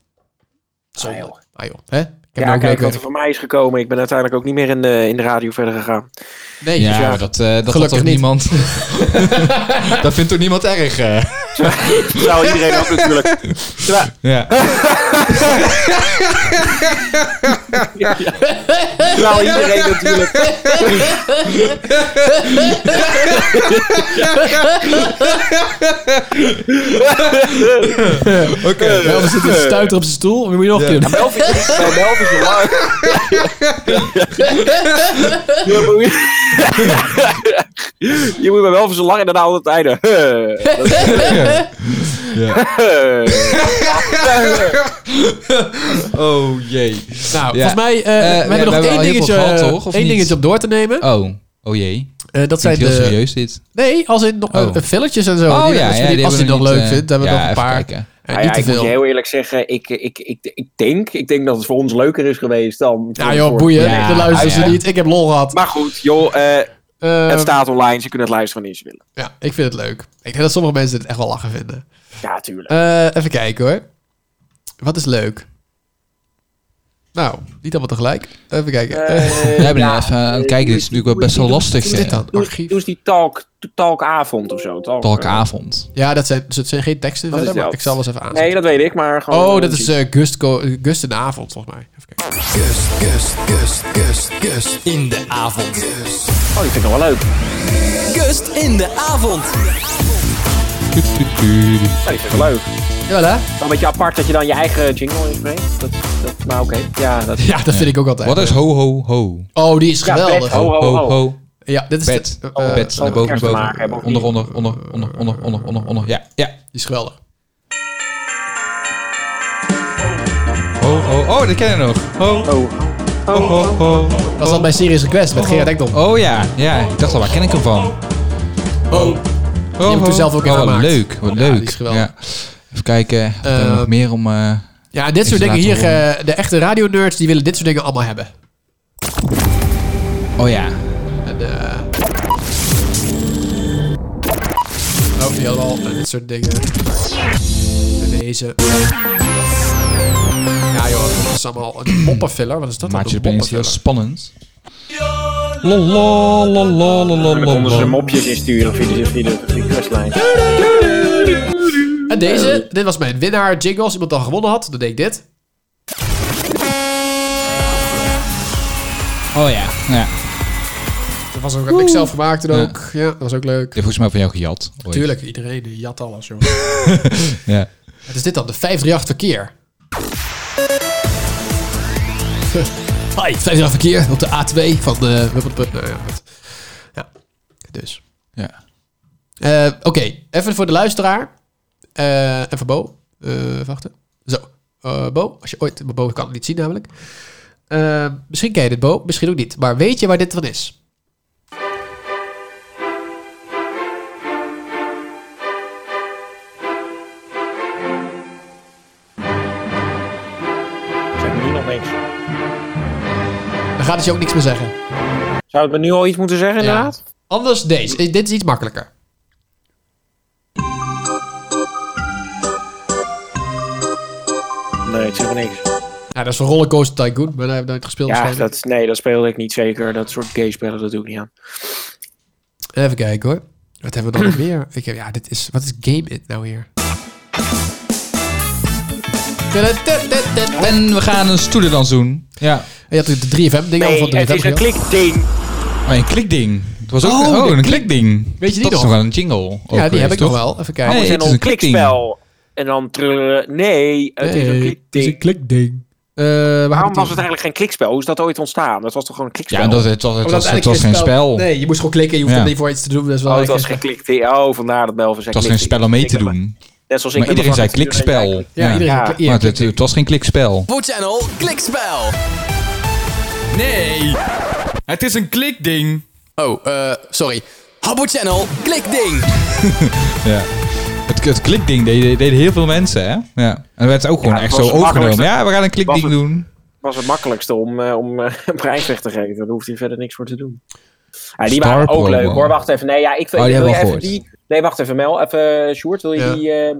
[SPEAKER 4] Zonde. Ah joh. Hè? Ik heb
[SPEAKER 7] ja,
[SPEAKER 4] nou ook
[SPEAKER 7] kijk
[SPEAKER 4] leuk
[SPEAKER 7] wat er
[SPEAKER 4] werk.
[SPEAKER 7] voor mij is gekomen. Ik ben uiteindelijk ook niet meer in de, in de radio verder gegaan.
[SPEAKER 4] Nee,
[SPEAKER 5] Ja, maar dat, eh, dat had
[SPEAKER 7] Gelukkig
[SPEAKER 5] toch
[SPEAKER 7] niet.
[SPEAKER 5] niemand. dat vindt toch niemand erg? eh?
[SPEAKER 7] Zou iedereen ook natuurlijk. Ja.
[SPEAKER 5] Ja.
[SPEAKER 7] Terwijl iedereen natuurlijk.
[SPEAKER 5] Oké.
[SPEAKER 4] Melvin zit te stuiter op zijn stoel. Wat moet je nog doen?
[SPEAKER 7] Melvin is Je moet- Je moet me wel voor zo lang en daarna al het einde. Dat is-
[SPEAKER 5] Oh jee.
[SPEAKER 4] Nou, volgens mij, eh, we hebben nog één dingetje, één dingetje op door te nemen.
[SPEAKER 5] Oh, oh jee.
[SPEAKER 4] Eh, dat zijn
[SPEAKER 5] Klinkt heel
[SPEAKER 4] de-
[SPEAKER 5] serieus dit.
[SPEAKER 4] Nee, als in nog eh, filletjes en zo.
[SPEAKER 5] Oh,
[SPEAKER 4] Die-
[SPEAKER 5] ja,
[SPEAKER 4] als je
[SPEAKER 5] ja,
[SPEAKER 4] die,
[SPEAKER 5] die
[SPEAKER 4] als je
[SPEAKER 5] hebben
[SPEAKER 4] nog
[SPEAKER 5] we nog
[SPEAKER 4] leuk
[SPEAKER 5] niet, eh,
[SPEAKER 4] vindt, hebben we
[SPEAKER 5] ja,
[SPEAKER 4] nog
[SPEAKER 5] even
[SPEAKER 4] een paar.
[SPEAKER 5] kijken.
[SPEAKER 4] Eh,
[SPEAKER 7] Nou ja,
[SPEAKER 4] niet te
[SPEAKER 7] ik moet je
[SPEAKER 4] veel.
[SPEAKER 7] heel eerlijk zeggen, ik, ik, ik, ik denk, ik denk dat het voor ons leuker is geweest dan...
[SPEAKER 4] Ja joh, boeien. De luisteren ze niet. Ik heb lol gehad.
[SPEAKER 7] Maar goed, joh, eh, het staat online. Ze kunnen het luisteren wanneer ze willen.
[SPEAKER 4] Ja, ik vind het leuk. Ik denk dat sommige mensen het echt wel lachen vinden.
[SPEAKER 7] Ja, tuurlijk.
[SPEAKER 4] Eh, even kijken hoor. Wat is leuk? Nou, niet allemaal tegelijk. Even kijken.
[SPEAKER 7] Eh,
[SPEAKER 5] Jij bent even aan het kijken. Dit is natuurlijk wel best wel lastig.
[SPEAKER 4] Wat is dit
[SPEAKER 5] eh,
[SPEAKER 4] dan?
[SPEAKER 7] Doe, doe eens die talk, talkavond of zo. Talk,
[SPEAKER 5] Talkavond.
[SPEAKER 4] Ja, dat zijn, dat zijn geen teksten
[SPEAKER 7] Dat is
[SPEAKER 4] verder, maar
[SPEAKER 7] wel.
[SPEAKER 4] ik zal wel eens even aan.
[SPEAKER 7] eh, Nee, dat weet ik, maar gewoon...
[SPEAKER 4] Oh, dat is eh, Gust, Co- Gust in de avond, volgens mij. Even kijken.
[SPEAKER 10] Kust, kust, kust, kust, kust in de avond.
[SPEAKER 7] Oh, die vind ik nog wel leuk.
[SPEAKER 10] Kust in de avond.
[SPEAKER 7] Ja, die vind ik wel leuk.
[SPEAKER 5] eh,
[SPEAKER 4] Jawel, hè?
[SPEAKER 7] Wel een beetje apart dat je dan je eigen jingle inspreekt. Dat, dat, maar oké, ja. Dat,
[SPEAKER 4] Ja, dat vind ik ook altijd.
[SPEAKER 5] Wat is ho ho ho?
[SPEAKER 4] Oh, die is
[SPEAKER 7] Ja, bed.
[SPEAKER 4] geweldig.
[SPEAKER 7] Ho, ho, ho.
[SPEAKER 4] Ja, dit is
[SPEAKER 5] Bed.
[SPEAKER 4] de- eh,
[SPEAKER 5] Bed.
[SPEAKER 4] eh,
[SPEAKER 5] Naar boven, naar
[SPEAKER 4] kerst maken
[SPEAKER 5] boven.
[SPEAKER 4] hebben we
[SPEAKER 5] Onder, onder, onder, onder, onder, onder, onder, onder. Ja, ja. Die
[SPEAKER 4] is geweldig.
[SPEAKER 5] Ho ho. Oh, dat kennen we nog. Ho.
[SPEAKER 7] Ho.
[SPEAKER 5] Ho ho ho.
[SPEAKER 4] Dat zat bij Serious Request met Gerard Ekdom.
[SPEAKER 5] Oh ja, ja. Ik dacht al, waar ken ik hem van?
[SPEAKER 4] Oh. Die heb ik
[SPEAKER 5] Oh,
[SPEAKER 4] toen zelf ook in
[SPEAKER 5] oh, wat
[SPEAKER 4] gemaakt.
[SPEAKER 5] leuk, wat leuk. Ja. Even kijken, wat hebben we
[SPEAKER 4] Eh,
[SPEAKER 5] nog meer om... eh,
[SPEAKER 4] Ja, dit
[SPEAKER 5] even
[SPEAKER 4] soort
[SPEAKER 5] te
[SPEAKER 4] dingen hier,
[SPEAKER 5] laten horen?
[SPEAKER 4] eh, de echte radionerds, die willen dit soort dingen allemaal hebben. eh,
[SPEAKER 5] Oh ja.
[SPEAKER 4] En, eh, Oh, die hadden al dit soort dingen. En deze. Ja joh, dat is allemaal een poppenfiller. Wat is dat
[SPEAKER 5] Maakt je
[SPEAKER 4] dan?
[SPEAKER 5] het opeens heel spannend.
[SPEAKER 7] En dan konden ze mopjes insturen via de, via de, via de questlijn.
[SPEAKER 4] En deze, dit was mijn winnaar jingle. Als iemand dan gewonnen had, dan deed ik dit.
[SPEAKER 5] Oh ja, ja.
[SPEAKER 4] Dat was ook, heb ik zelf gemaakt en ook. Ja, dat was ook leuk.
[SPEAKER 5] Die heeft volgens mij van jou gejat. ooit.
[SPEAKER 4] Tuurlijk, iedereen die jat alles, joh.
[SPEAKER 5] Ja.
[SPEAKER 4] Wat is dit dan? De 538 verkeer. 538 verkeer op de A2 van de... Nou ja, goed. ja, dus.
[SPEAKER 5] Ja.
[SPEAKER 4] Eh, Oké, even voor de luisteraar. Eh, even Bo. Eh, even wachten. Zo. Eh, Bo, als je ooit... maar Bo kan het niet zien namelijk. Eh, misschien ken je dit, Bo. Misschien ook niet. Maar weet je waar dit van is?
[SPEAKER 7] Zeg me nu nog niks.
[SPEAKER 4] Dan gaat het je ook niks meer zeggen.
[SPEAKER 7] Zou het me nu al iets moeten zeggen, inderdaad?
[SPEAKER 4] Anders deze. Eh, Dit is iets makkelijker.
[SPEAKER 7] Nee, het zegt me niks.
[SPEAKER 4] Ja, dat is van Rollercoaster Tycoon. Maar daar heb ik nooit gespeeld.
[SPEAKER 7] Ja,
[SPEAKER 4] waarschijnlijk.
[SPEAKER 7] dat, nee, dat speelde ik niet zeker. Dat soort gay spellen, dat doe ik niet aan.
[SPEAKER 4] Even kijken hoor. Wat hebben we dan nog meer? Ik heb, ja, dit is, wat is Game It nou hier?
[SPEAKER 5] En we gaan een stoelendans doen. Ja.
[SPEAKER 4] Je had de 3FM ding al van 3FM. gehad.
[SPEAKER 7] klikding.
[SPEAKER 5] Oh, een klikding. Het was ook
[SPEAKER 4] Oh,
[SPEAKER 5] oh,
[SPEAKER 4] een
[SPEAKER 5] een
[SPEAKER 4] klik-
[SPEAKER 5] klikding.
[SPEAKER 4] Weet je
[SPEAKER 5] dat
[SPEAKER 4] die nog?
[SPEAKER 5] is nog wel een jingle. ook
[SPEAKER 4] die heb
[SPEAKER 5] geweest,
[SPEAKER 4] ik nog
[SPEAKER 5] toch?
[SPEAKER 4] wel. Even kijken.
[SPEAKER 5] Nee,
[SPEAKER 7] Anders
[SPEAKER 5] het
[SPEAKER 7] en
[SPEAKER 5] is
[SPEAKER 7] een
[SPEAKER 5] een klikding.
[SPEAKER 7] klikspel. En dan... trrr, Nee, het is een
[SPEAKER 4] Nee, het is
[SPEAKER 7] klikding.
[SPEAKER 4] een klikding. Eh, waar
[SPEAKER 7] Waarom
[SPEAKER 4] hebben
[SPEAKER 7] was
[SPEAKER 4] we
[SPEAKER 7] het eigenlijk geen klikspel? Hoe is dat ooit ontstaan? Dat was toch gewoon een klikspel?
[SPEAKER 5] dus- Ja, dat, het was, het
[SPEAKER 4] Omdat
[SPEAKER 5] was, het
[SPEAKER 4] eigenlijk
[SPEAKER 5] was geen spel.
[SPEAKER 4] Nee, je moest gewoon klikken. Je hoeft
[SPEAKER 5] Ja.
[SPEAKER 4] er niet voor iets te doen. Dat is wel
[SPEAKER 7] Oh, het
[SPEAKER 4] eigenlijk
[SPEAKER 7] was geen klikding. Oh, vandaar dat Melvin zei
[SPEAKER 5] Het was geen
[SPEAKER 7] klikding.
[SPEAKER 5] spel om mee te
[SPEAKER 7] Ik ben-
[SPEAKER 5] doen.
[SPEAKER 7] Net zoals ik
[SPEAKER 5] Maar
[SPEAKER 7] ben
[SPEAKER 5] iedereen zei
[SPEAKER 7] ervan dat
[SPEAKER 5] klikspel.
[SPEAKER 7] iedereen- Ja, iedereen- ja.
[SPEAKER 5] Maar het, het was geen klikspel.
[SPEAKER 33] Voor Channel, klikspel.
[SPEAKER 5] Nee.
[SPEAKER 33] Het is een klikding. Oh, eh, sorry. Habbo Channel, klikding.
[SPEAKER 5] ja. Het, het klikding deden deden heel veel mensen, hè? Ja. En er werd ook gewoon
[SPEAKER 7] Ja, het
[SPEAKER 5] echt
[SPEAKER 7] was
[SPEAKER 5] zo
[SPEAKER 7] het
[SPEAKER 5] overgenomen.
[SPEAKER 7] makkelijkste.
[SPEAKER 5] Ja, we gaan een klikding
[SPEAKER 7] Was het-
[SPEAKER 5] doen.
[SPEAKER 7] was het makkelijkste om, eh, om eh, een prijs weg te geven. Daar hoeft hij verder niks voor te doen. Ja, die
[SPEAKER 5] Star
[SPEAKER 7] waren ook
[SPEAKER 5] promo.
[SPEAKER 7] leuk hoor. Wacht even. Nee, ja, ik,
[SPEAKER 5] Oh, die
[SPEAKER 7] ik
[SPEAKER 5] hebben
[SPEAKER 7] wil
[SPEAKER 5] we
[SPEAKER 7] je
[SPEAKER 5] al
[SPEAKER 7] even
[SPEAKER 5] gehoord.
[SPEAKER 7] die. Nee, wacht even, Mel. Even, eh, Sjoerd, wil je
[SPEAKER 5] Ja.
[SPEAKER 7] die. eh,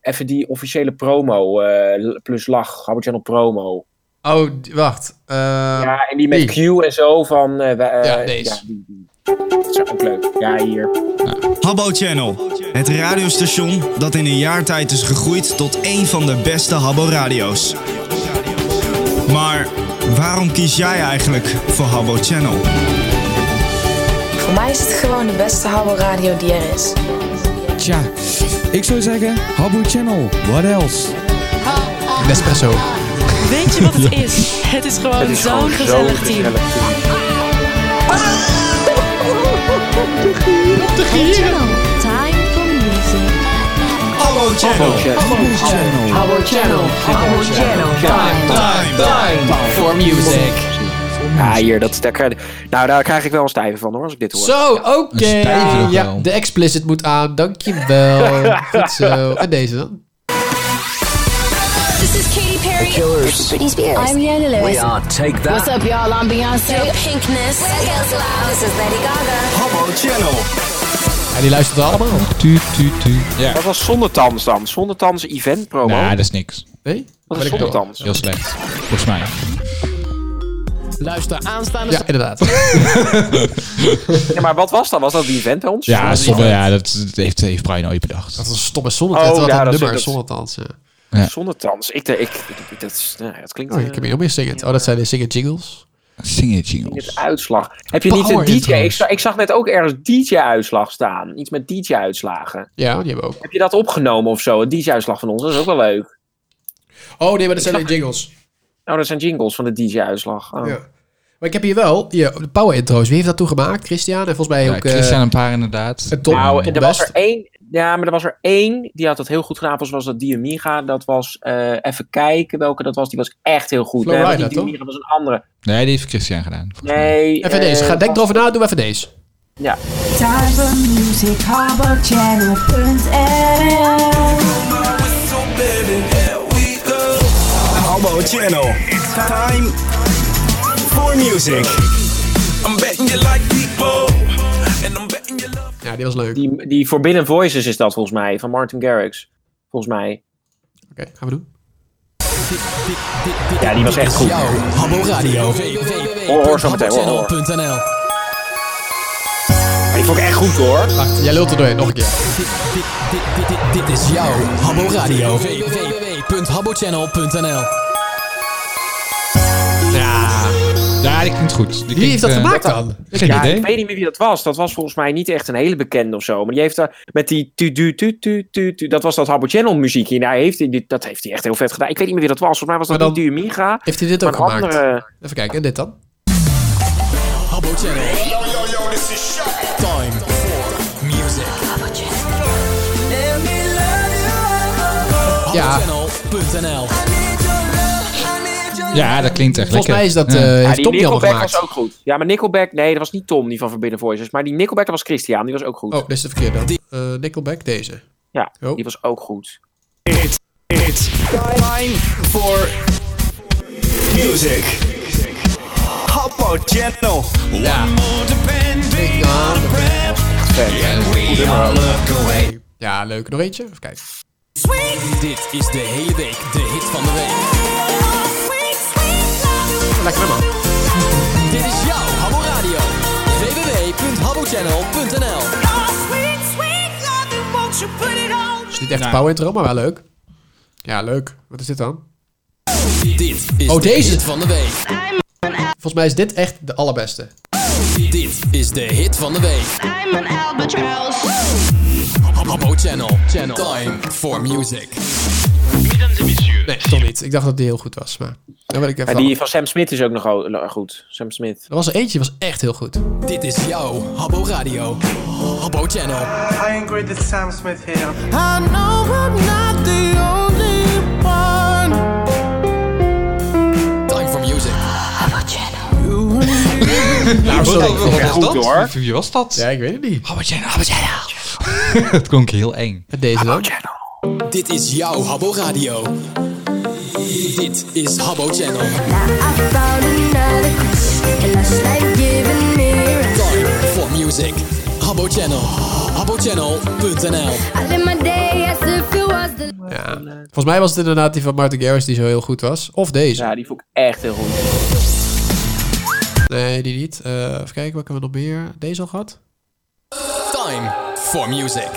[SPEAKER 7] even die officiële promo. eh, plus lach. Habbo Channel promo.
[SPEAKER 4] Oh, d- wacht. Eh,
[SPEAKER 7] Ja, en die met Q en zo van. eh, we- eh,
[SPEAKER 4] Ja, deze.
[SPEAKER 7] die- die. Dat is ook leuk. Ja, hier.
[SPEAKER 1] Habbo Channel, het radiostation dat in een jaar tijd is gegroeid tot een van de beste Habbo-radio's. Maar waarom kies jij eigenlijk voor Habbo Channel?
[SPEAKER 8] Voor mij is het gewoon de beste Habbo Radio die er is.
[SPEAKER 41] Tja, ik zou zeggen, Habbo Channel, what else?
[SPEAKER 4] Nespresso.
[SPEAKER 9] Weet je wat het is? Het is gewoon zo'n gezellig team.
[SPEAKER 12] De Gieren. Time for music.
[SPEAKER 1] Habbo Channel.
[SPEAKER 12] Habbo Channel.
[SPEAKER 1] Habbo Channel. Habbo Channel. Time, time,
[SPEAKER 7] Voor music. Ja, hier, dat, daar, krijg- nou, daar krijg ik wel een stijve van hoor, als ik dit hoor.
[SPEAKER 4] Zo, oké.
[SPEAKER 7] Een stijve ook
[SPEAKER 4] Ja,
[SPEAKER 7] wel.
[SPEAKER 4] de explicit moet aan. Dankjewel. Goed zo. En deze dan?
[SPEAKER 12] This is Katy Perry.
[SPEAKER 8] Killers.
[SPEAKER 12] Britney Spears. I'm Leona
[SPEAKER 8] We
[SPEAKER 12] Lewis.
[SPEAKER 8] are Take That.
[SPEAKER 12] What's up, y'all? I'm Beyonce. Pinkness. This is Lady Gaga.
[SPEAKER 1] Habbo Channel.
[SPEAKER 4] Ja, die luistert allemaal.
[SPEAKER 5] Tu, tu, tu. Ja.
[SPEAKER 7] Dat was zonder tans dan. Zonder tans event promo.
[SPEAKER 5] Nou, dat is niks.
[SPEAKER 4] Nee?
[SPEAKER 7] Dat is zonder tans.
[SPEAKER 5] Heel slecht. Volgens mij.
[SPEAKER 12] Luister aanstaande...
[SPEAKER 4] Ja, inderdaad.
[SPEAKER 7] ja, maar wat was dat? Was dat die event bij ons?
[SPEAKER 5] Ja,
[SPEAKER 7] Was
[SPEAKER 5] stomme,
[SPEAKER 7] event?
[SPEAKER 5] ja dat, dat heeft, heeft Brian ooit bedacht.
[SPEAKER 4] Dat is een stomme zonnet.
[SPEAKER 7] Oh,
[SPEAKER 4] dat
[SPEAKER 7] ja,
[SPEAKER 4] wat
[SPEAKER 7] dat
[SPEAKER 4] een
[SPEAKER 7] is-
[SPEAKER 4] nummer
[SPEAKER 7] dat is-
[SPEAKER 4] zonder tans. Ja.
[SPEAKER 5] Ja.
[SPEAKER 7] Zonder tans. Ik, eh, ik, ik, dat is, nou, ja, het klinkt...
[SPEAKER 4] Oh, ik heb hier nog meer zingend. Oh, dat zijn de zingend jingles.
[SPEAKER 5] Zingend jingles.
[SPEAKER 7] Het uitslag. Heb je niet
[SPEAKER 4] Power
[SPEAKER 7] een DJ?
[SPEAKER 4] intro's.
[SPEAKER 7] Ik, zag- ik zag net ook ergens DJ-uitslag staan. Iets met DJ-uitslagen.
[SPEAKER 4] Ja, die hebben we ook.
[SPEAKER 7] Heb je dat opgenomen of zo? Een DJ-uitslag van ons. Dat is ook wel leuk.
[SPEAKER 4] Oh nee, maar dat zijn de jingles.
[SPEAKER 7] Oh, dat zijn jingles van de DJ-uitslag. Oh.
[SPEAKER 4] Ja. Maar ik heb hier wel hier, de power intro's. Wie heeft dat toen gemaakt? Christian? En volgens mij
[SPEAKER 5] Ja,
[SPEAKER 4] ook... eh,
[SPEAKER 5] Christian een paar inderdaad.
[SPEAKER 4] Het top.
[SPEAKER 7] Nou,
[SPEAKER 4] top
[SPEAKER 7] er was
[SPEAKER 4] best.
[SPEAKER 7] er één. Ja, maar er was er één die had dat heel goed gedaan. Was, was dat Diamiga. Dat was eh, even kijken welke dat was. Die was echt heel goed.
[SPEAKER 4] Flow
[SPEAKER 7] Nee, want
[SPEAKER 4] Rider,
[SPEAKER 7] die Diamiga was een andere.
[SPEAKER 5] Nee, die heeft Christian gedaan.
[SPEAKER 7] Nee.
[SPEAKER 4] Even
[SPEAKER 7] eh,
[SPEAKER 4] deze. Ga, denk
[SPEAKER 7] was-
[SPEAKER 4] erover na. Doe even deze.
[SPEAKER 7] Ja.
[SPEAKER 9] Time for music,
[SPEAKER 1] Habbo Channel. Time for music. I'm betting you like people.
[SPEAKER 4] Ja, die was leuk.
[SPEAKER 7] Die, die Forbidden Voices is dat volgens mij. Van Martin Garrix. Volgens mij.
[SPEAKER 4] Oké, gaan we doen.
[SPEAKER 7] Ja, die was echt goed.
[SPEAKER 11] Jouw Habbo Radio.
[SPEAKER 7] Hoor, hoor zo meteen. Hoor, hoor.
[SPEAKER 11] www.habbochannel.nl
[SPEAKER 7] Die vond ik echt goed hoor.
[SPEAKER 4] Wacht, jij lult er doorheen. Nog een keer.
[SPEAKER 11] Dit is jouw Habbo Radio. www.habbochannel.nl
[SPEAKER 4] Ja. Nou,
[SPEAKER 5] Ja, die klinkt goed. Die
[SPEAKER 4] Wie heeft eh, dat gemaakt dan?
[SPEAKER 5] Geen
[SPEAKER 7] ja,
[SPEAKER 5] idee.
[SPEAKER 7] ik weet niet meer wie dat was. Dat was volgens mij niet echt een hele bekende of zo. Maar die heeft daar met die tu tu tu tu tu tu- Dat was dat Habbo Channel muziekje. Nou, heeft hij, dit- dat heeft hij echt heel vet gedaan. Ik weet niet meer wie dat was. Volgens mij was dat
[SPEAKER 4] Maar
[SPEAKER 7] niet Duomiga.
[SPEAKER 4] Heeft hij dit
[SPEAKER 7] maar een
[SPEAKER 4] ook gemaakt?
[SPEAKER 7] andere-
[SPEAKER 4] Even kijken. En dit dan?
[SPEAKER 11] Habbo Channel. Yo, yo, yo, this is Time for music.
[SPEAKER 4] Ja.
[SPEAKER 11] Habbochannel.nl
[SPEAKER 5] Ja, dat klinkt echt
[SPEAKER 4] Volgens
[SPEAKER 5] lekker.
[SPEAKER 4] mij is dat, eh,
[SPEAKER 5] Ja.
[SPEAKER 4] heeft
[SPEAKER 7] Ja,
[SPEAKER 4] Tom die al
[SPEAKER 7] Nickelback
[SPEAKER 4] gemaakt?
[SPEAKER 7] was ook goed. Ja, maar Nickelback... Nee, dat was niet Tom, die van Forbidden Voices. Maar die Nickelback, dat was Christian. Die was ook goed.
[SPEAKER 4] Oh, dit is de verkeerde. Eh, Nickelback, deze. Oh.
[SPEAKER 7] Ja, die was ook goed.
[SPEAKER 1] It's time for music. Habbo Channel.
[SPEAKER 4] Ja. Ja, leuk. Nog eentje? Even kijken.
[SPEAKER 11] Dit is de hele week de hit van de week.
[SPEAKER 4] Lekker man.
[SPEAKER 11] Dit is jouw Habbo Radio. www.habbochannel.nl
[SPEAKER 4] Is niet echt een power intro, maar wel leuk. Ja, leuk. Wat is dit dan?
[SPEAKER 11] Dit is
[SPEAKER 4] Oh,
[SPEAKER 11] de
[SPEAKER 4] deze.
[SPEAKER 11] hit van de week.
[SPEAKER 4] Volgens mij is dit echt de allerbeste.
[SPEAKER 11] Dit is de hit van de week. I'm an albatross. Habbo Channel. Channel. Time for music.
[SPEAKER 4] Nee, toch niet. Ik dacht dat die heel goed was, maar... Dan wil ik even
[SPEAKER 7] En die van Sam Smith is ook nog o- goed. Sam Smith.
[SPEAKER 4] Er was er eentje, die was echt heel goed.
[SPEAKER 11] Dit is jouw Habbo Radio. Habbo Channel.
[SPEAKER 3] I agree that Sam Smith here.
[SPEAKER 13] I know I'm not the only one.
[SPEAKER 11] Time for music.
[SPEAKER 13] Habbo Channel.
[SPEAKER 5] Nou,
[SPEAKER 4] sorry.
[SPEAKER 5] wat- wat
[SPEAKER 4] Ja,
[SPEAKER 5] was
[SPEAKER 4] goed,
[SPEAKER 5] dat?
[SPEAKER 4] hoor.
[SPEAKER 5] Wie- Wie was dat? Ja,
[SPEAKER 4] ik weet het niet.
[SPEAKER 5] Habbo Channel, Habbo Channel. Het klonk heel eng.
[SPEAKER 4] Deze dan?
[SPEAKER 11] Dit is jouw Habbo Radio. Dit is Habbo Channel. Time for music. Habbo Channel. HabboChannel.nl
[SPEAKER 4] Ja. Volgens mij was het inderdaad die van Martin Garrix die zo heel goed was. Of deze.
[SPEAKER 7] Ja, die vond ik echt heel goed.
[SPEAKER 4] Nee, die niet. Eh, even kijken, wat hebben we nog meer? Deze al gehad?
[SPEAKER 11] Time for music.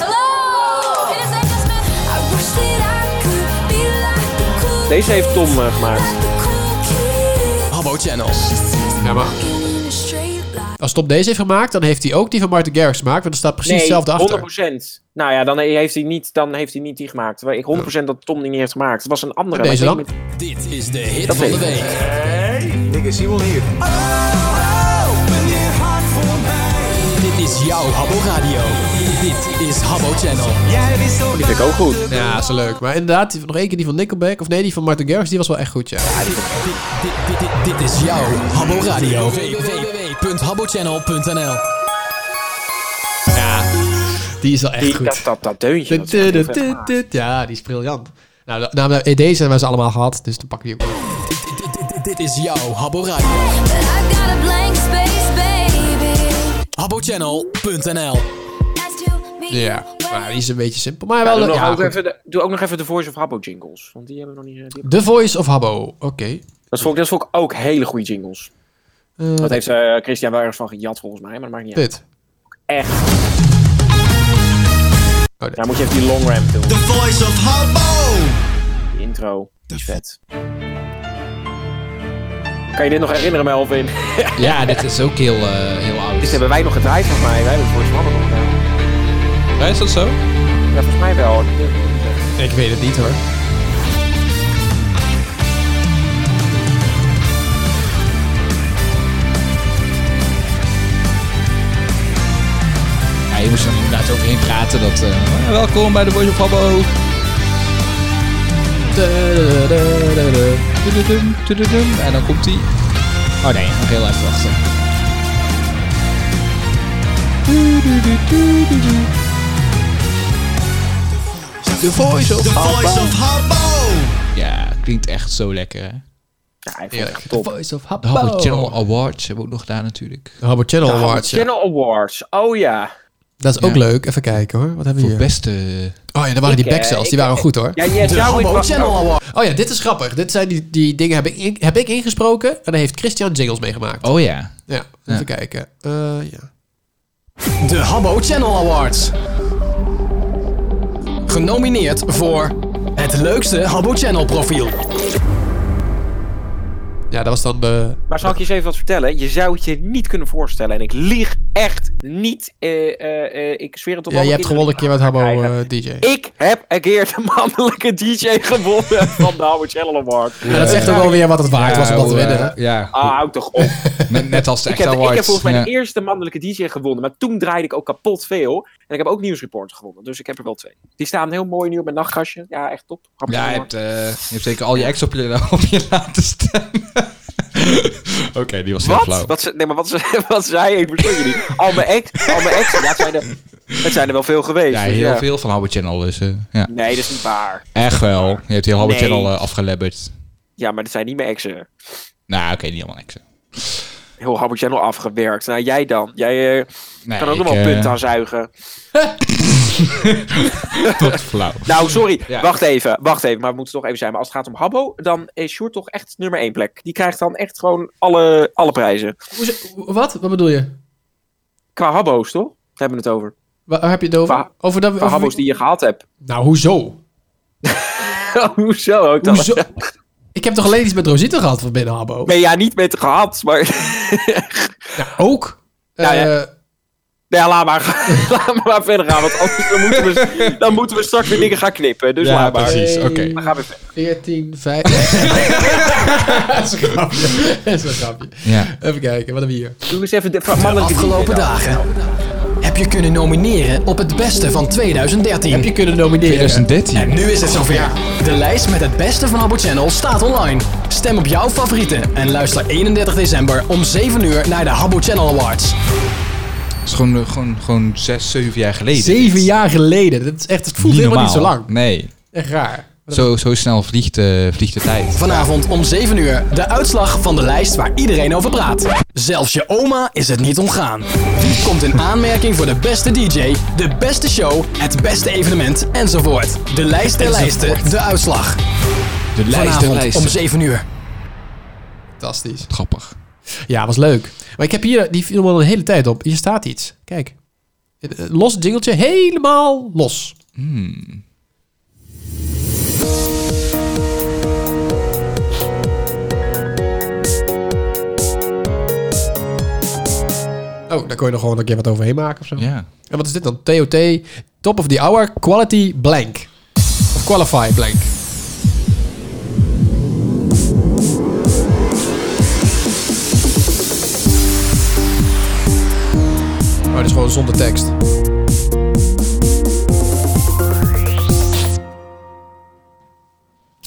[SPEAKER 7] Deze heeft Tom eh, gemaakt.
[SPEAKER 11] Habbo Channel.
[SPEAKER 4] Ja, maar als Top deze heeft gemaakt, dan heeft hij ook die van Martin Garrix gemaakt. Want er staat precies hetzelfde achter.
[SPEAKER 7] 100%. Nou ja, dan heeft, hij niet, dan heeft hij niet die gemaakt. Terwijl Ik 100% dat Tom die niet heeft gemaakt. Het was een andere.
[SPEAKER 4] Deze
[SPEAKER 7] maar ik
[SPEAKER 4] dan?
[SPEAKER 7] weet niet-
[SPEAKER 11] Dit is de hit
[SPEAKER 7] Dat Oh,
[SPEAKER 11] van
[SPEAKER 7] weet
[SPEAKER 11] de
[SPEAKER 7] ik.
[SPEAKER 11] week.
[SPEAKER 3] Hey, dikke Simon hier.
[SPEAKER 7] oh,
[SPEAKER 11] Dit is jouw Habbo Radio. Dit is Habbo Channel.
[SPEAKER 7] Die vind ik ook goed.
[SPEAKER 4] Ja, is wel leuk. Maar inderdaad, die- nog één keer die van Nickelback. Of nee, die van Martin Garrix, die was wel echt goed, ja.
[SPEAKER 11] Dit is jouw Habbo Radio. www.habbochannel.nl
[SPEAKER 4] Ja, die is wel echt goed.
[SPEAKER 7] Dat, dat, dat deuntje. dat is echt heel vet gemaakt.
[SPEAKER 4] Ja, die is briljant. Nou, de- nou, eh, deze hebben we ze allemaal gehad, dus dan pakken we die ook.
[SPEAKER 11] Dit is jouw Habbo Radio. HabboChannel.nl
[SPEAKER 4] Ja, maar die is een beetje simpel. Maar
[SPEAKER 7] Ja,
[SPEAKER 4] wel
[SPEAKER 7] doe,
[SPEAKER 4] leuk.
[SPEAKER 7] nog
[SPEAKER 4] Ja,
[SPEAKER 7] ook
[SPEAKER 4] goed.
[SPEAKER 7] even de, doe ook nog even de Voice of Habbo jingles. Want die hebben we nog niet. eh, die hebben
[SPEAKER 4] The Voice of Habbo. Oké.
[SPEAKER 7] we- Dat vond, ik, dat vond ik ook hele goede jingles.
[SPEAKER 4] Eh,
[SPEAKER 7] dat heeft eh, Christian wel ergens van gejat volgens mij, maar dat maakt niet uit.
[SPEAKER 4] Dit. Oh,
[SPEAKER 7] Echt. ja, moet je even die long ramp doen.
[SPEAKER 1] The Voice of Habbo!
[SPEAKER 7] Die intro. Die is vet. Kan je dit nog herinneren, Melvin?
[SPEAKER 5] Ja, dit is ook heel, eh, heel oud.
[SPEAKER 7] dit hebben wij nog gedraaid volgens mij. Wij hebben het Voice of Habbo nog gedaan.
[SPEAKER 5] Ja, is dat zo?
[SPEAKER 7] Ja, volgens mij wel.
[SPEAKER 4] Ik weet het niet hoor.
[SPEAKER 5] Ja, je moest er inderdaad overheen praten. Dat, eh, welkom bij de Voice of Habbo. Tududum, tududum. En dan komt hij. Oh nee, nog heel even wachten.
[SPEAKER 4] The Voice of
[SPEAKER 1] The Voice of Habbo!
[SPEAKER 5] Ja, klinkt echt zo lekker. Hè?
[SPEAKER 4] Heerlijk. The Voice of
[SPEAKER 5] De Habbo
[SPEAKER 4] Habbo.
[SPEAKER 5] Channel Awards hebben we ook nog daar natuurlijk.
[SPEAKER 4] De Habbo Channel Awards. ja.
[SPEAKER 7] Channel Awards. Oh ja.
[SPEAKER 4] Dat is ook
[SPEAKER 5] Ja.
[SPEAKER 4] leuk. Even kijken hoor. Wat hebben we
[SPEAKER 5] Voor
[SPEAKER 4] hier?
[SPEAKER 5] beste...
[SPEAKER 4] Oh ja, daar waren
[SPEAKER 7] Ik,
[SPEAKER 4] die back
[SPEAKER 7] eh,
[SPEAKER 4] cells. Die
[SPEAKER 7] ik-
[SPEAKER 4] waren goed hoor.
[SPEAKER 7] Ja, jij
[SPEAKER 4] De
[SPEAKER 7] zou-
[SPEAKER 4] Habbo
[SPEAKER 7] ik-
[SPEAKER 4] Channel Award. Oh ja, dit is grappig. Dit zijn die, die dingen heb ik, in- heb ik ingesproken. En daar heeft Christian Jingles meegemaakt.
[SPEAKER 5] Oh ja.
[SPEAKER 4] Ja, even kijken. Eh, ja.
[SPEAKER 11] De Habbo Channel Awards. Genomineerd voor het leukste Habbo Channel profiel.
[SPEAKER 4] ja, dat was dan de...
[SPEAKER 7] Maar zal ik je eens even wat vertellen? Je zou het je niet kunnen voorstellen. En ik lieg echt niet. eh, eh, eh, ik zweer het op
[SPEAKER 4] Ja,
[SPEAKER 7] alle
[SPEAKER 4] je hebt
[SPEAKER 7] kinderen
[SPEAKER 4] gewonnen een keer met Habbo eh, DJ.
[SPEAKER 7] Ik heb een keer de mannelijke DJ gewonnen van de Howard Channel Award.
[SPEAKER 4] Ja, dat zegt ook wel weer wat het waard was om dat te
[SPEAKER 5] hoe,
[SPEAKER 4] winnen.
[SPEAKER 5] eh,
[SPEAKER 4] hè?
[SPEAKER 5] Ja,
[SPEAKER 7] Ah, houd toch op.
[SPEAKER 5] net, net als de
[SPEAKER 7] Ik
[SPEAKER 5] echte
[SPEAKER 7] heb, ik
[SPEAKER 5] awards.
[SPEAKER 7] heb volgens mij
[SPEAKER 5] ja.
[SPEAKER 7] de eerste mannelijke DJ gewonnen. Maar toen draaide ik ook kapot veel. En ik heb ook nieuwsreport gewonnen. Dus ik heb er wel twee. Die staan heel mooi nu op mijn nachtgastje. Ja, echt top. Howard
[SPEAKER 5] Ja, je
[SPEAKER 7] Channel
[SPEAKER 5] hebt, eh, je hebt zeker al je ex op je, op je laten stemmen. Oké, die was heel
[SPEAKER 7] Award.
[SPEAKER 5] flauw.
[SPEAKER 7] Wat? wat? ze- Nee, maar wat, ze- wat zei ik? Vertel jullie. Al mijn ex. Al mijn ex. Ja, het zijn er, het zijn er wel veel geweest.
[SPEAKER 5] Ja,
[SPEAKER 7] dus
[SPEAKER 5] heel
[SPEAKER 7] ja.
[SPEAKER 5] veel van Habbo Channel dus. eh, ja.
[SPEAKER 7] Nee, dat is niet waar.
[SPEAKER 5] Echt wel. Je hebt heel Habbo
[SPEAKER 7] Nee.
[SPEAKER 5] Channel eh, afgelebberd.
[SPEAKER 7] Ja, maar dat zijn niet mijn exen.
[SPEAKER 5] Nou, oké, niet helemaal niks.
[SPEAKER 7] Heel Howard Channel afgewerkt. Nou, jij dan. Jij eh,
[SPEAKER 5] Nee,
[SPEAKER 7] kan ook
[SPEAKER 5] ik,
[SPEAKER 7] nog wel
[SPEAKER 5] eh,
[SPEAKER 7] punten aan zuigen.
[SPEAKER 5] Tot flauw.
[SPEAKER 7] Nou, sorry.
[SPEAKER 5] Ja.
[SPEAKER 7] Wacht even. Wacht even. Maar we moeten toch even zijn. Maar als het gaat om Habbo, dan is Sjoerd toch echt nummer één plek. Die krijgt dan echt gewoon alle, alle prijzen.
[SPEAKER 4] Hoezo- Wat? Wat bedoel je?
[SPEAKER 7] Qua Habbo's, toch? Daar hebben we het over.
[SPEAKER 4] Waar heb je het over?
[SPEAKER 7] Qua-
[SPEAKER 4] Over dat...
[SPEAKER 7] Qua
[SPEAKER 4] Over
[SPEAKER 7] Habbo's die je gehaald hebt.
[SPEAKER 4] Nou, hoezo?
[SPEAKER 7] Hoezo? Oh, Ik dacht-
[SPEAKER 4] Hoezo? Ik heb toch alleen iets met Rosita gehad van binnen Habbo?
[SPEAKER 7] Nee, ja, niet met gehad, maar...
[SPEAKER 4] Ja, ook.
[SPEAKER 7] Nou ja.
[SPEAKER 4] Eh,
[SPEAKER 7] Nee, laat maar, laat maar, maar verder gaan, want anders dan moeten, we, dan moeten we straks weer dingen gaan knippen. Dus
[SPEAKER 5] Ja,
[SPEAKER 7] laat maar.
[SPEAKER 5] precies. Oké.
[SPEAKER 7] Dan gaan we verder.
[SPEAKER 4] 14, 5... dat is een grapje. Dat is een grapje.
[SPEAKER 5] Ja.
[SPEAKER 4] Even kijken, wat hebben we hier?
[SPEAKER 7] Doe eens even de van
[SPEAKER 11] De
[SPEAKER 7] mannelijke
[SPEAKER 11] afgelopen
[SPEAKER 7] DJ dan.
[SPEAKER 11] dagen. heb je kunnen nomineren op het beste van 2013. Heb je kunnen nomineren.
[SPEAKER 5] 2013.
[SPEAKER 11] En nu is het zover. De lijst met het beste van Habbo Channel staat online. Stem op jouw favorieten en luister 31 december om 7 uur naar de Habbo Channel Awards.
[SPEAKER 5] Dat is gewoon, eh, gewoon, gewoon zes, zeven jaar geleden.
[SPEAKER 4] Zeven jaar geleden. Dat is echt, het voelt helemaal niet zo
[SPEAKER 5] normaal.
[SPEAKER 4] lang.
[SPEAKER 5] Nee.
[SPEAKER 4] Echt raar.
[SPEAKER 5] Zo, zo snel vliegt, eh, vliegt de tijd.
[SPEAKER 11] Vanavond om 7 uur de uitslag van de lijst waar iedereen over praat. Zelfs je oma is het niet ontgaan. Wie komt in aanmerking voor de beste DJ, de beste show, het beste evenement enzovoort? De lijst der
[SPEAKER 4] Enzovoort.
[SPEAKER 11] lijsten, de uitslag.
[SPEAKER 5] De lijst der
[SPEAKER 11] Vanavond
[SPEAKER 5] lijsten.
[SPEAKER 11] om 7 uur.
[SPEAKER 4] Fantastisch.
[SPEAKER 5] Grappig.
[SPEAKER 4] Ja, was leuk. Maar ik heb hier, die viel me al een hele tijd op. Hier staat iets. Kijk. Eh, eh, Los jingletje, helemaal los.
[SPEAKER 8] Hmm.
[SPEAKER 4] Oh, daar kon je nog gewoon een keer wat overheen maken of zo.
[SPEAKER 5] Ja.
[SPEAKER 4] En wat is dit dan? TOT, top of the hour, quality blank. Of qualify blank. Maar dat Oh, is gewoon zonder tekst.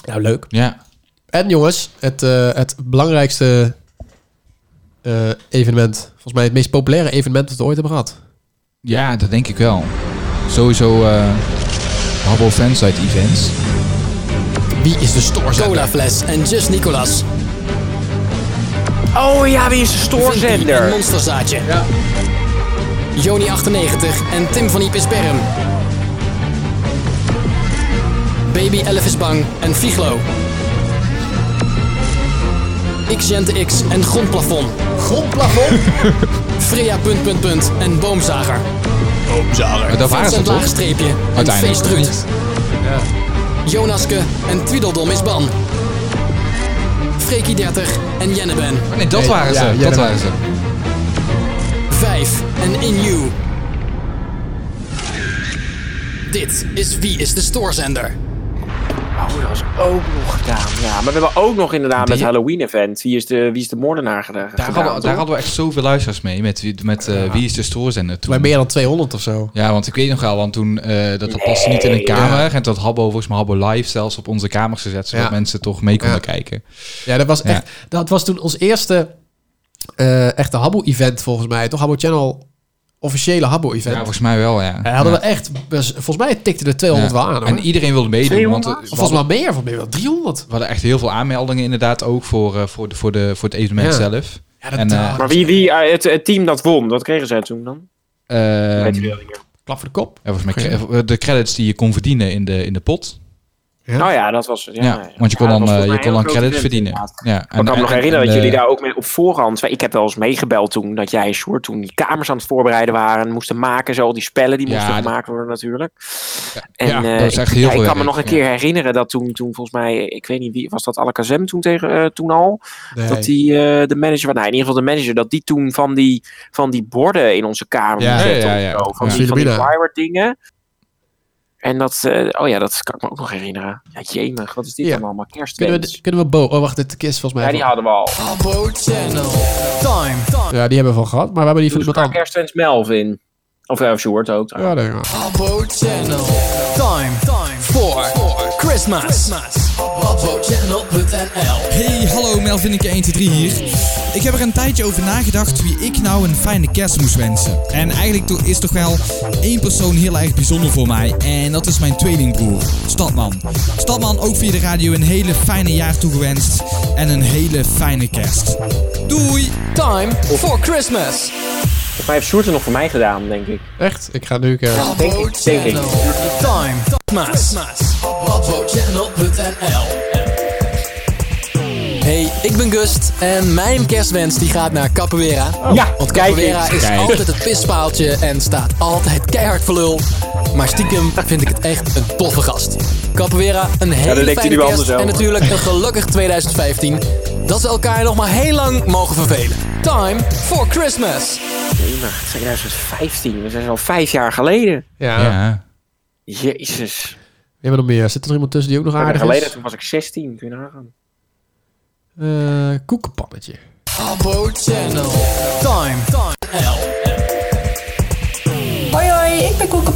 [SPEAKER 4] Nou, leuk.
[SPEAKER 5] Ja.
[SPEAKER 4] En jongens, het, eh, het belangrijkste eh, evenement. Volgens mij het meest populaire evenement dat we ooit hebben gehad.
[SPEAKER 5] Ja, dat denk ik wel. Sowieso eh Habbo Fansite Events.
[SPEAKER 4] Wie is de stoorzetter?
[SPEAKER 11] Cola Fles en Just Nicolas.
[SPEAKER 7] Oh ja, wie is de
[SPEAKER 11] Vinky en
[SPEAKER 7] stoorzender?
[SPEAKER 11] Monsterzaadje. Joni 98 en Tim van Iep is Berm. Baby Elf is bang en Figlo. Xgente X en Grondplafond. Grondplafond? Freya punt punt punt en Boomzager.
[SPEAKER 5] Maar dat waren ze
[SPEAKER 11] Vincent
[SPEAKER 5] toch?
[SPEAKER 11] Laagstreepje en
[SPEAKER 5] Uiteindelijk.
[SPEAKER 11] Feestruut. Jonaske en Tweedeldom is ban. Freekie 30 en Jenneben.
[SPEAKER 5] Ah, Nee, dat waren ze. Eh, dat waren ze.
[SPEAKER 11] 5 en In You. Dit is Wie is de Stoorzender?
[SPEAKER 7] Oh, dat was ook nog gedaan. Ja, maar we hebben ook nog inderdaad met Halloween-event. Wie, is de- wie is de moordenaar gedaan?
[SPEAKER 5] Daar hadden, we- daar hadden we echt zoveel luisteraars mee. Met, wie- met eh, Wie is de stoorzender toen.
[SPEAKER 4] Bij meer dan 200 of zo.
[SPEAKER 5] Ja, want ik weet nog wel, want toen eh, dat, dat paste niet in een
[SPEAKER 4] Nee,
[SPEAKER 5] kamer. En dat Habbo, volgens mij Habbo Live zelfs op onze kamers gezet. Zodat
[SPEAKER 4] Ja.
[SPEAKER 5] mensen toch mee konden
[SPEAKER 4] Ja.
[SPEAKER 5] kijken.
[SPEAKER 4] Ja, dat was
[SPEAKER 5] Ja.
[SPEAKER 4] echt. Dat was toen ons eerste eh, echte Habbo-event volgens mij. Toch Habbo Channel officiële Habbo-event.
[SPEAKER 5] Ja, volgens mij wel, ja.
[SPEAKER 4] Ja, hadden
[SPEAKER 5] Ja.
[SPEAKER 4] we echt. best- Volgens mij tikte er 200
[SPEAKER 5] Ja.
[SPEAKER 4] wel aan. Hoor.
[SPEAKER 5] En iedereen wilde meedoen. Want, eh, we
[SPEAKER 4] of volgens mij
[SPEAKER 5] hadden-
[SPEAKER 4] meer, volgens mij wel 300.
[SPEAKER 5] We hadden echt heel veel aanmeldingen inderdaad ook voor, eh, voor, de, voor, de, voor het evenement
[SPEAKER 4] Ja.
[SPEAKER 5] zelf.
[SPEAKER 4] Ja, dat-
[SPEAKER 5] en, eh,
[SPEAKER 7] Maar wie, wie eh, het, het team dat won, wat kregen zij toen dan?
[SPEAKER 5] ehm,
[SPEAKER 7] Weet je wel,
[SPEAKER 4] Klap voor de kop.
[SPEAKER 5] ja, volgens mij cre- eh, de credits die je kon verdienen in de, in de pot.
[SPEAKER 7] Nou ja, dat was het. Ja,
[SPEAKER 5] Ja, want je kon
[SPEAKER 7] Ja,
[SPEAKER 5] dan,
[SPEAKER 7] dat was
[SPEAKER 5] eh,
[SPEAKER 7] volgens
[SPEAKER 5] je
[SPEAKER 7] mij
[SPEAKER 5] kon
[SPEAKER 7] een
[SPEAKER 5] dan
[SPEAKER 7] grote
[SPEAKER 5] credits
[SPEAKER 7] event,
[SPEAKER 5] verdienen.
[SPEAKER 7] inderdaad.
[SPEAKER 5] Ja,
[SPEAKER 7] Maar ik kan me nog herinneren dat
[SPEAKER 5] eh,
[SPEAKER 7] jullie daar ook mee op voorhand... Ik heb wel eens meegebeld toen dat jij en Sjoerd toen die kamers aan het voorbereiden waren. Moesten maken, zo die spellen die
[SPEAKER 5] Ja,
[SPEAKER 7] moesten
[SPEAKER 5] dat-
[SPEAKER 7] gemaakt worden natuurlijk. En,
[SPEAKER 5] ja,
[SPEAKER 7] eh,
[SPEAKER 5] dat is echt
[SPEAKER 7] ik-
[SPEAKER 5] heel
[SPEAKER 7] ja,
[SPEAKER 5] veel
[SPEAKER 7] Ik kan me
[SPEAKER 5] werk,
[SPEAKER 7] nog een
[SPEAKER 5] ja.
[SPEAKER 7] keer herinneren dat toen, toen volgens mij... Ik weet niet wie, was dat Alakazem toen, tegen, eh, toen al?
[SPEAKER 4] Nee.
[SPEAKER 7] Dat die eh, de manager... Nou, in ieder geval de manager, dat die toen van die, van die borden in onze kamer
[SPEAKER 5] Ja,
[SPEAKER 7] moest
[SPEAKER 5] ja,
[SPEAKER 7] zetten
[SPEAKER 5] ja,
[SPEAKER 7] of
[SPEAKER 5] ja.
[SPEAKER 7] zo, Van,
[SPEAKER 5] Ja.
[SPEAKER 7] die, van die
[SPEAKER 5] Filipina.
[SPEAKER 7] flyer dingen. En dat... eh, oh ja, dat kan ik me ook nog herinneren. Ja, jemig, wat is dit dan allemaal?
[SPEAKER 4] Kunnen
[SPEAKER 7] Kerstwens.
[SPEAKER 4] we, kunnen we Bo... Oh, wacht, dit is volgens mij...
[SPEAKER 7] Ja, die hadden we al.
[SPEAKER 11] Habbo Channel. Time.
[SPEAKER 4] Ja, die hebben we van gehad, maar we hebben die van iemand
[SPEAKER 7] Elkaar
[SPEAKER 4] anders.
[SPEAKER 7] Dus Kerstwens Melvin. Of uh, Sjoerd ook.
[SPEAKER 4] Ja, daar gaan we.
[SPEAKER 11] Habbo Channel. Time. Time. For, Christmas. Christmas. HabboChannel.nl
[SPEAKER 14] Hey, hallo Melvin, ik 123 hier. Ik heb er een tijdje over nagedacht wie ik nou een fijne kerst moest wensen. En eigenlijk to- is toch wel één persoon heel erg bijzonder voor mij. En dat is mijn tweelingbroer, Stadman. Stadman, ook via de radio een hele fijne jaar toegewenst. En een hele fijne kerst. Doei!
[SPEAKER 11] Time for Christmas.
[SPEAKER 7] Volgens mij heeft Sjoerd het nog voor mij gedaan, denk ik.
[SPEAKER 4] Echt? Ik ga nu een keer...
[SPEAKER 7] Denk ik. Denk ik.
[SPEAKER 11] Time. Christmas. HabboChannel.nl Hey, ik ben Gust en mijn kerstwens die gaat naar Capoeira.
[SPEAKER 7] Oh. ja,
[SPEAKER 11] want
[SPEAKER 7] kijk
[SPEAKER 11] Capoeira
[SPEAKER 7] eens.
[SPEAKER 11] is
[SPEAKER 7] Kijk.
[SPEAKER 11] altijd het pispaaltje en staat altijd keihard voor lul. Maar stiekem vind ik het echt een toffe gast. Capoeira, een
[SPEAKER 7] dat
[SPEAKER 11] hele
[SPEAKER 7] denkt hij
[SPEAKER 11] fijne
[SPEAKER 7] nu
[SPEAKER 11] kerst
[SPEAKER 7] anders
[SPEAKER 11] en
[SPEAKER 7] over.
[SPEAKER 11] natuurlijk een gelukkig 2015. Dat we elkaar nog maar heel lang mogen vervelen. Time for Christmas.
[SPEAKER 7] Jemig, 2015. dus We zijn al vijf jaar geleden.
[SPEAKER 4] Ja.
[SPEAKER 7] Jezus.
[SPEAKER 4] We hebben nog meer. Zit er nog iemand tussen die ook nog
[SPEAKER 7] Vijf jaar
[SPEAKER 4] aardig
[SPEAKER 7] geleden,
[SPEAKER 4] is?
[SPEAKER 7] toen was ik 16. Kun je nagaan.
[SPEAKER 4] Eh koekenpannetje.
[SPEAKER 11] Habbo Channel. Time. Time. L.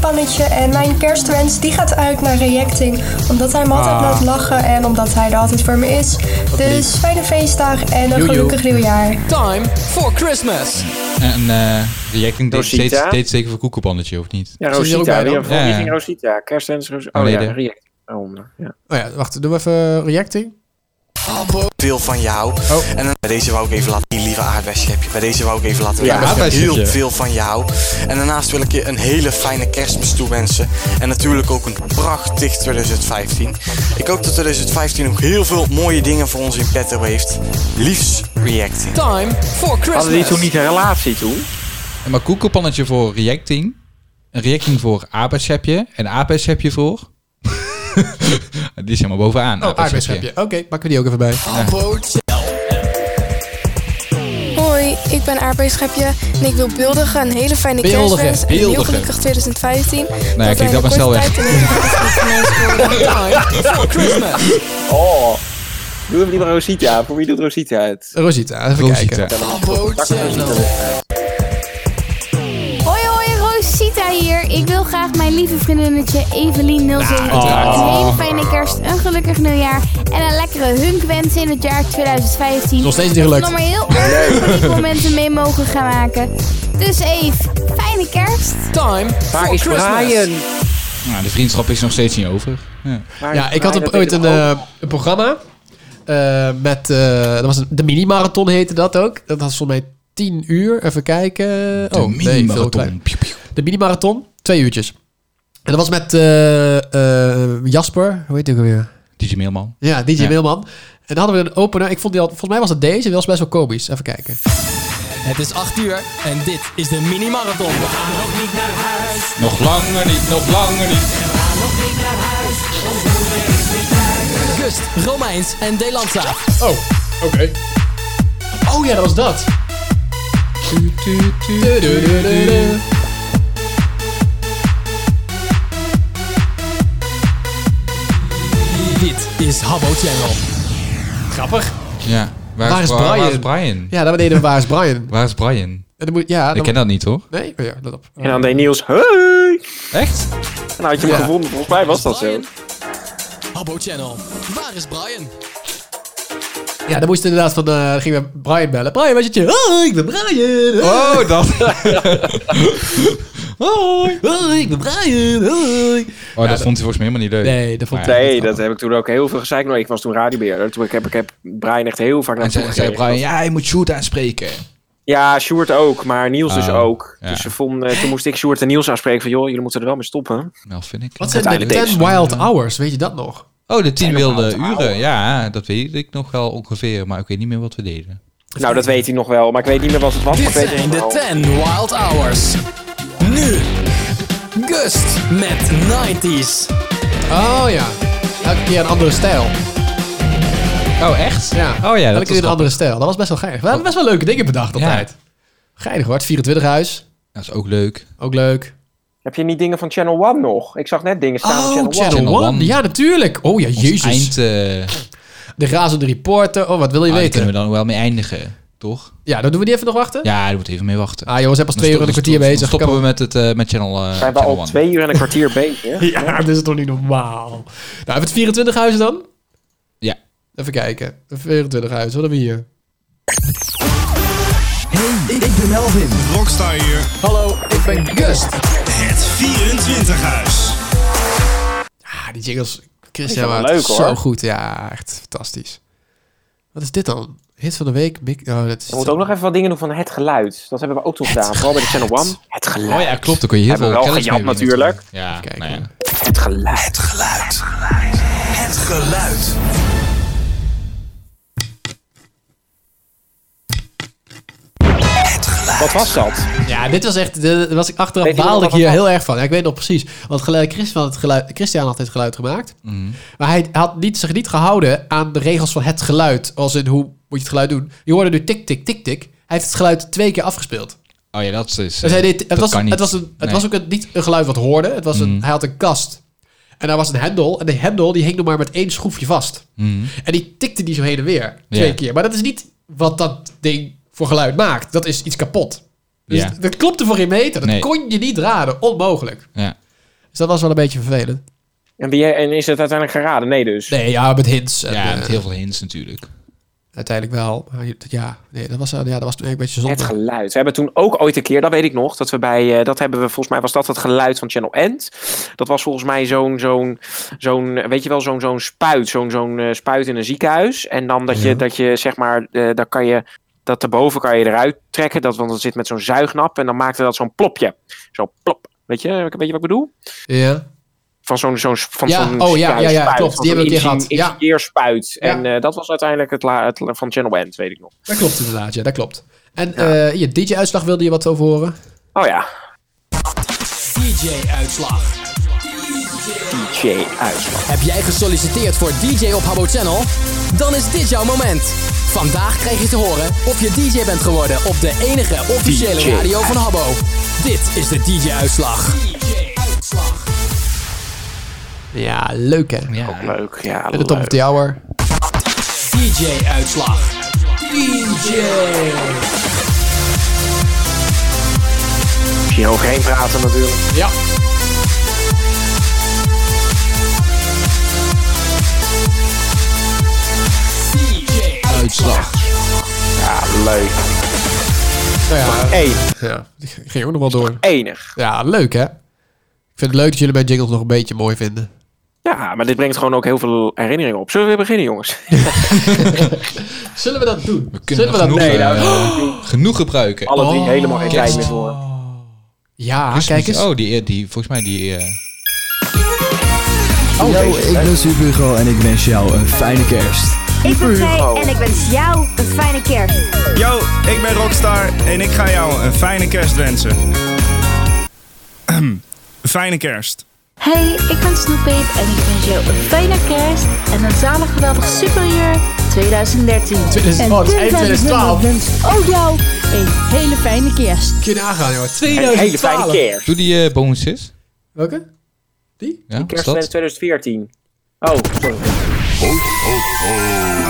[SPEAKER 29] pannetje En mijn kerstwens die gaat uit naar Reacting. Omdat hij me altijd
[SPEAKER 15] Ah.
[SPEAKER 29] laat lachen en omdat hij er altijd voor me is. Dus fijne feestdagen en een
[SPEAKER 5] Joejoe.
[SPEAKER 29] gelukkig nieuwjaar.
[SPEAKER 11] Time for Christmas.
[SPEAKER 5] En eh Reacting deed
[SPEAKER 7] Rosita?
[SPEAKER 5] steeds, steeds zeker voor koekenpannetje, of niet?
[SPEAKER 7] Ja,
[SPEAKER 4] Zit je er ook bij
[SPEAKER 7] Rosita. Wie
[SPEAKER 4] dan?
[SPEAKER 7] voor wie
[SPEAKER 5] Ja.
[SPEAKER 7] ging Rosita? Kerstens, Rosita. Oh
[SPEAKER 5] Nee,
[SPEAKER 7] ja,
[SPEAKER 5] de-
[SPEAKER 7] React. Daaronder, ja.
[SPEAKER 4] Oh ja, wacht, doen we even reacting.
[SPEAKER 16] veel van jou.
[SPEAKER 5] Oh.
[SPEAKER 16] En dan, bij deze wou ik even laten die lieve aardbeisschepje. Bij deze wou ik even laten
[SPEAKER 4] Ja,
[SPEAKER 16] weten dat ik
[SPEAKER 4] aardbeisschepje.
[SPEAKER 16] heel veel van jou. En daarnaast wil ik je een hele fijne kerstmis toewensen. En natuurlijk ook een prachtig 2015. Ik hoop dat 2015 nog heel veel mooie dingen voor ons in petto heeft. Liefs reacting.
[SPEAKER 11] Time for Christmas.
[SPEAKER 5] een relatie toen? Maar koekenpannetje voor reacting. Een reacting voor aardbeidschepje. En aardbeidschepje voor... die zijn maar bovenaan.
[SPEAKER 4] Oh, aardbeidschepje. Oké, pakken we die ook even bij.
[SPEAKER 17] Hoi, ik ben Aardbeeschepje en ik wil beeldigen een hele fijne
[SPEAKER 5] Beeldigen,
[SPEAKER 17] kerstwens en een heel
[SPEAKER 5] beeldigen.
[SPEAKER 17] gelukkig 2015.
[SPEAKER 5] Nee, kijk, dat was wel weg.
[SPEAKER 7] Oh. Doe even die maar Rosita. Voor wie doet Rosita het?
[SPEAKER 4] Rosita, even kijken.
[SPEAKER 18] Hoi hoi, Rosita hier. Ik wil graag mijn lieve vriendinnetje Evelien 078
[SPEAKER 42] uiteraard.
[SPEAKER 4] Oh.
[SPEAKER 18] een hele fijne kerst, een gelukkig nieuwjaar en een lekkere hunk wensen in het jaar 2015.
[SPEAKER 4] Nog steeds niet gelukt.
[SPEAKER 18] Dat we nog maar heel erg leuke momenten mee mogen gaan maken. Dus Eve, fijne kerst.
[SPEAKER 11] Time
[SPEAKER 5] Waar is Brian? Nou, de vriendschap is nog steeds niet over. Ja,
[SPEAKER 4] Ja, ik had op- ooit een, eh, een programma. eh, met, eh, dat was een, de mini-marathon heette dat ook. Dat was volgens mij tien uur. Even kijken. oh, nee, veel
[SPEAKER 5] mini-marathon.
[SPEAKER 4] kleiner. De mini-marathon, twee uurtjes. En dat was met eh, eh, Jasper, hoe heet die ook alweer?
[SPEAKER 5] DJ Mailman.
[SPEAKER 4] Ja, DJ Wilman. En dan hadden we een opener. Ik vond die al, volgens mij was het deze. en Die was best wel komisch. Even kijken.
[SPEAKER 11] Het is 8 uur en dit is de mini-marathon. We gaan nog niet naar huis.
[SPEAKER 5] Nog langer niet, nog langer niet.
[SPEAKER 11] Gust, Romeins en Delanza.
[SPEAKER 4] Oh, oké. Oh ja, dat was dat.
[SPEAKER 11] Dit is Habbo Channel.
[SPEAKER 4] Grappig.
[SPEAKER 5] Ja. Waar,
[SPEAKER 4] Waar is
[SPEAKER 5] is, Bra- waar
[SPEAKER 4] Brian?
[SPEAKER 5] is Brian?
[SPEAKER 4] Ja, dat deden we Waar is Brian? En
[SPEAKER 5] Waar is Brian?
[SPEAKER 4] dan moet, ja, dan-
[SPEAKER 5] Ik ken dat niet, hoor.
[SPEAKER 4] Nee? Oh ja, dat op.
[SPEAKER 7] En dan deed Niels, hey!
[SPEAKER 5] Echt?
[SPEAKER 7] En dan had je hem
[SPEAKER 4] Ja.
[SPEAKER 7] gevonden. Volgens mij was dat zo.
[SPEAKER 11] Habbo Channel. Waar is Brian?
[SPEAKER 4] Ja, dan moest inderdaad van... eh, dan gingen we Brian bellen. Brian, wat zit je? Oh, ik ben Brian.
[SPEAKER 5] Oh, dat.
[SPEAKER 4] Hoi. Hoi, ik ben Brian. Hoi.
[SPEAKER 5] Oh, dat vond hij volgens mij helemaal niet leuk.
[SPEAKER 4] Nee, dat vond
[SPEAKER 5] Maar ja.
[SPEAKER 7] Nee, dat heb ik toen ook heel veel gezeik. Nou, ik was toen radiobeheerder. Toen ik heb, ik heb Brian echt heel vaak naar
[SPEAKER 5] En zei, zei Brian, ja, je moet shoot aanspreken.
[SPEAKER 7] Ja, Sjoerd ook, maar Niels dus
[SPEAKER 5] Oh,
[SPEAKER 7] ook.
[SPEAKER 5] ja.
[SPEAKER 7] Dus ze vonden, toen moest ik Sjoerd en Niels aanspreken van... joh, jullie moeten er wel mee stoppen.
[SPEAKER 5] Nou, vind ik.
[SPEAKER 4] Wat zijn de 10 wild hours? Weet je dat nog?
[SPEAKER 5] Oh, de tien wilde uren. Ja, dat weet ik nog wel ongeveer. Maar ik weet niet meer wat we deden.
[SPEAKER 7] Nou, dat weet hij nog wel, maar ik weet niet meer wat het was. maar
[SPEAKER 11] Dit
[SPEAKER 7] ik weet
[SPEAKER 11] zijn
[SPEAKER 7] het
[SPEAKER 11] de
[SPEAKER 7] nog wel.
[SPEAKER 11] 10 Wild Hours. Nu. Gust met 90s.
[SPEAKER 4] Oh ja. Elke keer een andere stijl.
[SPEAKER 5] Oh, echt?
[SPEAKER 4] Ja.
[SPEAKER 5] Oh ja,
[SPEAKER 4] Elke
[SPEAKER 5] dat
[SPEAKER 4] keer
[SPEAKER 5] is
[SPEAKER 4] een andere stijl. Dat was best wel geinig. We hebben best wel leuke dingen bedacht altijd. Geinig hoor. Het 24 huis.
[SPEAKER 5] Dat is ook leuk.
[SPEAKER 4] Ook leuk.
[SPEAKER 7] Heb je niet dingen van Channel One nog? Ik zag net dingen staan
[SPEAKER 4] Oh,
[SPEAKER 7] op Channel,
[SPEAKER 4] Channel
[SPEAKER 7] One.
[SPEAKER 4] One. Ja, natuurlijk. Oh ja, jezus.
[SPEAKER 5] eind, eh,
[SPEAKER 4] De razende reporter. Oh, wat wil je
[SPEAKER 5] Ah, daar
[SPEAKER 4] weten?
[SPEAKER 5] kunnen we dan wel mee eindigen, toch?
[SPEAKER 4] Ja, dan doen we die even nog wachten.
[SPEAKER 5] Ja, daar moet even mee wachten.
[SPEAKER 4] Ah jongens, we zijn pas
[SPEAKER 5] Dan
[SPEAKER 4] twee uur en een
[SPEAKER 5] sto-
[SPEAKER 4] kwartier
[SPEAKER 5] dan
[SPEAKER 4] bezig.
[SPEAKER 5] stoppen
[SPEAKER 4] Kan-
[SPEAKER 5] we met, het, eh, met Channel eh
[SPEAKER 7] Zijn we
[SPEAKER 5] Channel
[SPEAKER 7] al
[SPEAKER 5] One.
[SPEAKER 7] twee uur en een kwartier bezig?
[SPEAKER 4] Ja, dit is toch niet normaal. Nou, hebben we het 24 huizen dan?
[SPEAKER 5] Ja.
[SPEAKER 4] Even kijken. 24 huizen, wat hebben we hier?
[SPEAKER 1] Hey, ik ben Melvin. Rockstar hier.
[SPEAKER 4] Hallo, ik ben Gust.
[SPEAKER 1] Het 24-huis.
[SPEAKER 4] Ah, die jingles.
[SPEAKER 1] is
[SPEAKER 4] Christian
[SPEAKER 1] wel
[SPEAKER 4] maakt
[SPEAKER 1] leuk,
[SPEAKER 4] zo
[SPEAKER 1] hoor.
[SPEAKER 4] goed. Ja, echt fantastisch. Wat is dit dan? Hit van de week? Big, oh, dat is
[SPEAKER 7] We moeten ook nog even wat dingen doen van het geluid. Dat hebben we ook toen gedaan, vooral bij de Channel One. Het geluid.
[SPEAKER 5] Oh ja, klopt. Dan kun je heel
[SPEAKER 7] Hebben
[SPEAKER 5] veel
[SPEAKER 7] we wel
[SPEAKER 5] kennis
[SPEAKER 7] gejat
[SPEAKER 5] mee winnen.
[SPEAKER 7] natuurlijk.
[SPEAKER 5] Ja, nou ja.
[SPEAKER 7] Het geluid. Het
[SPEAKER 16] geluid. Het geluid.
[SPEAKER 7] Wat was dat?
[SPEAKER 4] Ja, dit was echt. Dit was ik achteraf
[SPEAKER 7] Weet iemand
[SPEAKER 4] baalde ik
[SPEAKER 7] wat
[SPEAKER 4] hier
[SPEAKER 7] dat was?
[SPEAKER 4] heel erg van. Ja, ik weet nog precies. Want geluid, Christian, had het geluid, Christian had het geluid gemaakt.
[SPEAKER 5] Mhm.
[SPEAKER 4] Maar hij had niet, zich niet gehouden aan de regels van het geluid. Als in hoe moet je het geluid doen. Je hoorde nu tik, tik, tik, tik. Hij heeft het geluid twee keer afgespeeld.
[SPEAKER 5] Oh ja, dat is... eh,
[SPEAKER 4] Dus hij deed, het
[SPEAKER 5] dat
[SPEAKER 4] was,
[SPEAKER 5] kan niet.
[SPEAKER 4] het was, een, het
[SPEAKER 5] Nee.
[SPEAKER 4] was ook een- niet een geluid wat hoorde. Het was een,
[SPEAKER 5] Mhm.
[SPEAKER 4] Hij had een kast. En daar was een hendel. En de hendel die hing nog maar met één schroefje vast.
[SPEAKER 5] Mhm.
[SPEAKER 4] En die tikte die zo heen en weer. Twee
[SPEAKER 5] Ja.
[SPEAKER 4] keer. Maar dat is niet wat dat ding voor geluid maakt. Dat is iets kapot. Dus
[SPEAKER 5] Ja.
[SPEAKER 4] dat- dat klopte voor geen meter. Dat
[SPEAKER 5] Nee.
[SPEAKER 4] kon je niet raden. Onmogelijk.
[SPEAKER 5] Ja.
[SPEAKER 4] Dus dat was wel een beetje vervelend.
[SPEAKER 7] En, ben jij, en is het uiteindelijk geraden? Nee dus.
[SPEAKER 4] Nee, ja, met hints. En,
[SPEAKER 5] Ja,
[SPEAKER 4] eh,
[SPEAKER 5] met heel veel hints natuurlijk.
[SPEAKER 4] Uiteindelijk wel. Maar je- ja, nee, dat was, ja, dat was toen een beetje zonde.
[SPEAKER 7] Het geluid. We hebben toen ook ooit een keer, dat weet ik nog, dat we bij, eh, dat hebben we volgens mij, was dat het geluid van Channel End. Dat was volgens mij zo'n, zo'n, zo'n, eh, weet je wel, zo'n, zo'n spuit, zo'n, zo'n eh, spuit in een ziekenhuis. En dan dat je, dat je zeg maar, eh daar kan je, dat daarboven kan je eruit trekken, dat, want dat zit met zo'n zuignap en dan maakte dat zo'n plopje. Zo plop. Weet je, weet je wat ik bedoel?
[SPEAKER 4] Ja.
[SPEAKER 7] Van zo'n zo'n van
[SPEAKER 4] Ja,
[SPEAKER 7] zo'n
[SPEAKER 4] oh ja,
[SPEAKER 7] ziekenhuisspuit,
[SPEAKER 4] ja, ja, klopt.
[SPEAKER 7] van
[SPEAKER 4] Die hebben we een
[SPEAKER 7] zo'n
[SPEAKER 4] keer
[SPEAKER 7] ingenie-
[SPEAKER 4] gehad. Ja.
[SPEAKER 7] Ingenieurspuit. En eh, dat was uiteindelijk het, la, het la- van Channel End, weet ik nog.
[SPEAKER 4] Dat klopt inderdaad, ja, dat klopt. En eh, je DJ-uitslag wilde je wat over horen?
[SPEAKER 7] Oh ja,
[SPEAKER 11] DJ-uitslag.
[SPEAKER 7] DJ-uitslag.
[SPEAKER 11] Heb jij gesolliciteerd voor DJ op Habbo Channel? Dan is dit jouw moment. Vandaag krijg je te horen of je DJ bent geworden op de enige officiële
[SPEAKER 33] DJ.
[SPEAKER 11] radio van Habbo. Dit is de DJ-uitslag.
[SPEAKER 4] Ja, leuk hè?
[SPEAKER 5] Ja.
[SPEAKER 7] leuk, ja.
[SPEAKER 4] De top of the hour.
[SPEAKER 11] DJ-uitslag. DJ.
[SPEAKER 7] Misschien overheen praten natuurlijk.
[SPEAKER 4] Ja.
[SPEAKER 5] Uitslag.
[SPEAKER 7] Ja, leuk.
[SPEAKER 4] Nou ja,
[SPEAKER 7] Eén.
[SPEAKER 4] Ja, die g- ging ook nog wel door.
[SPEAKER 7] Enig.
[SPEAKER 4] Ja, leuk hè? Ik vind het leuk dat jullie mijn jingles nog een beetje mooi vinden.
[SPEAKER 7] Ja, maar dit brengt gewoon ook heel veel herinneringen op. Zullen we weer beginnen, jongens?
[SPEAKER 4] Zullen we dat doen?
[SPEAKER 5] We kunnen nog genoeg,
[SPEAKER 7] Nee, nou,
[SPEAKER 5] eh, genoeg gebruiken.
[SPEAKER 7] Alle drie helemaal geen tijd
[SPEAKER 5] kerst.
[SPEAKER 7] meer voor.
[SPEAKER 4] Ja,
[SPEAKER 5] Kerstmuziek.
[SPEAKER 4] Oh, Ah, kijk eens.
[SPEAKER 5] Oh, die, die, volgens mij die... eh,
[SPEAKER 6] Hallo, ik ben Hugo en ik wens jou een fijne kerst.
[SPEAKER 15] Ik ben Faye en ik wens jou een fijne kerst.
[SPEAKER 1] Yo, ik ben Rockstar en ik ga jou een fijne kerst wensen. Ahem. fijne kerst.
[SPEAKER 15] Hey, ik ben Snoepeet en ik wens jou een fijne kerst en een zalig geweldig superjaar 2013.
[SPEAKER 4] En oh, dat is eind 2012.
[SPEAKER 15] wens ook Oh, jou een hele fijne kerst.
[SPEAKER 4] Kun je nagaan, jongen.
[SPEAKER 7] hele fijne
[SPEAKER 4] 2012.
[SPEAKER 7] kerst.
[SPEAKER 5] Doe die eh bonuses.
[SPEAKER 4] Welke?
[SPEAKER 5] Ja, was
[SPEAKER 7] Kerstwens
[SPEAKER 5] dat?
[SPEAKER 7] 2014. Oh, sorry.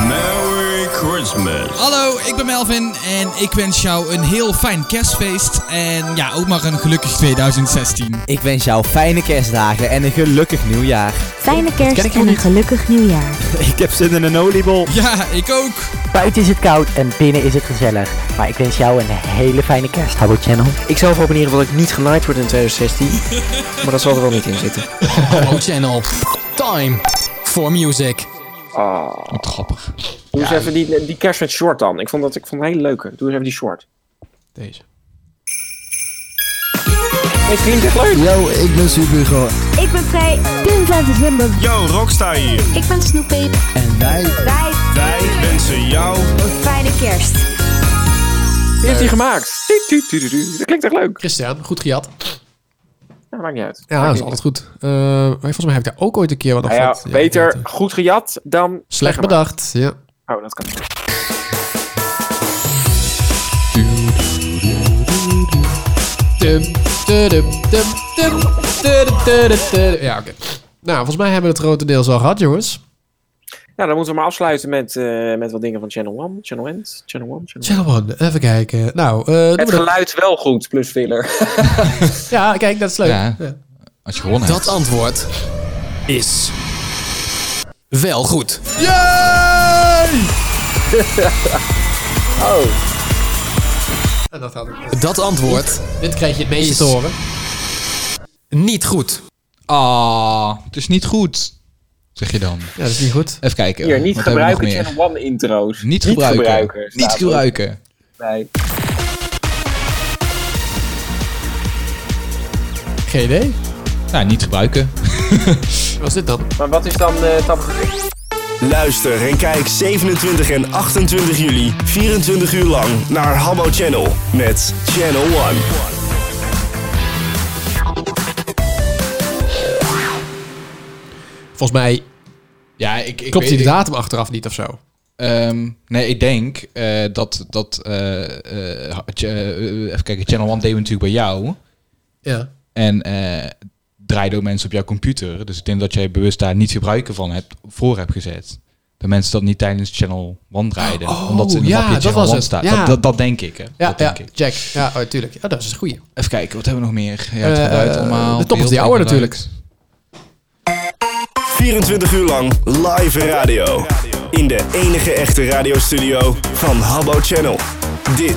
[SPEAKER 19] Merry Christmas.
[SPEAKER 14] Hallo, ik ben Melvin en ik wens jou een heel fijn kerstfeest. En ja, ook maar een gelukkig 2016.
[SPEAKER 6] Ik wens jou fijne kerstdagen en een gelukkig nieuwjaar.
[SPEAKER 15] Fijne kerst en een gelukkig nieuwjaar.
[SPEAKER 6] Ik heb zin in een oliebol.
[SPEAKER 14] Ja, ik ook.
[SPEAKER 28] Buiten is het koud en binnen is het gezellig. Maar ik wens jou een hele fijne kerst, Habbo Channel.
[SPEAKER 19] Ik zelf hoop in ieder geval dat ik niet genaaid word in 2016. maar dat zal er wel niet in zitten.
[SPEAKER 11] Habbo Channel. Time for music.
[SPEAKER 7] Oh.
[SPEAKER 5] Wat grappig.
[SPEAKER 7] Doe eens even die, die kerst met short dan. Ik vond dat ik vond het een hele leuke. Doe eens even die short.
[SPEAKER 4] Deze.
[SPEAKER 7] Het klinkt echt leuk.
[SPEAKER 6] Yo, ik ben Hugo
[SPEAKER 15] Ik ben Faye. Ik ben 5 december.
[SPEAKER 1] Yo, Rockstar hier.
[SPEAKER 15] Ik ben Snoepeet.
[SPEAKER 6] en wij...
[SPEAKER 15] Wij
[SPEAKER 1] Wij wensen jou...
[SPEAKER 15] een fijne kerst.
[SPEAKER 7] Wie heeft die gemaakt? Tu, tu, tu, tu, tu. Dat klinkt echt leuk.
[SPEAKER 4] Christian, goed gejat.
[SPEAKER 7] Ja, maakt niet uit.
[SPEAKER 4] Ja, dat is altijd goed. Eh, maar volgens mij heb ik daar ook ooit een keer wat
[SPEAKER 7] Nou
[SPEAKER 4] over
[SPEAKER 7] ja,
[SPEAKER 4] gehad. Ja,
[SPEAKER 7] beter goed gejat dan
[SPEAKER 4] Slecht
[SPEAKER 7] gemaakt.
[SPEAKER 4] bedacht. Ja.
[SPEAKER 7] Oh, dat kan niet.
[SPEAKER 4] Dum, dudum, dum, dum, dudum, dudum, dudum. Ja, oké. Nou, volgens mij hebben we het grotendeels al gehad, jongens.
[SPEAKER 7] Nou, dan moeten we maar afsluiten met, eh, met wat dingen van Channel 1, Channel End, Channel 1, Channel
[SPEAKER 4] Channel One, even kijken. Nou, eh, doen
[SPEAKER 7] Het
[SPEAKER 4] we dat.
[SPEAKER 7] geluid wel goed, plus filler.
[SPEAKER 4] Ja, kijk, dat is leuk.
[SPEAKER 5] Ja.
[SPEAKER 4] Ja.
[SPEAKER 5] Als je gewonnen
[SPEAKER 11] Dat antwoord is wel goed.
[SPEAKER 4] Yay! Dus
[SPEAKER 7] oh.
[SPEAKER 4] En dat had ik.
[SPEAKER 11] Dat antwoord
[SPEAKER 4] Dit krijg je het meeste
[SPEAKER 11] Is-
[SPEAKER 4] te horen.
[SPEAKER 11] niet goed.
[SPEAKER 5] Ah, het is niet goed. Zeg je dan.
[SPEAKER 4] Ja, dat is niet goed.
[SPEAKER 5] Even kijken.
[SPEAKER 7] Hier, niet
[SPEAKER 5] wat hebben we nog
[SPEAKER 7] gebruiken
[SPEAKER 5] meer?
[SPEAKER 7] Channel 1 intro's.
[SPEAKER 5] Niet gebruiken. Niet
[SPEAKER 7] staat er.
[SPEAKER 5] gebruiken.
[SPEAKER 7] Nee.
[SPEAKER 4] Geen idee.
[SPEAKER 5] Nou, niet gebruiken.
[SPEAKER 4] Wat is dit dan?
[SPEAKER 7] Maar wat is dan eh dan...
[SPEAKER 1] Luister en kijk 27 en 28 juli 24 uur lang naar Habbo Channel met Channel 1.
[SPEAKER 4] Volgens mij
[SPEAKER 5] Ja, ik, ik
[SPEAKER 4] klopt
[SPEAKER 5] weet-
[SPEAKER 4] die
[SPEAKER 5] ik-
[SPEAKER 4] datum achteraf niet of zo.
[SPEAKER 5] Ehm, nee, ik denk eh, dat... dat eh, eh, ch- eh, even kijken, Channel 1 deed we natuurlijk bij jou.
[SPEAKER 4] Ja.
[SPEAKER 5] En eh draaide ook mensen op jouw computer. Dus ik denk dat jij bewust daar niet gebruiken van hebt, voor hebt gezet. de mensen dat niet tijdens Channel 1 rijden.
[SPEAKER 4] Oh,
[SPEAKER 5] omdat ze in een
[SPEAKER 4] ja,
[SPEAKER 5] mapje
[SPEAKER 4] dat
[SPEAKER 5] Channel
[SPEAKER 4] was
[SPEAKER 5] 1
[SPEAKER 4] het.
[SPEAKER 5] staat.
[SPEAKER 4] Ja.
[SPEAKER 5] Dat, dat, dat denk ik, hè.
[SPEAKER 4] Ja,
[SPEAKER 5] Dat
[SPEAKER 4] ja
[SPEAKER 5] denk ik.
[SPEAKER 4] Jack. Ja, oh, tuurlijk. Ja, dat is een goeie.
[SPEAKER 5] Even kijken, wat hebben we nog meer? Ja, het
[SPEAKER 4] Eh,
[SPEAKER 5] geluid allemaal.
[SPEAKER 4] de top of
[SPEAKER 5] beeld
[SPEAKER 4] the
[SPEAKER 5] en
[SPEAKER 4] hour
[SPEAKER 5] geluid.
[SPEAKER 4] natuurlijk.
[SPEAKER 1] 24 uur lang live radio. In de enige echte radiostudio van Habbo Channel. Dit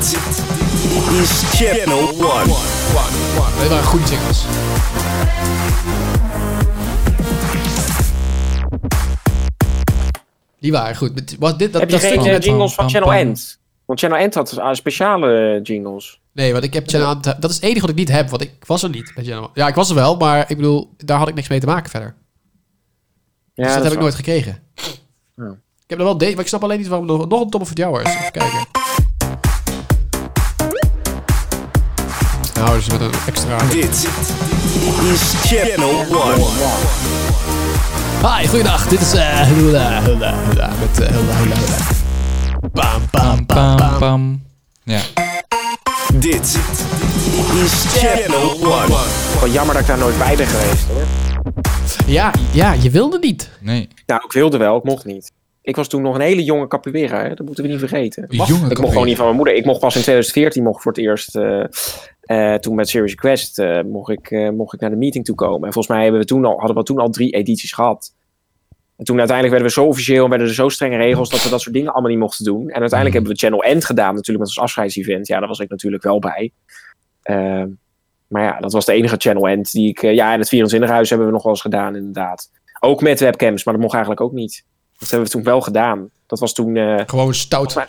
[SPEAKER 1] is Channel 1.
[SPEAKER 4] Dat waren eh, goede jingles. Die waren goed. Met- Wat, dit, dat,
[SPEAKER 7] heb je
[SPEAKER 4] dat
[SPEAKER 7] geen
[SPEAKER 4] stukje
[SPEAKER 7] eh,
[SPEAKER 4] met-
[SPEAKER 7] jingles van Channel End? Want Channel End had eh, speciale jingles.
[SPEAKER 4] Nee, want ik heb Channel Dat is het enige wat ik niet heb, want ik was er niet. bij Channel- Ja, ik was er wel, maar ik bedoel, daar had ik niks mee te maken verder.
[SPEAKER 7] Ja,
[SPEAKER 4] dus dat,
[SPEAKER 7] dat
[SPEAKER 4] heb
[SPEAKER 7] is
[SPEAKER 4] ik
[SPEAKER 7] waar.
[SPEAKER 4] nooit gekregen.
[SPEAKER 7] Ja.
[SPEAKER 4] Ik heb er wel deze, maar ik snap alleen niet waarom er nog- nog een Tom of the Hour is. Even kijken. Nou, dus met een extra...
[SPEAKER 1] Dit is Channel 1.
[SPEAKER 4] Hi, goeiedag. Dit is eh Hulda, Hulda, Hulda. Met eh, Hulda, Hulda, Hulda. Bam, bam, bam, bam.
[SPEAKER 5] Ja.
[SPEAKER 1] Dit is Channel 1.
[SPEAKER 7] Wel jammer dat ik daar nooit bij ben geweest hoor.
[SPEAKER 4] Ja, ja, je wilde niet.
[SPEAKER 5] Nee.
[SPEAKER 7] Nou, ik wilde wel, ik mocht niet. Ik was toen nog een hele jonge capoeira, hè? dat moeten we niet vergeten.
[SPEAKER 5] Een jonge
[SPEAKER 7] ik mocht
[SPEAKER 5] capoeira.
[SPEAKER 7] gewoon niet van mijn moeder. Ik mocht pas in 2014 mocht ik voor het eerst, eh, eh, toen met Serious Quest, eh, mocht, ik, eh, mocht ik naar de meeting toe komen. En volgens mij hebben we toen al, hadden we toen al drie edities gehad. En toen uiteindelijk werden we zo officieel en werden er zo strenge regels dat we dat soort dingen allemaal niet mochten doen. En uiteindelijk
[SPEAKER 5] Mm.
[SPEAKER 7] hebben we Channel End gedaan natuurlijk met ons afscheidsevent. Ja, daar was ik natuurlijk wel bij. Ehm, maar ja, dat was de enige Channel End die ik... eh, ja, en het 24-huis hebben we nog wel eens gedaan, inderdaad. Ook met webcams, maar dat mocht eigenlijk ook niet. Dat hebben we toen wel gedaan. Dat was toen... eh,
[SPEAKER 4] Gewoon stout.
[SPEAKER 5] Tiny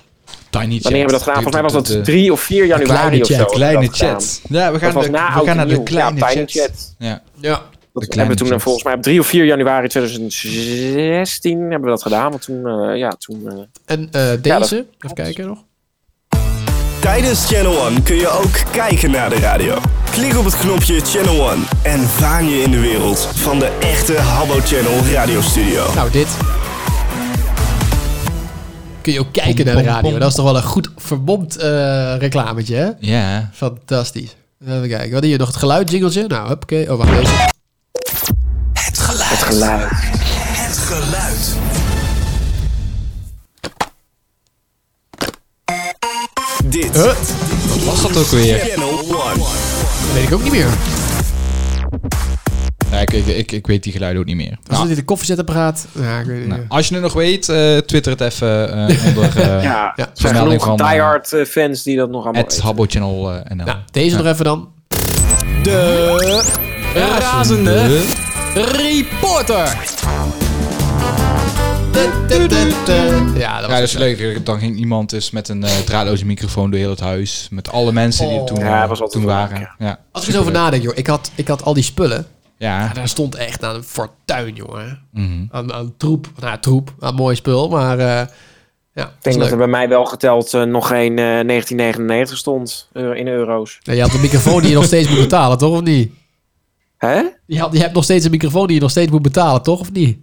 [SPEAKER 7] Wanneer hebben we dat gedaan? Volgens mij was dat 3 of 4
[SPEAKER 5] De eh, kleine
[SPEAKER 7] januari of zo.
[SPEAKER 5] chat,
[SPEAKER 7] hebben we
[SPEAKER 5] kleine
[SPEAKER 7] dat gedaan.
[SPEAKER 5] chat. Ja, we gaan
[SPEAKER 7] Dat was
[SPEAKER 5] de-
[SPEAKER 7] na
[SPEAKER 5] we
[SPEAKER 7] Oud
[SPEAKER 5] gaan naar
[SPEAKER 7] en
[SPEAKER 5] de
[SPEAKER 7] Nieuw.
[SPEAKER 5] kleine
[SPEAKER 7] Ja, Tiny
[SPEAKER 5] chat. Ja.
[SPEAKER 7] Ja.
[SPEAKER 4] Ja.
[SPEAKER 7] Dat
[SPEAKER 5] kleine
[SPEAKER 7] hebben we toen
[SPEAKER 5] chat.
[SPEAKER 7] eh, volgens mij op 3 of 4 januari 2016 hebben we dat gedaan. Want toen, eh, ja, toen... eh,
[SPEAKER 4] En eh, deze,
[SPEAKER 7] dat-
[SPEAKER 4] even kijken nog.
[SPEAKER 1] Tijdens Channel 1 kun je ook kijken naar de radio. Klik op het knopje Channel 1 en vaan je in de wereld van de echte Habbo Channel radiostudio.
[SPEAKER 4] Nou, dit. Kun je ook kijken naar de radio. Dat is toch wel een goed verbomd eh, reclametje, hè?
[SPEAKER 5] Ja.
[SPEAKER 4] Fantastisch. Even kijken. Wat hier nog? Het geluid jingletje? Nou, oké. Oh, wacht deze.
[SPEAKER 1] Het geluid.
[SPEAKER 7] Het geluid.
[SPEAKER 1] Het geluid. Dit.
[SPEAKER 4] Huh?
[SPEAKER 5] Wat was dat ook weer?
[SPEAKER 1] Channel 1.
[SPEAKER 4] Weet ik ook niet meer.
[SPEAKER 5] Ja, ik, ik, ik, ik weet die geluiden ook niet meer.
[SPEAKER 4] Als
[SPEAKER 5] Nou,
[SPEAKER 4] dit een koffiezetapparaat. Ja, ik weet het
[SPEAKER 5] nou,
[SPEAKER 4] niet.
[SPEAKER 5] als je het nog weet, eh, twitter het even eh, onder eh
[SPEAKER 7] ja, er zijn
[SPEAKER 5] vermelding
[SPEAKER 7] genoeg
[SPEAKER 5] van eh,
[SPEAKER 7] diehard eh, fans die dat nog allemaal
[SPEAKER 5] het
[SPEAKER 7] weten.
[SPEAKER 5] Habbo Channel eh, NL.
[SPEAKER 4] Deze nog even dan.
[SPEAKER 11] De razende reporter.
[SPEAKER 4] Ja, dat
[SPEAKER 5] Ja, dat is leuk. Dan ging iemand dus met een eh, draadloze microfoon door heel het huis. Met alle mensen
[SPEAKER 4] Oh.
[SPEAKER 5] die er toen, eh,
[SPEAKER 7] Ja, dat was altijd
[SPEAKER 5] toen
[SPEAKER 7] leuk,
[SPEAKER 5] waren. Ja.
[SPEAKER 4] Als ik eens over nadenk, joh. Ik had, ik had al die spullen.
[SPEAKER 5] Ja. Mhm.
[SPEAKER 4] daar stond echt nou, aan een fortuin, jongen. Aan, aan troep. Nou, troep. Aan mooi spul. Maar eh, ja,
[SPEAKER 7] Ik denk dat
[SPEAKER 4] leuk.
[SPEAKER 7] er bij mij wel geteld eh, nog geen eh, 1999 stond eh, in euro's.
[SPEAKER 4] Ja, je had een microfoon die je nog steeds moet betalen, toch? Of niet?
[SPEAKER 7] Hè?
[SPEAKER 4] Je, had, je hebt nog steeds een microfoon die je nog steeds moet betalen, toch? Of niet?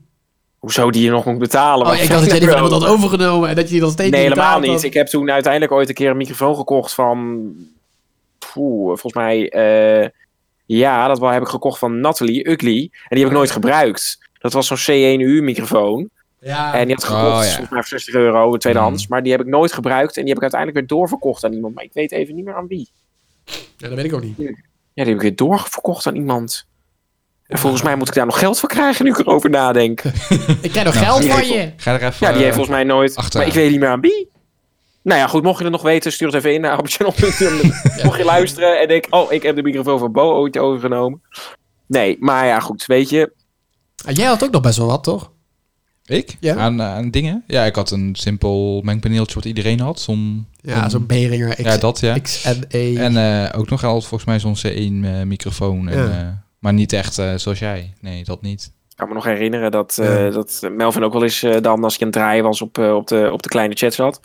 [SPEAKER 7] Hoezo die je nog moet betalen?
[SPEAKER 4] Oh, ja, ik dacht dat jij die van iemand had overgenomen en dat je die nog steeds
[SPEAKER 7] Nee,
[SPEAKER 4] niet
[SPEAKER 7] helemaal
[SPEAKER 4] betaald
[SPEAKER 7] niet.
[SPEAKER 4] had.
[SPEAKER 7] Ik heb toen uiteindelijk ooit een keer een microfoon gekocht van... Poeh, volgens mij... eh, ja, dat wel heb ik gekocht van Natalie Ugly. En die heb ik nooit gebruikt. Dat was zo'n C1U microfoon.
[SPEAKER 4] Ja.
[SPEAKER 7] En die had gekocht,
[SPEAKER 5] Oh, ja. Mhm.
[SPEAKER 7] volgens mij voor 60 euro, tweedehands. Maar die heb ik nooit gebruikt. En die heb ik uiteindelijk weer doorverkocht aan iemand. Maar ik weet even niet meer aan wie.
[SPEAKER 4] Ja, dat weet ik ook niet.
[SPEAKER 7] Ja, die heb ik weer doorverkocht aan iemand. En volgens mij moet ik daar nog geld voor krijgen nu ik erover nadenk.
[SPEAKER 4] Ik krijg nog
[SPEAKER 7] Nou,
[SPEAKER 4] geld
[SPEAKER 7] die
[SPEAKER 4] van
[SPEAKER 7] heeft-
[SPEAKER 4] je.
[SPEAKER 5] Ga er even
[SPEAKER 7] Ja, die heeft
[SPEAKER 5] eh,
[SPEAKER 7] volgens mij nooit.
[SPEAKER 5] achteraan.
[SPEAKER 7] Maar ik weet niet meer aan wie. Nou ja, goed, mocht je het nog weten, stuur het even in naar abonchannel.nl. Mocht je luisteren en denk, oh, ik heb de microfoon van Bo ooit overgenomen. Nee, maar ja, goed, weet je.
[SPEAKER 4] Ah, jij had ook nog best wel wat, toch?
[SPEAKER 5] Ik?
[SPEAKER 4] Ja.
[SPEAKER 5] Aan, eh, aan dingen? Ja, ik had een simpel mengpaneeltje wat iedereen had. Zo'n,
[SPEAKER 4] Ja, zo'n Behringer X- E.
[SPEAKER 5] ja, dat, ja.
[SPEAKER 4] XNE.
[SPEAKER 5] En eh, ook nog al volgens mij zo'n C1 eh, microfoon. En,
[SPEAKER 4] Ja.
[SPEAKER 5] eh, maar niet echt eh, zoals jij. Nee, dat niet.
[SPEAKER 7] Ik kan me nog herinneren dat, eh, dat Melvin ook wel eens eh, dan, als je aan het draaien was, op, eh, op, de, op de kleine chat zat.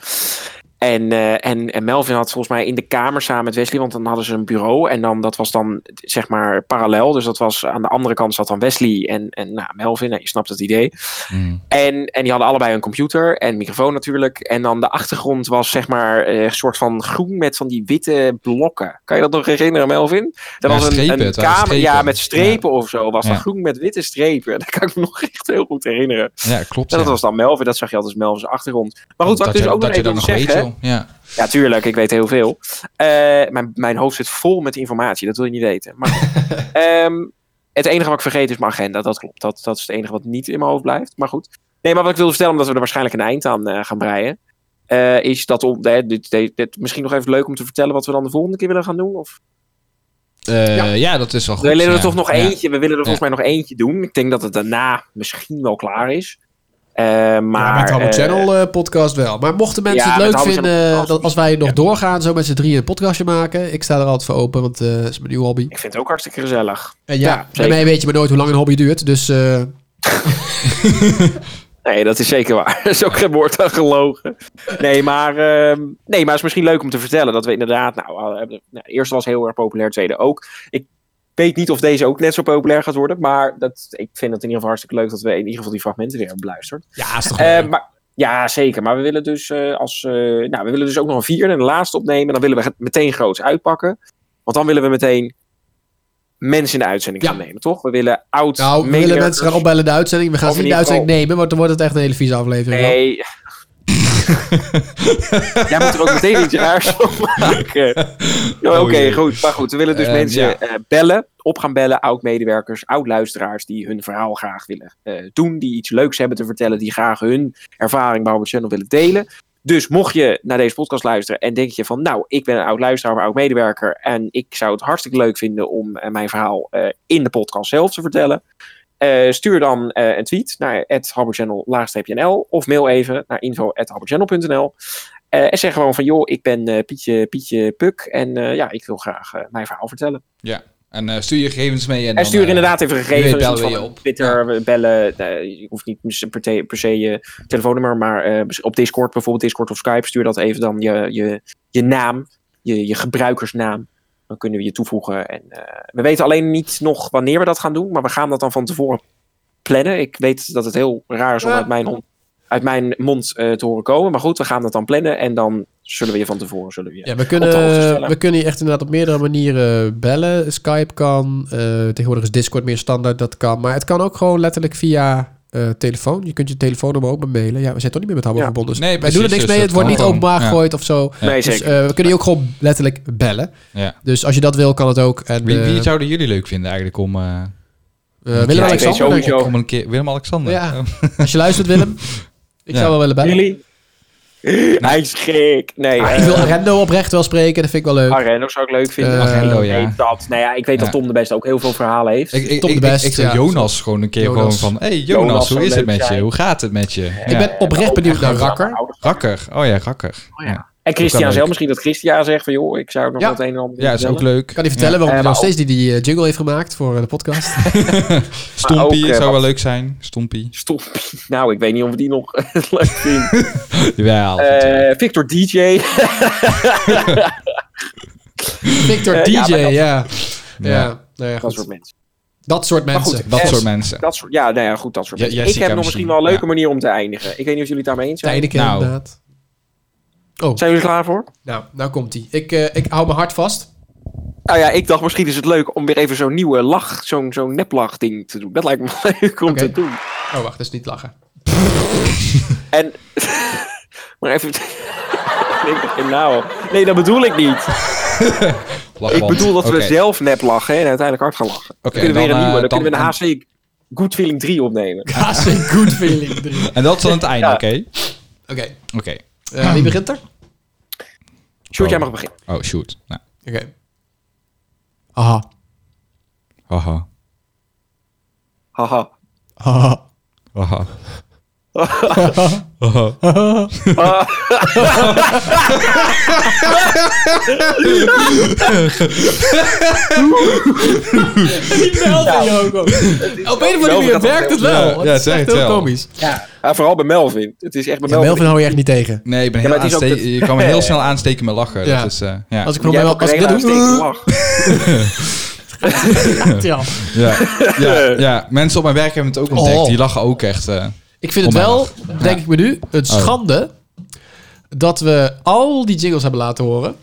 [SPEAKER 7] En, eh, en, en Melvin had volgens mij in de kamer samen met Wesley, want dan hadden ze een bureau. En dan, dat was dan zeg maar parallel. Dus dat was aan de andere kant zat dan Wesley en, en nou, Melvin. Nou, je snapt het idee.
[SPEAKER 14] Mm.
[SPEAKER 5] Mhm.
[SPEAKER 7] En, en die hadden allebei een computer en microfoon natuurlijk. En dan de achtergrond was zeg maar eh, een soort van groen met van die witte blokken. Kan je dat nog herinneren, Melvin? Dat
[SPEAKER 5] Ja,
[SPEAKER 7] was een,
[SPEAKER 5] strepen,
[SPEAKER 7] een
[SPEAKER 5] het waren
[SPEAKER 7] kamer ja,
[SPEAKER 5] strepen.
[SPEAKER 7] met strepen of zo. Was dat
[SPEAKER 5] Ja.
[SPEAKER 7] groen met witte strepen. Dat kan ik me nog echt heel goed herinneren.
[SPEAKER 5] Ja, klopt.
[SPEAKER 7] En dat
[SPEAKER 5] ja.
[SPEAKER 7] was dan Melvin. Dat zag je altijd als Melvin's achtergrond. Maar goed,
[SPEAKER 5] Dat
[SPEAKER 7] wat ik dus
[SPEAKER 5] je-
[SPEAKER 7] ook
[SPEAKER 5] dat
[SPEAKER 7] nog
[SPEAKER 5] je
[SPEAKER 7] even
[SPEAKER 5] dat
[SPEAKER 7] wil
[SPEAKER 5] nog weet,
[SPEAKER 7] zeggen...
[SPEAKER 5] joh. Ja.
[SPEAKER 7] Ja, tuurlijk. Ik weet heel veel. Eh, mijn, mijn hoofd zit vol met informatie. Dat wil je niet weten. Maar goed. Ehm, het enige wat ik vergeet is mijn agenda. Dat klopt. Dat, dat is het enige wat niet in mijn hoofd blijft. Maar goed. Nee, maar wat ik wilde vertellen, omdat we er waarschijnlijk een eind aan eh, gaan breien. eh, is dat om, eh, dit, dit, dit- misschien nog even leuk om te vertellen wat we dan de volgende keer willen gaan doen? Of
[SPEAKER 5] Eh, ja. dat
[SPEAKER 4] Oh,
[SPEAKER 5] is wel goed.
[SPEAKER 7] we willen er
[SPEAKER 5] ja.
[SPEAKER 7] toch nog
[SPEAKER 5] Ja.
[SPEAKER 7] eentje. We willen er volgens mij nog eentje doen. Ik denk dat het daarna misschien wel klaar is. Eh, maar,
[SPEAKER 4] Maar het Habbo
[SPEAKER 7] eh,
[SPEAKER 4] Channel eh, podcast wel. Maar mochten mensen
[SPEAKER 7] Ja,
[SPEAKER 4] het
[SPEAKER 7] met
[SPEAKER 4] leuk
[SPEAKER 7] Habbo
[SPEAKER 4] vinden
[SPEAKER 7] Channel
[SPEAKER 4] eh, dat als wij nog doorgaan, zo met z'n drieën een podcastje maken. Ik sta er altijd voor open, want eh, dat is mijn nieuwe hobby.
[SPEAKER 7] ik vind het ook hartstikke gezellig.
[SPEAKER 4] En Eh, ja,
[SPEAKER 7] zeker.
[SPEAKER 4] daarmee weet je maar nooit hoe lang een hobby duurt. Dus eh,
[SPEAKER 7] Nee, dat is zeker waar. Er is ook geen woord aan gelogen. Nee, maar, ehm, nee, maar het is misschien leuk om te vertellen dat we inderdaad. Nou, eh, nou, de eerste was heel erg populair, de tweede ook. Ik weet niet of deze ook net zo populair gaat worden. Maar dat, ik vind het in ieder geval hartstikke leuk dat we in ieder geval die fragmenten weer hebben beluisterd. Ehm,
[SPEAKER 4] Ja, is toch
[SPEAKER 7] maar, Ja, zeker. Maar we willen dus, eh, als, eh, nou, we willen dus ook nog een vierde en een laatste opnemen. Dan willen we het meteen groots uitpakken. Want dan willen we meteen mensen in de uitzending gaan nemen, toch? We willen oud
[SPEAKER 4] nou, we willen
[SPEAKER 7] medewerkers-
[SPEAKER 4] mensen gaan opbellen in de uitzending. We gaan
[SPEAKER 7] Of
[SPEAKER 4] ze
[SPEAKER 7] in
[SPEAKER 4] niet de
[SPEAKER 7] ieder
[SPEAKER 4] uitzending nemen, want dan wordt het echt een hele vieze aflevering.
[SPEAKER 7] Nee. Jij moet er ook meteen iets raars van maken. Ja, Oké,
[SPEAKER 5] Oei.
[SPEAKER 7] goed. Maar goed, we willen dus
[SPEAKER 5] Eh,
[SPEAKER 7] mensen
[SPEAKER 5] ja.
[SPEAKER 7] eh, bellen, op gaan bellen, oud-medewerkers, oud-luisteraars die hun verhaal graag willen eh, doen, die iets leuks hebben te vertellen, die graag hun ervaring bij Albert Channel willen delen. Dus mocht je naar deze podcast luisteren en denk je van, nou, ik ben een oud-luisteraar of oud-medewerker en ik zou het hartstikke leuk vinden om eh, mijn verhaal eh, in de podcast zelf te vertellen, eh, stuur dan eh, een tweet naar @harborchannel_nl of mail even naar info@harborchannel.nl Eh, en zeg gewoon van joh, ik ben eh, Pietje, Pietje Puk en eh, ja, ik wil graag eh, mijn verhaal vertellen.
[SPEAKER 5] Ja. En eh, stuur je gegevens mee. En,
[SPEAKER 7] En,
[SPEAKER 5] dan,
[SPEAKER 7] stuur
[SPEAKER 5] eh,
[SPEAKER 7] inderdaad even
[SPEAKER 5] wie
[SPEAKER 7] gegevens
[SPEAKER 5] weet bellen
[SPEAKER 7] iets
[SPEAKER 5] we
[SPEAKER 7] van
[SPEAKER 5] je
[SPEAKER 7] een
[SPEAKER 5] op.
[SPEAKER 7] Twitter, we bellen. eh, je hoeft niet mis- per, te- per se je telefoonnummer, maar eh, op Discord bijvoorbeeld, Discord of Skype, stuur dat even dan je, je, je naam, je, je gebruikersnaam. Dan kunnen we je toevoegen. En, eh, we weten alleen niet nog wanneer we dat gaan doen, maar we gaan dat dan van tevoren plannen. Ik weet dat het heel raar is om
[SPEAKER 4] Ja.
[SPEAKER 7] uit mijn, hon- uit mijn mond eh, te horen komen, maar goed, we gaan dat dan plannen en dan zullen we je van tevoren zullen we je
[SPEAKER 4] Ja, we
[SPEAKER 7] op de hoogte
[SPEAKER 4] kunnen,
[SPEAKER 7] stellen.
[SPEAKER 4] we kunnen je echt inderdaad op meerdere manieren bellen. Skype kan, eh, tegenwoordig is Discord meer standaard, dat kan. Maar het kan ook gewoon letterlijk via eh, telefoon. Je kunt je telefoonnummer ook maar mailen. Ja, we zijn toch niet meer met Habbo
[SPEAKER 7] Ja.
[SPEAKER 4] verbonden. Dus
[SPEAKER 5] Nee,
[SPEAKER 4] wij
[SPEAKER 5] precies,
[SPEAKER 4] doen er niks
[SPEAKER 5] dus
[SPEAKER 4] mee,
[SPEAKER 5] dat
[SPEAKER 4] het wordt
[SPEAKER 5] kan
[SPEAKER 4] niet
[SPEAKER 5] gewoon.
[SPEAKER 4] openbaar
[SPEAKER 5] Ja.
[SPEAKER 4] gegooid of zo.
[SPEAKER 7] Nee,
[SPEAKER 4] dus
[SPEAKER 7] zeker.
[SPEAKER 4] eh, we kunnen je ook gewoon letterlijk bellen.
[SPEAKER 5] Ja.
[SPEAKER 4] Dus als je dat wil, kan het ook. En,
[SPEAKER 5] Wie, wie
[SPEAKER 4] eh,
[SPEAKER 5] zouden jullie leuk vinden eigenlijk om... eh,
[SPEAKER 4] eh, Willem-Alexander, denk ik.
[SPEAKER 5] Om een keer Willem-Alexander.
[SPEAKER 4] Ja. Als je luistert, Willem. Ik
[SPEAKER 5] Ja.
[SPEAKER 4] zou wel willen bellen.
[SPEAKER 7] Jullie? Hij is gek. Nee,
[SPEAKER 4] Ah, ik
[SPEAKER 7] eh,
[SPEAKER 4] wil Arendo oprecht wel spreken, dat vind ik wel leuk.
[SPEAKER 7] Arendo zou ik leuk vinden.
[SPEAKER 4] Eh,
[SPEAKER 5] Arendo,
[SPEAKER 7] Ik
[SPEAKER 5] ja.
[SPEAKER 7] weet dat. Nou ja, ik weet dat
[SPEAKER 5] Ja.
[SPEAKER 7] Tom de Best ook heel veel verhalen heeft.
[SPEAKER 5] Ik, ik,
[SPEAKER 4] Top de
[SPEAKER 5] ik,
[SPEAKER 4] best,
[SPEAKER 5] ik, zeg
[SPEAKER 4] ja.
[SPEAKER 5] Jonas gewoon een keer
[SPEAKER 4] Jonas.
[SPEAKER 5] gewoon van... hey Jonas,
[SPEAKER 7] Jonas
[SPEAKER 5] hoe
[SPEAKER 7] zou
[SPEAKER 5] is het
[SPEAKER 7] leuk
[SPEAKER 5] met je?
[SPEAKER 7] zijn.
[SPEAKER 5] Hoe gaat het met je? Ja.
[SPEAKER 4] Ik ben oprecht benieuwd naar Rakker.
[SPEAKER 5] Rakker. Oh ja, Rakker. Ja.
[SPEAKER 7] en
[SPEAKER 5] Ook wel
[SPEAKER 7] Nou, Christian
[SPEAKER 5] leuk.
[SPEAKER 7] zelf, misschien dat Christian zegt van joh, ik zou nog
[SPEAKER 4] Ja.
[SPEAKER 7] wat een en ander
[SPEAKER 5] Ja, is ook leuk.
[SPEAKER 4] Kan hij vertellen waarom
[SPEAKER 7] Eh,
[SPEAKER 4] hij nog
[SPEAKER 7] maar ook-
[SPEAKER 4] steeds die, die eh, jingle heeft gemaakt voor eh, de podcast?
[SPEAKER 5] Stompie
[SPEAKER 7] ook, eh,
[SPEAKER 5] zou
[SPEAKER 7] wat-
[SPEAKER 5] wel leuk zijn. Stompie.
[SPEAKER 7] Stop. Nou, ik weet niet of we die nog leuk vinden.
[SPEAKER 5] Jawel.
[SPEAKER 7] Eh, Victor DJ.
[SPEAKER 4] Victor
[SPEAKER 7] Eh,
[SPEAKER 4] DJ,
[SPEAKER 7] ja, maar
[SPEAKER 4] ja.
[SPEAKER 7] dat-
[SPEAKER 4] ja.
[SPEAKER 5] Ja.
[SPEAKER 4] nou ja,
[SPEAKER 7] dat
[SPEAKER 4] goed.
[SPEAKER 7] soort mensen.
[SPEAKER 4] Dat soort
[SPEAKER 7] Maar
[SPEAKER 4] mensen.
[SPEAKER 7] goed,
[SPEAKER 5] Dat
[SPEAKER 7] eh,
[SPEAKER 5] soort mensen.
[SPEAKER 7] Dat soort, ja, nou ja, goed, dat soort
[SPEAKER 5] Ja,
[SPEAKER 7] mensen. Ik
[SPEAKER 5] Jessica
[SPEAKER 7] heb nog misschien wel een leuke
[SPEAKER 5] misschien,
[SPEAKER 7] manier om te eindigen. Ik weet niet of jullie het daarmee eens zijn.
[SPEAKER 4] Tijdelijk
[SPEAKER 5] Nou.
[SPEAKER 4] inderdaad. Oh,
[SPEAKER 7] Zijn jullie klaar voor?
[SPEAKER 4] nou, nou komt hij. Ik, eh, ik hou mijn hart vast.
[SPEAKER 7] Nou ja, ik dacht misschien is het leuk om weer even zo'n nieuwe lach, zo'n zo'n neplach ding te doen. Dat lijkt me leuk om te doen.
[SPEAKER 4] Oh, wacht, dat is niet lachen.
[SPEAKER 7] En. maar even. Denk ik, nou. Nee, dat bedoel ik niet. ik
[SPEAKER 5] Lachband.
[SPEAKER 7] bedoel dat we
[SPEAKER 5] Oké.
[SPEAKER 7] zelf nep lachen hè, en uiteindelijk hard gaan lachen.
[SPEAKER 5] Oké,
[SPEAKER 7] dan kunnen we
[SPEAKER 5] dan,
[SPEAKER 7] weer een nieuwe. Dan,
[SPEAKER 5] eh,
[SPEAKER 7] kunnen we
[SPEAKER 5] dan-
[SPEAKER 7] een HC Good Feeling 3 opnemen.
[SPEAKER 4] Hartstikke good feeling. drie.
[SPEAKER 5] En dat is dan het einde,
[SPEAKER 7] Ja.
[SPEAKER 5] oké?
[SPEAKER 4] Oké,
[SPEAKER 5] Oké.
[SPEAKER 4] eh, wie begint er?
[SPEAKER 7] Sjoerd, jij mag beginnen.
[SPEAKER 5] Oh, shoot. Nou.
[SPEAKER 4] Oké. Aha.
[SPEAKER 5] Haha.
[SPEAKER 7] Haha.
[SPEAKER 4] Haha.
[SPEAKER 5] Haha.
[SPEAKER 12] 아.
[SPEAKER 4] Die Melvin, Joko. Op een of andere manier werkt het wel.
[SPEAKER 5] Ja,
[SPEAKER 4] Het
[SPEAKER 5] ja,
[SPEAKER 4] is
[SPEAKER 5] het
[SPEAKER 4] echt
[SPEAKER 5] werkt
[SPEAKER 4] heel
[SPEAKER 5] wel.
[SPEAKER 4] komisch.
[SPEAKER 7] Ja. vooral bij Melvin. Het is echt bij
[SPEAKER 4] Ja,
[SPEAKER 7] Melvin.
[SPEAKER 4] Melvin hou je echt niet tegen.
[SPEAKER 5] Nee, ik ben
[SPEAKER 7] Ja,
[SPEAKER 5] heel
[SPEAKER 7] maar het is ook
[SPEAKER 5] aanste-
[SPEAKER 7] dat-
[SPEAKER 5] je kan me heel snel aansteken met lachen.
[SPEAKER 4] Ja.
[SPEAKER 5] Dat is, eh, ja.
[SPEAKER 4] Als ik
[SPEAKER 7] Jij
[SPEAKER 4] probeer
[SPEAKER 7] hebt
[SPEAKER 4] als ik
[SPEAKER 7] ook een
[SPEAKER 4] dit
[SPEAKER 7] hele
[SPEAKER 4] doe...
[SPEAKER 7] lach.
[SPEAKER 4] Ja.
[SPEAKER 5] ja, ja, ja, mensen op mijn werk hebben het ook ontdekt. Die lachen ook echt. eh,
[SPEAKER 4] Oh. Ik vind het
[SPEAKER 5] om mijn
[SPEAKER 4] wel,
[SPEAKER 5] lachen.
[SPEAKER 4] denk ik me nu, een
[SPEAKER 5] Oh.
[SPEAKER 4] schande dat we al die jingles hebben laten horen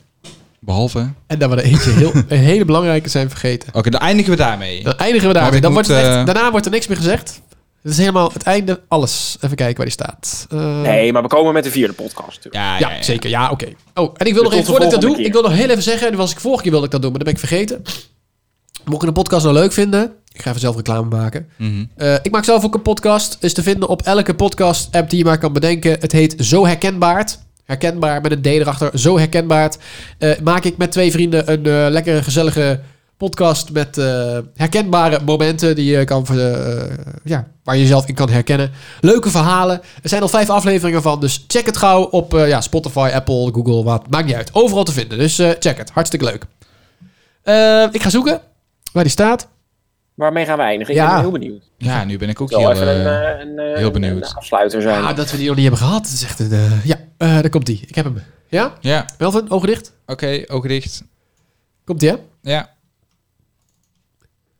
[SPEAKER 5] Behalve. Oké,
[SPEAKER 4] en dat we er eentje heel, een hele belangrijke zijn vergeten.
[SPEAKER 5] dan eindigen we daarmee.
[SPEAKER 4] Dan eindigen we daarmee.
[SPEAKER 5] Want
[SPEAKER 4] Dan
[SPEAKER 5] Oh, ik
[SPEAKER 4] wordt
[SPEAKER 5] moet,
[SPEAKER 4] het echt-
[SPEAKER 5] eh,
[SPEAKER 4] daarna wordt er niks meer gezegd. Het is helemaal het einde, alles. Even kijken waar die staat. Eh,
[SPEAKER 7] Nee, maar we komen met de vierde podcast.
[SPEAKER 5] Ja,
[SPEAKER 4] ja, zeker. Ja, oké. Oh, en ik wil
[SPEAKER 7] Dus
[SPEAKER 4] nog even,
[SPEAKER 7] tot de
[SPEAKER 4] voordat ik dat doe,
[SPEAKER 7] volgende
[SPEAKER 4] ik wil nog heel even zeggen, en dat was ik vorige keer wilde ik dat doen, maar dat ben ik vergeten. Mocht je de podcast nou leuk vinden, ik ga even zelf reclame maken.
[SPEAKER 5] Hm?
[SPEAKER 4] Eh, ik maak zelf ook een podcast. Is te vinden op elke podcast-app die je maar kan bedenken. Het heet Zo Herkenbaard. Herkenbaar met een D erachter. Zo Herkenbaard. Eh, maak ik met twee vrienden een eh, lekkere, gezellige podcast met eh, herkenbare momenten die je kan, eh, eh, ja, waar je jezelf in kan herkennen. Leuke verhalen. Er zijn al vijf afleveringen van, dus check het gauw op eh, ja, Spotify, Apple, Google, wat. Maakt niet uit. Overal te vinden, dus eh, check het. Hartstikke leuk. Eh, ik ga zoeken waar die staat.
[SPEAKER 7] Waarmee gaan we eindigen? Ik
[SPEAKER 4] Ja.
[SPEAKER 7] ben heel benieuwd.
[SPEAKER 5] Ja, nu ben ik ook
[SPEAKER 7] Zal
[SPEAKER 5] heel,
[SPEAKER 7] even een,
[SPEAKER 5] eh,
[SPEAKER 7] eh, een, eh,
[SPEAKER 5] heel
[SPEAKER 7] een
[SPEAKER 5] benieuwd.
[SPEAKER 7] afsluiter zijn.
[SPEAKER 4] Ah, dat we die nog niet hebben gehad. Dat is echt een. eh, ja, eh, daar komt die. Ik heb hem. Ja?
[SPEAKER 5] Ja,
[SPEAKER 4] Melvin, ogen dicht.
[SPEAKER 5] oké, ogen dicht.
[SPEAKER 4] Komt die, hè?
[SPEAKER 5] Ja.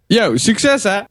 [SPEAKER 14] Yo, succes hè!